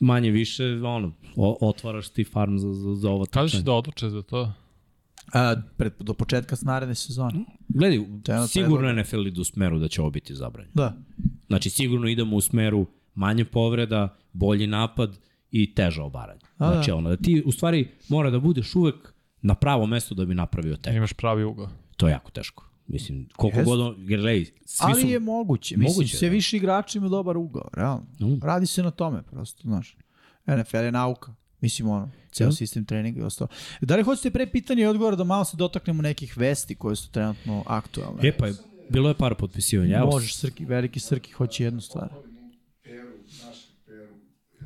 [SPEAKER 1] manje više, ono, o, otvaraš ti farm za, za, za ovo
[SPEAKER 2] Kada će
[SPEAKER 1] trčanje.
[SPEAKER 2] da odluče za to?
[SPEAKER 3] A, pred, do početka s naredne sezone.
[SPEAKER 1] Mm. Gledaj,
[SPEAKER 3] Trenutno je
[SPEAKER 1] sigurno NFL ide u smeru da će ovo biti zabranjeno.
[SPEAKER 3] Da.
[SPEAKER 1] Znači, sigurno idemo u smeru manje povreda, bolji napad i teža obaranje.
[SPEAKER 3] A, da.
[SPEAKER 1] Znači, ono, da ti u stvari mora da budeš uvek na pravo mesto da bi napravio
[SPEAKER 3] E.
[SPEAKER 1] tek.
[SPEAKER 2] Imaš pravi ugao.
[SPEAKER 1] To je jako teško. Mislim, koliko
[SPEAKER 3] Jest.
[SPEAKER 1] god on, jer gledaj, svi
[SPEAKER 3] Ali
[SPEAKER 1] su...
[SPEAKER 3] je moguće. Mislim,
[SPEAKER 1] Moguće,
[SPEAKER 3] moguće, sve
[SPEAKER 1] da.
[SPEAKER 3] više igrača ima dobar ugao, realno.
[SPEAKER 1] Mm.
[SPEAKER 3] Radi se na tome, prosto, znaš. NFL je nauka. Mislim, ono, ceo
[SPEAKER 1] Da.
[SPEAKER 3] sistem treninga i ostalo. Da li hoćete pre pitanja i odgovora da malo se dotaknemo nekih vesti koje su trenutno aktualne?
[SPEAKER 1] E pa, je- bilo je par potpisivanja. Evo,
[SPEAKER 3] Možeš, Srki, veliki Srki hoće jednu stvar.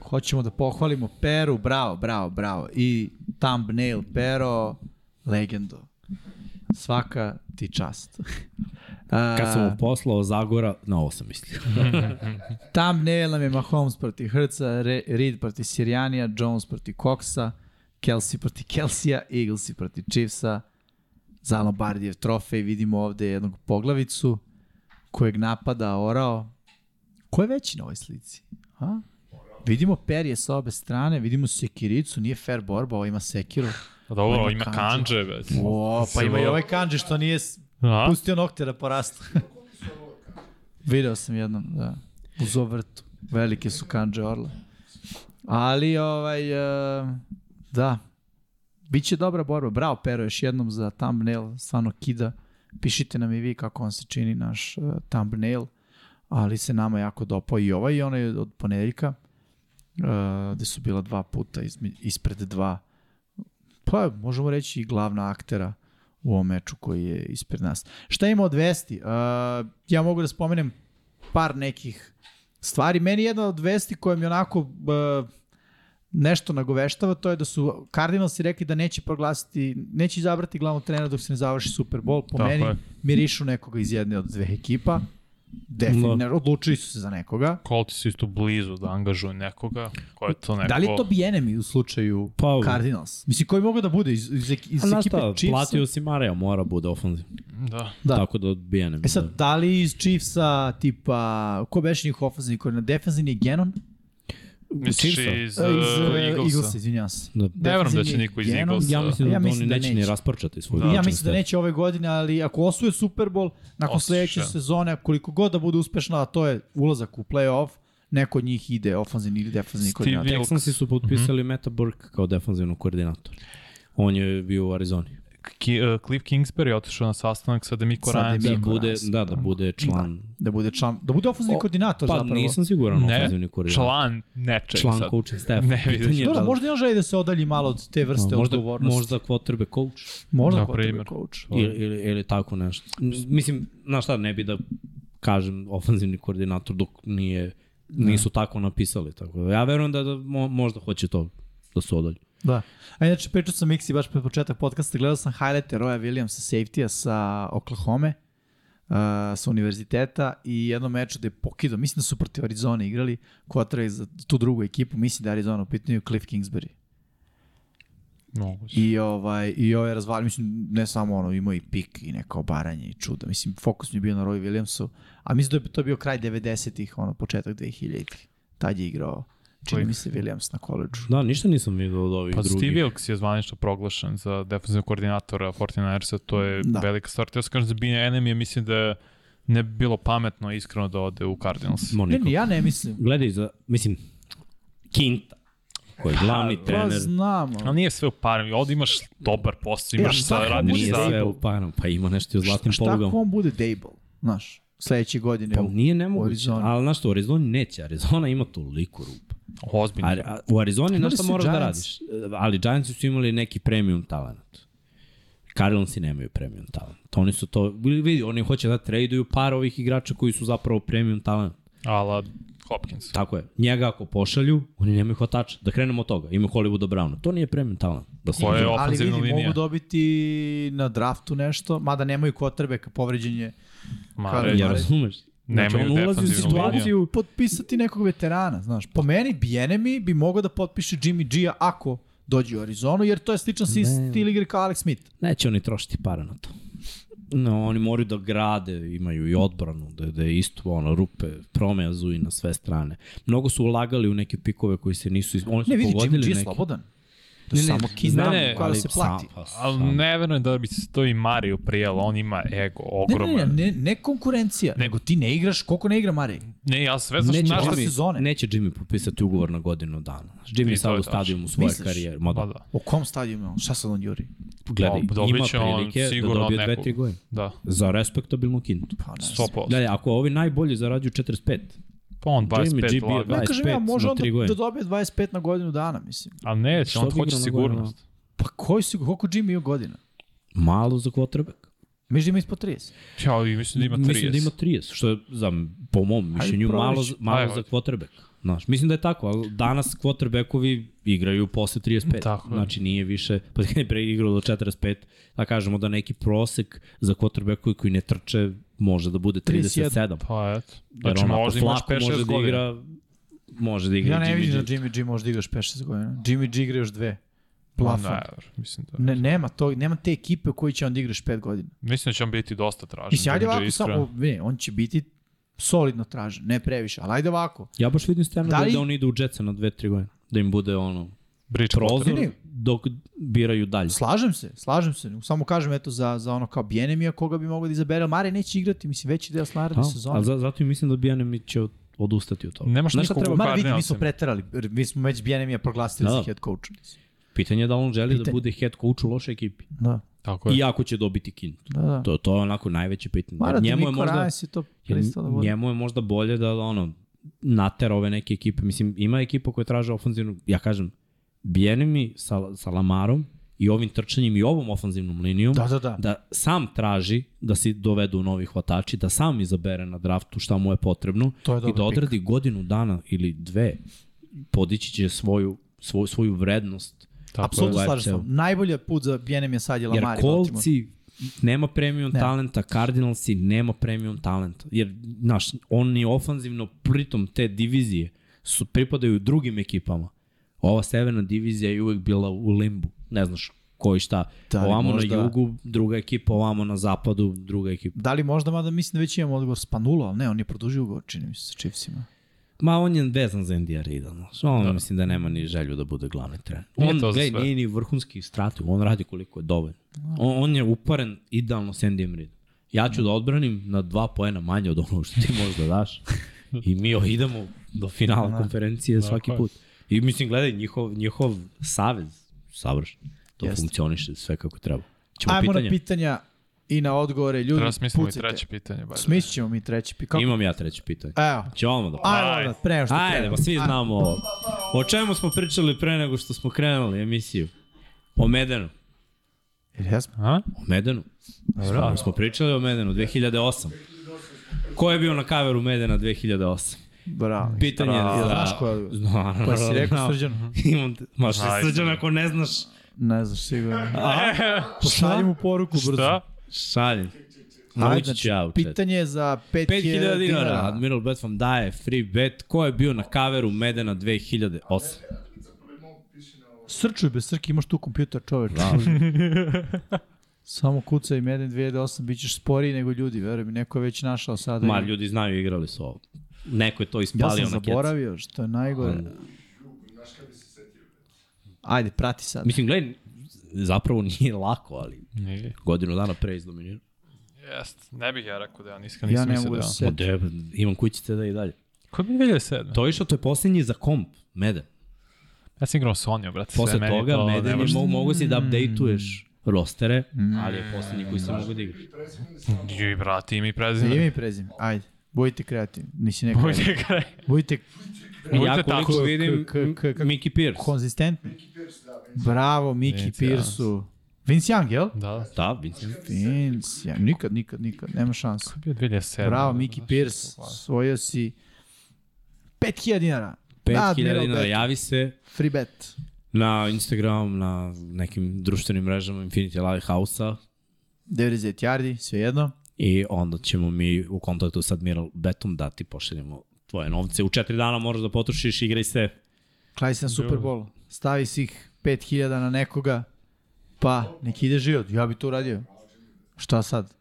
[SPEAKER 3] Hoćemo da pohvalimo Peru, bravo, bravo, bravo. I thumbnail Pero, legendo. Svaka ti čast. A,
[SPEAKER 1] Kad sam mu poslao Zagora, na ovo sam mislio.
[SPEAKER 3] Thumbnail nam je Mahomes proti Hrca, Re- Reed proti Sirijanija, Jones proti Coxa, Kelsey proti Kelsija, Eaglesi proti Chiefsa, za Lombardijev trofej vidimo ovde jednog poglavicu kojeg napada orao. Ko je veći na ovoj slici? Ha? Vidimo perje sa obe strane, vidimo sekiricu, nije fair borba, ovo ima sekiru.
[SPEAKER 2] Pa dobro,
[SPEAKER 3] Pa ima
[SPEAKER 2] ima
[SPEAKER 3] kanđe.
[SPEAKER 2] kanđe već.
[SPEAKER 3] O, pa ima i ovaj kanđe što nije s-
[SPEAKER 2] A?
[SPEAKER 3] pustio nokte da porastu. Video sam jednom, da. Uz ovrtu. Velike su kanđe orle. Ali, ovaj, e, da. Biće dobra borba. Bravo, Pero, još jednom za thumbnail. Stvarno kida. Pišite nam i vi kako vam se čini naš uh, thumbnail, ali se nama jako dopao i ovaj i onaj od ponedeljka, uh, gde su bila dva puta izme, ispred dva, pa možemo reći i glavna aktera u ovom meču koji je ispred nas. Šta ima od vesti? Uh, ja mogu da spomenem par nekih stvari. Meni jedna od vesti koja mi onako uh, nešto nagoveštava, to je da su Cardinalsi rekli da neće proglasiti, neće izabrati glavnog trenera dok se ne završi Super Bowl. Po
[SPEAKER 2] Tako
[SPEAKER 3] meni
[SPEAKER 2] je.
[SPEAKER 3] mirišu nekoga iz jedne od dve ekipa.
[SPEAKER 1] Da.
[SPEAKER 3] Definitivno, odlučili su se za nekoga.
[SPEAKER 2] Kolti su isto blizu da angažuju nekoga. Ko je to neko?
[SPEAKER 3] Da li je to bi enemy u slučaju
[SPEAKER 1] Pa,
[SPEAKER 3] Cardinals? Mislim, koji mogu da bude iz, iz, ek- iz
[SPEAKER 1] a znaš
[SPEAKER 3] ekipe
[SPEAKER 1] šta,
[SPEAKER 3] Chiefsa?
[SPEAKER 1] platio si Mareja, mora bude ofanziv.
[SPEAKER 2] Da.
[SPEAKER 3] Da.
[SPEAKER 1] Da. Tako da odbijene. mi
[SPEAKER 3] E sad, da li iz Chiefsa, tipa, ko beše njih ofenzivni koordinator? Defenzivni je Genon?
[SPEAKER 2] Misliš
[SPEAKER 1] Chiefsa?
[SPEAKER 2] iz,
[SPEAKER 3] E,
[SPEAKER 2] uh, Eaglesa.
[SPEAKER 3] e, Eaglesa, izvinjavam se.
[SPEAKER 1] Da.
[SPEAKER 2] Ne verujem da će
[SPEAKER 3] Defenzivni
[SPEAKER 2] niko iz
[SPEAKER 3] Genom,
[SPEAKER 2] Eaglesa.
[SPEAKER 1] Ja mislim da,
[SPEAKER 3] Ja
[SPEAKER 1] ja
[SPEAKER 3] mislim
[SPEAKER 1] oni
[SPEAKER 3] da
[SPEAKER 1] neće, ni
[SPEAKER 3] neće.
[SPEAKER 1] rasparčati svoj
[SPEAKER 3] Ja
[SPEAKER 1] lični
[SPEAKER 3] mislim da
[SPEAKER 1] stil.
[SPEAKER 3] neće ove godine, ali ako osvoje Super Bowl, nakon
[SPEAKER 2] Osvoje.
[SPEAKER 3] sledeće sezone, koliko god da bude uspešna, a to je ulazak u playoff, neko od njih ide ofenzivni ili defenzivni
[SPEAKER 2] Steve
[SPEAKER 3] koordinator.
[SPEAKER 2] Wilkes. Mhm.
[SPEAKER 1] Texansi su potpisali Meta Burke kao defanzivnog koordinatora. On je bio u Arizoni.
[SPEAKER 2] Ki, uh, Cliff Kingsbury je otišao na sastanak sa Demiko
[SPEAKER 3] Sa
[SPEAKER 2] Ryan.
[SPEAKER 1] Da
[SPEAKER 3] Demiko.
[SPEAKER 1] bude,
[SPEAKER 3] Ryan,
[SPEAKER 1] da, da bude član.
[SPEAKER 3] Da bude član, da bude ofenzivni
[SPEAKER 1] O,
[SPEAKER 3] koordinator
[SPEAKER 1] Pa
[SPEAKER 3] zapravo.
[SPEAKER 1] nisam siguran
[SPEAKER 2] Ne,
[SPEAKER 1] ofenzivni koordinator.
[SPEAKER 2] član nečeg
[SPEAKER 1] član
[SPEAKER 2] sad.
[SPEAKER 1] coaching staff.
[SPEAKER 2] Ne vidiš.
[SPEAKER 1] Pitanje je
[SPEAKER 3] Dobro,
[SPEAKER 1] da li-
[SPEAKER 3] možda on želi da se odalji malo od te vrste
[SPEAKER 1] možda,
[SPEAKER 3] odgovornosti.
[SPEAKER 1] Možda quarterback coach
[SPEAKER 3] možda
[SPEAKER 2] Na
[SPEAKER 3] kod tebe
[SPEAKER 2] primer.
[SPEAKER 3] coach.
[SPEAKER 1] ili, ili, ili tako nešto. N- Mislim, znaš šta, ne bi da kažem ofenzivni koordinator dok nije,
[SPEAKER 2] Da.
[SPEAKER 1] nisu tako napisali. Tako. da Ja verujem da, da mo, možda hoće to da se odalje.
[SPEAKER 3] Da. A inače, pričao sam Miksi baš pred početak podcasta, gledao sam highlighte Roja Williamsa, safety-a sa Oklahoma, uh, sa univerziteta i jedno meč gde je pokidao, mislim da su protiv Arizone igrali, quarterback za tu drugu ekipu, mislim da je Arizona u pitanju Cliff Kingsbury.
[SPEAKER 2] Moguće.
[SPEAKER 3] I ovaj i ovaj razvalio, mislim ne samo ono, imao i pik i neko obaranje i čudo. Mislim fokus mi je bio na Roy Williamsu, a mislim da je to bio kraj 90-ih, ono početak 2000-ih. Tad je igrao čini
[SPEAKER 2] Cliff.
[SPEAKER 3] mi se Williams na koleđžu.
[SPEAKER 1] Da, ništa nisam vidio od ovih
[SPEAKER 2] Pa
[SPEAKER 1] drugih.
[SPEAKER 2] Steve Wilkes je zvanično proglašen za defensivnog koordinatora 49ersa, to je
[SPEAKER 3] Da.
[SPEAKER 2] da. velika stvar. Teo sam kažem za Bine Enemy, mislim da ne bi bilo pametno iskreno da ode u Cardinals.
[SPEAKER 1] Mo,
[SPEAKER 3] Ne,
[SPEAKER 1] Niko.
[SPEAKER 3] ne, ja ne mislim.
[SPEAKER 1] Gledaj za, mislim, Kinta, koji je glavni
[SPEAKER 3] Pa
[SPEAKER 1] trener.
[SPEAKER 3] znam.
[SPEAKER 2] Ali nije sve u parama, ovde imaš dobar posao,
[SPEAKER 3] E, ali
[SPEAKER 2] imaš sa,
[SPEAKER 3] tako
[SPEAKER 2] radiš
[SPEAKER 1] pa Nije
[SPEAKER 3] Nije
[SPEAKER 2] sa...
[SPEAKER 1] sve
[SPEAKER 3] Dable.
[SPEAKER 1] u panom, pa ima nešto i u zlatnim
[SPEAKER 3] šta
[SPEAKER 1] polugama.
[SPEAKER 3] ako on bude Dable, znaš, sledeće godine?
[SPEAKER 1] Pa
[SPEAKER 3] u-
[SPEAKER 1] nije nemoguće,
[SPEAKER 3] Arizoni.
[SPEAKER 1] ali znaš što, u Arizoni neće, Arizona ima toliko rupa. A,
[SPEAKER 2] Ozbiljno.
[SPEAKER 1] a, u Arizoni
[SPEAKER 3] Imali
[SPEAKER 1] znaš šta
[SPEAKER 3] su
[SPEAKER 1] moraš da
[SPEAKER 3] Giants.
[SPEAKER 1] radiš, ali Giantsi su imali neki premium talent. Cardinalsi nemaju premium talent. Oni su to, vidi, oni hoće da traduju par ovih igrača koji su zapravo premium talent.
[SPEAKER 2] Ala Hopkins.
[SPEAKER 1] Tako je. Njega ako pošalju, oni nemaju hvatača. Da krenemo od toga. Ima Hollywooda Browna. To nije premium talent. Da se
[SPEAKER 2] Ko je
[SPEAKER 3] Ali vidi,
[SPEAKER 2] ofenzivna linija?
[SPEAKER 3] mogu dobiti na draftu nešto, mada nemaju quarterbacka, povređen je.
[SPEAKER 2] Ma,
[SPEAKER 3] Kažem,
[SPEAKER 2] reći.
[SPEAKER 1] Ja razumeš. Znači,
[SPEAKER 2] Nemaju
[SPEAKER 1] on ulazi u
[SPEAKER 2] defanzivnu liniju.
[SPEAKER 1] situaciju
[SPEAKER 3] Potpisati nekog veterana, znaš. Po meni, Bijenemi bi mogao da potpiše Jimmy G-a ako dođe u Arizonu, jer to je sličan si
[SPEAKER 1] Ne. Pa
[SPEAKER 3] stil igre kao Alex Smith.
[SPEAKER 1] Neće oni trošiti para na to. No, oni moraju da grade, imaju i odbranu, da, da je isto ono, rupe, promeja zuji na sve strane. Mnogo su ulagali u neke pikove koji se nisu... Iz... Oni su
[SPEAKER 3] Ne vidi, Jimmy
[SPEAKER 1] pogodili
[SPEAKER 3] G je
[SPEAKER 1] neke.
[SPEAKER 3] slobodan. Da samo kidnam
[SPEAKER 2] ne, ne,
[SPEAKER 3] koja
[SPEAKER 1] ali
[SPEAKER 3] da se plati.
[SPEAKER 1] Sam, pa,
[SPEAKER 2] Ali
[SPEAKER 1] sam.
[SPEAKER 2] ne verujem da bi se to i Mariju prijelo, on ima ego
[SPEAKER 3] Ne, ne,
[SPEAKER 2] ogroman.
[SPEAKER 3] ne, ne, ne konkurencija, nego ti ne igraš, koliko ne igra Marej?
[SPEAKER 2] Ne, ja sve znaš
[SPEAKER 1] Neće
[SPEAKER 2] na šta
[SPEAKER 3] Jimmy-
[SPEAKER 2] si...
[SPEAKER 3] sezone.
[SPEAKER 1] Jimmy, neće Jimmy potpisati ugovor na godinu dana. Jimmy
[SPEAKER 2] I
[SPEAKER 1] je
[SPEAKER 2] to
[SPEAKER 1] sad
[SPEAKER 2] je
[SPEAKER 1] u stadijumu
[SPEAKER 3] tačno.
[SPEAKER 1] svoje
[SPEAKER 3] Misliš?
[SPEAKER 1] karijere. Ma
[SPEAKER 2] Pa
[SPEAKER 1] da,
[SPEAKER 2] da,
[SPEAKER 3] O kom stadionu je on? Šta sad on juri?
[SPEAKER 1] gledaj,
[SPEAKER 2] Pa, dobit
[SPEAKER 1] ima
[SPEAKER 2] će on
[SPEAKER 1] prilike da
[SPEAKER 2] sigurno
[SPEAKER 1] dobije dve,
[SPEAKER 2] nekog.
[SPEAKER 1] tri godine.
[SPEAKER 2] da,
[SPEAKER 1] Za respektabilnu kintu.
[SPEAKER 3] Pa ne znam.
[SPEAKER 2] 100%.
[SPEAKER 1] Gledaj, ako ovi najbolji zarađuju 45,
[SPEAKER 2] Pa on
[SPEAKER 1] Jimmy G
[SPEAKER 2] 25
[SPEAKER 1] bio
[SPEAKER 2] laga.
[SPEAKER 3] Ne kažem ja,
[SPEAKER 1] 25
[SPEAKER 3] može
[SPEAKER 1] na
[SPEAKER 3] on
[SPEAKER 1] tri
[SPEAKER 3] da, da
[SPEAKER 1] godine.
[SPEAKER 3] dobije 25 na godinu dana, mislim.
[SPEAKER 2] A ne,
[SPEAKER 1] Što
[SPEAKER 2] on
[SPEAKER 1] bi
[SPEAKER 2] hoće
[SPEAKER 1] igrao na
[SPEAKER 2] sigurnost.
[SPEAKER 3] Pa koji si, koliko Jimmy ima godina?
[SPEAKER 1] malo za quarterback.
[SPEAKER 3] Mislim da ima ispod 30.
[SPEAKER 2] Ja, i mislim da ima 30.
[SPEAKER 1] Mislim da ima 30, što je za, po mom mišljenju malo,
[SPEAKER 3] probaš.
[SPEAKER 1] malo
[SPEAKER 2] Ajde,
[SPEAKER 1] za
[SPEAKER 2] ajde.
[SPEAKER 1] quarterback. Znaš, mislim da je tako, ali danas quarterbackovi igraju posle 35.
[SPEAKER 2] Tako je.
[SPEAKER 1] Znači nije više, pa kad je pre igrao do 45, da kažemo da neki prosek za quarterbackovi koji ne trče može da bude
[SPEAKER 3] 31.
[SPEAKER 1] 37.
[SPEAKER 2] Pa eto.
[SPEAKER 1] Jer
[SPEAKER 2] Znači, možda imaš 5-6
[SPEAKER 1] može da
[SPEAKER 2] godina.
[SPEAKER 1] igra, može da igra
[SPEAKER 3] Ja ne
[SPEAKER 1] Jimmy
[SPEAKER 3] vidim da
[SPEAKER 1] G.
[SPEAKER 3] Jimmy G može da igraš 5-6 godina. Jimmy G igra još dve.
[SPEAKER 2] Pa Ne,
[SPEAKER 3] Plafon.
[SPEAKER 2] mislim da.
[SPEAKER 3] Pa Ne, nema, to, nema te ekipe u kojoj će on da igraš 5 godina.
[SPEAKER 2] Mislim da će on biti dosta tražen.
[SPEAKER 3] Mislim, ajde
[SPEAKER 2] Jimmy G,
[SPEAKER 3] ovako
[SPEAKER 2] iskreno.
[SPEAKER 3] samo, ne, on će biti solidno tražen, ne previše, ali ajde ovako.
[SPEAKER 1] Ja baš vidim stvarno
[SPEAKER 3] Da
[SPEAKER 1] da,
[SPEAKER 3] li-
[SPEAKER 1] da, on ide u Jetsa na 2-3 godine. Da im bude ono
[SPEAKER 2] Bridge
[SPEAKER 1] prozor
[SPEAKER 3] Ne, ne.
[SPEAKER 1] dok biraju dalje.
[SPEAKER 3] Slažem se, slažem se. Samo kažem, eto, za, za ono kao Bjenemija koga bi mogao da izabere, ali Mare neće igrati, mislim, veći deo naredne
[SPEAKER 1] A,
[SPEAKER 3] sezone.
[SPEAKER 1] a za, zato i mislim da Bijanemi će od, odustati od toga.
[SPEAKER 2] Nemaš
[SPEAKER 1] Znaš šta
[SPEAKER 2] nikog u
[SPEAKER 1] treba-
[SPEAKER 3] Mare, vidi, mi smo
[SPEAKER 2] Cardinalsima.
[SPEAKER 3] preterali, jer mi smo već Bjenemija proglasili
[SPEAKER 1] Da.
[SPEAKER 3] za head coach.
[SPEAKER 1] Pitanje je da li on želi
[SPEAKER 3] Pitanje.
[SPEAKER 1] da bude head coach u lošoj ekipi.
[SPEAKER 3] Da.
[SPEAKER 2] Tako je.
[SPEAKER 1] I ako će dobiti kintu.
[SPEAKER 3] Da, da.
[SPEAKER 1] To, to je onako najveće pitanje.
[SPEAKER 3] Mara
[SPEAKER 1] njemu
[SPEAKER 3] Niko
[SPEAKER 1] je možda,
[SPEAKER 3] Rajas je to
[SPEAKER 1] jer
[SPEAKER 3] pristao da vodi.
[SPEAKER 1] njemu je možda bolje da ono, natera ove neke ekipe. Mislim, ima ekipa koja traže ofanzivnu, ja kažem, bijeni mi sa, sa Lamarom i ovim trčanjem i ovom ofanzivnom linijom,
[SPEAKER 3] Da, da, da.
[SPEAKER 1] da sam traži da si dovedu novi hvatači, da sam izabere na draftu šta mu je potrebno
[SPEAKER 3] To je
[SPEAKER 1] i
[SPEAKER 3] dobar
[SPEAKER 1] da
[SPEAKER 3] pik.
[SPEAKER 1] odradi godinu dana ili dve, podići će svoju, svoju, svoju vrednost. da,
[SPEAKER 2] Tako
[SPEAKER 3] Apsolutno
[SPEAKER 1] je.
[SPEAKER 3] slažem se. Najbolji put za Bjenem je sad je
[SPEAKER 1] Jer
[SPEAKER 3] Lamar i Baltimore. Da.
[SPEAKER 1] Kolci nema premium
[SPEAKER 3] Ne.
[SPEAKER 1] talenta, Cardinalsi nema premium talenta. Jer, znaš, oni ofanzivno pritom te divizije su pripadaju drugim ekipama. Ova severna divizija je uvek bila u limbu. Ne znaš koji šta.
[SPEAKER 3] Da
[SPEAKER 1] Da,
[SPEAKER 3] li
[SPEAKER 1] ovamo
[SPEAKER 3] možda-
[SPEAKER 1] na jugu, druga ekipa, ovamo na zapadu, druga ekipa.
[SPEAKER 3] Da li možda, mada mislim da već imamo odgovor Spanula, ali ne, on je produžio ugovor, čini mi se, sa Chiefsima.
[SPEAKER 1] Ma on je vezan za Indija Rida, znaš. On da. mislim da nema ni želju da bude glavni trener.
[SPEAKER 2] Nije
[SPEAKER 1] On,
[SPEAKER 2] to za
[SPEAKER 1] gledaj,
[SPEAKER 2] sve.
[SPEAKER 1] nije ni vrhunski strateg, on radi koliko je dovoljno. On, on je uparen idealno s Indijem Ridom. Ja ću da odbranim na dva poena manje od onog što ti možda daš. I mi idemo do finala
[SPEAKER 3] Da.
[SPEAKER 1] konferencije svaki
[SPEAKER 2] je.
[SPEAKER 1] put. I mislim, gledaj, njihov, njihov savez, savršen, to
[SPEAKER 3] Jeste.
[SPEAKER 1] funkcioniše sve kako treba. Ćemo
[SPEAKER 3] Ajmo da
[SPEAKER 1] pitanje?
[SPEAKER 3] na pitanja i na odgovore. Ljudi,
[SPEAKER 2] Treba smislimo i da treće pitanje. Bar.
[SPEAKER 3] Smislit ćemo mi treće pitanje. Kako?
[SPEAKER 1] Imam ja treće pitanje.
[SPEAKER 3] Evo.
[SPEAKER 1] Ćemo odmah da
[SPEAKER 3] Ajmo da, pre nego što
[SPEAKER 1] Ajde,
[SPEAKER 3] krenemo.
[SPEAKER 1] pa svi znamo ovo. O čemu smo pričali pre nego što smo krenuli emisiju? O Medenu.
[SPEAKER 3] Jel jesmo?
[SPEAKER 2] A?
[SPEAKER 1] O Medenu. Dobro. Smo pričali o Medenu 2008. Ko je bio na kaveru Medena 2008?
[SPEAKER 3] Bravo.
[SPEAKER 1] Pitanje je
[SPEAKER 3] Jel
[SPEAKER 1] za...
[SPEAKER 3] znaš ko je odgovor?
[SPEAKER 1] Zna,
[SPEAKER 3] Pa si rekao
[SPEAKER 1] naravno.
[SPEAKER 3] srđan?
[SPEAKER 1] Imam te... Ma što
[SPEAKER 2] Znaš.
[SPEAKER 1] srđan ako ne znaš?
[SPEAKER 3] Ne znaš, sigurno. Pošalji mu poruku brzo.
[SPEAKER 2] Šta?
[SPEAKER 1] Šaljem.
[SPEAKER 3] Ajde,
[SPEAKER 1] Naučit ću ja u chat.
[SPEAKER 3] Pitanje je za
[SPEAKER 1] 5000 dinara. Admiral Bet vam daje free bet. Ko je bio na kaveru Medena 2008?
[SPEAKER 3] Srčuj bez srke, imaš tu kompjuter čoveč. Samo kucaj i Madden 2008, bit ćeš sporiji nego ljudi, veruj mi, neko je već našao sada.
[SPEAKER 1] Ma, ljudi znaju, igrali su ovo. Neko je to
[SPEAKER 3] ja
[SPEAKER 1] ispalio
[SPEAKER 3] sam
[SPEAKER 1] na kecu.
[SPEAKER 3] zaboravio, što je najgore. Ajde, prati sad.
[SPEAKER 1] Mislim, gledaj, zapravo nije lako, ali
[SPEAKER 2] Nije.
[SPEAKER 1] godinu dana pre izdominirao.
[SPEAKER 2] Jest, ne bih ja rekao da ja nisam,
[SPEAKER 3] Ja
[SPEAKER 2] nisam
[SPEAKER 3] ne
[SPEAKER 2] mislio
[SPEAKER 3] mogu
[SPEAKER 2] da
[SPEAKER 3] da
[SPEAKER 2] ja.
[SPEAKER 3] se
[SPEAKER 1] Ma
[SPEAKER 3] setim.
[SPEAKER 1] de, imam kućice da i dalje.
[SPEAKER 2] Ko je bio 2007?
[SPEAKER 1] To je što to je posljednji za komp, Meden.
[SPEAKER 2] Ja sam igrao Sonio, brate. sve
[SPEAKER 1] Posle
[SPEAKER 2] meni
[SPEAKER 1] toga,
[SPEAKER 2] to ne
[SPEAKER 1] Meden je
[SPEAKER 2] može.
[SPEAKER 1] mogu, mogu si da updateuješ rostere, ali je posljednji koji se mogu da igraš.
[SPEAKER 2] Juj, brate, ime i
[SPEAKER 3] Ime
[SPEAKER 2] prezime.
[SPEAKER 3] i prezime, ajde. Budite kreativni, nisi ne kreativni.
[SPEAKER 2] Bujte kraj.
[SPEAKER 3] Budite
[SPEAKER 1] Ja
[SPEAKER 2] Budite tako.
[SPEAKER 1] koliko vidim,
[SPEAKER 3] k- k- k-
[SPEAKER 1] Mickey Pierce.
[SPEAKER 3] konzistentni. Bravo, Miki
[SPEAKER 2] Vince, ja.
[SPEAKER 3] Pirsu. Vince Young, jel?
[SPEAKER 2] Da,
[SPEAKER 1] Da, Vincent.
[SPEAKER 3] Vince Young, nikad, nikad, nikad, nema šanse.
[SPEAKER 2] bio 2007.
[SPEAKER 3] Bravo, Miki Pierce, svojio si 5000 dinara. Da,
[SPEAKER 1] 5000
[SPEAKER 3] Admiral
[SPEAKER 1] dinara,
[SPEAKER 3] Bet.
[SPEAKER 1] javi se
[SPEAKER 3] Free bet.
[SPEAKER 1] na Instagram, na nekim društvenim mrežama Infinity Lighthouse-a
[SPEAKER 3] 90 yardi, sve jedno.
[SPEAKER 1] i onda ćemo mi u kontaktu sa Admiral Betom dati pošaljemo tvoje novce. U četiri dana moraš da potrošiš, igraj se.
[SPEAKER 3] Klaj se na Super Bowl. Stavi si ih 5000 na nekoga, pa nek ide život. Ja bi to uradio. Šta sad?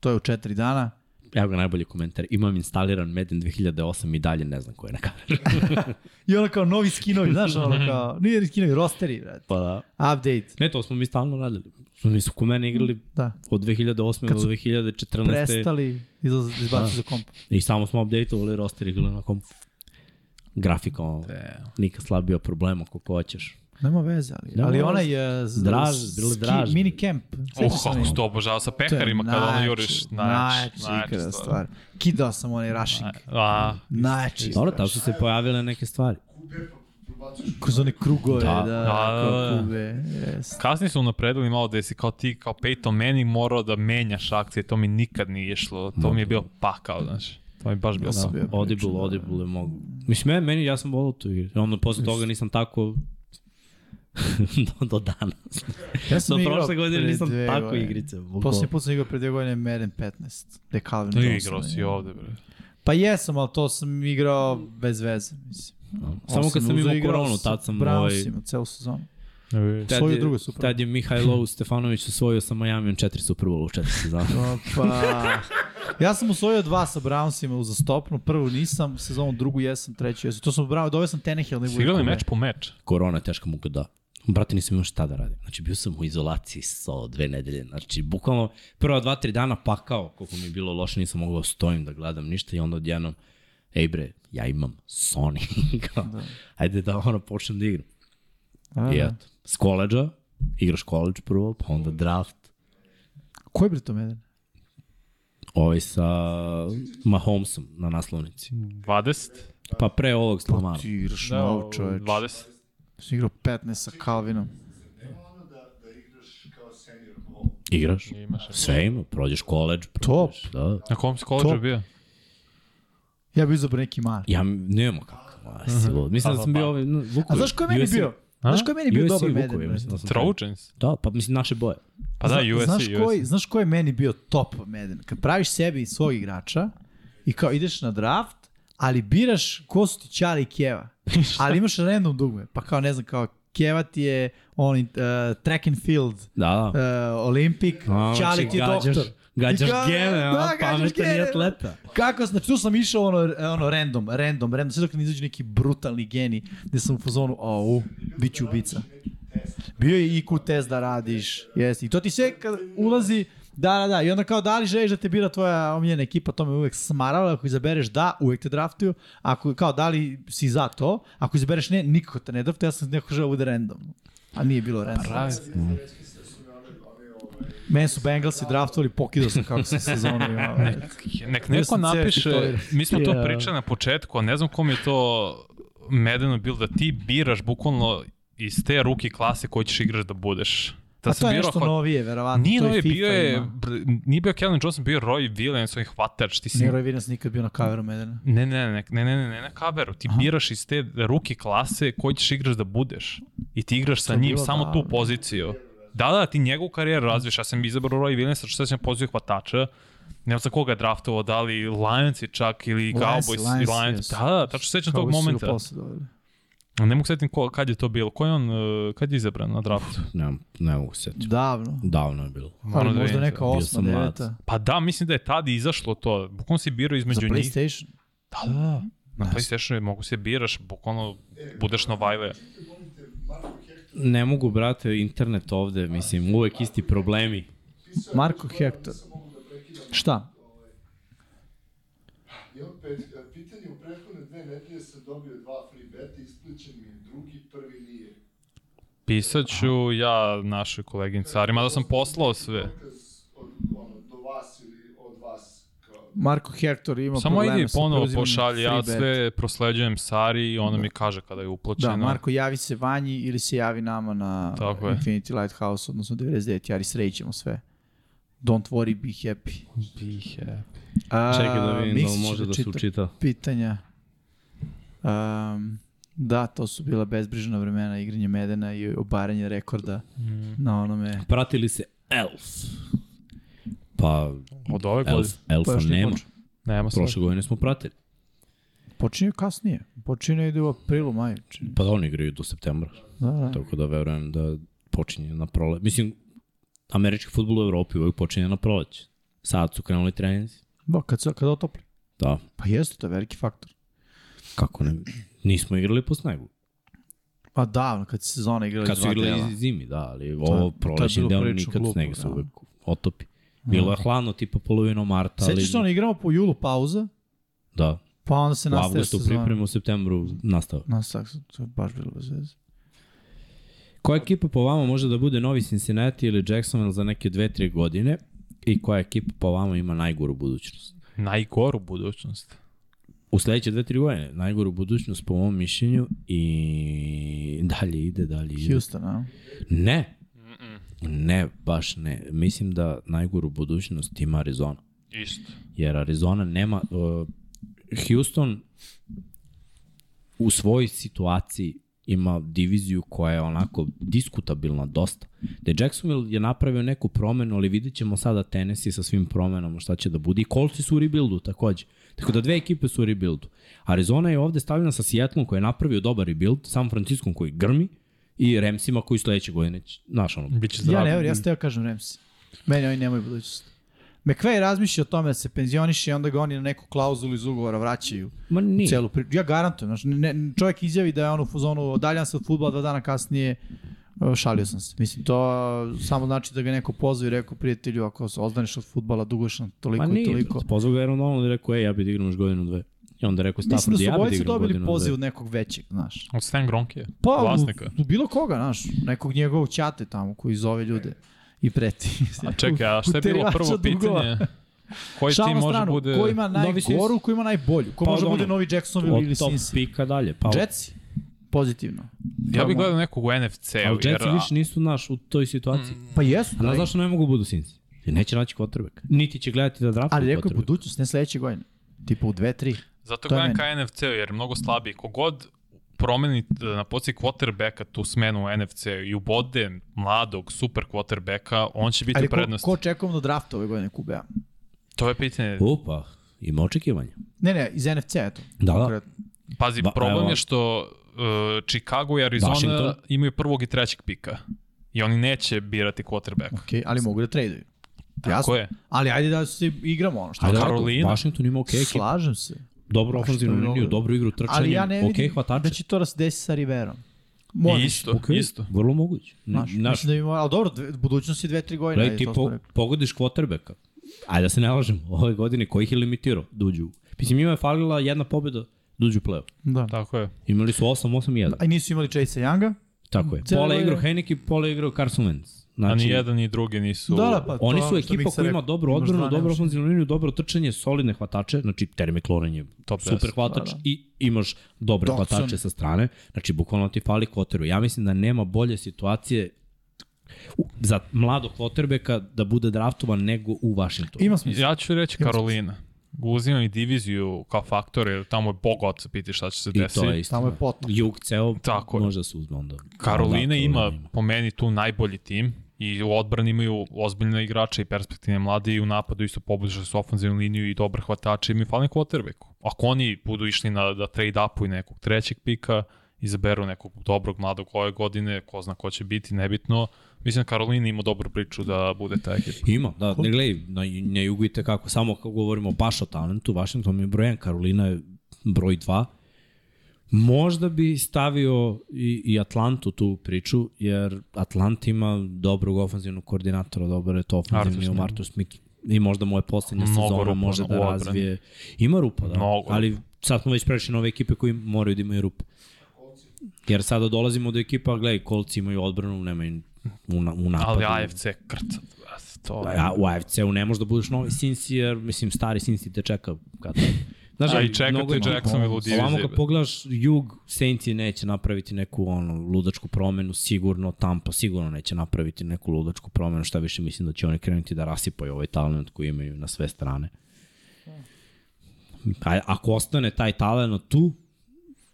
[SPEAKER 3] To je u 4 dana.
[SPEAKER 1] Evo ga najbolji komentar. Imam instaliran Madden 2008 i dalje ne znam ko je na kameru.
[SPEAKER 3] I ono kao novi skinovi, znaš, ono kao, nije ni skinovi, rosteri, brate.
[SPEAKER 1] Pa da.
[SPEAKER 3] Update,
[SPEAKER 1] Ne, to smo mi stalno radili. Mi su ko mene igrali
[SPEAKER 3] da.
[SPEAKER 1] od 2008. do
[SPEAKER 3] Kad su
[SPEAKER 1] 2014.
[SPEAKER 3] Prestali, izlaz,
[SPEAKER 1] Da.
[SPEAKER 3] izbacu za komp.
[SPEAKER 1] I samo smo updateovali roster igrali na kom grafika. Ono. Nikad slabio problema ako hoćeš.
[SPEAKER 3] Nema veze, ali,
[SPEAKER 1] Nema
[SPEAKER 3] ali
[SPEAKER 1] veze.
[SPEAKER 3] ona je... z-
[SPEAKER 1] Draž,
[SPEAKER 3] s-
[SPEAKER 1] bilo je Oh,
[SPEAKER 3] ski-
[SPEAKER 1] draž.
[SPEAKER 3] Mini camp.
[SPEAKER 2] Uh, kako si to obožavao sa pekarima kada ono juriš. znači, Najjači,
[SPEAKER 3] najjači, najjači stvar. Kidao sam onaj rushing.
[SPEAKER 2] A,
[SPEAKER 3] Najjači.
[SPEAKER 1] Dobro, tamo su se pojavile neke stvari.
[SPEAKER 3] Kroz one krugove, da,
[SPEAKER 1] Da.
[SPEAKER 3] da,
[SPEAKER 2] Da, da, da.
[SPEAKER 3] da, kube, jest.
[SPEAKER 2] kasnije su napredili malo da si kao ti, kao Peyton Manning morao da menjaš akcije, to mi nikad nije išlo, to mi je bio pakao, znaš. To mi je baš bio
[SPEAKER 3] sam
[SPEAKER 2] pakao.
[SPEAKER 3] bio pričao,
[SPEAKER 1] Audible,
[SPEAKER 3] da.
[SPEAKER 1] Audible je mogu. Mislim, meni, meni ja sam volao tu igru. Onda posle toga nisam tako do, do danas.
[SPEAKER 3] Ja
[SPEAKER 1] Do
[SPEAKER 3] sam igrao
[SPEAKER 1] prošle godine
[SPEAKER 3] pre
[SPEAKER 1] nisam
[SPEAKER 3] dve
[SPEAKER 1] tako
[SPEAKER 3] godine.
[SPEAKER 1] igrice.
[SPEAKER 3] Posljednji put sam igrao pre dve godine Madden 15. De Calvin
[SPEAKER 2] Ti
[SPEAKER 3] Johnson.
[SPEAKER 2] igrao si ovde, bre.
[SPEAKER 3] Pa jesam, ali to sam igrao bez veze, mislim.
[SPEAKER 1] Samo kad sam
[SPEAKER 3] uzeo
[SPEAKER 1] imao
[SPEAKER 3] igrao
[SPEAKER 1] koronu,
[SPEAKER 3] sa
[SPEAKER 1] tad sam... ovaj,
[SPEAKER 3] Brownsima, celu sezonu.
[SPEAKER 1] Tad
[SPEAKER 3] Svoju
[SPEAKER 1] je-
[SPEAKER 3] drugu Super Bowl.
[SPEAKER 1] Tad je Mihajlo Stefanović osvojio sa Majamijom četiri Super Bowl u četiri sezona.
[SPEAKER 3] Opa. Ja sam osvojio dva sa Brownsima uzastopno, prvu nisam, sezonu drugu jesam, treću jesam. To sam bravo, doveo sam Tenehill.
[SPEAKER 2] Si igrali meč po meč.
[SPEAKER 1] Korona je teška muka da. Brate, nisam imao šta da radim. Znači, bio sam u izolaciji sa dve nedelje. Znači, bukvalno prva dva, tri dana pakao, koliko mi je bilo loše, nisam mogao da stojim da gledam ništa i onda odjednom, ej bre, ja imam Sony. Kao, Ajde da ono počnem
[SPEAKER 3] da.
[SPEAKER 1] da igram. I eto, s koleđa, igraš koleđ prvo, pa onda draft,
[SPEAKER 3] Ko je bre to Meden?
[SPEAKER 1] Ovaj sa Mahomesom na naslovnici.
[SPEAKER 2] 20?
[SPEAKER 1] Pa pre ovog Slamara.
[SPEAKER 3] Ti igraš da, nov čoveč.
[SPEAKER 2] 20.
[SPEAKER 3] Si igrao 15 sa Calvinom.
[SPEAKER 1] Igraš?
[SPEAKER 2] Imaš.
[SPEAKER 1] Sve ima, prođeš koleđ.
[SPEAKER 3] Top.
[SPEAKER 1] Prođeš, da.
[SPEAKER 2] Na kom si koleđu
[SPEAKER 3] To-
[SPEAKER 2] bio?
[SPEAKER 3] Ja bih izabrao neki mali.
[SPEAKER 1] Ja m- nemam kakav. A, si lud. Mislim da sam bio ovaj... no, Vuković.
[SPEAKER 3] Mhm. A znaš ko je meni
[SPEAKER 1] USC
[SPEAKER 3] bio?
[SPEAKER 2] A?
[SPEAKER 3] Znaš ko je meni bio
[SPEAKER 1] USC
[SPEAKER 3] dobar
[SPEAKER 1] Vuković,
[SPEAKER 3] Meden? bre?
[SPEAKER 1] mislim da sam-
[SPEAKER 2] Trojans?
[SPEAKER 1] Da, pa mislim naše boje.
[SPEAKER 2] Pa da,
[SPEAKER 3] Zna-
[SPEAKER 2] USC.
[SPEAKER 3] znaš,
[SPEAKER 2] USC.
[SPEAKER 3] koji, znaš koji je meni bio top Meden? Kad praviš sebi i svog igrača i kao ideš na draft, ali biraš ko su ti Čali i Keva. ali imaš random dugme. Pa kao ne znam, kao Keva ti je on, uh, track and field,
[SPEAKER 1] Da,
[SPEAKER 3] uh,
[SPEAKER 1] da.
[SPEAKER 3] Olimpik,
[SPEAKER 1] A,
[SPEAKER 3] Čali ti je
[SPEAKER 1] gađaš,
[SPEAKER 3] doktor.
[SPEAKER 1] Gađaš
[SPEAKER 3] I kao-
[SPEAKER 1] gene,
[SPEAKER 3] da,
[SPEAKER 1] da,
[SPEAKER 3] gađaš
[SPEAKER 1] pametan
[SPEAKER 3] gene.
[SPEAKER 1] je atleta.
[SPEAKER 3] Kako, znači tu sam išao ono, ono random, random, random, sve dok ne izađe neki brutalni geni gde sam u fazonu, au, bit ću ubica. Bio je IQ test da radiš, jesi. I to ti sve kad ulazi, da, da, da. I onda kao da li želiš da te bira tvoja omiljena ekipa, to me uvek smaralo. Ako izabereš da, uvek te draftuju. Ako kao da li si za to, ako izabereš ne, nikako te ne draftuju. Ja sam nekako želeo da bude random. A nije bilo random.
[SPEAKER 2] Pravi.
[SPEAKER 3] Meni su Bengalsi draftovali, pokidao sam kako sam ovaj. sezonu imao.
[SPEAKER 2] Nek
[SPEAKER 3] Ja
[SPEAKER 2] neko
[SPEAKER 3] sam cijel
[SPEAKER 2] napiše,
[SPEAKER 3] titoliran.
[SPEAKER 2] mi smo to
[SPEAKER 1] Ja.
[SPEAKER 2] pričali na početku, a ne znam kom je to medeno bilo da ti biraš bukvalno iz te ruki klase koju ćeš igraš da budeš. Da
[SPEAKER 3] A
[SPEAKER 2] si
[SPEAKER 3] to je
[SPEAKER 2] birao
[SPEAKER 3] nešto
[SPEAKER 2] hva-
[SPEAKER 3] novije, verovatno.
[SPEAKER 2] Nije
[SPEAKER 3] to i
[SPEAKER 2] novi,
[SPEAKER 3] FIFA
[SPEAKER 2] bio je,
[SPEAKER 3] ima.
[SPEAKER 2] br- nije bio Kellen Johnson, bio je Roy Williams, on je hvatač, ti si...
[SPEAKER 3] Nije Roy Williams nikad bio na kaveru Medena.
[SPEAKER 2] Ne, ne, ne, ne, ne, ne, ne na kaveru, ti biraš iz te ruki klase koju ćeš igraš da budeš. I ti igraš sa
[SPEAKER 3] je
[SPEAKER 2] njim
[SPEAKER 3] bilo
[SPEAKER 2] samo tu
[SPEAKER 3] davno.
[SPEAKER 2] poziciju. Da, da, ti njegovu karijeru razviješ, ja sam izabrao Roy Williamsa, što sam pozivio hvatača, ne znam za koga je draftovao, da li Lions je čak ili
[SPEAKER 3] Lions,
[SPEAKER 2] Cowboys.
[SPEAKER 3] Lions,
[SPEAKER 2] Lions, Lions.
[SPEAKER 3] yes.
[SPEAKER 2] Da, da, tačno se sećam tog momenta. Ne mogu setim ko, kad je to bilo, ko je on, e, kad je izabran na draftu?
[SPEAKER 1] Ne, ne mogu se setiti.
[SPEAKER 3] Davno.
[SPEAKER 1] Davno je bilo.
[SPEAKER 2] Ono
[SPEAKER 3] Ali
[SPEAKER 2] da
[SPEAKER 3] možda
[SPEAKER 2] vidim.
[SPEAKER 3] neka
[SPEAKER 1] Bio
[SPEAKER 3] osma,
[SPEAKER 1] sam mlad.
[SPEAKER 3] deveta.
[SPEAKER 2] Pa da, mislim da je tada izašlo to. Bukvalno si birao
[SPEAKER 3] Za
[SPEAKER 2] između njih.
[SPEAKER 3] PlayStation.
[SPEAKER 2] Da, da. Na PlayStationu je mogu se biraš, bukvalno budeš novajle.
[SPEAKER 1] Ne mogu, brate, internet ovde, mislim, uvek isti problemi.
[SPEAKER 3] Marko Hector. Šta?
[SPEAKER 4] Imam pet- pitanje, u prethodne dve nedelje sam dobio dva free beta, isplaćen mi je drugi, prvi nije.
[SPEAKER 2] Pisat ću ja našoj koleginici Ari, mada sam poslao sve.
[SPEAKER 4] Dokaz od, ono, do vas ili od vas. Kao,
[SPEAKER 3] Marko Hector ima
[SPEAKER 2] Samo
[SPEAKER 3] probleme
[SPEAKER 2] idi
[SPEAKER 3] sa
[SPEAKER 2] ponovo
[SPEAKER 3] preuzimanjem
[SPEAKER 2] pošalji, ja
[SPEAKER 3] free beta.
[SPEAKER 2] sve prosleđujem Sari i ona mi kaže kada je uplaćeno.
[SPEAKER 3] Da, Marko, javi se vanji ili se javi nama na
[SPEAKER 2] Tako je.
[SPEAKER 3] Infinity Lighthouse, odnosno 99, jari srećemo sve. Don't worry, be happy.
[SPEAKER 2] Bihe.
[SPEAKER 3] A,
[SPEAKER 1] Čekaj da vidim da
[SPEAKER 3] Miksić
[SPEAKER 1] li može
[SPEAKER 3] će
[SPEAKER 1] da se
[SPEAKER 3] čita
[SPEAKER 1] učita.
[SPEAKER 3] pitanja. Um, da, to su bila bezbrižna vremena igranje Medena i obaranje rekorda na onome.
[SPEAKER 1] Pratili se Elf. Pa,
[SPEAKER 2] Od ove godine?
[SPEAKER 1] Elf, Elfa
[SPEAKER 3] Pa još nije
[SPEAKER 1] nema.
[SPEAKER 3] počeo.
[SPEAKER 2] Nema sve.
[SPEAKER 1] Prošle godine smo pratili.
[SPEAKER 3] Počinje kasnije. Počinje ide u aprilu, maju. čini.
[SPEAKER 1] Pa oni igraju do septembra.
[SPEAKER 3] Da, da.
[SPEAKER 1] Tako da verujem da počinje na prole. Mislim, američki futbol u Evropi uvek počinje na proleće. Sad su krenuli treninzi.
[SPEAKER 3] Bo, kad, se, kad otopli.
[SPEAKER 1] Da,
[SPEAKER 3] Pa jeste, to je veliki faktor.
[SPEAKER 1] kako ne. Nismo igrali po snegu.
[SPEAKER 3] Pa davno, kad se sezona igrala
[SPEAKER 1] Kad
[SPEAKER 3] iz
[SPEAKER 1] su
[SPEAKER 3] dva dela.
[SPEAKER 1] igrali iz zimi, da, ali
[SPEAKER 3] je-
[SPEAKER 1] ovo
[SPEAKER 3] to je
[SPEAKER 1] prolećni
[SPEAKER 3] bilo
[SPEAKER 1] deo
[SPEAKER 3] prilično
[SPEAKER 1] nikad
[SPEAKER 3] glupo,
[SPEAKER 1] sneg se
[SPEAKER 3] da.
[SPEAKER 1] uvek otopi. Bilo je hladno, tipa polovina marta, ali...
[SPEAKER 3] Sećaš se ono, igramo po julu pauza,
[SPEAKER 1] Da,
[SPEAKER 3] pa onda se
[SPEAKER 1] u
[SPEAKER 3] nastaje
[SPEAKER 1] avgustu
[SPEAKER 3] sezona.
[SPEAKER 1] pripremu, u septembru nastava.
[SPEAKER 3] Nastavak, to je baš bilo bez veze.
[SPEAKER 1] Koja ekipa po vama može da bude novi Cincinnati ili Jacksonville za neke 2-3 godine i koja ekipa po vama ima najgoru budućnost?
[SPEAKER 2] Najgoru budućnost.
[SPEAKER 1] U sledeće 2-3 godine najgoru budućnost po mom mišljenju i dalje ide, dalje ide.
[SPEAKER 3] Houston, a?
[SPEAKER 1] Ne. Ne, baš ne. Mislim da najgoru budućnost ima Arizona.
[SPEAKER 2] Isto.
[SPEAKER 1] jer Arizona nema uh, Houston u svojoj situaciji ima diviziju koja je onako diskutabilna dosta. Da Jacksonville je napravio neku promenu, ali vidjet ćemo sada Tennessee sa svim promenama šta će da bude. I Coltsi su u rebuildu takođe. Tako da dve ekipe su u rebuildu. Arizona je ovde stavljena sa Seattlom koji je napravio dobar rebuild, San Franciskom koji grmi i Remsima koji sledeće godine će, znaš ono,
[SPEAKER 2] Biće
[SPEAKER 3] Ja
[SPEAKER 2] zdrav.
[SPEAKER 3] ne verujem, ja sam teo da kažem Ramsey. Meni oni nemaju budućnost. McVay razmišlja o tome da se penzioniše i onda ga oni na neku klauzulu iz ugovora vraćaju.
[SPEAKER 1] ma nije.
[SPEAKER 3] Celu pri... Ja garantujem, znači, ne, ne, čovjek izjavi da je on u fuzonu odaljam se od futbola dva dana kasnije, e, šalio sam se. Mislim, to samo znači da ga neko pozvao i rekao, prijatelju, ako se odvaneš od futbala, duguješ nam toliko
[SPEAKER 1] Ma
[SPEAKER 3] i
[SPEAKER 1] nije,
[SPEAKER 3] toliko.
[SPEAKER 1] Pozvao ga Aaron Donald i rekao, ej, ja bih da igram još godinu dve. I onda je rekao,
[SPEAKER 3] Mislim da
[SPEAKER 1] Stafford,
[SPEAKER 3] su
[SPEAKER 1] ja bih da
[SPEAKER 3] obojice
[SPEAKER 1] igram
[SPEAKER 3] dobili
[SPEAKER 1] godinu
[SPEAKER 3] poziv
[SPEAKER 1] poziv...
[SPEAKER 3] od nekog većeg, znaš.
[SPEAKER 2] Od Stan Gronkija,
[SPEAKER 3] Pa,
[SPEAKER 2] vlasnika.
[SPEAKER 3] u- u bilo koga, znaš, nekog njegovog ćate tamo koji zove ljude. i preti.
[SPEAKER 2] A čekaj, a šta je bilo
[SPEAKER 3] Uterivača
[SPEAKER 2] prvo
[SPEAKER 3] dugova.
[SPEAKER 2] pitanje? Koji
[SPEAKER 3] Šalu
[SPEAKER 2] ti
[SPEAKER 3] na
[SPEAKER 2] može
[SPEAKER 3] stranu,
[SPEAKER 2] bude...
[SPEAKER 3] Ko ima
[SPEAKER 1] Novi Sins?
[SPEAKER 3] najgoru, ko ima najbolju? Ko
[SPEAKER 1] Pa
[SPEAKER 3] može
[SPEAKER 1] od
[SPEAKER 3] bude
[SPEAKER 1] ono,
[SPEAKER 3] novi Jacksonville ili
[SPEAKER 1] Od top
[SPEAKER 3] da Cincy?
[SPEAKER 1] pika dalje. Pa,
[SPEAKER 3] Jetsi? Pozitivno.
[SPEAKER 2] Ja bih gledao nekog u NFC-u.
[SPEAKER 1] ali
[SPEAKER 2] jer-
[SPEAKER 1] Jetsi više nisu naš u toj situaciji. Mm.
[SPEAKER 3] Pa jesu.
[SPEAKER 1] A
[SPEAKER 3] da,
[SPEAKER 1] znaš zašto ne mogu budu Sinci? Jer neće naći kotrbek. Niti će gledati da draftu
[SPEAKER 3] Ali rekao je budućnost, ne sledeće godine. Tipa u dve, tri.
[SPEAKER 2] Zato
[SPEAKER 3] To je
[SPEAKER 2] gledam
[SPEAKER 3] meni.
[SPEAKER 2] ka NFC-u jer je mnogo slabiji. Kogod promeni e, na poziciji quarterbacka tu smenu u NFC i ubode mladog super quarterbacka, on će biti
[SPEAKER 3] Ali
[SPEAKER 2] u prednosti.
[SPEAKER 3] ko, ko čekamo do drafta ove godine Kubea?
[SPEAKER 2] To je pitanje.
[SPEAKER 1] Upa, ima očekivanja.
[SPEAKER 3] Ne, ne, iz NFC, eto.
[SPEAKER 1] Da, da.
[SPEAKER 3] Konkretno.
[SPEAKER 2] Pazi,
[SPEAKER 1] Ba-
[SPEAKER 2] problem
[SPEAKER 1] evo.
[SPEAKER 2] je što uh, Chicago i Arizona
[SPEAKER 1] Washington.
[SPEAKER 2] imaju prvog i trećeg pika. I oni neće birati quarterbacka.
[SPEAKER 3] Okej, ali mogu da traduju.
[SPEAKER 2] Tako je.
[SPEAKER 3] Ali ajde da se igramo ono što.
[SPEAKER 1] Ajde,
[SPEAKER 3] Ajde,
[SPEAKER 2] Ajde,
[SPEAKER 1] Karolina.
[SPEAKER 2] Karolina.
[SPEAKER 1] Washington ima okej okay, ekipu.
[SPEAKER 3] Slažem se.
[SPEAKER 1] Dobro ofenzivnu
[SPEAKER 3] Washington je
[SPEAKER 1] liniju,
[SPEAKER 3] dobro.
[SPEAKER 1] dobru igru trčanjem,
[SPEAKER 3] Ali
[SPEAKER 1] okej
[SPEAKER 3] ja ne vidim
[SPEAKER 1] okay, hvatače.
[SPEAKER 3] da će to da se desi sa Riverom.
[SPEAKER 2] I
[SPEAKER 3] Molim.
[SPEAKER 2] isto,
[SPEAKER 1] Okej,
[SPEAKER 2] Da, isto.
[SPEAKER 1] Vrlo moguće.
[SPEAKER 3] Naš,
[SPEAKER 1] Naš,
[SPEAKER 3] naš. Mislim da bi morao, ali dobro, dve, budućnost je dve, tri godine.
[SPEAKER 1] Gledaj,
[SPEAKER 3] Ajde,
[SPEAKER 1] ti
[SPEAKER 3] to smo
[SPEAKER 1] po,
[SPEAKER 3] rekli.
[SPEAKER 1] pogodiš kvotrbeka. Ajde da se ne lažemo, ove godine koji ih je limitirao da uđu. u- Mislim, njima je falila jedna pobjeda da uđu u play-off.
[SPEAKER 3] Da.
[SPEAKER 2] Tako je.
[SPEAKER 1] Imali su 8, 8 i 1.
[SPEAKER 3] A i nisu imali Chase Younga.
[SPEAKER 1] Tako je.
[SPEAKER 3] Cijelo
[SPEAKER 1] Pola igrao
[SPEAKER 3] je-
[SPEAKER 1] Heineke, pola igrao Carson Wentz.
[SPEAKER 2] A ni
[SPEAKER 1] Znači,
[SPEAKER 2] jedan ni drugi nisu...
[SPEAKER 3] Da, da, pa to
[SPEAKER 1] Oni
[SPEAKER 3] je
[SPEAKER 1] su
[SPEAKER 3] ono što
[SPEAKER 1] ekipa
[SPEAKER 3] Miksa
[SPEAKER 1] koja ima
[SPEAKER 3] rekao.
[SPEAKER 1] dobru
[SPEAKER 3] Imaš
[SPEAKER 1] odbranu,
[SPEAKER 3] dva
[SPEAKER 1] dobro
[SPEAKER 3] najviše.
[SPEAKER 1] ofenzivnu liniju, dobro trčanje, solidne hvatače, znači Terry McLaurin je
[SPEAKER 2] Top
[SPEAKER 1] super
[SPEAKER 2] 10,
[SPEAKER 1] hvatač
[SPEAKER 3] da, da.
[SPEAKER 1] i imaš dobre
[SPEAKER 3] Dodson.
[SPEAKER 1] hvatače sa strane, znači bukvalno ti fali kvoteru. Ja mislim da nema bolje situacije u- za mladog kvoterbeka da bude draftovan nego u Washingtonu.
[SPEAKER 3] Ima smisla.
[SPEAKER 2] Ja ću reći
[SPEAKER 3] Ima
[SPEAKER 2] Karolina. Uzimam i diviziju kao faktor, jer tamo je bog oca piti šta će se
[SPEAKER 1] I
[SPEAKER 2] desiti.
[SPEAKER 1] to je isto.
[SPEAKER 3] Tamo je potno.
[SPEAKER 1] Jug ceo
[SPEAKER 2] Tako je.
[SPEAKER 1] može da se uzme onda.
[SPEAKER 2] Karolina
[SPEAKER 1] Da,
[SPEAKER 2] ima, po meni, tu najbolji tim i u odbrani imaju ozbiljne igrače i perspektivne mlade i u napadu isto pobliže su ofenzivnu liniju i dobar hvatače i mi fali quarterbacku. Ako oni budu išli na, da trade upuju nekog trećeg pika, izaberu nekog dobrog mladog ove godine, ko zna ko će biti, nebitno. Mislim da Karolina ima dobru priču da bude ta ekipa.
[SPEAKER 1] Ima, da, ne gledaj, na, na jugu i tekako, samo kako govorimo baš o talentu, Washington je broj 1, Karolina je broj 2. Možda bi stavio i, i Atlantu tu u priču, jer Atlant ima dobrog ofenzivnog koordinatora, dobar je to
[SPEAKER 2] Arthur
[SPEAKER 1] ofenzivni
[SPEAKER 2] Smith.
[SPEAKER 1] u Martu Smith. I možda moje poslednja
[SPEAKER 2] Mnogo
[SPEAKER 1] sezona
[SPEAKER 2] rupa
[SPEAKER 1] može da
[SPEAKER 2] u odbrani.
[SPEAKER 1] razvije. Ima rupa, da.
[SPEAKER 2] Mnogo
[SPEAKER 1] ali sad smo već prešli na ove ekipe koji moraju da imaju rupe. Jer sada dolazimo do ekipa, gledaj, kolci imaju odbranu, nemaju u, na- u napadu.
[SPEAKER 2] Ali AFC krca. brate, To je.
[SPEAKER 1] A ovaj, u AFC-u ne možeš da budeš novi Cincy, jer mislim stari Cincy te čeka kad... Znaš,
[SPEAKER 2] A i
[SPEAKER 1] ali
[SPEAKER 2] čeka
[SPEAKER 1] mnogo
[SPEAKER 2] te
[SPEAKER 1] ima.
[SPEAKER 2] Jacksonville u diviziji,
[SPEAKER 1] Ovamo kad
[SPEAKER 2] bre.
[SPEAKER 1] pogledaš jug, Saints neće napraviti neku ono, ludačku promenu, sigurno Tampa sigurno neće napraviti neku ludačku promenu, šta više mislim da će oni krenuti da rasipaju ovaj talent koji imaju na sve strane. A, ako ostane taj talent tu,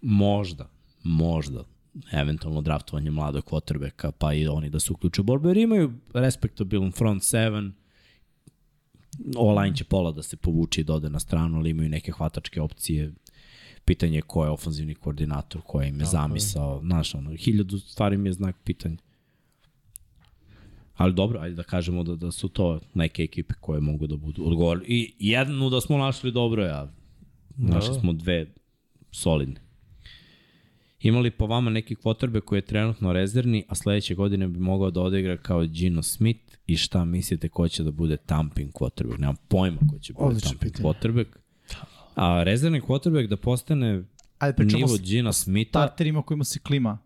[SPEAKER 1] možda, možda, eventualno draftovanje mladog quarterbacka, pa i oni da se uključe u borbe, jer imaju respektabilan front seven, online će pola da se povuče i da ode na stranu, ali imaju neke hvatačke opcije, pitanje je ko je ofanzivni koordinator, ko im je zamisao, znaš, ono, hiljadu stvari mi je znak pitanja. Ali dobro, ajde da kažemo da, da su to neke ekipe koje mogu da budu odgovorili. I jednu da smo našli dobro, ja. Našli
[SPEAKER 3] Da.
[SPEAKER 1] smo dve solidne. Imali po vama neki kvotrbe koji je trenutno rezervni, a sledeće godine bi mogao da odigra kao Gino Smith i šta mislite ko će da bude tamping quarterback? Nemam pojma ko će bude
[SPEAKER 3] Odlično
[SPEAKER 1] tamping
[SPEAKER 3] pitanje. Da.
[SPEAKER 1] quarterback. A rezervni quarterback da postane
[SPEAKER 3] Ajde, pričamo
[SPEAKER 1] nivo da.
[SPEAKER 3] o
[SPEAKER 1] Gina Smitha,
[SPEAKER 3] starterima kojima se klima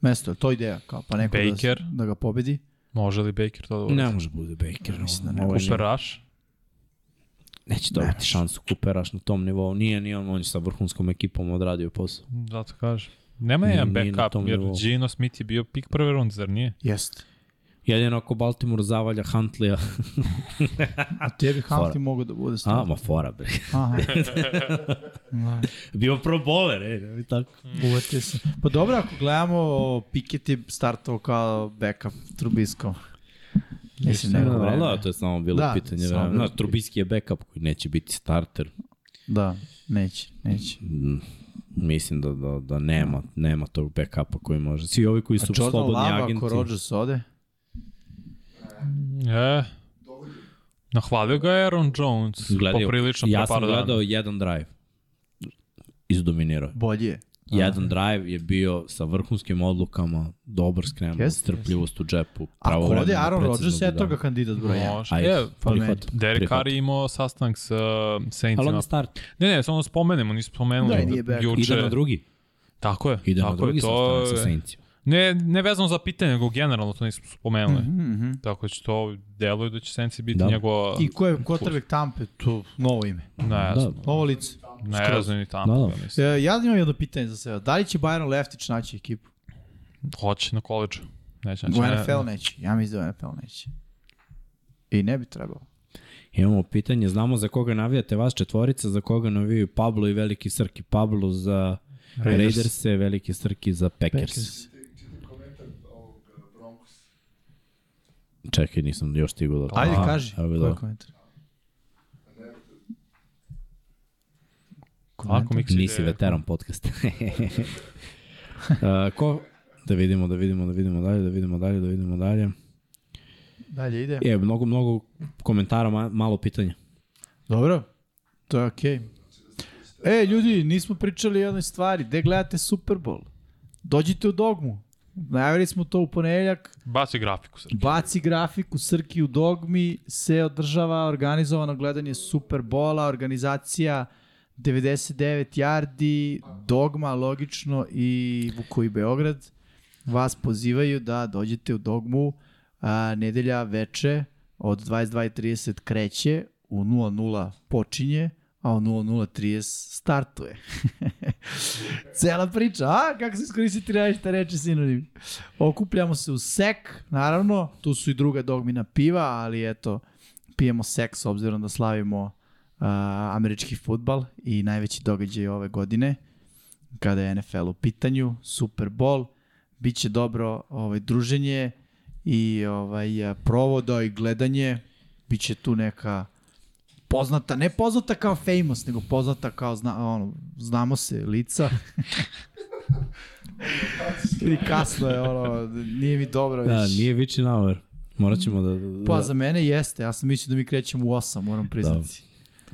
[SPEAKER 3] mesto, je to ideja, kao pa neko
[SPEAKER 2] Baker.
[SPEAKER 3] da, da ga pobedi.
[SPEAKER 2] Može li Baker
[SPEAKER 3] Pa,
[SPEAKER 2] to da uradi?
[SPEAKER 1] ne može bude Baker.
[SPEAKER 3] Mislim da ne
[SPEAKER 1] Ovo je
[SPEAKER 2] Cooper Rush?
[SPEAKER 1] neće dobiti šansu Kuperaš na tom nivou. Nije, nije on, on je sa vrhunskom ekipom odradio posao.
[SPEAKER 2] Zato Da kažem. Nema
[SPEAKER 1] Nije-
[SPEAKER 2] jedan
[SPEAKER 1] nije na
[SPEAKER 2] backup,
[SPEAKER 1] tom
[SPEAKER 2] jer
[SPEAKER 1] nivou.
[SPEAKER 2] Gino Smith je bio pik prve runde, zar nije?
[SPEAKER 3] Jeste.
[SPEAKER 1] Jedino ako Baltimore zavalja Huntleya.
[SPEAKER 3] A tebi Humpty
[SPEAKER 1] Fora.
[SPEAKER 3] mogu da bude
[SPEAKER 1] A,
[SPEAKER 3] stvarno.
[SPEAKER 1] ma fora bre.
[SPEAKER 3] Aha. Da.
[SPEAKER 1] Bio pro bowler, e, ne bi tako.
[SPEAKER 3] Uvatio se. Pa dobro, ako gledamo, Piket je startovao kao backup Trubiskom. Mislim,
[SPEAKER 1] Ne,
[SPEAKER 3] neko
[SPEAKER 1] da,
[SPEAKER 3] vreme.
[SPEAKER 1] da, to je samo bilo
[SPEAKER 3] Da,
[SPEAKER 1] da, pitanje
[SPEAKER 3] samo
[SPEAKER 1] vremena.
[SPEAKER 3] bilo
[SPEAKER 1] Znaš, Trubisky je backup koji neće biti starter.
[SPEAKER 3] Da, neće, neće.
[SPEAKER 1] Mm, Mislim da, da, da nema, nema tog backupa koji može. Svi ovi koji su
[SPEAKER 3] A Znači, Jordan
[SPEAKER 1] slobodni
[SPEAKER 3] Lava,
[SPEAKER 1] agenti.
[SPEAKER 3] ako Rodgers ode,
[SPEAKER 2] E, nahvalio ga je Aaron Jones.
[SPEAKER 1] Gledao-
[SPEAKER 2] poprilično
[SPEAKER 1] ja
[SPEAKER 2] pre
[SPEAKER 1] sam
[SPEAKER 3] da-
[SPEAKER 2] par
[SPEAKER 1] gledao
[SPEAKER 2] dana.
[SPEAKER 1] jedan drive. Izdominirao. je.
[SPEAKER 3] bolje je.
[SPEAKER 1] Jedan drive je bio sa vrhunskim odlukama, dobar skren,
[SPEAKER 3] Jeste,
[SPEAKER 1] strpljivost u džepu, pravo
[SPEAKER 3] Ako
[SPEAKER 1] vremena.
[SPEAKER 3] ode Aaron Rodgers, eto ga kandidat broj 1.
[SPEAKER 2] Može.
[SPEAKER 1] Ajde,
[SPEAKER 2] Je,
[SPEAKER 3] pa meni.
[SPEAKER 1] prihvatam.
[SPEAKER 2] E, Derek
[SPEAKER 1] prihvatam.
[SPEAKER 2] Carr je imao sastanak sa
[SPEAKER 1] Ali on
[SPEAKER 2] Saintsima.
[SPEAKER 1] je start.
[SPEAKER 2] Ne, ne, samo spomenemo, nismo spomenuli
[SPEAKER 3] Da, nije back.
[SPEAKER 2] juče.
[SPEAKER 1] Ide na drugi.
[SPEAKER 2] Tako je,
[SPEAKER 1] Ide
[SPEAKER 2] tako
[SPEAKER 1] na drugi
[SPEAKER 2] je, to
[SPEAKER 1] sastanak sa
[SPEAKER 2] je.
[SPEAKER 1] Saintsima.
[SPEAKER 2] Ne, ne vezano za pitanje, nego generalno to nismo spomenuli. Mm -hmm.
[SPEAKER 3] Mhm, mhm.
[SPEAKER 2] Tako da će to deluje da će Sensi biti
[SPEAKER 1] Da.
[SPEAKER 2] da. njegova...
[SPEAKER 3] I ko Pa, je quarterback Tampe, to novo ime.
[SPEAKER 2] Ne,
[SPEAKER 1] Da,
[SPEAKER 2] znam.
[SPEAKER 3] Novo lice.
[SPEAKER 2] ne,
[SPEAKER 3] skroz.
[SPEAKER 2] ne znam ni tamo.
[SPEAKER 1] Da,
[SPEAKER 2] Da,
[SPEAKER 1] da.
[SPEAKER 2] mislim.
[SPEAKER 3] E, ja imam jedno pitanje za sebe. Da li će Byron Leftić naći ekipu?
[SPEAKER 1] Da.
[SPEAKER 2] Hoće na koleđu. Neće,
[SPEAKER 3] U NFL
[SPEAKER 2] ne.
[SPEAKER 3] neće. Ja mislim da u NFL neće. I ne bi trebalo.
[SPEAKER 1] Imamo pitanje, znamo za koga navijate vas četvorica, za koga navijaju Pablo i Veliki Srki. Pablo za Raiders.
[SPEAKER 3] Raiders.
[SPEAKER 1] Raiderse, Veliki Srki za Packers. Packers.
[SPEAKER 3] Packers.
[SPEAKER 4] Čitam komentar ovog eh, Broncos.
[SPEAKER 1] Čekaj, nisam još stigao do
[SPEAKER 3] Pa, Ajde,
[SPEAKER 1] Aha,
[SPEAKER 3] kaži.
[SPEAKER 1] evo ga,
[SPEAKER 3] Koji
[SPEAKER 1] da.
[SPEAKER 3] je komentar?
[SPEAKER 2] Ako mi
[SPEAKER 1] Nisi veteran podcast. uh, ko... Da vidimo, da vidimo, da vidimo dalje, da vidimo dalje, da vidimo dalje.
[SPEAKER 3] Dalje ide.
[SPEAKER 1] Je, mnogo, mnogo komentara, ma- malo pitanja.
[SPEAKER 3] Dobro, to je okej. Okay. E, ljudi, nismo pričali o jednoj stvari. Gde gledate Super Bowl? Dođite u dogmu. Najavili smo to u ponedeljak.
[SPEAKER 2] Baci grafiku, Srki.
[SPEAKER 3] Baci grafik u Srki u dogmi. Se održava organizovano gledanje Super Bola, organizacija 99 yardi, dogma, logično, i Vukovi Beograd vas pozivaju da dođete u dogmu a, nedelja veče od 22.30 kreće, u 00 počinje, a u 00.30 startuje. Cela priča, a? Kako se iskoristiti najšte reči sinonim? Okupljamo se u sek, naravno, tu su i druga dogmina piva, ali eto, pijemo sek s obzirom da slavimo a, američki futbal i najveći događaj ove godine kada je NFL u pitanju, Super Bowl, bit će dobro ovaj, druženje i ovaj, a, provoda i gledanje, bit će tu neka poznata, ne poznata kao famous, nego poznata kao zna, ono, znamo se lica. Ili kasno je, ono, nije mi dobro
[SPEAKER 1] Da,
[SPEAKER 3] više.
[SPEAKER 1] nije Vičin Hour. Morat ćemo da... da
[SPEAKER 3] Pa za mene jeste, ja sam mislio da mi krećemo u 8, moram priznati.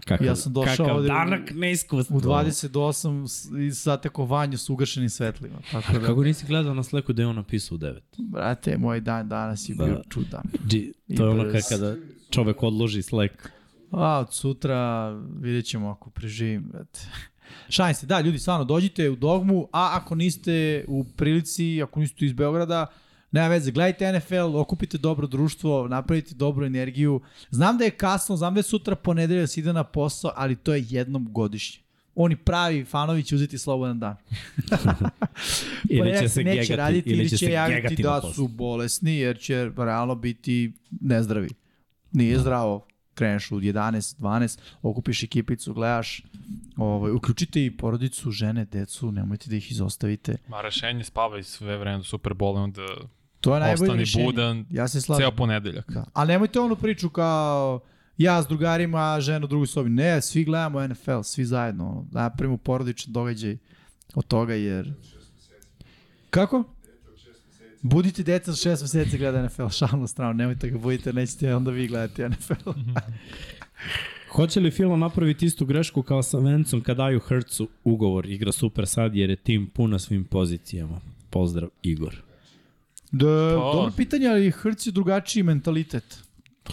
[SPEAKER 1] kakav,
[SPEAKER 3] ja sam došao
[SPEAKER 1] kakav
[SPEAKER 3] ovde u-
[SPEAKER 1] danak neiskustva.
[SPEAKER 3] U 28 s- i sateko vanju s ugašenim svetlima. Tako da,
[SPEAKER 1] Kako nisi gledao na Slacku da je on napisao u 9?
[SPEAKER 3] brate, moj dan danas je
[SPEAKER 1] Da.
[SPEAKER 3] bio čudan.
[SPEAKER 1] G,
[SPEAKER 3] I
[SPEAKER 1] to je ono
[SPEAKER 3] brz.
[SPEAKER 1] kad- kada čovek odloži Slack.
[SPEAKER 3] A od sutra vidjet ćemo ako preživim, brate. Šalim se, da, ljudi, stvarno, dođite u dogmu, a ako niste u prilici, ako niste iz Beograda, nema veze, gledajte NFL, okupite dobro društvo, napravite dobru energiju. Znam da je kasno, znam da je sutra ponedelja da se ide na posao, ali to je jednom godišnje. Oni pravi fanovi će uzeti slobodan dan.
[SPEAKER 1] Ili će
[SPEAKER 3] Ponedeljak
[SPEAKER 1] se
[SPEAKER 3] neće
[SPEAKER 1] gegati,
[SPEAKER 3] raditi,
[SPEAKER 1] ili će se gegati
[SPEAKER 3] javiti
[SPEAKER 1] da
[SPEAKER 3] da
[SPEAKER 1] poslu.
[SPEAKER 3] su bolesni, jer će realno biti nezdravi. Nije
[SPEAKER 1] Da.
[SPEAKER 3] zdravo. Kreneš u 11, 12, okupiš ekipicu, gledaš, ovaj, uključite i porodicu, žene, decu, nemojte da ih izostavite.
[SPEAKER 2] Ma rešenje spavaj sve vreme do Super Bowl, onda
[SPEAKER 3] To je Pa najbolje
[SPEAKER 2] ostani
[SPEAKER 3] rešenje.
[SPEAKER 2] budan
[SPEAKER 3] Ja se slažem.
[SPEAKER 2] ceo ponedeljak.
[SPEAKER 3] Da. A nemojte onu priču kao ja s drugarima, žena u drugoj sobi. Ne, svi gledamo NFL, svi zajedno. Ono, Da napravimo porodičan događaj od toga jer... Kako? Budite deca od šest meseci gleda NFL, šalno strano, nemojte ga budite, nećete onda vi gledati NFL.
[SPEAKER 1] Hoće li Filo napraviti istu grešku kao sa Vencom kad daju Hercu ugovor, igra super sad jer je tim pun na svim pozicijama. Pozdrav Igor.
[SPEAKER 3] Da,
[SPEAKER 2] Pa.
[SPEAKER 3] dobro pitanje, ali Hrc je drugačiji mentalitet.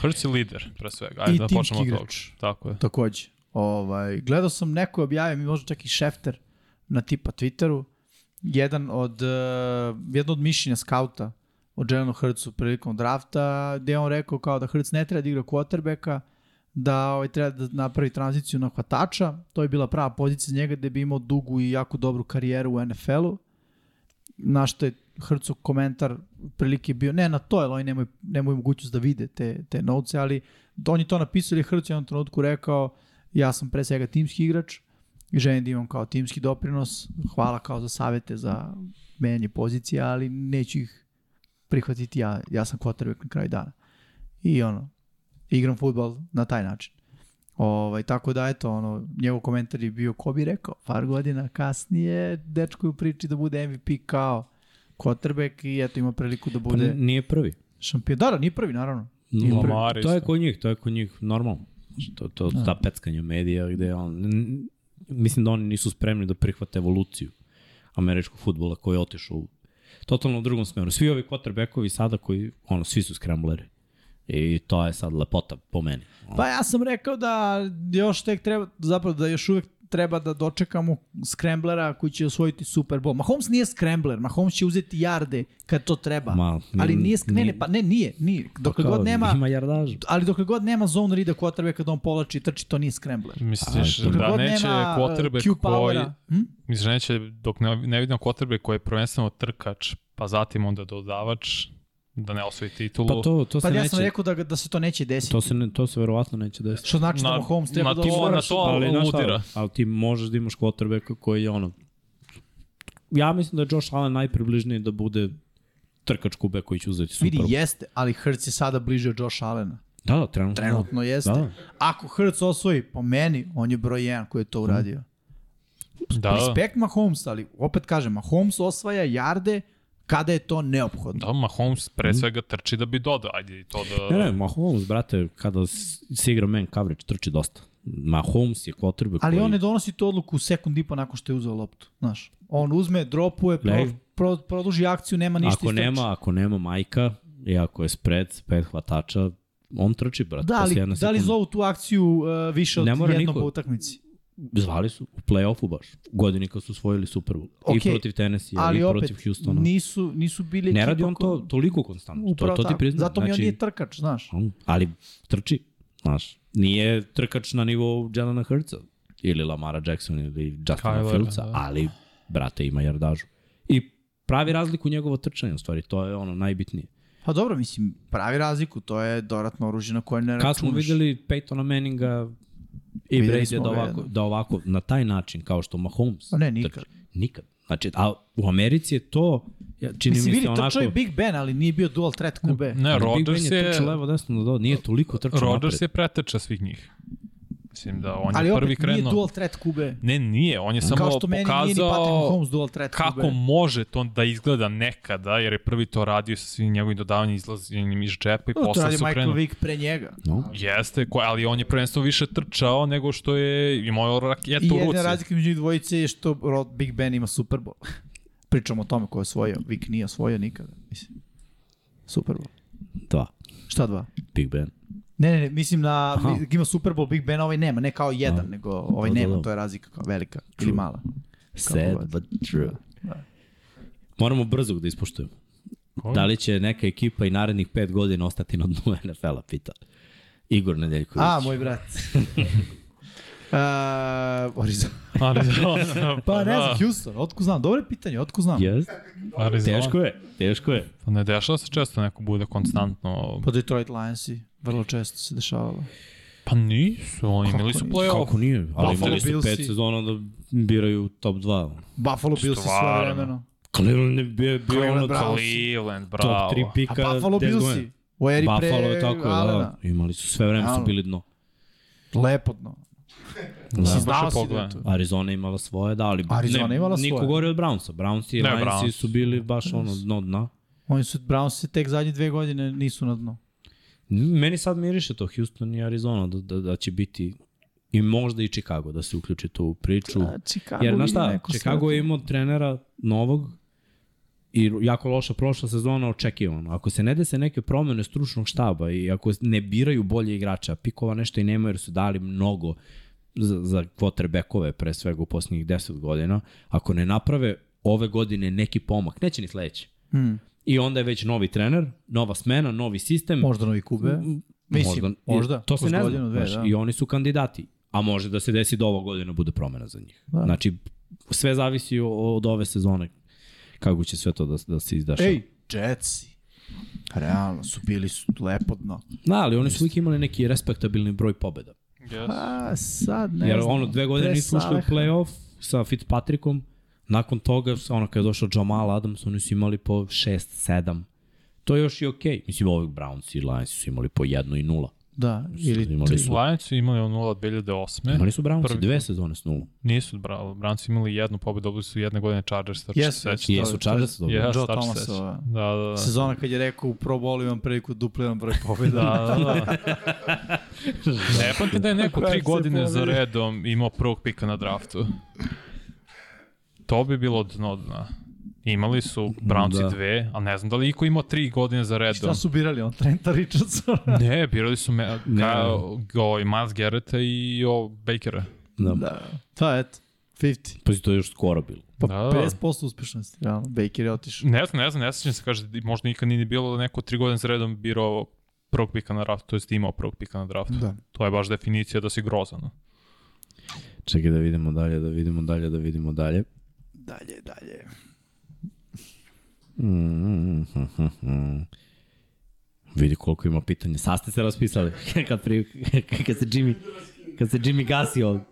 [SPEAKER 2] Hrc je da lider, pre svega. Ajde
[SPEAKER 3] I
[SPEAKER 2] da
[SPEAKER 3] timski
[SPEAKER 2] počnemo od toga.
[SPEAKER 3] igrač.
[SPEAKER 2] Tako je.
[SPEAKER 3] Takođe. Ovaj, gledao sam neko je objavio, mi možda čak i Šefter, na tipa Twitteru, jedan od, uh, jedno od mišljenja skauta o Jelenu Hrcu prilikom drafta, gde je on rekao kao da Hrc ne treba da igra quarterbacka, da ovaj, treba da napravi tranziciju na hvatača, to je bila prava pozicija za njega gde bi imao dugu i jako dobru karijeru u NFL-u, na što je Hrcu komentar prilike bio, ne na to, jer oni nemaju, nemaju mogućnost da vide te, te novce, ali Da on je to napisao jer je Hrc u jednom trenutku rekao ja sam pre svega timski igrač i želim da imam kao timski doprinos, hvala kao za savete za menjanje pozicija, ali neću ih prihvatiti ja, ja sam quarterback na kraju dana. I ono, igram futbal na taj način. Ovaj, tako da, eto, ono, njegov komentar je bio, ko bi rekao, par godina kasnije, dečko je u priči da bude MVP kao quarterback i eto ima priliku da
[SPEAKER 1] Pa n-
[SPEAKER 3] bude
[SPEAKER 1] nije prvi.
[SPEAKER 3] šampion. Da, da, nije prvi, Da. naravno.
[SPEAKER 1] Nije prvi.
[SPEAKER 2] Lamar
[SPEAKER 1] To je
[SPEAKER 2] isto.
[SPEAKER 1] kod njih, to je kod njih normalno. To, to, ta peckanja medija gde on, n- mislim da oni nisu spremni da prihvate evoluciju američkog futbola koji je otišao u totalno u drugom smeru. Svi ovi quarterbackovi sada koji, ono, svi su skrambleri. I to je sad lepota po meni.
[SPEAKER 3] Pa ja sam rekao da još tek treba, zapravo da još uvek treba da dočekamo skremblera koji će osvojiti Super Bowl. Mahomes nije skrembler, Mahomes će uzeti jarde kad to treba.
[SPEAKER 1] Ma,
[SPEAKER 3] Pa, ali
[SPEAKER 1] n-
[SPEAKER 3] nije, sk- ne, ne,
[SPEAKER 1] nije.
[SPEAKER 3] pa ne, nije, nije. Dokle god nema,
[SPEAKER 1] Ima jardažu.
[SPEAKER 3] ali dokle god nema zone rida quarterbacka kada on povlači i trči, to nije skrembler.
[SPEAKER 2] Misliš
[SPEAKER 1] Dokle
[SPEAKER 2] da
[SPEAKER 3] god
[SPEAKER 2] neće
[SPEAKER 3] nema, e,
[SPEAKER 2] quarterback
[SPEAKER 3] Q
[SPEAKER 2] koji...
[SPEAKER 3] powera. Hm?
[SPEAKER 2] Misliš da neće, dok ne, ne vidim quarterback koji je prvenstveno trkač, pa zatim onda dodavač, da ne osvoji titulu.
[SPEAKER 1] Pa to, to se
[SPEAKER 3] Pa ja sam
[SPEAKER 1] neće...
[SPEAKER 3] rekao da, ga- da se to neće desiti.
[SPEAKER 1] To se, ne, to se verovatno neće desiti.
[SPEAKER 3] Što znači da Mahomes treba
[SPEAKER 2] na
[SPEAKER 3] da
[SPEAKER 2] to-
[SPEAKER 3] odgovara.
[SPEAKER 2] na to
[SPEAKER 1] ali, znaš šta,
[SPEAKER 2] aludira.
[SPEAKER 1] ali ti možeš da imaš quarterbacka koji je ono... Ja mislim da je Josh Allen najpribližniji da bude trkač kube koji će uzeti Super
[SPEAKER 3] Vidi,
[SPEAKER 1] Bowl.
[SPEAKER 3] jeste, ali Hurts je sada bliže od Josh Allena.
[SPEAKER 1] Da, da, trenutno.
[SPEAKER 3] Trenutno jeste.
[SPEAKER 1] Da.
[SPEAKER 3] Ako Hurts osvoji, po meni, on je broj 1 koji je to uradio.
[SPEAKER 2] da,
[SPEAKER 3] Da.
[SPEAKER 2] da.
[SPEAKER 3] Respekt Mahomes, ali opet kažem, Mahomes osvaja jarde kada je to neophodno.
[SPEAKER 2] Da, Mahomes
[SPEAKER 3] Hm?
[SPEAKER 2] pre svega trči da bi dodao, ajde i to da...
[SPEAKER 1] Ne, ne, Mahomes, brate, kada s- se igra man coverage, trči dosta. Mahomes je quarterback
[SPEAKER 3] Ali
[SPEAKER 1] koji...
[SPEAKER 3] on ne donosi tu odluku u sekund i po nakon što je uzeo loptu, znaš. On uzme, dropuje, pro,
[SPEAKER 1] Gle.
[SPEAKER 3] pro, produži akciju, nema ništa
[SPEAKER 1] Ako
[SPEAKER 3] istrči.
[SPEAKER 1] nema, ako nema majka i ako je spread, pet hvatača, on trči, brate.
[SPEAKER 3] Da
[SPEAKER 1] posle
[SPEAKER 3] li,
[SPEAKER 1] jedne
[SPEAKER 3] da li
[SPEAKER 1] sekunde.
[SPEAKER 3] zovu tu akciju uh, više od
[SPEAKER 1] Ne mora
[SPEAKER 3] jednom
[SPEAKER 1] niko.
[SPEAKER 3] po utakmici?
[SPEAKER 1] Zvali su u play-offu baš. Godini kad su osvojili Super Bowl.
[SPEAKER 3] Okej,
[SPEAKER 1] I protiv Tennessee,
[SPEAKER 3] ali
[SPEAKER 1] i
[SPEAKER 3] opet,
[SPEAKER 1] protiv Houstona.
[SPEAKER 3] nisu, nisu bili
[SPEAKER 1] Ne
[SPEAKER 3] ekipa
[SPEAKER 1] radi on to
[SPEAKER 3] koja-
[SPEAKER 1] toliko konstantno. To,
[SPEAKER 3] Upravo
[SPEAKER 1] to ti
[SPEAKER 3] tako.
[SPEAKER 1] priznam.
[SPEAKER 3] Zato mi on
[SPEAKER 1] znači,
[SPEAKER 3] nije trkač, znaš.
[SPEAKER 1] on- Ali trči, znaš. Nije trkač na nivou Jelena Hurtsa ili Lamara Jackson ili Justina
[SPEAKER 2] Kylera,
[SPEAKER 1] Fieldsa,
[SPEAKER 2] da.
[SPEAKER 1] ali, brate, ima jardažu. I pravi razliku njegovo trčanje, u stvari. To je ono najbitnije.
[SPEAKER 3] Pa dobro, mislim, pravi razliku, to je dodatno oružje na koje ne računaš.
[SPEAKER 1] Kad smo videli Peytona Manninga i
[SPEAKER 3] Videli
[SPEAKER 1] Brady
[SPEAKER 3] smo
[SPEAKER 1] da
[SPEAKER 3] ga,
[SPEAKER 1] ovako,
[SPEAKER 3] da.
[SPEAKER 1] da ovako, na taj način, kao što Mahomes.
[SPEAKER 3] A ne, nikad.
[SPEAKER 1] trči. Nikad. Znači, a u Americi je to, ja, čini
[SPEAKER 3] Mislim,
[SPEAKER 1] mi
[SPEAKER 3] vidi,
[SPEAKER 1] se
[SPEAKER 3] onako...
[SPEAKER 1] onako...
[SPEAKER 3] trčao je Big Ben, ali nije bio dual threat QB.
[SPEAKER 2] Ne,
[SPEAKER 1] Ali Big Ben
[SPEAKER 2] Rodgers
[SPEAKER 1] je
[SPEAKER 2] je...
[SPEAKER 1] trčao levo desno do nije toliko trčao
[SPEAKER 2] Rodgers je
[SPEAKER 1] napred.
[SPEAKER 2] preteča svih njih. Mislim da on
[SPEAKER 3] ali
[SPEAKER 2] je
[SPEAKER 3] opet
[SPEAKER 2] prvi krenuo.
[SPEAKER 3] nije dual threat QB.
[SPEAKER 2] Ne, nije. On je
[SPEAKER 3] Kao
[SPEAKER 2] samo
[SPEAKER 3] što meni nije ni Patrick
[SPEAKER 2] pokazao
[SPEAKER 3] Mahomes da dual threat
[SPEAKER 2] kako
[SPEAKER 3] QB.
[SPEAKER 2] može to da izgleda nekada, jer je prvi to radio sa svim njegovim dodavanjem izlazenjem iz džepa i
[SPEAKER 3] To
[SPEAKER 2] posle
[SPEAKER 3] radi
[SPEAKER 2] su
[SPEAKER 3] Michael
[SPEAKER 2] krenuli.
[SPEAKER 3] Vick pre njega.
[SPEAKER 1] No.
[SPEAKER 2] Jeste, ko, ali on je prvenstveno više trčao nego što je imao
[SPEAKER 3] I
[SPEAKER 2] raketu u ruci.
[SPEAKER 3] jedna razlika među njih dvojice je što Rod Big Ben ima Super Bowl. Pričamo o tome ko je osvojio. Vick nije osvojio nikada. Mislim. Super Bowl.
[SPEAKER 1] Dva.
[SPEAKER 3] Šta dva?
[SPEAKER 1] Big Ben.
[SPEAKER 3] Ne, ne, ne, mislim na,
[SPEAKER 1] Aha.
[SPEAKER 3] ima Super Bowl, Big Ben, ovaj nema, ne kao jedan,
[SPEAKER 1] A.
[SPEAKER 3] nego ovaj
[SPEAKER 1] Da, da,
[SPEAKER 3] nema,
[SPEAKER 1] da.
[SPEAKER 3] to je razlika kao velika ili mala. god.
[SPEAKER 1] Sad but true.
[SPEAKER 3] Da.
[SPEAKER 1] Moramo brzo da ispoštujemo. Da li će neka ekipa i narednih pet godina ostati na dnu NFL-a, pita. Igor Nedeljković.
[SPEAKER 3] A, moj brat. uh, Arizona.
[SPEAKER 2] Arizona. da.
[SPEAKER 3] Pa ne znam, Houston, otko znam, dobro je pitanje, otko znam.
[SPEAKER 1] Yes.
[SPEAKER 2] Arizona.
[SPEAKER 1] Teško je, teško je.
[SPEAKER 2] Pa ne dešava se često neko bude konstantno...
[SPEAKER 3] Pa Detroit Lionsi, vrlo često se dešavalo.
[SPEAKER 2] Pa nisu, oni imali su
[SPEAKER 3] nisu?
[SPEAKER 2] play-off.
[SPEAKER 1] Kako nije? Ali
[SPEAKER 2] Buffalo
[SPEAKER 1] imali su
[SPEAKER 3] Billsi.
[SPEAKER 1] pet sezona da biraju top 2.
[SPEAKER 3] Buffalo Bills sve
[SPEAKER 2] Stvarno.
[SPEAKER 3] vremeno.
[SPEAKER 1] Cleveland je bio, bio
[SPEAKER 3] Cleveland
[SPEAKER 1] ono
[SPEAKER 3] Browns.
[SPEAKER 2] Cleveland, bravo.
[SPEAKER 1] top 3
[SPEAKER 3] A
[SPEAKER 1] pika. 10
[SPEAKER 3] Buffalo Bills
[SPEAKER 1] godina.
[SPEAKER 3] i u eri pre
[SPEAKER 1] Buffalo je tako,
[SPEAKER 3] Allena.
[SPEAKER 1] da. Imali su sve vreme su
[SPEAKER 3] Allen.
[SPEAKER 1] bili dno.
[SPEAKER 3] Lepotno.
[SPEAKER 1] Da.
[SPEAKER 3] Mislim, znao
[SPEAKER 2] Baš je
[SPEAKER 3] si da je
[SPEAKER 2] pogledan.
[SPEAKER 3] to.
[SPEAKER 1] Arizona je imala svoje, da, ali
[SPEAKER 3] Arizona
[SPEAKER 1] ne,
[SPEAKER 3] je imala
[SPEAKER 1] niko
[SPEAKER 3] svoje.
[SPEAKER 1] gore od Brownsa. Browns i
[SPEAKER 2] Ne,
[SPEAKER 1] Lionsi
[SPEAKER 2] Browns.
[SPEAKER 1] su bili baš ono dno dna.
[SPEAKER 3] Oni su, Browns se tek zadnje dve godine nisu na dnu.
[SPEAKER 1] Meni sad miriše to Houston i Arizona da, da, da će biti i možda i Chicago da se uključi tu u priču.
[SPEAKER 3] Da, Chicago
[SPEAKER 1] Jer, znaš šta, Chicago je imao trenera novog i jako loša prošla sezona očekivano. Ako se ne dese neke promene stručnog štaba i ako ne biraju bolje igrača, pikova nešto i nema jer su dali mnogo za, za quarterbackove pre svega u posljednjih 10 godina, ako ne naprave ove godine neki pomak, neće ni sledeće.
[SPEAKER 3] Hmm.
[SPEAKER 1] I onda je već novi trener, nova smena, novi sistem.
[SPEAKER 3] Možda novi kube.
[SPEAKER 1] Mm,
[SPEAKER 3] Mislim, možda,
[SPEAKER 1] To se
[SPEAKER 3] kroz
[SPEAKER 1] ne zna.
[SPEAKER 3] godinu, dve,
[SPEAKER 1] znaš,
[SPEAKER 3] da.
[SPEAKER 1] I oni su kandidati. A može da se desi da ova godina bude promena za njih.
[SPEAKER 3] Da.
[SPEAKER 1] Da. Znači, sve zavisi o- od ove sezone kako će sve to da, da se izdaša.
[SPEAKER 3] Ej, Jetsi. Realno su bili su lepodno.
[SPEAKER 1] Da, ali oni su uvijek imali neki respektabilni broj pobjeda.
[SPEAKER 2] Yes.
[SPEAKER 3] A, sad ne
[SPEAKER 1] Jer
[SPEAKER 3] znam.
[SPEAKER 1] ono, dve godine
[SPEAKER 3] Pre
[SPEAKER 1] nisu ušli u
[SPEAKER 3] Saleha.
[SPEAKER 1] play-off sa Fitzpatrickom. Nakon toga, ono, kad je došao Jamal Adams, oni su imali po 6-7. To je još i okej. Okay. Mislim, ovih Browns i Lions su imali po 1 i 0.
[SPEAKER 3] Da, ili
[SPEAKER 1] Imali
[SPEAKER 3] tri.
[SPEAKER 1] su-
[SPEAKER 2] Lions su imali 0 od 2008.
[SPEAKER 1] Imali su Browns
[SPEAKER 2] prvi
[SPEAKER 1] dve sezone s 0.
[SPEAKER 2] Nisu, bravo. Browns su imali jednu pobedu, dobili su jedne godine Chargers, tačno se
[SPEAKER 3] Jesu,
[SPEAKER 2] sećam.
[SPEAKER 3] jesu. To
[SPEAKER 1] Jesu
[SPEAKER 3] je-
[SPEAKER 1] Chargers dobro.
[SPEAKER 2] Yes, tačno
[SPEAKER 3] Joe
[SPEAKER 2] se
[SPEAKER 3] Thomas,
[SPEAKER 2] sećam.
[SPEAKER 3] ova.
[SPEAKER 2] Da, da, da.
[SPEAKER 3] Sezona kad je rekao u Pro Bowlu imam priliku dupliran broj pobjeda.
[SPEAKER 2] Da, da, da. ne pamtim da je neko tri godine za redom imao prvog pika na draftu. To bi bilo dno dna. Imali su Brownci
[SPEAKER 1] Da.
[SPEAKER 2] dve, a ne znam da li iko imao tri godine za redom.
[SPEAKER 3] Šta su birali on? Trenta Richardsona?
[SPEAKER 2] Ne, birali su me, kao, go, Miles Garretta i o, Bakera.
[SPEAKER 1] Da.
[SPEAKER 3] Da. Ta, eto, 50.
[SPEAKER 1] Pazi, to je još skoro bilo.
[SPEAKER 3] Pa
[SPEAKER 2] Da,
[SPEAKER 3] da,
[SPEAKER 2] da.
[SPEAKER 3] 50% uspešnosti, realno. Baker je otišao.
[SPEAKER 2] Ne znam, ne znam, ne sjećam se, kaže, da možda nikad nije ni bilo da neko tri godine za redom birao prvog pika na draftu, to jest imao prvog pika na draftu.
[SPEAKER 3] Da.
[SPEAKER 2] To je baš definicija da si grozan. a?
[SPEAKER 1] Čekaj da vidimo dalje, da vidimo dalje, da vidimo dalje.
[SPEAKER 3] Dalje, dalje.
[SPEAKER 1] Mm, mm, mm, mm, mm. Vidi koliko ima pitanja. Sad ste se raspisali kad, pri, kad, se Jimmy, kad se Jimmy gasi ovdje.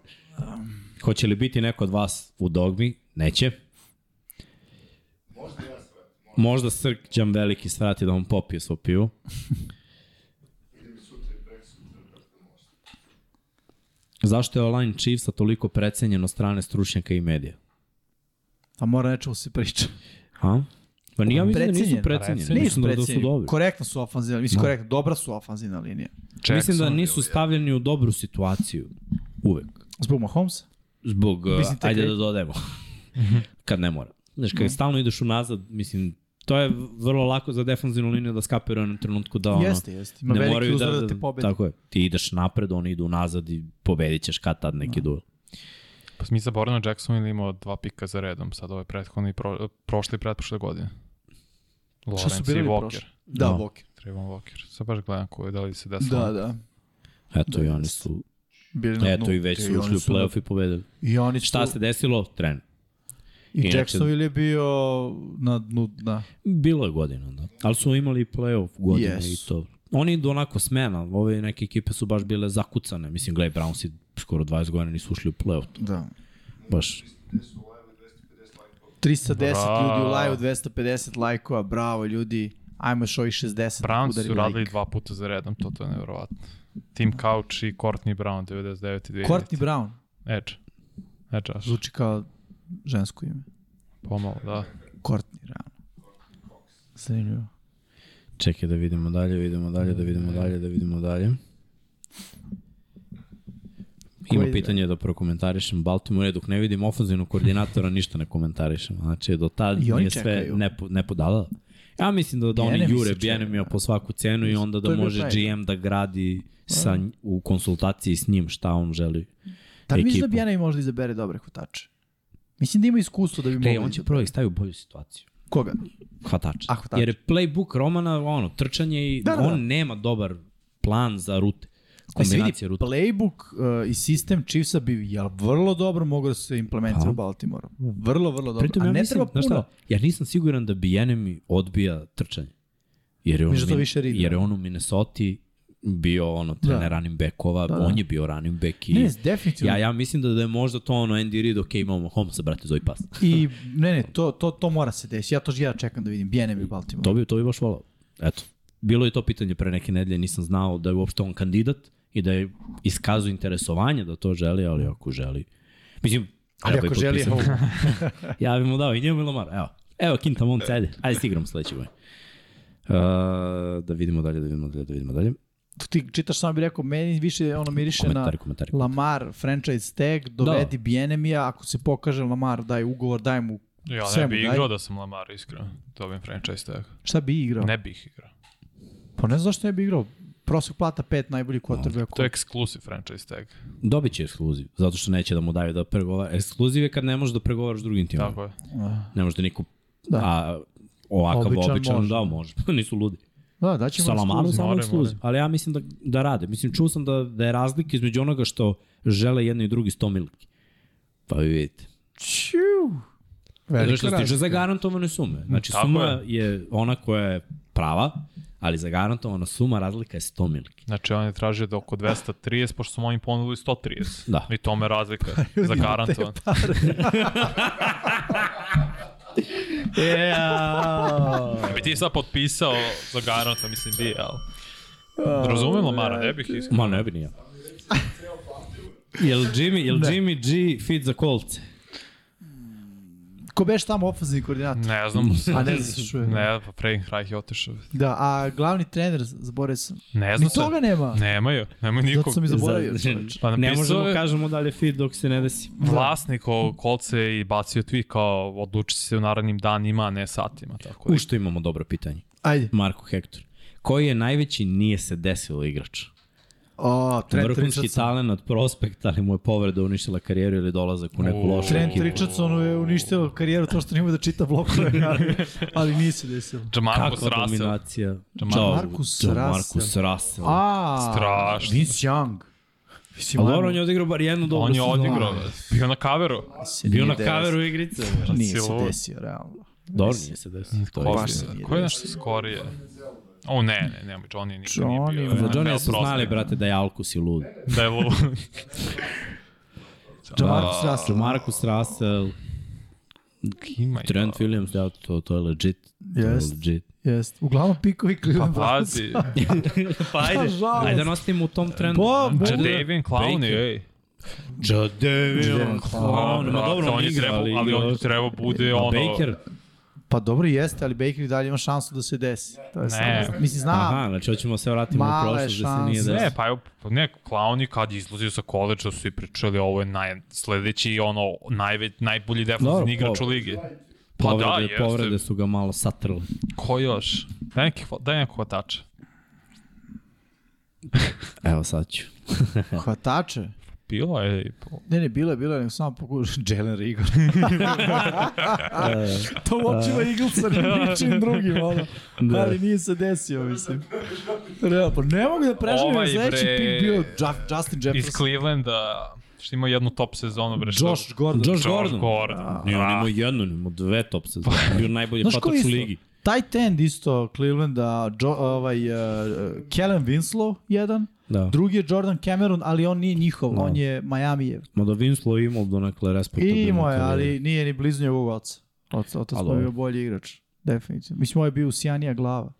[SPEAKER 1] Hoće li biti neko od vas u dogmi? Neće.
[SPEAKER 4] Možda ja sve.
[SPEAKER 1] Možda Srk Đam veliki svrati da on popije svo pivo.
[SPEAKER 4] Idem sutra i prek sutra kako možda.
[SPEAKER 1] Zašto je online Chiefsa toliko precenjen od strane stručnjaka i medija?
[SPEAKER 3] A mora nečemu se priča.
[SPEAKER 1] Ha? Pa nije, ja mislim da nisu
[SPEAKER 3] Precenjen,
[SPEAKER 1] precenjeni.
[SPEAKER 2] precenjen.
[SPEAKER 1] Mislim da, da su dobri.
[SPEAKER 3] Korektno su ofenzivna, mislim, korektno, dobra su ofenzivna linija.
[SPEAKER 1] Mislim da
[SPEAKER 2] Jackson,
[SPEAKER 1] nisu stavljeni u dobru situaciju. Uvek.
[SPEAKER 3] Zbog Mahomesa?
[SPEAKER 1] zbog,
[SPEAKER 3] Mislim,
[SPEAKER 1] mislim,
[SPEAKER 3] te
[SPEAKER 1] ajde
[SPEAKER 3] kre-
[SPEAKER 1] da dodajemo, kad ne mora. Znaš,
[SPEAKER 3] Mhm.
[SPEAKER 1] kada stalno ideš unazad, mislim, to je vrlo lako za defanzivnu liniju da skapira u jednom trenutku da ono...
[SPEAKER 3] Jeste, jeste. Ima veliki uzor da, te pobedi.
[SPEAKER 1] Tako je. Ti ideš napred, oni idu nazad i pobedit ćeš kad tad
[SPEAKER 3] Da.
[SPEAKER 1] neki duel.
[SPEAKER 2] Pa mi zaboravimo Jackson ili imao dva pika za redom, sad ove prethodne i pro, prošle i pretprošle godine.
[SPEAKER 3] Šta su
[SPEAKER 2] Lawrence i
[SPEAKER 3] birali
[SPEAKER 2] Walker.
[SPEAKER 3] prošle? Da,
[SPEAKER 1] No.
[SPEAKER 3] Walker.
[SPEAKER 2] Trayvon Walker. Sad baš gledam ko je, da li se desilo.
[SPEAKER 3] Da, da.
[SPEAKER 1] Eto
[SPEAKER 3] Da,
[SPEAKER 1] i oni
[SPEAKER 3] jeste.
[SPEAKER 1] su,
[SPEAKER 3] Bili na
[SPEAKER 1] eto
[SPEAKER 3] dnu.
[SPEAKER 1] i već su
[SPEAKER 3] oni
[SPEAKER 1] ušli u
[SPEAKER 3] na-
[SPEAKER 1] playoff i pobedili.
[SPEAKER 3] I oni su,
[SPEAKER 1] Šta se desilo? Tren.
[SPEAKER 3] i
[SPEAKER 1] inače-
[SPEAKER 3] Jacksonville je bio na dnu dna.
[SPEAKER 1] Bilo je godina, da. Ali su imali i playoff godine
[SPEAKER 3] Jesu.
[SPEAKER 1] i to. Oni idu onako smena, ove neke ekipe su baš bile zakucane. Mislim, gledaj, Browns i skoro 20 godina nisu ušli u playoff.
[SPEAKER 3] Da.
[SPEAKER 1] Baš
[SPEAKER 3] 310
[SPEAKER 2] Bravo.
[SPEAKER 3] ljudi u live, 250 lajkova, bravo ljudi. Ajmo još ovih 60. da
[SPEAKER 2] Browns
[SPEAKER 3] udarimo
[SPEAKER 2] su radili
[SPEAKER 3] lik.
[SPEAKER 2] dva puta za redom, to, to je nevjerovatno. Tim Couch i Courtney Brown, 99 i 2000.
[SPEAKER 3] Courtney Brown,
[SPEAKER 2] Edge. Edge, aš.
[SPEAKER 3] zvuči kao žensko ime.
[SPEAKER 2] Pomalo, da.
[SPEAKER 3] Courtney, realno. Zanimljivo.
[SPEAKER 1] Čekaj da vidimo dalje, vidimo dalje, da vidimo dalje, da vidimo dalje. Ima
[SPEAKER 3] Koji-
[SPEAKER 1] pitanje da prokomentarišem Baltimore, dok ne vidim ofenzivnog koordinatora ništa ne komentarišem. Znači do tad
[SPEAKER 3] I oni
[SPEAKER 1] je sve
[SPEAKER 3] čekaju.
[SPEAKER 1] nepo, nepodala. Ja mislim da, da oni
[SPEAKER 3] Bienem se
[SPEAKER 1] jure
[SPEAKER 3] čeka,
[SPEAKER 1] Bjenemija
[SPEAKER 3] da.
[SPEAKER 1] po svaku cenu i onda
[SPEAKER 3] To
[SPEAKER 1] da
[SPEAKER 3] je bio Pa.
[SPEAKER 1] može
[SPEAKER 3] taj.
[SPEAKER 1] GM da gradi sa, nj- u konsultaciji s njim šta on želi.
[SPEAKER 3] Da li misliš da
[SPEAKER 1] Ekipu.
[SPEAKER 3] Bjena i možda izabere dobre hvatače? Mislim da ima iskustvo da bi
[SPEAKER 1] Ej,
[SPEAKER 3] mogli.
[SPEAKER 1] on će prvo ih staviti u bolju situaciju.
[SPEAKER 3] Koga? E,
[SPEAKER 1] hvatača.
[SPEAKER 3] A, hvatača.
[SPEAKER 1] Jer je playbook Romana, ono, trčanje i
[SPEAKER 3] Ah, Da, da, da.
[SPEAKER 1] on nema dobar plan za rute.
[SPEAKER 3] Pa se vidi,
[SPEAKER 1] Kombinacije rute.
[SPEAKER 3] playbook uh, i sistem Chiefsa bi ja, vrlo dobro mogao da se implementira
[SPEAKER 1] Pa.
[SPEAKER 3] u Baltimoreu. Vrlo, vrlo dobro.
[SPEAKER 1] Pritom
[SPEAKER 3] A
[SPEAKER 1] ja
[SPEAKER 3] ne
[SPEAKER 1] mislim,
[SPEAKER 3] treba
[SPEAKER 1] znaš
[SPEAKER 3] puno.
[SPEAKER 1] šta, ja nisam siguran da bi enemy odbija trčanje. Jer je on,
[SPEAKER 3] Mislim da to
[SPEAKER 1] u Min-
[SPEAKER 3] više ridi.
[SPEAKER 1] jer je on u Minnesota bio ono trener
[SPEAKER 3] Da.
[SPEAKER 1] running backova,
[SPEAKER 3] Da, da.
[SPEAKER 1] on je bio running back i
[SPEAKER 3] Ne, znači, definitivno.
[SPEAKER 1] ja, ja mislim da, da je možda to ono Andy Reid, ok, imamo Holmesa, brate, zove pas.
[SPEAKER 3] I ne, ne, to, to, to mora se desiti. Ja to ja čekam da vidim. Bjenem i Baltimore.
[SPEAKER 1] To bi, to bi baš volao. Eto, bilo je to pitanje pre neke nedelje, nisam znao da je uopšte on kandidat i da je iskazao interesovanje da to želi, ali ako želi. Mislim,
[SPEAKER 3] Ali
[SPEAKER 1] treba
[SPEAKER 3] ako
[SPEAKER 1] i
[SPEAKER 3] želi, evo,
[SPEAKER 1] potpisati. ja bih mu dao i njemu i Lamar. Evo, evo Kinta Mont, ajde, ajde stigramo sledeći boj. Uh, da vidimo dalje, da vidimo dalje, da vidimo dalje.
[SPEAKER 3] ti čitaš samo bi rekao, meni više ono miriše na
[SPEAKER 1] Komentari, komentari.
[SPEAKER 3] Lamar franchise tag, dovedi da. Bjenemija, ako se pokaže Lamar, daj ugovor, daj mu
[SPEAKER 2] Ja ne
[SPEAKER 3] Sve mu
[SPEAKER 2] bi
[SPEAKER 3] daj.
[SPEAKER 2] igrao da sam Lamar, iskreno. Dobim franchise tag.
[SPEAKER 3] šta bi igrao.
[SPEAKER 2] Ne bih igrao.
[SPEAKER 3] Pa ne znam zašto ne bi igrao. Prosek plata pet najboljih quarterbacka.
[SPEAKER 2] To je eksklusiv franchise tag.
[SPEAKER 1] Dobit će ekskluziv, zato što neće da mu daju da pregovara. Ekskluziv je kad ne možeš da pregovaraš s drugim timom.
[SPEAKER 2] Tako je.
[SPEAKER 1] Ne možeš da niko...
[SPEAKER 3] Da.
[SPEAKER 1] Da. A, ovakav
[SPEAKER 3] Običan
[SPEAKER 1] običan, običan
[SPEAKER 3] može.
[SPEAKER 1] da može. Nisu ludi.
[SPEAKER 3] Da, da ćemo
[SPEAKER 1] Sa Lamarom
[SPEAKER 3] ekskluzivno.
[SPEAKER 1] samo
[SPEAKER 2] More,
[SPEAKER 1] ekskluziv. Ali ja mislim da, da rade. Mislim, čuo sam da, da je razlika između onoga što žele jedni i drugi 100 miliki. Pa vi vidite.
[SPEAKER 3] Ćiu.
[SPEAKER 1] Zato
[SPEAKER 3] Velika
[SPEAKER 1] što se tiče
[SPEAKER 3] razlika.
[SPEAKER 1] zagarantovane sume. Znači,
[SPEAKER 2] Tako
[SPEAKER 1] suma je. ona koja je prava, ali zagarantovana suma razlika je 100 miliki.
[SPEAKER 2] Znači, on je tražio da oko 230, pošto su oni ponudili 130.
[SPEAKER 1] Da.
[SPEAKER 2] I tome razlika. Zagarantovan.
[SPEAKER 1] Yeah.
[SPEAKER 2] Bi ti sad potpisao za garanta, mislim, bi, ali... Razumem Lamara, ne bih iskreno.
[SPEAKER 1] Ma ne bi nije. jel Jimmy, jel Jimmy G fit za kolce?
[SPEAKER 3] Ko beš tamo ofenzivni koordinator?
[SPEAKER 2] Ne znam.
[SPEAKER 3] A ne znaš što je.
[SPEAKER 2] Ne, pa Frank Reich je otišao.
[SPEAKER 3] Da, a glavni trener, zaboravio sam.
[SPEAKER 2] Ne
[SPEAKER 3] Ni
[SPEAKER 2] znam se.
[SPEAKER 3] toga nema.
[SPEAKER 2] Nemaju, nemaju
[SPEAKER 3] Zato
[SPEAKER 2] nikog.
[SPEAKER 3] sam i zaboravio.
[SPEAKER 1] Za- znači,
[SPEAKER 3] čoveče.
[SPEAKER 2] Pa
[SPEAKER 1] ne
[SPEAKER 2] napisao
[SPEAKER 1] možemo
[SPEAKER 2] je-
[SPEAKER 1] kažemo da li je fit dok se ne desi.
[SPEAKER 2] Vlasnik ovog kolce i bacio tweet kao odluči se u narednim danima, a ne satima. Tako da.
[SPEAKER 1] U što imamo dobro pitanje.
[SPEAKER 3] Ajde.
[SPEAKER 1] Marko Hektor. Koji je najveći nije se desilo igrač?
[SPEAKER 3] O, Trent
[SPEAKER 1] Vrhunski
[SPEAKER 3] Richardson.
[SPEAKER 1] talent prospekt, ali mu je povreda uništila karijeru ili dolazak u neku
[SPEAKER 2] U,
[SPEAKER 1] lošu
[SPEAKER 3] Trent
[SPEAKER 1] ekipu.
[SPEAKER 3] Richardsonu je uništio karijeru to što nije umeo da čita blokove, ali, ali nije se desilo.
[SPEAKER 2] Jamarcus
[SPEAKER 1] Kakva
[SPEAKER 2] Russell.
[SPEAKER 1] dominacija.
[SPEAKER 3] Jamarcus
[SPEAKER 1] Marcus Russell. A,
[SPEAKER 3] A,
[SPEAKER 2] Strašno.
[SPEAKER 3] Vince Young. Mislim,
[SPEAKER 1] Dobro, on je odigrao bar jednu dobru
[SPEAKER 2] On je
[SPEAKER 1] sezonu.
[SPEAKER 2] odigrao. Bio na kaveru.
[SPEAKER 3] se
[SPEAKER 1] Bio
[SPEAKER 3] nije
[SPEAKER 1] na
[SPEAKER 3] desio. Pa
[SPEAKER 1] kaveru igrice.
[SPEAKER 3] Nije se
[SPEAKER 2] Silvo.
[SPEAKER 3] desio, realno.
[SPEAKER 1] Dobro, nije se desio. To je
[SPEAKER 2] Ko
[SPEAKER 3] baš
[SPEAKER 1] Pa istina.
[SPEAKER 3] nije
[SPEAKER 2] Pa ko je naš skorije? O ne, ne, nemoj, Johnny nikad
[SPEAKER 3] Johnny-
[SPEAKER 2] nije bio.
[SPEAKER 1] Za
[SPEAKER 2] NFL
[SPEAKER 1] Johnny su znali,
[SPEAKER 2] prospekt.
[SPEAKER 1] brate, da je Alkus i lud.
[SPEAKER 2] Da je lud.
[SPEAKER 3] Jamarcus
[SPEAKER 2] Da.
[SPEAKER 3] Russell.
[SPEAKER 1] Marcus Russell,
[SPEAKER 2] Ima i
[SPEAKER 1] Trent Williams, da, to, to je legit. To je
[SPEAKER 3] Jest.
[SPEAKER 1] legit.
[SPEAKER 3] Jest. Uglavnom pikovi
[SPEAKER 2] Pa
[SPEAKER 3] Cleveland
[SPEAKER 2] pazi,
[SPEAKER 3] Browns.
[SPEAKER 1] pa ajde,
[SPEAKER 3] Nažalost.
[SPEAKER 1] ajde da nastavimo u tom trendu.
[SPEAKER 3] Pa,
[SPEAKER 1] Znači,
[SPEAKER 3] Bogu-
[SPEAKER 2] Jadavion Clowney,
[SPEAKER 1] Baker.
[SPEAKER 2] ej.
[SPEAKER 1] Jadavion Clown, ma
[SPEAKER 2] Pa, brate,
[SPEAKER 1] Pa, dobro,
[SPEAKER 2] Pa on je trebao, ali Pa on je trebao bude
[SPEAKER 1] A
[SPEAKER 2] ono...
[SPEAKER 1] Baker,
[SPEAKER 3] Pa dobro jeste, ali Baker i dalje ima šansu da se desi. To je
[SPEAKER 2] Ne.
[SPEAKER 3] samo- Mislim, znam,
[SPEAKER 1] aha, znači hoćemo se vratiti u
[SPEAKER 3] Male
[SPEAKER 1] prošlost da se nije
[SPEAKER 3] šanse.
[SPEAKER 2] Ne,
[SPEAKER 1] desio.
[SPEAKER 2] pa evo, ne, Clowney kad je izlazio sa koleđa su i pričali ovo je naj, sledeći ono najve, najbolji
[SPEAKER 1] Dobro,
[SPEAKER 2] defensivni igrač u
[SPEAKER 1] po-
[SPEAKER 2] ligi. Pa
[SPEAKER 1] Povrede,
[SPEAKER 2] da, jeste.
[SPEAKER 1] povrede su ga malo satrle.
[SPEAKER 2] Ko još? Daj neki, hva- daj neko hvatača.
[SPEAKER 1] Evo sad ću.
[SPEAKER 3] hvatače.
[SPEAKER 2] Bilo je i po...
[SPEAKER 3] Ne, ne, bilo je, bilo je, nego samo pokušao. Jalen Rigor. to u očima Eaglesa, ne ničim drugim, ono.
[SPEAKER 1] Da.
[SPEAKER 3] Ali nije se desio, mislim. Real, pa ne mogu da preživim,
[SPEAKER 2] Ovaj,
[SPEAKER 3] ovaj, sledeći
[SPEAKER 2] bre,
[SPEAKER 3] pik bio Ju- Justin
[SPEAKER 2] Iz
[SPEAKER 3] Jefferson.
[SPEAKER 2] Clevelanda, što ima jednu top sezonu, bre, što...
[SPEAKER 3] Josh Gordon.
[SPEAKER 1] Josh
[SPEAKER 2] Josh
[SPEAKER 1] Gordon.
[SPEAKER 2] Gordon.
[SPEAKER 3] Da,
[SPEAKER 1] Nije, on
[SPEAKER 2] Ah.
[SPEAKER 1] imao jednu, imao dve top sezone. Bio najbolji
[SPEAKER 3] Znaš ko
[SPEAKER 1] hvatač u
[SPEAKER 3] isto?
[SPEAKER 1] ligi.
[SPEAKER 3] Tight end isto Clevelanda, jo, ovaj, uh, Kellen Winslow jedan,
[SPEAKER 1] Da.
[SPEAKER 3] drugi je Jordan Cameron, ali on nije njihov,
[SPEAKER 1] Da.
[SPEAKER 3] on je Majamijev.
[SPEAKER 1] Mada Winslow je imao donekle respektabilno.
[SPEAKER 3] I imao je, ali nije ni blizu njegovog oca. Oca, otac
[SPEAKER 1] A,
[SPEAKER 3] mu je
[SPEAKER 1] dobro.
[SPEAKER 3] bio bolji igrač. Definitivno. Mislim, ovo je bio sjanija glava.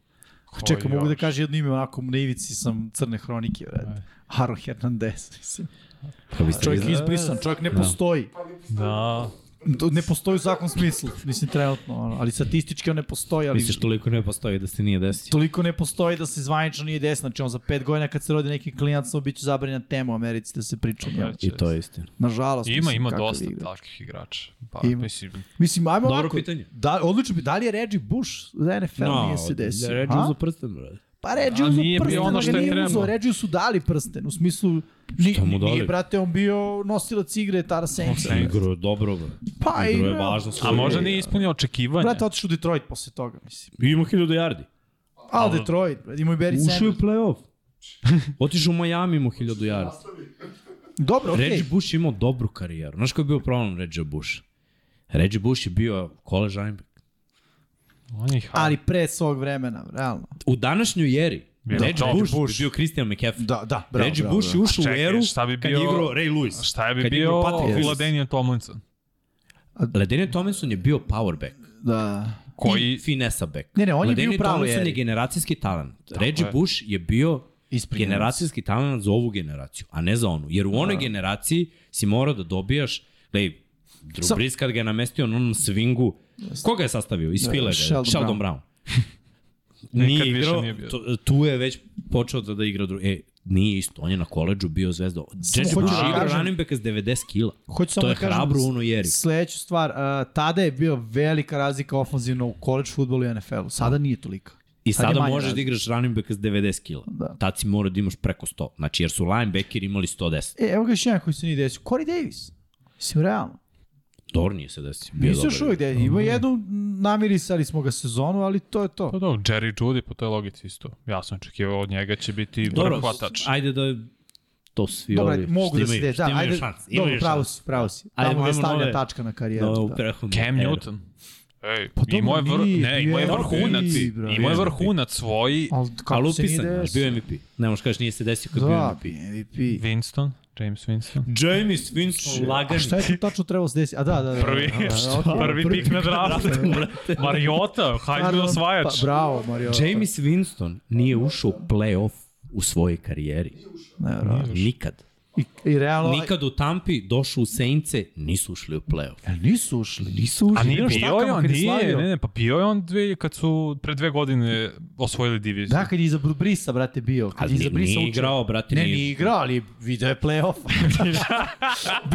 [SPEAKER 2] Ko
[SPEAKER 3] Čekaj, mogu da
[SPEAKER 2] još?
[SPEAKER 3] kažem jedno ime, onako na ivici sam crne hronike, vred. Aaron Hernandez, mislim.
[SPEAKER 1] Pa vi ste
[SPEAKER 3] Čovjek je
[SPEAKER 1] iz...
[SPEAKER 3] izbrisan, čovjek ne postoji.
[SPEAKER 2] Da.
[SPEAKER 3] To Ne postoji u svakom smislu, mislim, trenutno. ono, Ali statistički on ne postoji, ali
[SPEAKER 1] Misliš, toliko ne postoji da se nije desio.
[SPEAKER 3] toliko ne postoji da se zvanično nije desno. Znači, on za pet godina kad se rodi neki klinac, on bit će zabranjen tema u Americi da se priča o njemu.
[SPEAKER 1] I to je istina.
[SPEAKER 3] Nažalost,
[SPEAKER 2] Ima,
[SPEAKER 3] mislim,
[SPEAKER 2] ima
[SPEAKER 3] kakav
[SPEAKER 2] dosta
[SPEAKER 3] igrač.
[SPEAKER 2] takvih igrača. Pa,
[SPEAKER 3] Ima.
[SPEAKER 2] mislim,
[SPEAKER 3] Mislim, ajmo
[SPEAKER 1] Dobro
[SPEAKER 3] ovako.
[SPEAKER 1] pitanje.
[SPEAKER 3] Da, odlično bi, da li je Reggie Bush za NFL nije
[SPEAKER 1] da
[SPEAKER 3] se desio?
[SPEAKER 1] Ređu
[SPEAKER 3] a?
[SPEAKER 1] za prstem, brate.
[SPEAKER 3] Pa Reggie
[SPEAKER 2] A
[SPEAKER 3] uzu
[SPEAKER 2] nije bio
[SPEAKER 3] prsten,
[SPEAKER 2] ono
[SPEAKER 3] ono
[SPEAKER 2] što
[SPEAKER 3] ga
[SPEAKER 2] je
[SPEAKER 3] nije uzu,
[SPEAKER 2] trebalo.
[SPEAKER 3] Reggie su dali prsten, u smislu, ni,
[SPEAKER 1] Šta mu
[SPEAKER 3] ni, nije,
[SPEAKER 1] dali?
[SPEAKER 3] brate, on bio nosilac igre Tara Saints.
[SPEAKER 1] Igro je dobro, brate.
[SPEAKER 3] Pa
[SPEAKER 1] Igro je
[SPEAKER 3] igrao.
[SPEAKER 1] važno.
[SPEAKER 2] a možda
[SPEAKER 1] ni...
[SPEAKER 2] nije ispunio očekivanja.
[SPEAKER 3] Brate, otišu u Detroit posle toga, mislim.
[SPEAKER 1] Ima 1000 yardi.
[SPEAKER 3] A, u Detroit, brate, imao i Barry
[SPEAKER 1] Ušao je u
[SPEAKER 3] Sanders.
[SPEAKER 1] play-off. Otišao u Miami imao 1000 yardi.
[SPEAKER 3] Dobro, okej.
[SPEAKER 1] Reggie Bush je imao dobru karijeru. Znaš koji je bio problem Reggie Busha? Reggie Bush je bio college linebacker.
[SPEAKER 2] On je hard.
[SPEAKER 3] Ali pre svog vremena, realno.
[SPEAKER 1] U današnjoj eri
[SPEAKER 2] Bio
[SPEAKER 1] Reggie
[SPEAKER 2] Reggie
[SPEAKER 1] Bush, bi bio Christian McCaffrey.
[SPEAKER 3] Da, da, bravo,
[SPEAKER 1] Reggie
[SPEAKER 3] bravo,
[SPEAKER 1] Bush je
[SPEAKER 3] bravo.
[SPEAKER 1] ušao u
[SPEAKER 2] Čekaj,
[SPEAKER 1] eru
[SPEAKER 2] šta bi
[SPEAKER 1] kad je
[SPEAKER 2] bio-
[SPEAKER 1] igrao Ray Lewis.
[SPEAKER 2] Šta je bi
[SPEAKER 1] Kad je igrao
[SPEAKER 2] bio
[SPEAKER 1] Patrick
[SPEAKER 3] Willis.
[SPEAKER 2] Vladenijan Tomlinson?
[SPEAKER 1] Ledenijan Tomlinson je bio power back.
[SPEAKER 3] Da.
[SPEAKER 1] I
[SPEAKER 2] Koji...
[SPEAKER 1] finesa back.
[SPEAKER 3] Ne, ne, on je
[SPEAKER 1] Ladanian
[SPEAKER 3] bio u pravoj
[SPEAKER 1] Tomlinson
[SPEAKER 3] eri.
[SPEAKER 1] je generacijski talent. Reggie
[SPEAKER 2] je.
[SPEAKER 1] Bush je bio
[SPEAKER 3] Ispred
[SPEAKER 1] generacijski talent za ovu generaciju, a ne za onu. Jer u onoj generaciji si morao da dobijaš, gledaj, Drew
[SPEAKER 3] Sam-
[SPEAKER 1] Brees kad ga je namestio na onom swingu, koga je sastavio? Iz Fila ga je,
[SPEAKER 3] Sheldon
[SPEAKER 1] Da, Sheldon, Sheldon Brown.
[SPEAKER 2] Nikad
[SPEAKER 1] Nije
[SPEAKER 2] više
[SPEAKER 1] igrao,
[SPEAKER 2] nije bio.
[SPEAKER 1] to- tu je već počeo da, da igra drugi. E, nije isto, on je na koleđu bio zvezda. Reggie
[SPEAKER 3] hoću
[SPEAKER 1] Bush
[SPEAKER 3] da
[SPEAKER 1] je igrao
[SPEAKER 3] kažem-
[SPEAKER 1] running backa s 90 kila.
[SPEAKER 3] Hoću samo
[SPEAKER 1] To je
[SPEAKER 3] da kažem
[SPEAKER 1] hrabro u onoj eri.
[SPEAKER 3] Sledeću stvar, uh, tada je bio velika razlika ofanzivno u college fudbalu i NFL-u. Sada nije tolika.
[SPEAKER 1] I
[SPEAKER 3] je
[SPEAKER 1] sada
[SPEAKER 3] manja
[SPEAKER 1] možeš da
[SPEAKER 3] razlika.
[SPEAKER 1] igraš running backa s 90 kila.
[SPEAKER 3] Da.
[SPEAKER 1] Tad si morao da imaš preko 100. Znači, jer su linebacker imali 110.
[SPEAKER 3] E, evo ga još jedan koji se nije desio. Corey Davis. Mislim, realno.
[SPEAKER 1] Dobro nije se desio. Bio
[SPEAKER 3] Nisu
[SPEAKER 1] dobar. Mhm.
[SPEAKER 3] još uvijek desio. Ima jednu, namirisali smo ga sezonu, ali to je to.
[SPEAKER 2] Pa dobro, Jerry Judy po toj logici isto. Ja sam očekivao od njega će biti
[SPEAKER 1] Dobro,
[SPEAKER 2] vrhvatač.
[SPEAKER 1] ajde da to svi
[SPEAKER 3] Dobro,
[SPEAKER 1] ovi...
[SPEAKER 3] mogu da se
[SPEAKER 1] imaju-
[SPEAKER 3] desi. Da,
[SPEAKER 1] imaju
[SPEAKER 3] ajde,
[SPEAKER 1] šans, imaju
[SPEAKER 3] dobro, pravo
[SPEAKER 1] šans.
[SPEAKER 3] si, pravo si.
[SPEAKER 1] Ajde,
[SPEAKER 3] Tamo gde
[SPEAKER 1] ajmo
[SPEAKER 3] stavlja
[SPEAKER 1] nove-
[SPEAKER 3] tačka na karijeru.
[SPEAKER 1] Da, u
[SPEAKER 3] da.
[SPEAKER 1] prethodnu
[SPEAKER 2] Cam
[SPEAKER 1] eru.
[SPEAKER 2] Newton. Ej,
[SPEAKER 3] Pa dobro,
[SPEAKER 2] imao je vr...
[SPEAKER 3] nije,
[SPEAKER 2] ne, imao je
[SPEAKER 3] bio je
[SPEAKER 2] vrhunac.
[SPEAKER 3] MVP, brate.
[SPEAKER 2] Imao je
[SPEAKER 1] Bio je
[SPEAKER 2] vrhunac svoj.
[SPEAKER 3] Ali
[SPEAKER 1] Ali
[SPEAKER 3] kako se nije
[SPEAKER 1] upisan, je, bio
[SPEAKER 3] desio?
[SPEAKER 1] je MVP. Ne možeš kažeš nije se desio kad da. bio
[SPEAKER 3] Da,
[SPEAKER 1] MVP.
[SPEAKER 3] MVP.
[SPEAKER 2] Winston, James
[SPEAKER 3] Da,
[SPEAKER 2] Winston.
[SPEAKER 1] James Winston
[SPEAKER 3] A šta je tu tačno trebalo se desiti? A da, da, da.
[SPEAKER 2] Prvi,
[SPEAKER 3] da, da, okej.
[SPEAKER 2] prvi pik na draftu. Mariota, hajde da
[SPEAKER 3] Pardon,
[SPEAKER 2] osvajač.
[SPEAKER 3] Pa, bravo, Mario.
[SPEAKER 1] James Winston nije ušao u play-off u svojoj karijeri.
[SPEAKER 3] Nevjerojatno.
[SPEAKER 1] Nikad.
[SPEAKER 3] I, I realno...
[SPEAKER 1] Nikad u Tampi došao u Sejnce, nisu ušli u play-off.
[SPEAKER 3] E, nisu ušli.
[SPEAKER 1] Nisu ušli.
[SPEAKER 2] A nije
[SPEAKER 3] Igraš
[SPEAKER 2] bio
[SPEAKER 3] štakama
[SPEAKER 2] je on,
[SPEAKER 3] kad je
[SPEAKER 2] nije,
[SPEAKER 3] slavio.
[SPEAKER 2] ne, ne, pa bio je on dve, kad su pre dve godine osvojili diviziju.
[SPEAKER 3] Da, kad je iza Brisa, brate, bio. Kad
[SPEAKER 1] Ali
[SPEAKER 3] je iza
[SPEAKER 1] nije,
[SPEAKER 3] Brisa
[SPEAKER 1] nije
[SPEAKER 3] učio.
[SPEAKER 1] igrao, brate.
[SPEAKER 3] Ne, nije igrao, ali video je play-off.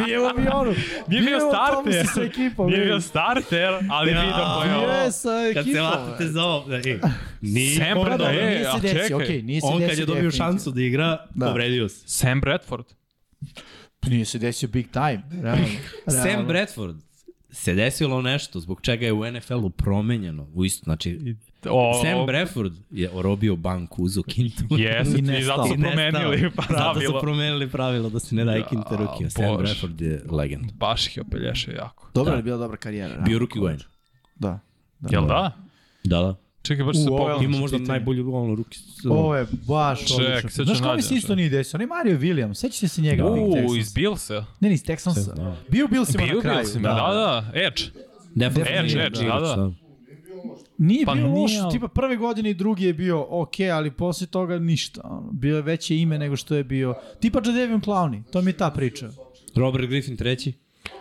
[SPEAKER 3] bio u avionu.
[SPEAKER 2] Nije bio
[SPEAKER 3] u autobusu
[SPEAKER 2] starter.
[SPEAKER 3] sa ekipom.
[SPEAKER 2] Nije
[SPEAKER 3] vidi.
[SPEAKER 2] bio starter, ali
[SPEAKER 1] Da.
[SPEAKER 2] video
[SPEAKER 3] Bio
[SPEAKER 2] play-off.
[SPEAKER 3] je sa ekipom.
[SPEAKER 1] za ovo. Da, e, Nije
[SPEAKER 2] Sam
[SPEAKER 1] povredan.
[SPEAKER 2] Bradford,
[SPEAKER 1] E,
[SPEAKER 3] nije
[SPEAKER 2] a
[SPEAKER 3] se desio,
[SPEAKER 2] čekaj.
[SPEAKER 3] okej, okay, nije se
[SPEAKER 1] On
[SPEAKER 3] desio.
[SPEAKER 1] kad je dobio
[SPEAKER 3] definitivno.
[SPEAKER 1] šansu da igra,
[SPEAKER 3] Da.
[SPEAKER 1] povredio se.
[SPEAKER 2] Sam Bradford.
[SPEAKER 3] Nije se desio big time, realno.
[SPEAKER 1] Sam
[SPEAKER 3] realno.
[SPEAKER 1] Bradford se desilo nešto zbog čega je u NFL-u promenjeno. U isto, znači,
[SPEAKER 2] O,
[SPEAKER 1] Sam Bradford je orobio banku, uzo Kintu.
[SPEAKER 2] Jeste,
[SPEAKER 3] I
[SPEAKER 2] i zato
[SPEAKER 3] nestao.
[SPEAKER 2] su
[SPEAKER 1] I nestao.
[SPEAKER 2] promenili
[SPEAKER 1] Zato su
[SPEAKER 2] pravilo.
[SPEAKER 1] promenili pravilo da se ne daje
[SPEAKER 2] Ja,
[SPEAKER 1] Kinta rukija. Sam
[SPEAKER 2] Bože.
[SPEAKER 1] Bradford je legenda.
[SPEAKER 2] Baš ih opelješe jako.
[SPEAKER 3] Dobra
[SPEAKER 1] Da.
[SPEAKER 3] je bila dobra karijera. realno.
[SPEAKER 1] Bio ruki Wayne.
[SPEAKER 3] Da. da.
[SPEAKER 2] Jel da?
[SPEAKER 1] Da, da.
[SPEAKER 2] Čekaj, baš
[SPEAKER 3] U,
[SPEAKER 2] se
[SPEAKER 3] ovo je
[SPEAKER 2] pogledam.
[SPEAKER 1] Ima možda
[SPEAKER 3] pitanje.
[SPEAKER 1] najbolju ono ruki.
[SPEAKER 3] Ovo je baš
[SPEAKER 2] Ček,
[SPEAKER 3] odlično.
[SPEAKER 2] sad ću
[SPEAKER 3] Znaš ko mi
[SPEAKER 2] nađem
[SPEAKER 3] se isto
[SPEAKER 2] sad.
[SPEAKER 3] nije desio? On je Mario Williams, sećate se njega?
[SPEAKER 1] Da.
[SPEAKER 3] u Big
[SPEAKER 2] U,
[SPEAKER 3] Texansu?
[SPEAKER 2] iz Bilsa.
[SPEAKER 3] Ne, ne, iz Texansa.
[SPEAKER 1] Da.
[SPEAKER 3] Bio bil si
[SPEAKER 2] Bio
[SPEAKER 3] na kraju.
[SPEAKER 2] Bilsa, da, da. Edge.
[SPEAKER 1] Definitivno.
[SPEAKER 2] Edge, edge, da, da.
[SPEAKER 3] Nije
[SPEAKER 2] Pa
[SPEAKER 3] bio
[SPEAKER 2] nije,
[SPEAKER 3] loš,
[SPEAKER 2] ali-
[SPEAKER 3] tipa prve godine i drugi je bio ok, ali posle toga ništa. ono. Bio je veće ime nego što je bio. Tipa Jadavion Clowney, to mi je ta priča.
[SPEAKER 1] Robert Griffin treći.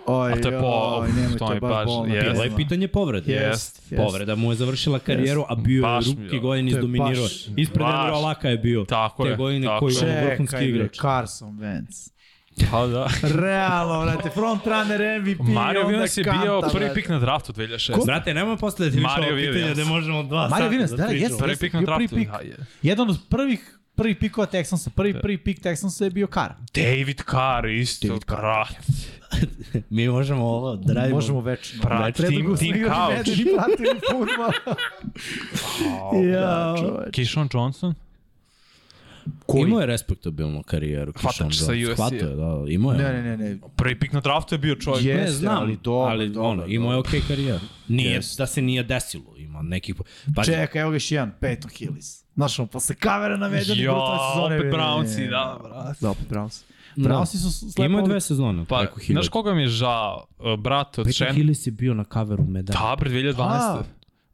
[SPEAKER 3] Oj,
[SPEAKER 2] A to je po-
[SPEAKER 3] oj, nemoj,
[SPEAKER 2] to
[SPEAKER 3] to
[SPEAKER 2] je
[SPEAKER 3] je
[SPEAKER 2] baš-
[SPEAKER 3] baš bolna
[SPEAKER 2] jest.
[SPEAKER 1] Bilo
[SPEAKER 3] pjesma.
[SPEAKER 1] je pitanje povrede.
[SPEAKER 2] Je.
[SPEAKER 3] Jest, jest.
[SPEAKER 1] Povreda mu je završila karijeru, a bio
[SPEAKER 2] Baš mi
[SPEAKER 1] je
[SPEAKER 2] je.
[SPEAKER 1] ruki godine
[SPEAKER 3] To je
[SPEAKER 1] izdominirao.
[SPEAKER 3] baš-
[SPEAKER 1] Ispred
[SPEAKER 2] baš.
[SPEAKER 1] Andrew Alaka je bio.
[SPEAKER 2] Tako
[SPEAKER 1] Te
[SPEAKER 2] je,
[SPEAKER 1] godine
[SPEAKER 2] tako
[SPEAKER 1] koji
[SPEAKER 2] je.
[SPEAKER 1] je ono vrhunski
[SPEAKER 3] Čekaj, bre,
[SPEAKER 1] igrač.
[SPEAKER 3] Carson Wentz.
[SPEAKER 2] Pa da.
[SPEAKER 3] Realno, brate, front runner MVP,
[SPEAKER 2] Mario
[SPEAKER 3] onda
[SPEAKER 2] Williams je
[SPEAKER 3] Kanta,
[SPEAKER 2] bio prvi
[SPEAKER 3] brate.
[SPEAKER 2] pik na draftu 2006.
[SPEAKER 1] Brate, nemoj posle da ti više
[SPEAKER 2] Mario
[SPEAKER 1] ovo pitanje
[SPEAKER 2] Williams.
[SPEAKER 1] da možemo dva
[SPEAKER 3] Mario
[SPEAKER 1] sata
[SPEAKER 3] Williams, da,
[SPEAKER 1] pričamo.
[SPEAKER 3] jeste.
[SPEAKER 2] Prvi pik na
[SPEAKER 3] bio prvi
[SPEAKER 2] draftu.
[SPEAKER 3] pik.
[SPEAKER 2] da, je.
[SPEAKER 3] Jedan od prvih prvih pikova Texansa, prvi prvi pik Texansa je bio Carr.
[SPEAKER 2] David Carr, isto.
[SPEAKER 3] David
[SPEAKER 2] David
[SPEAKER 3] Carr.
[SPEAKER 1] Mi možemo ovo, drajmo.
[SPEAKER 3] Možemo večno.
[SPEAKER 2] Pra-
[SPEAKER 3] Znači,
[SPEAKER 2] Tim-
[SPEAKER 3] Predugo smo
[SPEAKER 2] Tim Couch.
[SPEAKER 3] igrali medved i pratili fudbal. Ja, čoveč.
[SPEAKER 2] Kishon Johnson?
[SPEAKER 1] Koji? Imao je respektabilnu karijeru.
[SPEAKER 2] Hvatač
[SPEAKER 1] Kishon
[SPEAKER 2] sa
[SPEAKER 1] Jones.
[SPEAKER 2] USC.
[SPEAKER 1] Hvatao je, da, imao je.
[SPEAKER 3] Ne, ne, ne, ne.
[SPEAKER 2] Prvi pik na draftu je bio čovjek.
[SPEAKER 3] Je.
[SPEAKER 2] Je.
[SPEAKER 1] Ne,
[SPEAKER 3] Jeste,
[SPEAKER 1] znam,
[SPEAKER 3] ali
[SPEAKER 1] ali,
[SPEAKER 3] dobro,
[SPEAKER 1] ali
[SPEAKER 3] dobro,
[SPEAKER 1] ono, imao je okej karijeru. Nije, da se nije desilo, ima nekih... Pa,
[SPEAKER 3] Čekaj, evo ga još jedan, Peyton Hillis. Znaš, on posle kavera na medved i
[SPEAKER 2] Ja,
[SPEAKER 3] brutale sezone.
[SPEAKER 2] opet
[SPEAKER 3] bili.
[SPEAKER 2] Brownsi, da, brate.
[SPEAKER 3] Da, opet Brownsi.
[SPEAKER 1] Da.
[SPEAKER 3] Brownsi su slepo...
[SPEAKER 1] Imao je dve sezone,
[SPEAKER 2] Pa,
[SPEAKER 1] preko hiljadu.
[SPEAKER 2] znaš koga mi je žao? E, Brat od
[SPEAKER 1] Peter
[SPEAKER 2] Shen... Da,
[SPEAKER 1] Hillis je bio na kaveru medalja.
[SPEAKER 2] Tabr 2012.
[SPEAKER 3] A.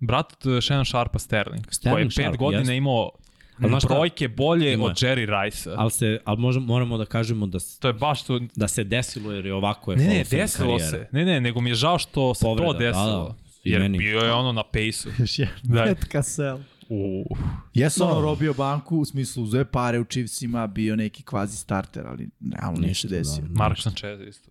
[SPEAKER 2] Brat od Shen Sharpa Sterling.
[SPEAKER 1] Sterling
[SPEAKER 2] koji je pet
[SPEAKER 1] Sharp,
[SPEAKER 2] godina
[SPEAKER 1] jeste.
[SPEAKER 2] imao
[SPEAKER 1] Ali znaš šta?
[SPEAKER 2] brojke bolje
[SPEAKER 1] Ima.
[SPEAKER 2] od Jerry Rice-a.
[SPEAKER 1] Ali, se, ali možemo, moramo da kažemo da, s-
[SPEAKER 2] To je baš to...
[SPEAKER 1] da se desilo jer je ovako je
[SPEAKER 2] Ne, ne,
[SPEAKER 1] Hall of Fame
[SPEAKER 2] desilo
[SPEAKER 1] karijera.
[SPEAKER 2] se. Ne, ne, nego mi je žao što se
[SPEAKER 1] Povreda,
[SPEAKER 2] to
[SPEAKER 1] da, da.
[SPEAKER 2] desilo.
[SPEAKER 1] I
[SPEAKER 2] Jer
[SPEAKER 1] meni.
[SPEAKER 2] bio je ono na pejsu.
[SPEAKER 3] Još jedan,
[SPEAKER 2] Da.
[SPEAKER 3] Matt Cassell.
[SPEAKER 2] Uuu.
[SPEAKER 3] Jesu ono robio banku, u smislu uzeo je pare u čivcima, bio neki kvazi starter, ali realno nije se
[SPEAKER 1] Ništa, da.
[SPEAKER 3] desio.
[SPEAKER 2] Mark Sanchez isto.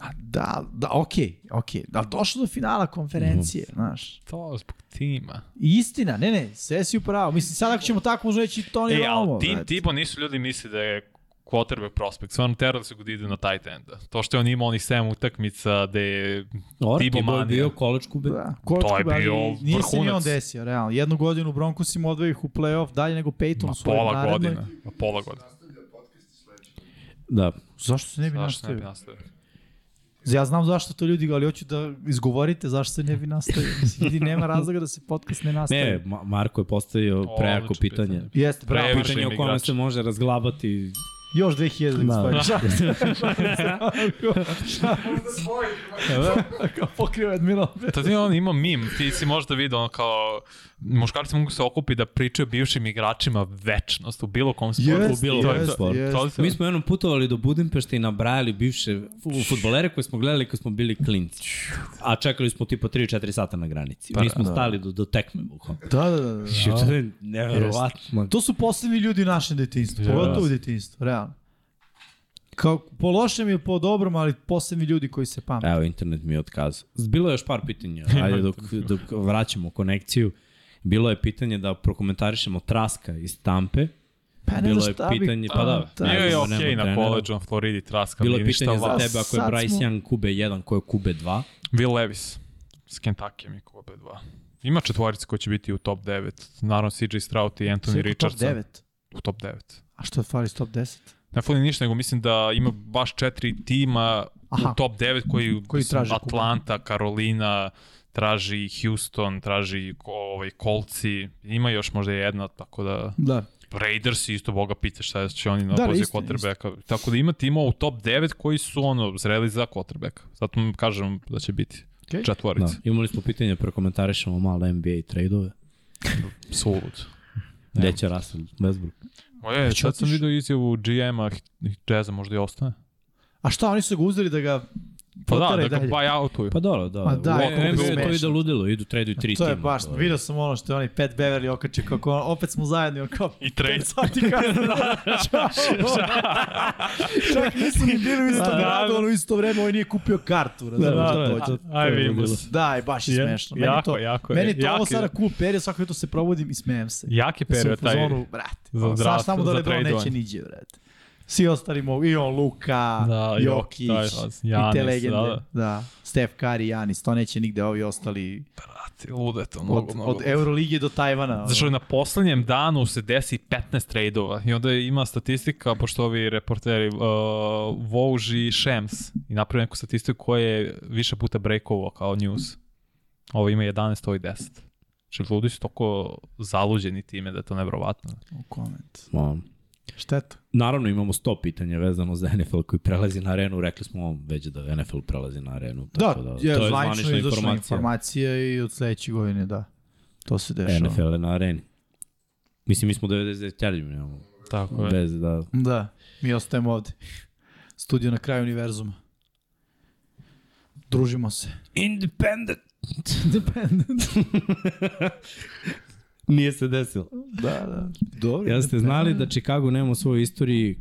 [SPEAKER 3] A da, da, okej, okej. Da, došlo do finala konferencije, znaš.
[SPEAKER 2] To zbog tima.
[SPEAKER 3] I Istina, ne, ne, sve si upravo. Mislim, sad ako ćemo tako, možemo reći Tony
[SPEAKER 2] E,
[SPEAKER 3] Romo.
[SPEAKER 2] ali tim
[SPEAKER 3] brate.
[SPEAKER 2] Tibo nisu ljudi misli da je quarterback prospekt. Stvarno terali su ga da ide na tight enda. To što je on imao onih 7 utakmica da je
[SPEAKER 1] Or,
[SPEAKER 2] Tibo
[SPEAKER 1] Tibo je
[SPEAKER 2] Manija.
[SPEAKER 1] bio college kube.
[SPEAKER 3] Da, Kočko,
[SPEAKER 2] To je bio
[SPEAKER 3] Nije se ni on
[SPEAKER 2] vrhunac.
[SPEAKER 3] desio, realno. Jednu godinu u Broncosima odveo ih u play-off, dalje nego Peyton u svojoj
[SPEAKER 2] pola
[SPEAKER 3] narednoj.
[SPEAKER 2] godine. Ma Pola godine.
[SPEAKER 1] da.
[SPEAKER 3] Zašto se ne bi
[SPEAKER 2] Znaš, ne bi
[SPEAKER 3] nastavio?
[SPEAKER 2] nastavio.
[SPEAKER 3] Ja znam zašto to ljudi, ali hoću da izgovorite zašto se ne bi nastavio. Mislim, ljudi, nema razloga da se podcast ne nastavi.
[SPEAKER 1] Ne, Ma Marko je postavio
[SPEAKER 2] Odlično
[SPEAKER 1] prejako pitanje.
[SPEAKER 2] pitanje.
[SPEAKER 3] Jeste, bravo.
[SPEAKER 2] Previše.
[SPEAKER 1] Pitanje o kome
[SPEAKER 2] igrač.
[SPEAKER 1] se može razglabati.
[SPEAKER 3] Još 2000
[SPEAKER 1] Da.
[SPEAKER 3] da gospodin. Šta
[SPEAKER 4] Možda tvoj,
[SPEAKER 1] E, da.
[SPEAKER 3] kao pokrio Admiral?
[SPEAKER 2] To Da ti on ima mim, ti si možda vidio ono kao muškarci mogu se okupi da pričaju o bivšim igračima večnost u bilo kom sportu.
[SPEAKER 1] Jeste, bilo
[SPEAKER 2] to je
[SPEAKER 1] jeste,
[SPEAKER 2] to.
[SPEAKER 3] jeste.
[SPEAKER 2] To je to.
[SPEAKER 1] Mi smo jednom putovali do Budimpešte i nabrajali bivše futbolere koje smo gledali kad smo bili klinci. A čekali smo tipa 3-4 sata na granici. Mi smo stali do, do tekme. bukvalno.
[SPEAKER 3] Da, da, da. da.
[SPEAKER 1] To je nevjerovatno.
[SPEAKER 3] To su poslednji ljudi u našem detinjstvu,
[SPEAKER 2] Jeste.
[SPEAKER 3] pogotovo u detinjstvu, realno. Kao po lošem ili po dobrom, ali poslednji ljudi koji se pamte.
[SPEAKER 1] Evo, internet mi je otkazao. Bilo je još par pitanja, ajde dok, dok vraćamo konekciju. Bilo je pitanje da prokomentarišemo Traska iz Tampe.
[SPEAKER 3] Pa ne
[SPEAKER 1] Bilo
[SPEAKER 3] znaš
[SPEAKER 1] je
[SPEAKER 3] šta bi-
[SPEAKER 1] pitanje, pa da.
[SPEAKER 3] Bio
[SPEAKER 2] Bio je
[SPEAKER 1] nema
[SPEAKER 2] okej na
[SPEAKER 1] trenera.
[SPEAKER 2] koleđu na Floridi, traska
[SPEAKER 1] Bilo
[SPEAKER 2] mi
[SPEAKER 1] je
[SPEAKER 2] ništa
[SPEAKER 1] pitanje za
[SPEAKER 2] vas.
[SPEAKER 1] tebe ako je
[SPEAKER 3] Sad
[SPEAKER 1] Bryce
[SPEAKER 3] smo-
[SPEAKER 1] Young Kube 1, ko je Kube 2.
[SPEAKER 2] Will Levis s Kentucky mi kobe 2. Ima četvorica koji će biti u top 9. Naravno CJ Stroud i Anthony
[SPEAKER 3] Sve top
[SPEAKER 2] Richardson.
[SPEAKER 3] 9.
[SPEAKER 2] U top 9.
[SPEAKER 3] A što fali s top 10?
[SPEAKER 2] Ne fali ništa, nego mislim da ima baš četiri tima
[SPEAKER 3] Aha.
[SPEAKER 2] u top 9 koji,
[SPEAKER 3] Koji
[SPEAKER 2] mislim,
[SPEAKER 3] traže Kubu.
[SPEAKER 2] Atlanta, Karolina, traži Houston, traži ko- ovaj, Kolci. Ima još možda jedna, tako da...
[SPEAKER 3] Da.
[SPEAKER 2] Raiders isto, boga pita šta će oni na
[SPEAKER 3] Da,
[SPEAKER 2] da,
[SPEAKER 3] da,
[SPEAKER 2] poziciju
[SPEAKER 3] istina,
[SPEAKER 2] quarterbacka. Tako da ima tima u top 9 koji su ono, zreli za quarterbacka. Zato vam kažem da će biti
[SPEAKER 3] Okej.
[SPEAKER 1] Da.
[SPEAKER 2] četvorica.
[SPEAKER 1] Imali smo pitanje, prokomentarišemo malo NBA trade-ove.
[SPEAKER 2] Da. Solud.
[SPEAKER 1] Gde će Russell Westbrook?
[SPEAKER 2] O je, E, sad sam
[SPEAKER 3] otiš-
[SPEAKER 2] vidio izjavu GM-a Jazza možda i ostane.
[SPEAKER 3] A šta, oni su ga uzeli da ga
[SPEAKER 2] Pa da, da
[SPEAKER 3] Poteraj
[SPEAKER 2] ga
[SPEAKER 3] dalje.
[SPEAKER 2] buy outuju.
[SPEAKER 1] Pa dobro, da.
[SPEAKER 3] Ma da,
[SPEAKER 1] U-
[SPEAKER 3] koliko
[SPEAKER 1] NBA
[SPEAKER 3] je
[SPEAKER 1] to ide
[SPEAKER 3] smešno.
[SPEAKER 1] ludilo, idu traduju tri
[SPEAKER 3] To
[SPEAKER 1] tima.
[SPEAKER 3] je baš,
[SPEAKER 1] je-
[SPEAKER 3] vidio sam ono što je onaj Pat Beverly okačio kako on, opet smo zajedni, on kao
[SPEAKER 2] I trade.
[SPEAKER 3] pet sati kasno. Ćao. Čak nisu ni bili u istom
[SPEAKER 2] Da, da.
[SPEAKER 3] gradu, ono u isto vreme, ovaj nije kupio kartu, razumiješ
[SPEAKER 1] Da,
[SPEAKER 3] da,
[SPEAKER 1] da,
[SPEAKER 3] da,
[SPEAKER 1] da.
[SPEAKER 3] to,
[SPEAKER 2] Aj vidimo se.
[SPEAKER 3] Da, i baš je
[SPEAKER 2] Je-
[SPEAKER 3] smešno.
[SPEAKER 2] jako, Pa jako je.
[SPEAKER 3] Meni je to
[SPEAKER 2] Jak
[SPEAKER 3] ovo
[SPEAKER 2] je.
[SPEAKER 3] sada cool period, svako jutro se probudim i smijem se.
[SPEAKER 2] Jaki period
[SPEAKER 3] Sam u
[SPEAKER 2] taj.
[SPEAKER 3] fazonu, brate.
[SPEAKER 2] za
[SPEAKER 3] Ono,
[SPEAKER 2] draft,
[SPEAKER 3] Znaš tamo da
[SPEAKER 2] za
[SPEAKER 3] Lebron neće
[SPEAKER 2] tradovanje.
[SPEAKER 3] niđe, brate. Svi ostali mogu, i on Luka,
[SPEAKER 2] Da,
[SPEAKER 3] da,
[SPEAKER 2] i
[SPEAKER 3] Jokić,
[SPEAKER 2] taj faz, Giannis,
[SPEAKER 3] i te legende.
[SPEAKER 2] da.
[SPEAKER 3] Da, da. Steph Curry, Janis, to neće nigde, ovi ostali
[SPEAKER 2] Brate, ludo je to,
[SPEAKER 3] od,
[SPEAKER 2] mnogo, mnogo.
[SPEAKER 3] od Euroligije do Tajvana.
[SPEAKER 2] Zašto
[SPEAKER 3] ono.
[SPEAKER 2] je na poslednjem danu se desi 15 trejdova i onda ima statistika, pošto ovi reporteri uh, Vouge i Shams i napravio neku statistiku koja je više puta breakovao kao news. Ovo ima 11, ovo je 10. Znači, ljudi su toliko zaluđeni time da je to nevrovatno.
[SPEAKER 3] U koment.
[SPEAKER 1] Ma,
[SPEAKER 3] Štetu.
[SPEAKER 1] Naravno imamo 100 pitanja vezano za NFL koji prelazi na arenu. Rekli smo već da NFL prelazi na arenu.
[SPEAKER 3] Da,
[SPEAKER 1] Tako da,
[SPEAKER 3] je,
[SPEAKER 1] to je
[SPEAKER 3] zvanično
[SPEAKER 1] zvanična
[SPEAKER 3] je izašla
[SPEAKER 1] informacija.
[SPEAKER 3] informacija i od sledeće godine, da. To se dešava.
[SPEAKER 1] NFL je na areni. Mislim, mi smo 99-terđim, nemamo
[SPEAKER 2] Tako Pa je.
[SPEAKER 1] bez da...
[SPEAKER 3] Da, mi ostajemo ovde. Studio na kraju univerzuma. Družimo se.
[SPEAKER 1] Independent! Independent. Nije se desilo.
[SPEAKER 3] Da, da. Dobro.
[SPEAKER 1] Jel ste znali da Chicago nema u svojoj istoriji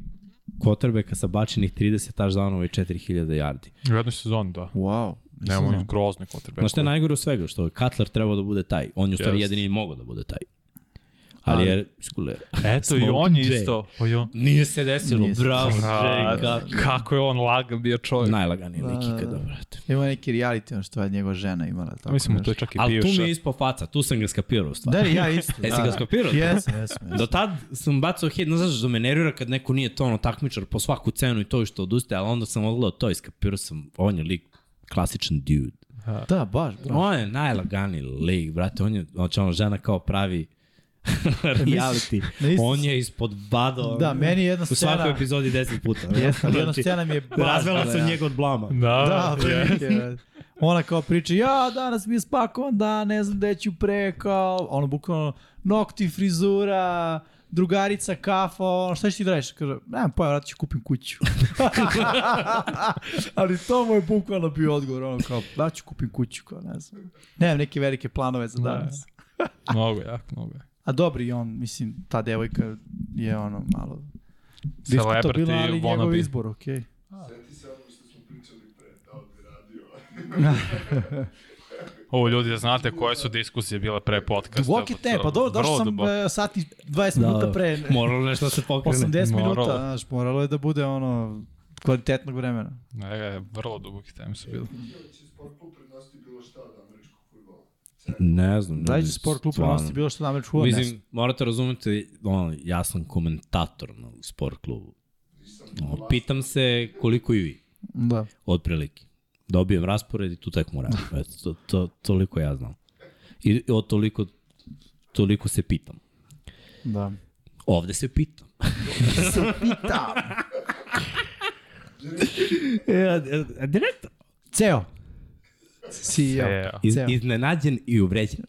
[SPEAKER 1] kotrbeka sa bačenih 30 taš danova i 4000 yardi.
[SPEAKER 2] U jednoj sezoni, da.
[SPEAKER 3] Wow.
[SPEAKER 2] Nemo
[SPEAKER 3] znao.
[SPEAKER 2] onih grozni kotrbe.
[SPEAKER 1] Znaš šta je najgore u svega? Što je Cutler trebao da bude taj. On je u stvari
[SPEAKER 2] Jeste.
[SPEAKER 1] jedini i mogao da bude taj. Ali je skuler.
[SPEAKER 2] Eto, i on je isto. Pa i on.
[SPEAKER 1] Nije se desilo.
[SPEAKER 3] Nije se
[SPEAKER 1] Bravo,
[SPEAKER 2] A,
[SPEAKER 1] Jay
[SPEAKER 2] kako je on lagan bio čovjek.
[SPEAKER 1] Najlaganiji lik
[SPEAKER 3] Da, da,
[SPEAKER 1] ikada,
[SPEAKER 3] da.
[SPEAKER 1] brate.
[SPEAKER 3] Ima neki reality, ono što je njegova žena imala. Tako
[SPEAKER 2] Mislim,
[SPEAKER 3] nešto.
[SPEAKER 2] to je čak i
[SPEAKER 1] Ali tu mi
[SPEAKER 2] bivša.
[SPEAKER 1] je ispao faca, tu sam ga skapirao u stvari.
[SPEAKER 3] Da, ja isto.
[SPEAKER 1] E, si ga skopirao? Da.
[SPEAKER 3] Jesam, jesam.
[SPEAKER 1] Do tad sam bacao hit, ne znaš da me nervira kad neko nije to ono takmičar po svaku cenu i to što odustaje, ali onda sam odgledao to i skapirao sam, on je lik klasičan dude.
[SPEAKER 3] jesam. Da, baš. bro.
[SPEAKER 1] On je najlaganiji lik, brate, on je, znači ono žena kao pravi reality.
[SPEAKER 3] Na isto-
[SPEAKER 1] On je ispod bado.
[SPEAKER 3] Da, meni je jedna
[SPEAKER 1] U
[SPEAKER 3] scena-
[SPEAKER 1] svakoj epizodi deset puta. Znači,
[SPEAKER 3] Jesam, jedna scena Da, mi je baš.
[SPEAKER 1] Razvela sam
[SPEAKER 3] bila,
[SPEAKER 1] njega od blama.
[SPEAKER 3] Da, otprilike, brate. Ona kao priča, ja danas mi je spakovan dan, ne znam gde ću pre, kao, ono bukvalno, nokti, frizura, drugarica, kafa, ono, šta ćeš ti da radiš? Kaže, nemam pojma, vratit ću kupim kuću. Ali to mu je bukvalno bio odgovor, ono kao, vratit ću kupim kuću, kao, ne znam. Nemam neke velike planove za danas.
[SPEAKER 2] Mnogo jak, mnogo jak.
[SPEAKER 3] A dobri je on, mislim, ta devojka je ono malo diskutabilna, ali
[SPEAKER 2] Celebrity,
[SPEAKER 3] njegov
[SPEAKER 2] wannabe.
[SPEAKER 3] izbor, okej.
[SPEAKER 4] Seti se ono što smo pričali pre, da li bi radio.
[SPEAKER 2] Ovo ljudi, da znate koje su diskusije bile pre podcasta.
[SPEAKER 3] Duboke te, pa dobro, došao sam
[SPEAKER 2] Vrlo
[SPEAKER 3] e, sati 20 minuta pre.
[SPEAKER 1] Moralo nešto da se pokrene.
[SPEAKER 3] 80
[SPEAKER 2] Moralo.
[SPEAKER 3] minuta, znaš, moralo je da bude ono kvalitetnog vremena.
[SPEAKER 2] duboke. Ne, ne, vrlo duboke teme su bile.
[SPEAKER 4] Ili će sport klub prenositi bilo šta od američkog futbola?
[SPEAKER 1] Ne znam.
[SPEAKER 3] Daj
[SPEAKER 1] ljudi,
[SPEAKER 3] će sport klub
[SPEAKER 1] Da, stvarno.
[SPEAKER 3] nosti bilo da što namer čuo
[SPEAKER 1] Mislim,
[SPEAKER 3] nešto.
[SPEAKER 1] morate razumeti, ono, ja sam komentator na sport klubu.
[SPEAKER 4] Nisam
[SPEAKER 1] Ono, pitam se koliko i vi,
[SPEAKER 3] Da.
[SPEAKER 1] otprilike. Dobijem raspored i tu tek moram. Eto, to, to, toliko ja znam. I o toliko, toliko se pitam.
[SPEAKER 3] Da.
[SPEAKER 1] Ovde se pitam.
[SPEAKER 3] Tam.
[SPEAKER 1] E, direktor.
[SPEAKER 3] Ceo. CEO.
[SPEAKER 2] Ceo.
[SPEAKER 1] Iz,
[SPEAKER 3] Ceo.
[SPEAKER 1] iznenađen i uvređen.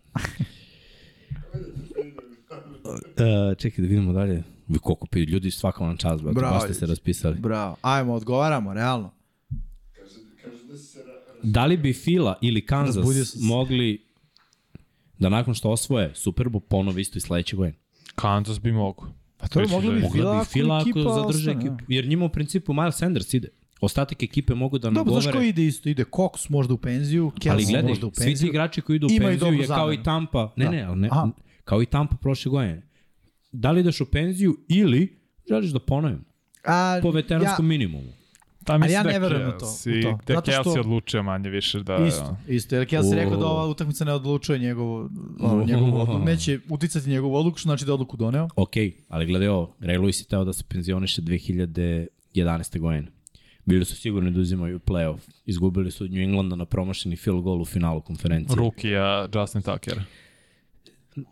[SPEAKER 1] e, čekaj da vidimo dalje. Vi koliko pi, ljudi svaka vam čast, brate,
[SPEAKER 3] Bravo,
[SPEAKER 1] baš ste se
[SPEAKER 3] ljudi.
[SPEAKER 1] raspisali.
[SPEAKER 3] Bravo. Ajmo, odgovaramo, realno.
[SPEAKER 4] Kaže, kaže da si se ra- ra-
[SPEAKER 1] Da li bi Fila ili
[SPEAKER 3] Razbudio sam
[SPEAKER 1] Kansas
[SPEAKER 3] se.
[SPEAKER 1] mogli da nakon što osvoje Super Bowl ponovo isto i sledeće godine?
[SPEAKER 2] Kansas bi mogu.
[SPEAKER 3] Pa to je
[SPEAKER 2] Mislim
[SPEAKER 3] moglo
[SPEAKER 2] da je-
[SPEAKER 3] bi
[SPEAKER 1] Mogla bi Fila ako
[SPEAKER 3] ekipa
[SPEAKER 1] zadrže
[SPEAKER 3] ostane,
[SPEAKER 1] ekipu,
[SPEAKER 3] da.
[SPEAKER 1] jer njima u principu Miles Sanders ide. Ostatak ekipe mogu da
[SPEAKER 3] Dobro, znaš ko
[SPEAKER 1] nagovore.
[SPEAKER 3] ide isto? Ide Cox možda u penziju,
[SPEAKER 1] Ali
[SPEAKER 3] Kelsey
[SPEAKER 1] gledaj,
[SPEAKER 3] možda u penziju.
[SPEAKER 1] svi ti igrači koji idu u
[SPEAKER 3] Imaju
[SPEAKER 1] penziju
[SPEAKER 3] dobru
[SPEAKER 1] je kao i
[SPEAKER 3] zamenu.
[SPEAKER 1] Tampa. Ne,
[SPEAKER 3] Da.
[SPEAKER 1] ne, ali ne,
[SPEAKER 3] Aha.
[SPEAKER 1] kao i Tampa prošle godine. Da li ideš u penziju ili želiš da ponovim
[SPEAKER 3] A,
[SPEAKER 1] po veteranskom
[SPEAKER 3] ja,
[SPEAKER 1] ja. minimumu?
[SPEAKER 2] Ta
[SPEAKER 3] mislim ja da je ne verujem u to,
[SPEAKER 2] Kelsey-
[SPEAKER 3] u to.
[SPEAKER 2] Da
[SPEAKER 3] Zato što-
[SPEAKER 2] Kelsey odlučio manje više da...
[SPEAKER 3] Isto, isto, jer ja sam rekao da ova utakmica ne odlučuje njegovu, ono, njegovu odluku, neće uticati njegovu odluku, što znači da je odluku doneo.
[SPEAKER 1] Ok, ali gledaj ovo, Ray Lewis je teo da se penzioniše 2011. godine. Bili su sigurni da uzimaju playoff. Izgubili su od New Englanda na promašeni field goal u finalu konferencije.
[SPEAKER 2] Rukija, Justin Tucker.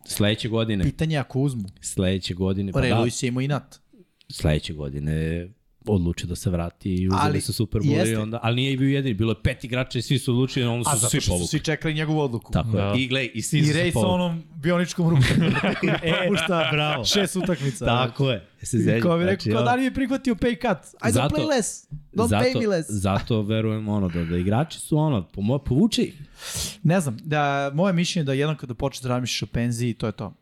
[SPEAKER 1] Sledeće godine,
[SPEAKER 3] Pitanje je ako uzmu.
[SPEAKER 1] sledeće godine, pa
[SPEAKER 3] Ray
[SPEAKER 1] da,
[SPEAKER 3] Lewis je imao inat.
[SPEAKER 1] sledeće godine odlučio da se vrati i uzeli
[SPEAKER 3] Ali
[SPEAKER 1] su Super Bowl i
[SPEAKER 3] jeste.
[SPEAKER 1] onda, ali nije bio jedini, bilo je pet igrača i svi su odlučili, onda
[SPEAKER 3] A
[SPEAKER 1] su
[SPEAKER 3] zato
[SPEAKER 1] svi
[SPEAKER 3] što su
[SPEAKER 1] povukli.
[SPEAKER 3] svi čekali njegovu odluku.
[SPEAKER 1] Tako da.
[SPEAKER 2] Da.
[SPEAKER 1] je. I gle, i svi
[SPEAKER 3] I
[SPEAKER 1] su se
[SPEAKER 3] Ray sa
[SPEAKER 1] povukli.
[SPEAKER 3] onom bioničkom rukom.
[SPEAKER 1] E,
[SPEAKER 3] Pušta
[SPEAKER 1] bravo.
[SPEAKER 3] šest utakmica.
[SPEAKER 1] Tako je. E, Se Znači,
[SPEAKER 3] I da, kao bi rekao, kao
[SPEAKER 1] ono-
[SPEAKER 3] da li bi prihvatio pay cut? I zato,
[SPEAKER 1] Zato-
[SPEAKER 3] don't play less. Don't
[SPEAKER 1] zato,
[SPEAKER 3] pay me less.
[SPEAKER 1] Zato verujem ono da, da igrači su ono, po moj, povuče ih.
[SPEAKER 3] Ne znam, da, moje mišljenje je da jednom kada počneš da razmišljaš o penziji, to je to.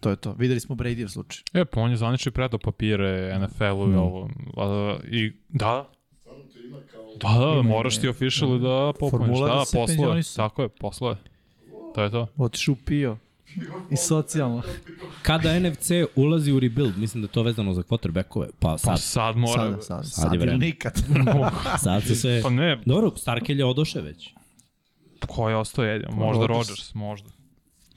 [SPEAKER 3] To je to. Videli smo Bradyov slučaj.
[SPEAKER 2] E, pa on je zvanično i predao papire NFL-u i ovo. A, I da,
[SPEAKER 4] Stvarno to ima kao...
[SPEAKER 2] da, da,
[SPEAKER 3] Ima,
[SPEAKER 2] da moraš
[SPEAKER 3] ima.
[SPEAKER 2] ti officially da popuniš.
[SPEAKER 3] Formula
[SPEAKER 2] Da,
[SPEAKER 3] da se
[SPEAKER 2] poslove.
[SPEAKER 3] penzionišu.
[SPEAKER 2] Tako je, poslove. To je to.
[SPEAKER 3] Otišu pio. I socijalno.
[SPEAKER 1] Kada NFC ulazi u rebuild, mislim da je to vezano za quarterbackove, pa
[SPEAKER 2] Pa
[SPEAKER 1] sad,
[SPEAKER 2] sad mora...
[SPEAKER 3] Sada, sada,
[SPEAKER 1] sad je
[SPEAKER 3] sad ili
[SPEAKER 1] vreme.
[SPEAKER 3] nikad.
[SPEAKER 1] sad se sve...
[SPEAKER 2] Pa ne,
[SPEAKER 1] Dobro, Starkelj je odoše već.
[SPEAKER 2] ko je ostao jedin? Možda
[SPEAKER 3] Rodgers.
[SPEAKER 2] Rodgers, možda.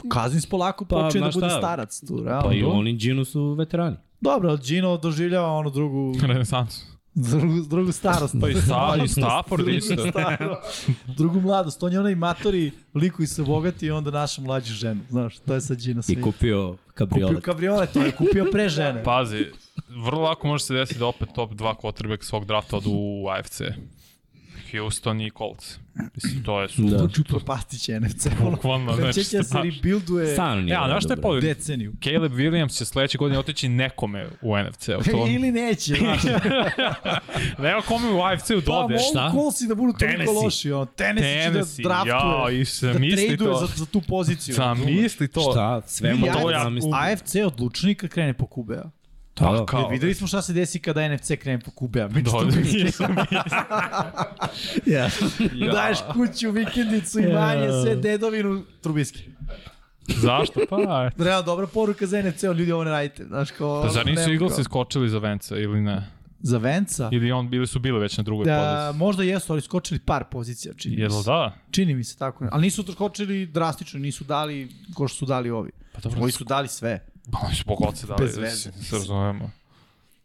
[SPEAKER 3] Kazins polako
[SPEAKER 1] Pa,
[SPEAKER 3] počeo da
[SPEAKER 1] znaš
[SPEAKER 3] bude
[SPEAKER 1] šta?
[SPEAKER 3] starac tu,
[SPEAKER 1] Pa i
[SPEAKER 3] realno.
[SPEAKER 1] oni Gino su veterani.
[SPEAKER 3] Dobro, ali Gino doživljava onu drugu,
[SPEAKER 2] Renesansu.
[SPEAKER 3] drugu, drugu starost.
[SPEAKER 2] Pa i, Sta, i Stafford
[SPEAKER 3] Drugu
[SPEAKER 2] isto.
[SPEAKER 3] starost. drugu mladost. On je onaj matori liku i se bogati i onda naša mlađu ženu. Znaš, to je sad Gino
[SPEAKER 1] I
[SPEAKER 3] svi.
[SPEAKER 1] kupio
[SPEAKER 3] Kupio
[SPEAKER 1] kabriolet.
[SPEAKER 3] kabriolet, to je kupio pre žene.
[SPEAKER 2] Pazi, vrlo lako može se desiti da opet top 2 quarterback svog drafta odu u AFC. Houston i Colts. Mislim, to je su...
[SPEAKER 1] Da.
[SPEAKER 3] Propastit Pa, će NFC.
[SPEAKER 2] Bukvalno, znači,
[SPEAKER 3] Znači, će se
[SPEAKER 2] znaš.
[SPEAKER 3] rebuilduje
[SPEAKER 1] Stvarno nije
[SPEAKER 2] E, a znaš šta je
[SPEAKER 1] dobro.
[SPEAKER 2] pol...
[SPEAKER 3] deceniju.
[SPEAKER 2] Caleb Williams će sledeće godine otići nekome u NFC. -u, to...
[SPEAKER 3] Ili neće, znaš.
[SPEAKER 2] Nema kome u AFC-u
[SPEAKER 3] Pa
[SPEAKER 2] dode.
[SPEAKER 1] šta?
[SPEAKER 3] mogu Colsi da budu toliko
[SPEAKER 1] Tennessee.
[SPEAKER 3] loši, ono, Tennessee,
[SPEAKER 2] Tennessee,
[SPEAKER 3] će da
[SPEAKER 2] ja,
[SPEAKER 3] draftuje,
[SPEAKER 2] i se
[SPEAKER 3] da
[SPEAKER 2] misli
[SPEAKER 3] traduje
[SPEAKER 2] to.
[SPEAKER 3] za, za tu poziciju.
[SPEAKER 2] Sam misli to.
[SPEAKER 1] Šta, sve mu
[SPEAKER 3] I
[SPEAKER 1] to
[SPEAKER 2] to ja-
[SPEAKER 1] ja
[SPEAKER 3] AFC,
[SPEAKER 1] mislim.
[SPEAKER 3] AFC odlučni kad krene po QB-a.
[SPEAKER 1] Da,
[SPEAKER 2] Kao,
[SPEAKER 3] Videli smo šta se desi kada NFC krene po QB-a. Mi
[SPEAKER 2] Pa, Da,
[SPEAKER 3] što mi-
[SPEAKER 2] nisam
[SPEAKER 1] ja.
[SPEAKER 2] ja.
[SPEAKER 3] Daješ kuću, vikendicu, imanje, sve, dedovinu, trubiski.
[SPEAKER 2] Zašto? Pa, eto.
[SPEAKER 3] Realno, dobra poruka za NFC, on ljudi ovo ne radite. Znaš, kao,
[SPEAKER 2] Pa zar nisu
[SPEAKER 3] nema
[SPEAKER 2] Eagles
[SPEAKER 3] kao-
[SPEAKER 2] iskočili za Venca ili ne?
[SPEAKER 3] Za Venca?
[SPEAKER 2] Ili on bili su bili već na drugoj
[SPEAKER 3] Da,
[SPEAKER 2] da,
[SPEAKER 3] možda jesu, ali skočili par pozicija, čini mi
[SPEAKER 2] Jel
[SPEAKER 3] se.
[SPEAKER 2] da?
[SPEAKER 3] Čini mi se tako. Ali nisu skočili drastično, nisu dali ko što su dali ovi.
[SPEAKER 2] Pa dobro,
[SPEAKER 3] Ovi su dali sve.
[SPEAKER 2] Pa oni su pogodci dali,
[SPEAKER 3] Bez
[SPEAKER 2] Bez
[SPEAKER 3] veze.
[SPEAKER 2] veze. se razumemo.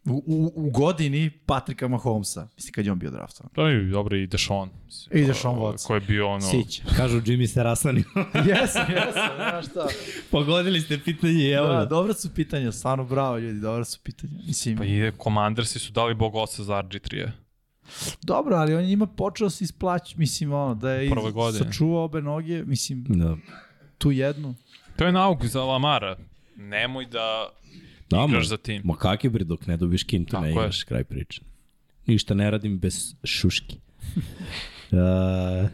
[SPEAKER 3] U, u, u godini Patrika Mahomesa. Mislim, kad je on bio draftovan.
[SPEAKER 2] Da je dobro i Dešon.
[SPEAKER 3] I Deshaun Watson.
[SPEAKER 2] Koji je bio ono...
[SPEAKER 3] Sić.
[SPEAKER 1] Kažu Jimmy se rasani.
[SPEAKER 3] Jesam, jesam, znaš šta.
[SPEAKER 1] Pogodili ste pitanje, evo.
[SPEAKER 3] Da,
[SPEAKER 1] Da,
[SPEAKER 3] dobra su pitanja, stvarno bravo ljudi, dobra su pitanja. Mislim,
[SPEAKER 2] Pa i Commandersi su dali bogoca za RG3.
[SPEAKER 3] dobro, ali on je njima počeo da se isplaći, mislim, ono, da je
[SPEAKER 2] Prve godine.
[SPEAKER 3] sačuvao obe noge, mislim,
[SPEAKER 1] da.
[SPEAKER 3] tu jednu.
[SPEAKER 2] To je nauk za Lamara. Nemoj da
[SPEAKER 1] da
[SPEAKER 2] igraš za tim.
[SPEAKER 1] Ma kak je bre, dok ne dobiješ kintu,
[SPEAKER 2] Tako
[SPEAKER 1] ne
[SPEAKER 2] je.
[SPEAKER 1] igraš, kraj priče. Ništa ne radim bez šuški. uh,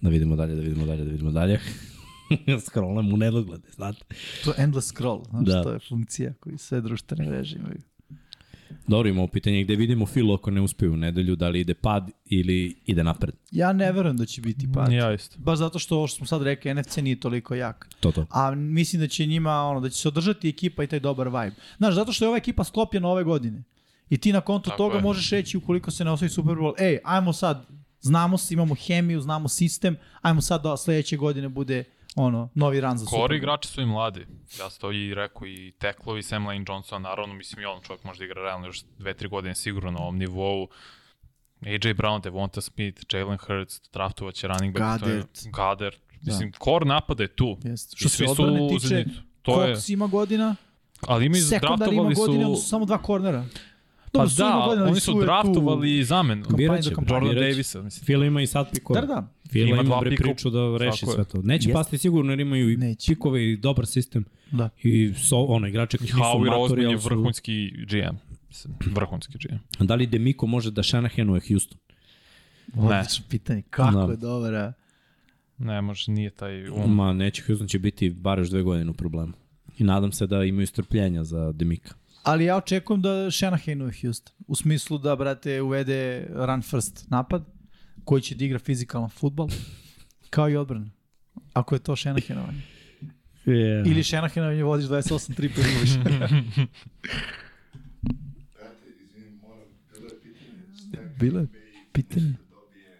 [SPEAKER 1] da vidimo dalje, da vidimo dalje, da vidimo dalje. Scrollam u nedoglede, znate.
[SPEAKER 3] To je endless scroll, znaš, da.
[SPEAKER 1] Da.
[SPEAKER 3] to je funkcija koju sve društvene mreže imaju.
[SPEAKER 1] Dobro, imamo pitanje gde vidimo Filo ako ne uspeju u nedelju, da li ide pad ili ide napred.
[SPEAKER 3] Ja ne verujem da će biti pad.
[SPEAKER 2] Ja isto.
[SPEAKER 3] Baš zato što, ovo što smo sad rekli, NFC nije toliko jak.
[SPEAKER 1] To to.
[SPEAKER 3] A mislim da će njima, ono, da će se održati ekipa i taj dobar vibe. Znaš, zato što je ova ekipa sklopljena ove godine. I ti na kontu
[SPEAKER 2] Tako
[SPEAKER 3] toga
[SPEAKER 2] je.
[SPEAKER 3] možeš reći ukoliko se ne osvoji Super Bowl, ej, ajmo sad, znamo se, imamo hemiju, znamo sistem, ajmo sad da sledeće godine bude ono, novi ran za Super
[SPEAKER 2] Kori
[SPEAKER 3] Bowl.
[SPEAKER 2] igrači su i mladi. Ja sam to i rekao i Teklovi, Sam Lane Johnson, naravno, mislim i on čovjek može da igra realno još 2-3 godine sigurno na ovom nivou. AJ Brown, Devonta Smith, Jalen Hurts, draftovaće running back. to je-
[SPEAKER 3] Goddard.
[SPEAKER 2] Goddard. Mislim, core napada je tu.
[SPEAKER 3] Jeste.
[SPEAKER 2] I
[SPEAKER 3] Što se
[SPEAKER 2] svi su
[SPEAKER 3] odbrane
[SPEAKER 2] u
[SPEAKER 3] tiče,
[SPEAKER 2] Zenitu. To je,
[SPEAKER 3] Cox ima godina,
[SPEAKER 2] ali ima i
[SPEAKER 3] sekundar ima
[SPEAKER 2] draftovali su...
[SPEAKER 3] godine, su... su samo dva kornera.
[SPEAKER 2] Pa
[SPEAKER 3] Dobro, su ima
[SPEAKER 2] da,
[SPEAKER 3] godina, ali
[SPEAKER 2] oni su
[SPEAKER 3] je tu-
[SPEAKER 2] draftovali zamenu.
[SPEAKER 3] Kampanja
[SPEAKER 1] Birat
[SPEAKER 3] za
[SPEAKER 1] će,
[SPEAKER 3] kampanju.
[SPEAKER 2] Jordan
[SPEAKER 1] birat će.
[SPEAKER 2] Davisa, mislim.
[SPEAKER 1] Filo ima i sad pikove.
[SPEAKER 3] Da, da.
[SPEAKER 1] Filo
[SPEAKER 2] Ima
[SPEAKER 1] ima,
[SPEAKER 2] dva
[SPEAKER 1] bre
[SPEAKER 2] pika.
[SPEAKER 1] priču da reši
[SPEAKER 2] Tako je.
[SPEAKER 1] sve to. Neće
[SPEAKER 3] Jeste.
[SPEAKER 1] pasti sigurno jer imaju i
[SPEAKER 3] Neće.
[SPEAKER 1] pikove i dobar sistem.
[SPEAKER 3] Da.
[SPEAKER 1] I so, ono, igrače koji nisu
[SPEAKER 2] Howie
[SPEAKER 1] matori,
[SPEAKER 2] Roseman je
[SPEAKER 1] ali su...
[SPEAKER 2] vrhunski GM. Mislim, Vrhunski GM.
[SPEAKER 1] Da li Demiko može da Shanahanuje Houston?
[SPEAKER 3] Odlično pitanje, kako
[SPEAKER 1] Da.
[SPEAKER 3] je dobra.
[SPEAKER 2] Ne može, nije taj um.
[SPEAKER 1] Ma, neće, Houston će biti bar još dve godine u problemu. I nadam se da imaju strpljenja za Demika.
[SPEAKER 3] Ali ja očekujem da Shanahan u Houston. U smislu da, brate, uvede run first napad, koji će da igra fizikalan futbal, kao i odbrana. Ako je to Shanahanovanje.
[SPEAKER 1] Yeah.
[SPEAKER 3] Ili Shanahanovanje vodiš 28 tripa ili više.
[SPEAKER 4] Brate, izvinim, moram, bilo je pitanje, šta
[SPEAKER 3] Bilo je pitanje.
[SPEAKER 4] dobije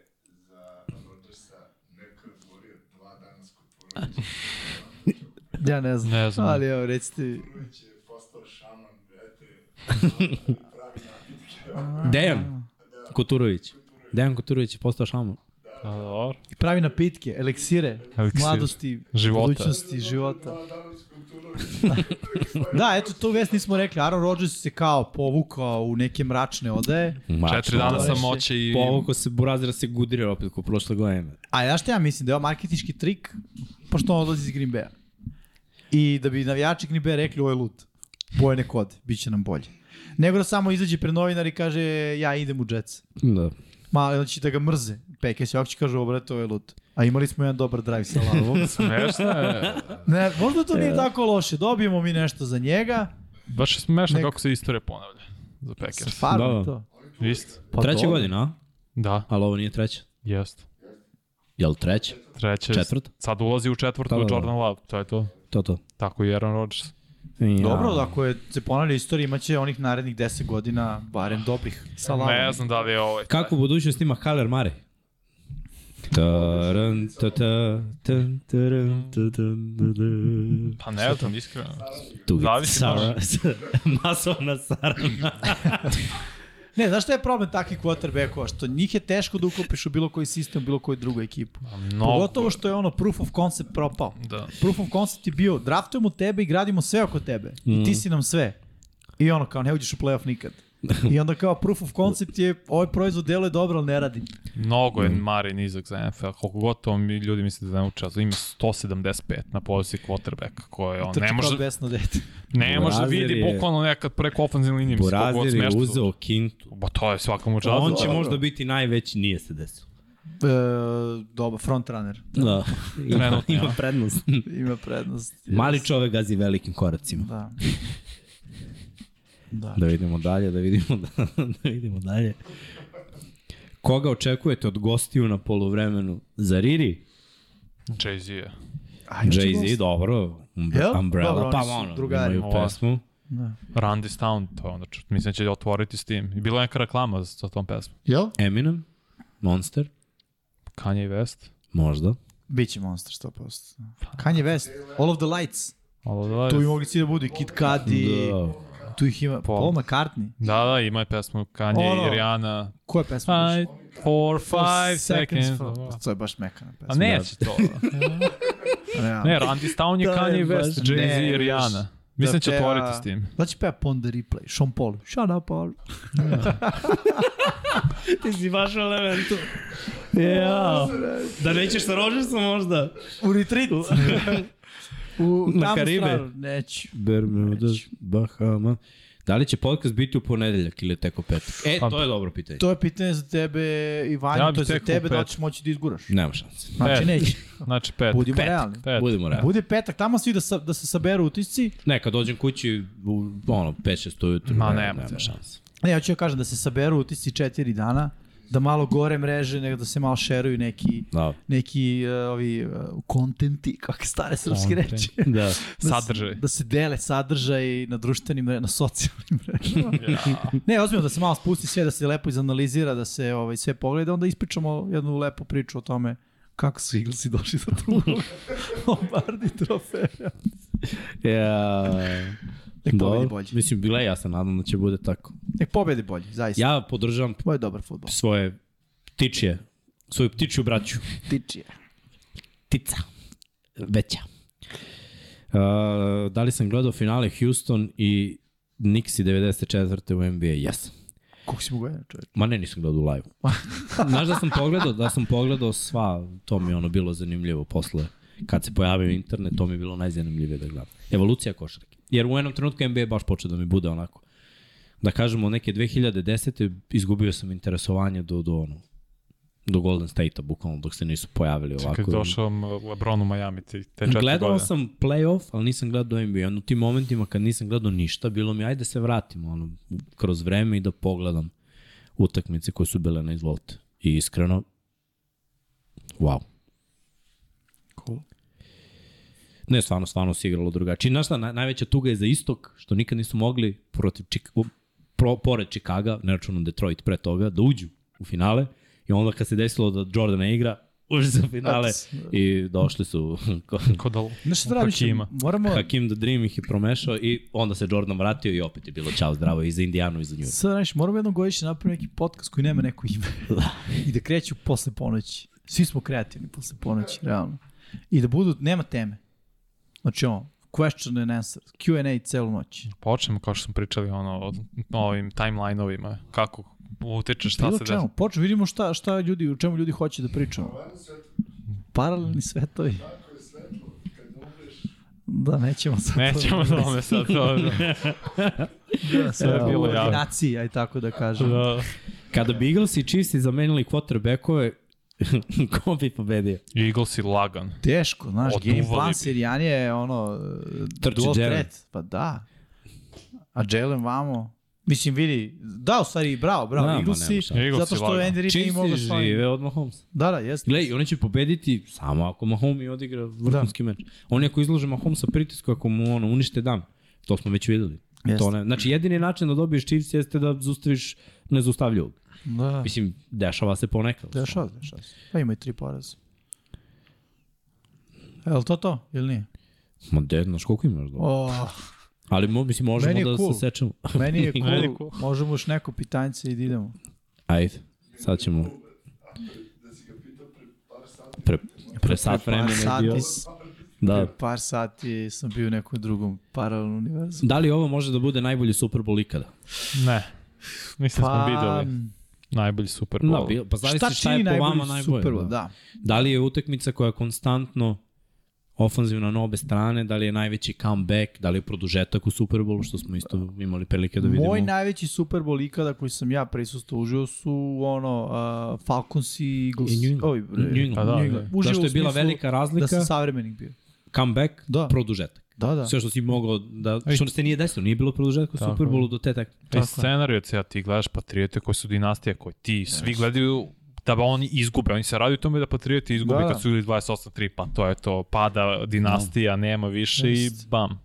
[SPEAKER 3] da
[SPEAKER 4] za Rodgersa, neko je govorio dva danas kod Porovića.
[SPEAKER 3] Ja ne znam.
[SPEAKER 2] Ne znam.
[SPEAKER 3] Ali evo, recite vi.
[SPEAKER 4] Porović je postao šaman, brate, pravi napitke.
[SPEAKER 3] Ah.
[SPEAKER 1] Dejan Koturović. Dejan Koturović je postao šaman.
[SPEAKER 2] A, Da, Dobro.
[SPEAKER 3] Pravi napitke, eliksire,
[SPEAKER 2] Eliksir.
[SPEAKER 3] mladosti,
[SPEAKER 2] Života.
[SPEAKER 3] budućnosti, života.
[SPEAKER 4] Dva danas kod Porovića.
[SPEAKER 3] Da, eto, tu vest nismo rekli. Aaron Rodgers se kao povukao u neke mračne odeje.
[SPEAKER 1] Mačno,
[SPEAKER 2] Četiri dana
[SPEAKER 3] to je
[SPEAKER 2] sam
[SPEAKER 3] še-
[SPEAKER 2] moće i...
[SPEAKER 1] Povukao se Burazira se gudrio opet ko prošle godine.
[SPEAKER 3] A ja šta ja mislim, da je ovo marketički trik, pošto on odlazi iz Green Bay-a. I da bi navijači Green Bay rekli, ovo je lud. Boje nek ode, bit će nam bolje. Nego da samo izađe pre novinar i kaže, ja idem u Jets.
[SPEAKER 1] Da.
[SPEAKER 3] Ma, ili će da ga mrze. Peke se ovako će kažu, ovo brate, ovo je lud. A imali smo jedan dobar drive sa lavom.
[SPEAKER 2] Smešno je.
[SPEAKER 3] Ne, možda to nije tako loše. Dobijemo mi nešto za njega.
[SPEAKER 2] Baš je smešno
[SPEAKER 3] Nek-
[SPEAKER 2] kako se istorija ponavlja za Packers.
[SPEAKER 3] Stvarno
[SPEAKER 1] Da, da.
[SPEAKER 3] to.
[SPEAKER 2] Isto.
[SPEAKER 3] Pa
[SPEAKER 1] treća
[SPEAKER 3] dobro.
[SPEAKER 1] godina, a?
[SPEAKER 2] Da,
[SPEAKER 1] Ali ovo nije treća.
[SPEAKER 2] jest.
[SPEAKER 1] Jel treća?
[SPEAKER 2] Treće.
[SPEAKER 1] Četvrta?
[SPEAKER 2] Sad ulazi u četvrtu
[SPEAKER 1] Da, da, da.
[SPEAKER 2] Jordan Love, to je to.
[SPEAKER 1] To to.
[SPEAKER 2] Tako i Aaron Rodgers.
[SPEAKER 1] Ja.
[SPEAKER 3] Dobro, da ako je se ponavlja istorija, imaće onih narednih 10 godina barem dobrih sa lavom.
[SPEAKER 2] Ne znam da li je ovaj.
[SPEAKER 1] Kako budućnost ima Haller Mare? Tarun, ta, ta, tarun, tarun, ta, tarun, ta, tarun.
[SPEAKER 2] Pa ne znam, iskreno.
[SPEAKER 1] Tu
[SPEAKER 2] Zavisi
[SPEAKER 1] Sara, masovna sarana.
[SPEAKER 3] Ne, znaš šta je problem takvih quarterbackova? Što njih je teško da uklopiš u bilo koji sistem, u bilo koju drugu ekipu.
[SPEAKER 2] Mnogo.
[SPEAKER 3] Pogotovo što je ono proof of concept propao.
[SPEAKER 2] Da.
[SPEAKER 3] Proof of concept je bio, draftujemo tebe i gradimo sve oko tebe. I ti si nam sve. I ono kao, ne uđeš u playoff nikad. I onda kao proof of concept je, ovaj proizvod deluje dobro, ali ne radi.
[SPEAKER 2] Mnogo
[SPEAKER 1] Mm.
[SPEAKER 2] je Mare nizak za NFL, koliko gotovo mi ljudi misle da ne uče, ali ima 175 na poziciji quarterbacka koje on
[SPEAKER 3] Trči
[SPEAKER 2] ne može,
[SPEAKER 3] kao besno dete.
[SPEAKER 2] ne može da
[SPEAKER 1] Burazir
[SPEAKER 2] vidi
[SPEAKER 1] je-
[SPEAKER 2] bukvalno nekad preko ofenzivne linije. mislim, koliko god
[SPEAKER 1] Burazir je
[SPEAKER 2] smešno
[SPEAKER 1] uzeo
[SPEAKER 2] zvuči.
[SPEAKER 1] kintu.
[SPEAKER 2] Ba to je svakom času. da,
[SPEAKER 1] On će
[SPEAKER 3] dobro.
[SPEAKER 1] možda biti najveći, nije se desilo.
[SPEAKER 3] E, doba, front runner.
[SPEAKER 1] Da. Ima,
[SPEAKER 2] Trenutno,
[SPEAKER 1] ima
[SPEAKER 2] a?
[SPEAKER 1] prednost.
[SPEAKER 3] Ima prednost.
[SPEAKER 1] Mali čovek gazi velikim koracima.
[SPEAKER 3] Da. Da.
[SPEAKER 1] Da vidimo dalje, da vidimo, da, da vidimo dalje. Koga očekujete od gostiju na polovremenu? Zariri?
[SPEAKER 2] Jay-Z je.
[SPEAKER 3] A, još će
[SPEAKER 1] Jay-Z,
[SPEAKER 3] gost.
[SPEAKER 1] dobro.
[SPEAKER 3] Jel?
[SPEAKER 1] Umbre- Umbrella,
[SPEAKER 3] Dobro,
[SPEAKER 1] pa
[SPEAKER 3] oni su
[SPEAKER 1] ono,
[SPEAKER 3] drugari.
[SPEAKER 1] imaju
[SPEAKER 2] Ova.
[SPEAKER 1] pesmu.
[SPEAKER 3] Da.
[SPEAKER 2] Randy Stown, to je onda čut. Mislim da će otvoriti s tim. I bila je neka reklama za sa tom pesmom.
[SPEAKER 3] Jel?
[SPEAKER 1] Eminem, Monster,
[SPEAKER 2] Kanye West.
[SPEAKER 1] možda.
[SPEAKER 3] Biće Monster 100%. Kanye West, All of the Lights.
[SPEAKER 2] Alo, Pa da,
[SPEAKER 3] Tu i
[SPEAKER 2] je-
[SPEAKER 3] mogli svi da budu i Kid Cudi,
[SPEAKER 1] Da.
[SPEAKER 3] tu ih ima
[SPEAKER 2] Paul.
[SPEAKER 3] Paul McCartney.
[SPEAKER 2] da, da, ima je pesmu Kanye
[SPEAKER 3] Ono-
[SPEAKER 2] i Rihanna.
[SPEAKER 3] Koja pesma? je
[SPEAKER 2] Five, four,
[SPEAKER 3] baš?
[SPEAKER 2] five seconds.
[SPEAKER 3] for- To je baš mekana pesma.
[SPEAKER 2] A neće to.
[SPEAKER 3] Realno.
[SPEAKER 2] Ne, Randy Stown je
[SPEAKER 1] To je
[SPEAKER 2] Kanye
[SPEAKER 1] baš-
[SPEAKER 2] West, Jay-Z
[SPEAKER 3] Ne,
[SPEAKER 2] i Rihanna. Mislim da će
[SPEAKER 3] peva-
[SPEAKER 2] otvoriti s tim.
[SPEAKER 3] Da će peva Pon the Replay, Sean Paul. Shut up, Paul.
[SPEAKER 1] Ti si baš u elementu. Ja. Da nećeš sa Rodgersom možda?
[SPEAKER 3] U retreat. U,
[SPEAKER 1] Na
[SPEAKER 3] tamo
[SPEAKER 1] Karibe.
[SPEAKER 3] stranu. Neću.
[SPEAKER 1] Bermuda, Bahama. Da li će podcast biti u ponedeljak ili tek u petak? E,
[SPEAKER 2] Pa-
[SPEAKER 1] to je dobro pitanje.
[SPEAKER 3] To je pitanje za tebe, Ivan,
[SPEAKER 2] Ja bi
[SPEAKER 3] to je za
[SPEAKER 2] tek u
[SPEAKER 3] tebe, da li
[SPEAKER 2] pet.
[SPEAKER 3] ćeš moći da izguraš.
[SPEAKER 1] Nema šanse.
[SPEAKER 3] Znači,
[SPEAKER 2] Pet.
[SPEAKER 3] neće.
[SPEAKER 2] Znači pet.
[SPEAKER 3] Budimo
[SPEAKER 1] Pet.
[SPEAKER 3] realni.
[SPEAKER 2] Pet.
[SPEAKER 1] Budemo realni.
[SPEAKER 3] Bude petak, tamo svi da, sa, da se saberu utisci.
[SPEAKER 1] Ne, kad dođem kući, u, ono, 5-6 ujutru,
[SPEAKER 2] Ma,
[SPEAKER 1] ne,
[SPEAKER 2] nema
[SPEAKER 1] nema
[SPEAKER 2] te.
[SPEAKER 1] šanse.
[SPEAKER 3] Ne, ja ću ja kažem da se saberu utisci četiri dana, da malo gore mreže, nego da se malo šeruju neki
[SPEAKER 1] Da.
[SPEAKER 3] neki uh, ovi uh, kontenti, kakve stare srpske
[SPEAKER 2] Content.
[SPEAKER 3] reči.
[SPEAKER 1] Da.
[SPEAKER 3] Da se-
[SPEAKER 2] Sadržaj.
[SPEAKER 3] Da se dele sadržaj na društvenim mrežama, na socijalnim mrežama. ne, ozbiljno da se malo spusti sve, da se lepo izanalizira, da se ovaj, sve pogleda, onda ispričamo jednu lepu priču o tome kako su Eaglesi došli do drugog Lombardi trofeja.
[SPEAKER 1] Ja,
[SPEAKER 3] Nek pobedi
[SPEAKER 1] dobro.
[SPEAKER 3] bolje.
[SPEAKER 1] Mislim, bila je jasna, nadam da će bude tako.
[SPEAKER 3] Nek pobedi bolje, zaista. Ja.
[SPEAKER 1] Ja podržavam
[SPEAKER 3] Ovo je dobar futbol.
[SPEAKER 1] svoje ptičije, svoju ptičju braću.
[SPEAKER 3] Tičije.
[SPEAKER 1] Ptica. Veća. Uh, da li sam gledao finale Houston i Nixi 94. u NBA? Jesam.
[SPEAKER 3] Kako si mu gledao, čovječ?
[SPEAKER 1] Ma ne, nisam gledao u live. Znaš da sam pogledao, da sam pogledao sva, to mi je ono bilo zanimljivo posle. Kad se pojavio internet, to mi je bilo najzanimljivije da gledam. Evolucija košarke. Jer u jednom trenutku NBA je baš počeo da mi bude onako. Da kažemo, neke 2010. izgubio sam interesovanje do, do ono, do Golden State-a, bukvalno, dok se nisu pojavili ovako.
[SPEAKER 2] Kad je došao m, LeBron u Miami, ti, te četiri
[SPEAKER 1] Gledao
[SPEAKER 2] godine.
[SPEAKER 1] sam playoff, ali nisam gledao NBA. Ono, u tim momentima kad nisam gledao ništa, bilo mi ajde se vratimo ono, kroz vreme i da pogledam utakmice koje su bile na izvolite. I iskreno, wow.
[SPEAKER 3] Cool.
[SPEAKER 1] Ne, stvarno, stvarno se igralo drugačije. I Znaš šta, naj, najveća tuga je za istok, što nikad nisu mogli protiv Čik u, pro, pored Čikaga, ne računom Detroit pre toga, da uđu u finale. I onda kad se desilo da Jordan ne igra, uđe za finale
[SPEAKER 3] Ups.
[SPEAKER 1] i došli su ko-
[SPEAKER 2] Kod al...
[SPEAKER 3] Znaš šta rabiš?
[SPEAKER 2] Hakima.
[SPEAKER 3] Moramo...
[SPEAKER 1] Hakim the Dream ih je promešao i onda se Jordan vratio i opet je bilo čao zdravo i za Indijanu i za nju.
[SPEAKER 3] Sad, znaš, moramo jednom godišnje napraviti neki podcast koji nema neko ime. I da kreću posle ponoći. Svi smo kreativni posle ponoći, realno. I da budu, nema teme. Znači, ono, question and answer, Q&A celu noć.
[SPEAKER 2] Počnemo kao što smo pričali ono, o ovim timeline-ovima, kako utiče šta
[SPEAKER 3] Mhm. Bilo
[SPEAKER 2] se desi.
[SPEAKER 3] čemu, poču, Pa vidimo šta, šta ljudi, u čemu ljudi hoće da pričamo.
[SPEAKER 4] Stvarno svetlo,
[SPEAKER 3] Paralelni svetovi,
[SPEAKER 4] tako je svetlo, kad umreš,
[SPEAKER 3] da, nećemo sad. to-
[SPEAKER 2] Nećemo o tome sad, dobro.
[SPEAKER 3] Da,
[SPEAKER 2] sve je bilo
[SPEAKER 3] u
[SPEAKER 2] javno.
[SPEAKER 3] ordinaciji, aj tako da kažem.
[SPEAKER 2] Da.
[SPEAKER 1] Kada bi Eagles i Chiefs zamenili quarterbackove, ko bi pobedio?
[SPEAKER 2] Eagles i lagan.
[SPEAKER 3] Teško, znaš,
[SPEAKER 2] Oduvali
[SPEAKER 3] game plan
[SPEAKER 2] bi.
[SPEAKER 3] Sirijan je ono...
[SPEAKER 1] Trči
[SPEAKER 3] dual
[SPEAKER 1] Jalen.
[SPEAKER 3] threat, Pa da. A Jalen vamo... Mislim, vidi, da, u stvari, bravo, bravo,
[SPEAKER 1] Da, ma,
[SPEAKER 3] Eaglesi,
[SPEAKER 1] nema šta.
[SPEAKER 2] Eaglesi
[SPEAKER 3] zato što
[SPEAKER 2] lagano.
[SPEAKER 3] Andy Reid nije mogao
[SPEAKER 1] Chiefs
[SPEAKER 3] svojim.
[SPEAKER 1] žive od Mahomes.
[SPEAKER 3] Da, da, jeste.
[SPEAKER 1] Glej, oni će pobediti samo ako Mahomes odigra vrhunski meč. Oni ako izlože Mahomesa pritisku, ako mu ono, unište dan. To smo već videli.
[SPEAKER 3] Jeste.
[SPEAKER 1] To ne, znači, jedini način da dobiješ Chiefs jeste da zustaviš nezustavljivog.
[SPEAKER 3] Da,
[SPEAKER 1] Mislim, dešava se ponekad.
[SPEAKER 3] dešava, se, dešava. se. Pa ima i tri poraza. Je li to to ili nije?
[SPEAKER 1] Ma de, znaš koliko imaš dobro.
[SPEAKER 3] Oh,
[SPEAKER 1] Ali mo, mislim,
[SPEAKER 3] Meni
[SPEAKER 1] možemo
[SPEAKER 3] je
[SPEAKER 1] da
[SPEAKER 3] cool.
[SPEAKER 1] se sečemo.
[SPEAKER 3] meni je
[SPEAKER 2] Meni je
[SPEAKER 3] cool. Možemo još neko pitanjce i da idemo.
[SPEAKER 1] Ajde, sad ćemo
[SPEAKER 4] da si ga pitao pre par sati,
[SPEAKER 1] pre, pre sat
[SPEAKER 3] Pre par
[SPEAKER 1] vremena je
[SPEAKER 3] sati
[SPEAKER 1] bio.
[SPEAKER 3] s-
[SPEAKER 1] Da.
[SPEAKER 3] Pre par sati sam bio u nekom drugom paralelnom univerzu.
[SPEAKER 1] Da li ovo može da bude najbolji Super Bowl ikada?
[SPEAKER 2] Ne. Mislim pa... smo videli. Najbolji Super Bowl. E,
[SPEAKER 1] Da, bio, pa zavisi
[SPEAKER 3] šta
[SPEAKER 1] šta,
[SPEAKER 3] čini
[SPEAKER 1] je po vama
[SPEAKER 3] najbolji
[SPEAKER 1] najbolje.
[SPEAKER 3] Super Bowl? Da.
[SPEAKER 1] da li je utakmica koja je konstantno ofanzivna na obe strane, da li je najveći comeback, da li je produžetak u Super Bowlu, što smo isto imali prilike da vidimo.
[SPEAKER 3] Moj najveći Super Bowl ikada koji sam ja prisustuo uživo su ono uh, Falcons i Eagles.
[SPEAKER 1] I New England.
[SPEAKER 3] Ovi, bre,
[SPEAKER 1] New England.
[SPEAKER 2] Pa da,
[SPEAKER 1] New
[SPEAKER 2] da.
[SPEAKER 1] England.
[SPEAKER 3] Uživo
[SPEAKER 1] Zašto
[SPEAKER 3] u
[SPEAKER 1] je bila
[SPEAKER 3] smislu
[SPEAKER 1] velika
[SPEAKER 3] Da
[SPEAKER 1] razlika,
[SPEAKER 3] sam savremenik bio.
[SPEAKER 1] comeback,
[SPEAKER 3] Da.
[SPEAKER 1] produžetak.
[SPEAKER 3] Da, da.
[SPEAKER 1] Sve što si mogao da, što se nije desilo, nije bilo produžetka u
[SPEAKER 2] Tako
[SPEAKER 1] Super
[SPEAKER 2] je.
[SPEAKER 1] Bowlu do te tak.
[SPEAKER 2] Taj scenariju, cija, ti gledaš Patriote koji su dinastija, koji ti svi gledaju da ba oni izgube. Oni se raduju tome da Patrioti izgube
[SPEAKER 3] Da.
[SPEAKER 2] kad su ili 28-3, pa to je to, pada dinastija, nema više
[SPEAKER 3] Jest. Da,
[SPEAKER 2] i bam.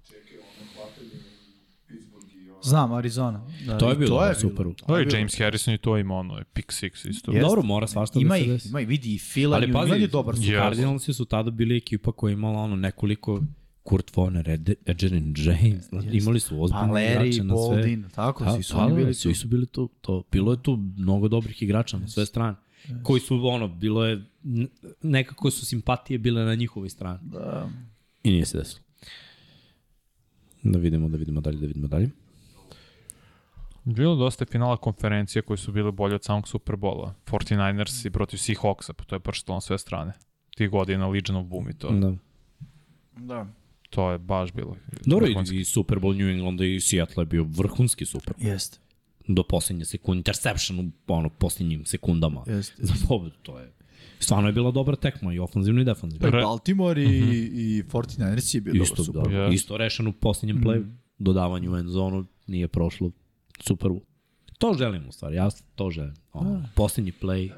[SPEAKER 4] Pittsburgh i on.
[SPEAKER 3] Znam, Arizona. Da,
[SPEAKER 1] To je
[SPEAKER 3] i
[SPEAKER 1] bilo dobar Super Bowl.
[SPEAKER 2] To je
[SPEAKER 3] bilo.
[SPEAKER 2] James Harrison i to ima ono, i pick six isto.
[SPEAKER 3] Jeste.
[SPEAKER 1] Dobro, mora svašta
[SPEAKER 3] Ima
[SPEAKER 1] da se
[SPEAKER 3] ih,
[SPEAKER 1] desi.
[SPEAKER 3] ima ih, vidi i Fila,
[SPEAKER 1] Ali
[SPEAKER 3] New England
[SPEAKER 1] pazi,
[SPEAKER 3] je dobar Super
[SPEAKER 2] je-
[SPEAKER 3] Bowl.
[SPEAKER 2] Jasno.
[SPEAKER 1] Cardinalsi su tada bili ekipa koja je imala ono nekoliko Kurt Warner, Ed- Edgerrin James, znači, imali su
[SPEAKER 3] Pa
[SPEAKER 1] ozbiljne igrače
[SPEAKER 3] Larry,
[SPEAKER 1] na sve.
[SPEAKER 3] Boldin, tako,
[SPEAKER 1] Da,
[SPEAKER 3] svi su
[SPEAKER 1] da,
[SPEAKER 3] oni
[SPEAKER 1] da,
[SPEAKER 3] bili.
[SPEAKER 1] Svi su bili tu. To, bilo je tu mnogo dobrih igrača na sve strane. Koji su, ono, bilo je, n- nekako su simpatije bile na njihovoj strani.
[SPEAKER 3] Da.
[SPEAKER 1] I nije se desilo. Da vidimo, da vidimo dalje, da vidimo dalje.
[SPEAKER 2] Bilo dosta je finala konferencije koji su bile bolje od samog Superbola. 49ers i protiv Seahawksa, pa to je prštalo na sve strane. Tih godina Legion of Boom i to.
[SPEAKER 1] Da.
[SPEAKER 3] Da.
[SPEAKER 2] To je baš bilo.
[SPEAKER 1] Dobro,
[SPEAKER 2] vrhunski.
[SPEAKER 1] i, i Super Bowl New Englanda i Seattle je bio vrhunski Super Bowl.
[SPEAKER 3] Jeste.
[SPEAKER 1] Do posljednje sekunde, interception u ono, posljednjim sekundama.
[SPEAKER 3] Jeste.
[SPEAKER 1] Za pobedu, to je. Stvarno je bila dobra tekma, i ofenzivna i defenzivna.
[SPEAKER 3] Pa i
[SPEAKER 2] Re-
[SPEAKER 3] Baltimore i, i 49ers je bio dobar
[SPEAKER 1] Mhm. Isto,
[SPEAKER 3] Super
[SPEAKER 1] da,
[SPEAKER 3] Bowl.
[SPEAKER 2] Bowl.
[SPEAKER 1] isto rešeno u posljednjem mm. playu. Dodavanje u end zonu nije prošlo Super Bowl. To želim u stvari, ja to želim. Ono, Posljednji play.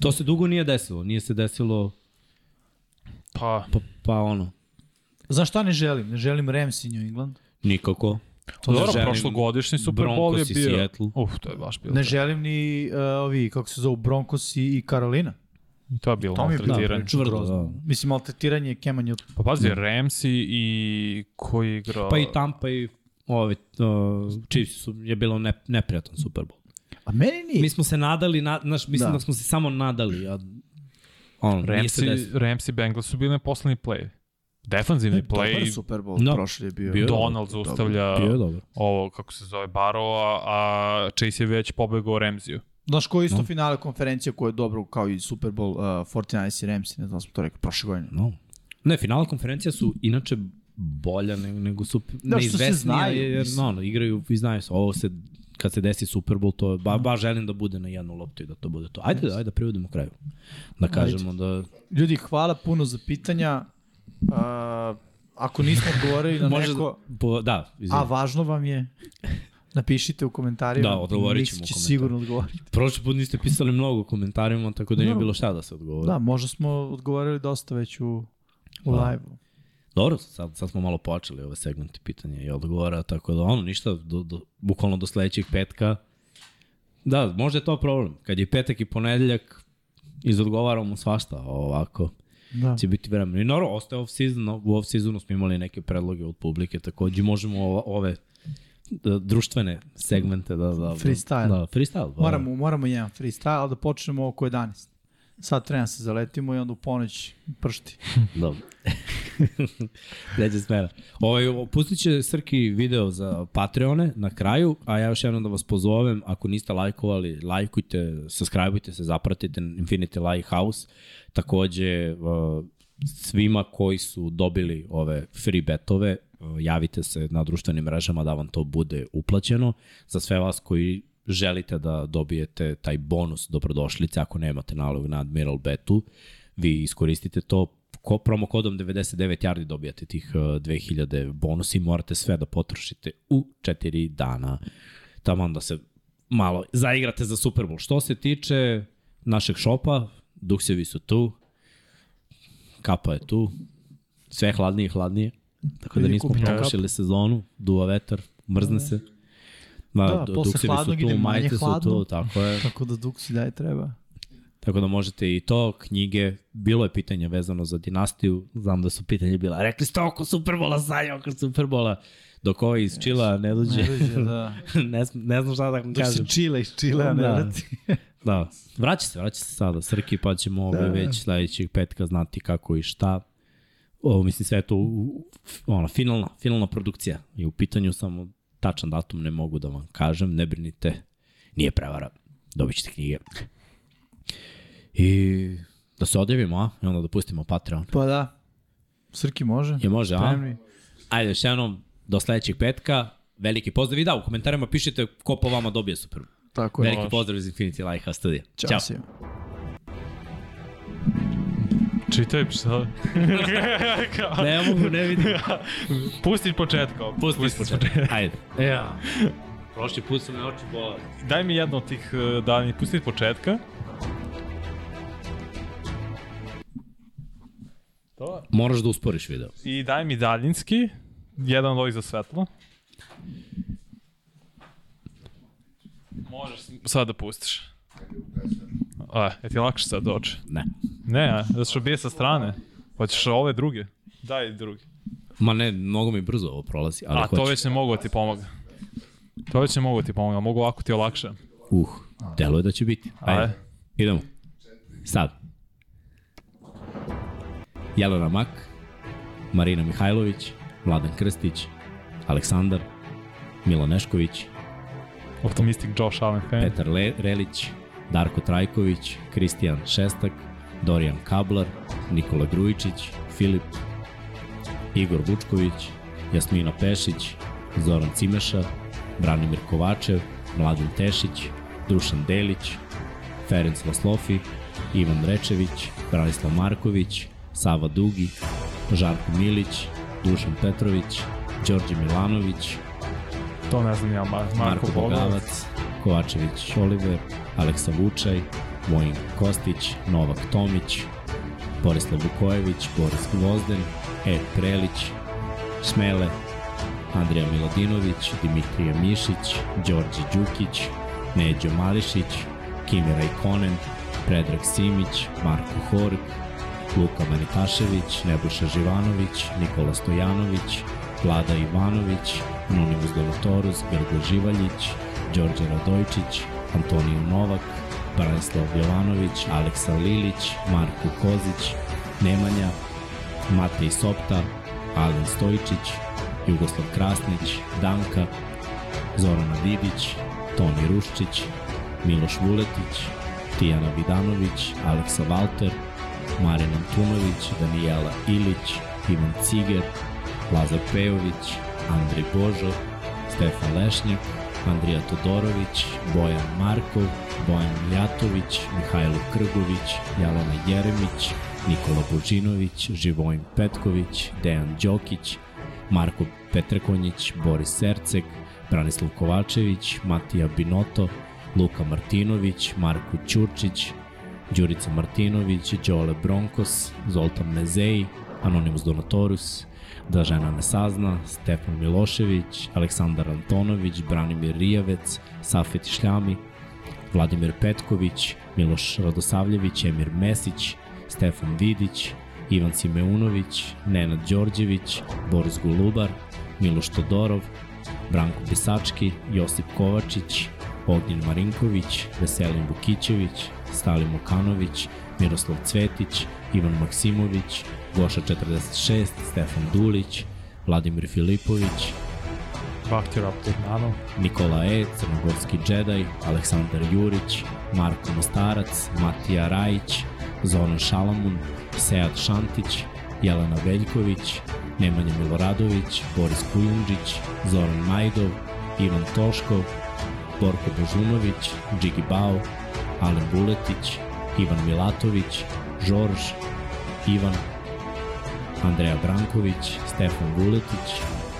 [SPEAKER 1] To se dugo nije desilo. Nije se desilo,
[SPEAKER 2] Pa,
[SPEAKER 1] pa, pa ono, da.
[SPEAKER 3] Znaš šta ne želim? Ne želim Rams i New England.
[SPEAKER 1] nikako.
[SPEAKER 2] to
[SPEAKER 1] ne
[SPEAKER 2] dobro,
[SPEAKER 1] želim.
[SPEAKER 2] prošlogodišnji Super Bowl je
[SPEAKER 1] Broncos i
[SPEAKER 2] bio.
[SPEAKER 1] Seattle.
[SPEAKER 2] Uf, to je baš bilo.
[SPEAKER 3] Ne želim ni uh, ovi, kako se zovu, Broncos i, i Karolina.
[SPEAKER 2] To je bilo
[SPEAKER 3] To mi je bilo
[SPEAKER 2] maltretiranje.
[SPEAKER 3] prilično
[SPEAKER 1] Čvrdo,
[SPEAKER 3] grozno.
[SPEAKER 1] da.
[SPEAKER 3] Mislim, maltretiranje je kemanje od...
[SPEAKER 2] Pa pazi, Ramsey i koji je igrao...
[SPEAKER 1] Pa i Tampa i ovi, uh, Chiefs su, je bilo ne, neprijatan Super Bowl.
[SPEAKER 3] A meni nije.
[SPEAKER 1] Mi smo se nadali, na, znaš, mislim
[SPEAKER 3] Da.
[SPEAKER 1] da. da smo se samo nadali, a ono, nije se
[SPEAKER 2] Ramsey,
[SPEAKER 1] desilo.
[SPEAKER 2] Ramsey i Bengals su bili na poslednji play. Defanzivni
[SPEAKER 3] Dobar
[SPEAKER 2] play,
[SPEAKER 3] Super Bowl
[SPEAKER 1] Da.
[SPEAKER 3] prošli je bio.
[SPEAKER 1] Bio je
[SPEAKER 2] Donald zaustavlja
[SPEAKER 1] Bio je dobro.
[SPEAKER 2] ovo, kako se zove, Barrowa, a Chase je već pobegao Ramsey-u.
[SPEAKER 3] Znaš koji je isto finale konferencija koja je dobro kao i Super Bowl uh, 49 i Rams, ne znam da smo to rekli, prošle godine.
[SPEAKER 1] No. Ne, finala konferencija su inače bolja nego, nego su
[SPEAKER 3] Da, što se
[SPEAKER 1] neizvesnija,
[SPEAKER 3] znaju,
[SPEAKER 1] jer
[SPEAKER 3] mislim.
[SPEAKER 1] no, no, igraju i znaju se. Ovo se, kad se desi Super Bowl, to je, ba, ba želim da bude na jednu loptu i da to bude to. Ajde, ajde da privodimo kraju. Da kažemo da...
[SPEAKER 3] Ljudi, hvala puno za pitanja. Uh, ako nismo odgovorili na
[SPEAKER 1] Može,
[SPEAKER 3] neko,
[SPEAKER 1] po, da,
[SPEAKER 3] a
[SPEAKER 1] izvim.
[SPEAKER 3] važno vam je, napišite u komentarima.
[SPEAKER 1] Da, odgovorit ćemo
[SPEAKER 3] Miks
[SPEAKER 1] u
[SPEAKER 3] će
[SPEAKER 1] komentarima.
[SPEAKER 3] sigurno odgovoriti.
[SPEAKER 1] Prošli put niste pisali mnogo u komentarima, tako da nije
[SPEAKER 3] Dobro.
[SPEAKER 1] bilo šta da se odgovori.
[SPEAKER 3] Da, možda smo odgovorili dosta već u,
[SPEAKER 1] Da.
[SPEAKER 3] u live-u.
[SPEAKER 1] Dobro, sad, sad smo malo počeli ove segmente pitanja i odgovora, tako da ono, ništa, do, do, bukvalno do sledećeg petka. Da, možda je to problem. Kad je petak i ponedeljak, izodgovaramo svašta a ovako.
[SPEAKER 3] Da.
[SPEAKER 1] Će biti vremena. I naravno, ostaje off-season, u off-seasonu smo imali neke predloge od publike, takođe možemo ova- ove da, društvene segmente da... da
[SPEAKER 3] Freestyle.
[SPEAKER 1] Da, freestyle. Da.
[SPEAKER 3] Moramo, moramo jedan freestyle, ali da počnemo oko 11. Sad treba se zaletimo i onda u ponoć pršti.
[SPEAKER 1] Dobro. Treća smena. Ovaj, pustit će Srki video za Patreone na kraju, a ja još jednom da vas pozovem, ako niste lajkovali, lajkujte, subscribeujte se, zapratite Infinity Lighthouse. Takođe, uh, svima koji su dobili ove free betove, uh, javite se na društvenim mrežama da vam to bude uplaćeno. Za sve vas koji želite da dobijete taj bonus dobrodošlice ako nemate nalog na Admiral Betu, vi iskoristite to ko, promo kodom 99 yardi dobijate tih uh, 2000 bonusi, morate sve da potrošite u 4 dana. Tamo da se malo zaigrate za Super Bowl. Što se tiče našeg šopa, duksevi su tu, kapa je tu, sve je hladnije i hladnije, tako da
[SPEAKER 3] Ljudi,
[SPEAKER 1] nismo
[SPEAKER 3] kupite kapu.
[SPEAKER 1] prošili sezonu, duva vetar, mrzne se.
[SPEAKER 3] Da,
[SPEAKER 1] Da,
[SPEAKER 3] posle
[SPEAKER 1] duksevi su
[SPEAKER 3] hladnog ide
[SPEAKER 1] tu,
[SPEAKER 3] manje
[SPEAKER 1] majice su
[SPEAKER 3] hladno.
[SPEAKER 1] tu, tako je.
[SPEAKER 3] Tako da Duksi daje treba.
[SPEAKER 1] Tako da možete i to, knjige, bilo je pitanje vezano za dinastiju, znam da su pitanje bila, rekli ste oko Superbola, sanje oko Superbola, dok ovaj iz Čila ne dođe,
[SPEAKER 3] Ne dođe, da.
[SPEAKER 1] ne, sm- ne znam šta da vam
[SPEAKER 3] Dok se
[SPEAKER 1] kažem.
[SPEAKER 3] čila iz čila, ne
[SPEAKER 1] Da.
[SPEAKER 3] vrati.
[SPEAKER 1] Da, vraća se, vraća se sada, Srki, pa ćemo
[SPEAKER 3] Da,
[SPEAKER 1] ovaj već sledećeg petka znati kako i šta. O, mislim, sve je to u- ono, finalna, finalna produkcija je u pitanju, samo tačan datum ne mogu da vam kažem, ne brinite, nije prevara, dobit ćete knjige. I da se odjavimo, a? I onda da pustimo Patreon.
[SPEAKER 3] Pa da. Srki može.
[SPEAKER 1] Je može, a?
[SPEAKER 3] Spremni.
[SPEAKER 1] Ajde, još jednom, do sledećeg petka, veliki pozdrav i da, u komentarima pišite ko po vama dobije Super Bowl.
[SPEAKER 3] Tako je.
[SPEAKER 1] Veliki pozdrav iz Infinity Lighthouse studija. Ćao.
[SPEAKER 3] Ćao. svima.
[SPEAKER 2] Čitaj pa šta?
[SPEAKER 1] Ne mogu, ne vidim.
[SPEAKER 2] Pusti početka.
[SPEAKER 1] Pusti ispočetka. Ajde. Ja. Prošli put sam me oči bolali.
[SPEAKER 2] Daj mi jedno od tih eh, da mi pusti početka. To.
[SPEAKER 1] Moraš da usporiš video.
[SPEAKER 2] I daj mi daljinski. Jedan od ovih za svetlo. Možeš sad da pustiš. A, je ti lakše sad doći?
[SPEAKER 1] Ne.
[SPEAKER 2] Ne, a, zato što bije sa strane. Hoćeš ove druge? Daj druge.
[SPEAKER 1] Ma ne, mnogo mi brzo ovo prolazi, ali
[SPEAKER 2] A
[SPEAKER 1] hoću.
[SPEAKER 2] to već ne mogu da ti pomoga. To već ne mogu da ti pomoga, mogu ovako ti olakšam.
[SPEAKER 1] Uh, deluje da će biti. Ajde.
[SPEAKER 2] Ajde.
[SPEAKER 1] Idemo. Sad. Jelena Mak, Marina Mihajlović, Vladan Krstić, Aleksandar, Milan Nešković,
[SPEAKER 2] Optimistic Josh Allen fan.
[SPEAKER 1] Petar Le Relić, Darko Trajković, Kristijan Šestak, Dorijan Kablar, Nikola Grujičić, Filip, Igor Vučković, Jasmina Pešić, Zoran Cimeša, Branimir Kovačev, Mladen Tešić, Dušan Delić, Ferenc Vaslofi, Ivan Rečević, Branislav Marković, Sava Dugi, Žarko Milić, Dušan Petrović, Đorđe Milanović,
[SPEAKER 2] To ne znam ja, Mar Marko
[SPEAKER 1] Marko
[SPEAKER 2] Bogavac.
[SPEAKER 1] Bogavac, Kovačević Oliver, Aleksa Vučaj, Vojin Kostić, Novak Tomić, Borislav Vukojević, Boris Gvozden, E. Prelić, Smele, Andrija Miladinović, Dimitrija Mišić, Đorđe Đukić, Neđo Mališić, Kimi Rajkonen, Predrag Simić, Marko Horg, Luka Manitašević, Nebojša Živanović, Nikola Stojanović, Vlada Ivanović, Anonimus Donatorus, Grgo Živaljić, Đorđe Radojčić, Antoniju Novak, Branislav Jovanović, Aleksa Lilić, Marko Kozić, Nemanja, Matej Sopta, Alen Stojičić, Jugoslav Krasnić, Danka, Zorana Vidić, Toni Ruščić, Miloš Vuletić, Tijana Vidanović, Aleksa Valter, Marin Antunović, Danijela Ilić, Ivan Ciger, Lazar Pejović, Andrej Božo, Stefan Lešnjak, Andrija Todorović, Bojan Markov, Bojan Mijatović, Mihajlo Krgović, Jelena Jeremić, Nikola Božinović, Živojin Petković, Dejan Đokić, Marko Petrekonjić, Boris Serceg, Branislav Kovačević, Matija Binoto, Luka Martinović, Marko Ćurčić, Đurica Martinović, Đole Bronkos, Zoltan Mezeji, Anonimus Donatorus, Da žena ne sazna, Stefan Milošević, Aleksandar Antonović, Branimir Rijavec, Safet Šljami, Vladimir Petković, Miloš Radosavljević, Emir Mesić, Stefan Vidić, Ivan Simeunović, Nenad Đorđević, Boris Golubar, Miloš Todorov, Branko Pisački, Josip Kovačić, Ognjen Marinković, Veselin Vukićević, Stalin Mukanović, Miroslav Cvetić, Ivan Maksimović, Goša 46, Stefan Dulić, Vladimir Filipović,
[SPEAKER 2] Bakter Abdurmanov,
[SPEAKER 1] Nikola E, Crnogorski džedaj, Aleksandar Jurić, Marko Mostarac, Matija Rajić, Zoran Šalamun, Sead Šantić, Jelena Veljković, Nemanja Miloradović, Boris Kujundžić, Zoran Majdov, Ivan Toškov, Borko Božunović, Džigi Bao, Alen Buletić, Ivan Milatović, Žorž, Ivan, Andreja Branković, Stefan Vuletić,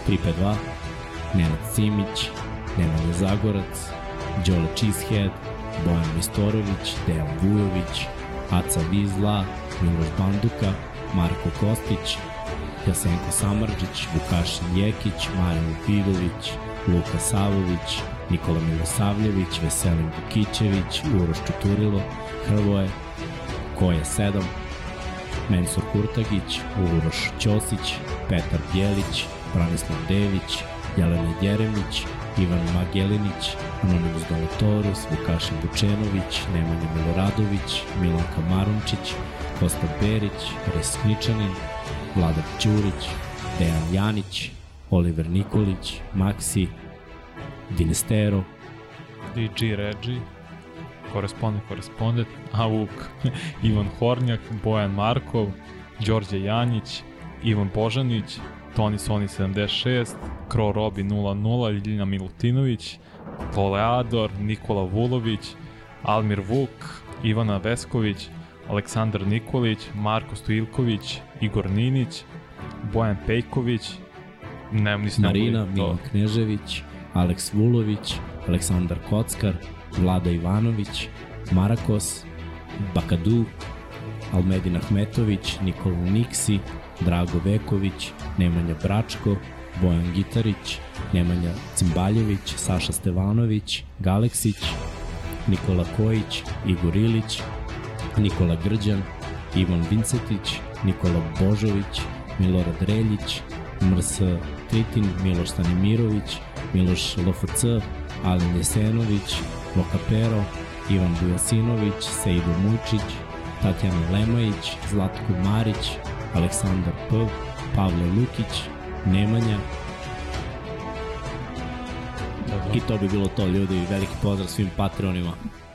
[SPEAKER 1] 352, Nenad Simić, Nemanja Zagorac, Đole Cheesehead, Bojan Mistorović, Dejan Vujović, Aca Vizla, Miloš Banduka, Marko Kostić, Jasenko Samarđić, Vukašin Jekić, Marijan Vidović, Luka Savović, Nikola Milosavljević, Veselin Vukićević, Uroš Čuturilo, Hrvoje, Koja 7, Mensur Kurtagić, Uroš Ćosić, Petar Bjelić, Branislav Dević, Jelena Jeremić, Ivan Magelinić, Anonimus Dolotorus, Vukašin Bučenović, Nemanja Miloradović, Milanka Marunčić, Kosta Berić, Resničanin, Vladar Ćurić, Dejan Janić, Oliver Nikolić, Maksi, Dinestero,
[SPEAKER 2] DG Regi, Korespondent, Korespondent, Avuk, Ivan Hornjak, Bojan Markov, Đorđe Janjić, Ivan Božanić, Toni Soni 76, Kro Robi 00, Ljiljana Milutinović, Toleador, Nikola Vulović, Almir Vuk, Ivana Vesković, Aleksandar Nikolić, Marko Stojilković, Igor Ninić, Bojan Pejković, ne, nisam
[SPEAKER 1] Marina,
[SPEAKER 2] mogli da to.
[SPEAKER 1] Milan Knežević, Aleks Vulović, Aleksandar Kockar, Vlada Ivanović, Marakos, Bakadu, Almedin Ahmetović, Nikola Niksi, Drago Veković, Nemanja Bračko, Bojan Gitarić, Nemanja Cimbaljević, Saša Stevanović, Galeksić, Nikola Kojić, Igor Ilić, Nikola Grđan, Ivan Vincetić, Nikola Božović, Milorad Reljić, Mrs. Tritin, Miloš Stanimirović, Miloš LFC, Alen Jesenović, Lokapero, Ivan Bujasinović, Sejdo Mučić, Tatjana Lemajić, Zlatko Marić, Aleksandar P, Pavle Lukić, Nemanja,
[SPEAKER 2] Da, da.
[SPEAKER 1] I to bi bilo to, ljudi. Veliki pozdrav svim Patreonima.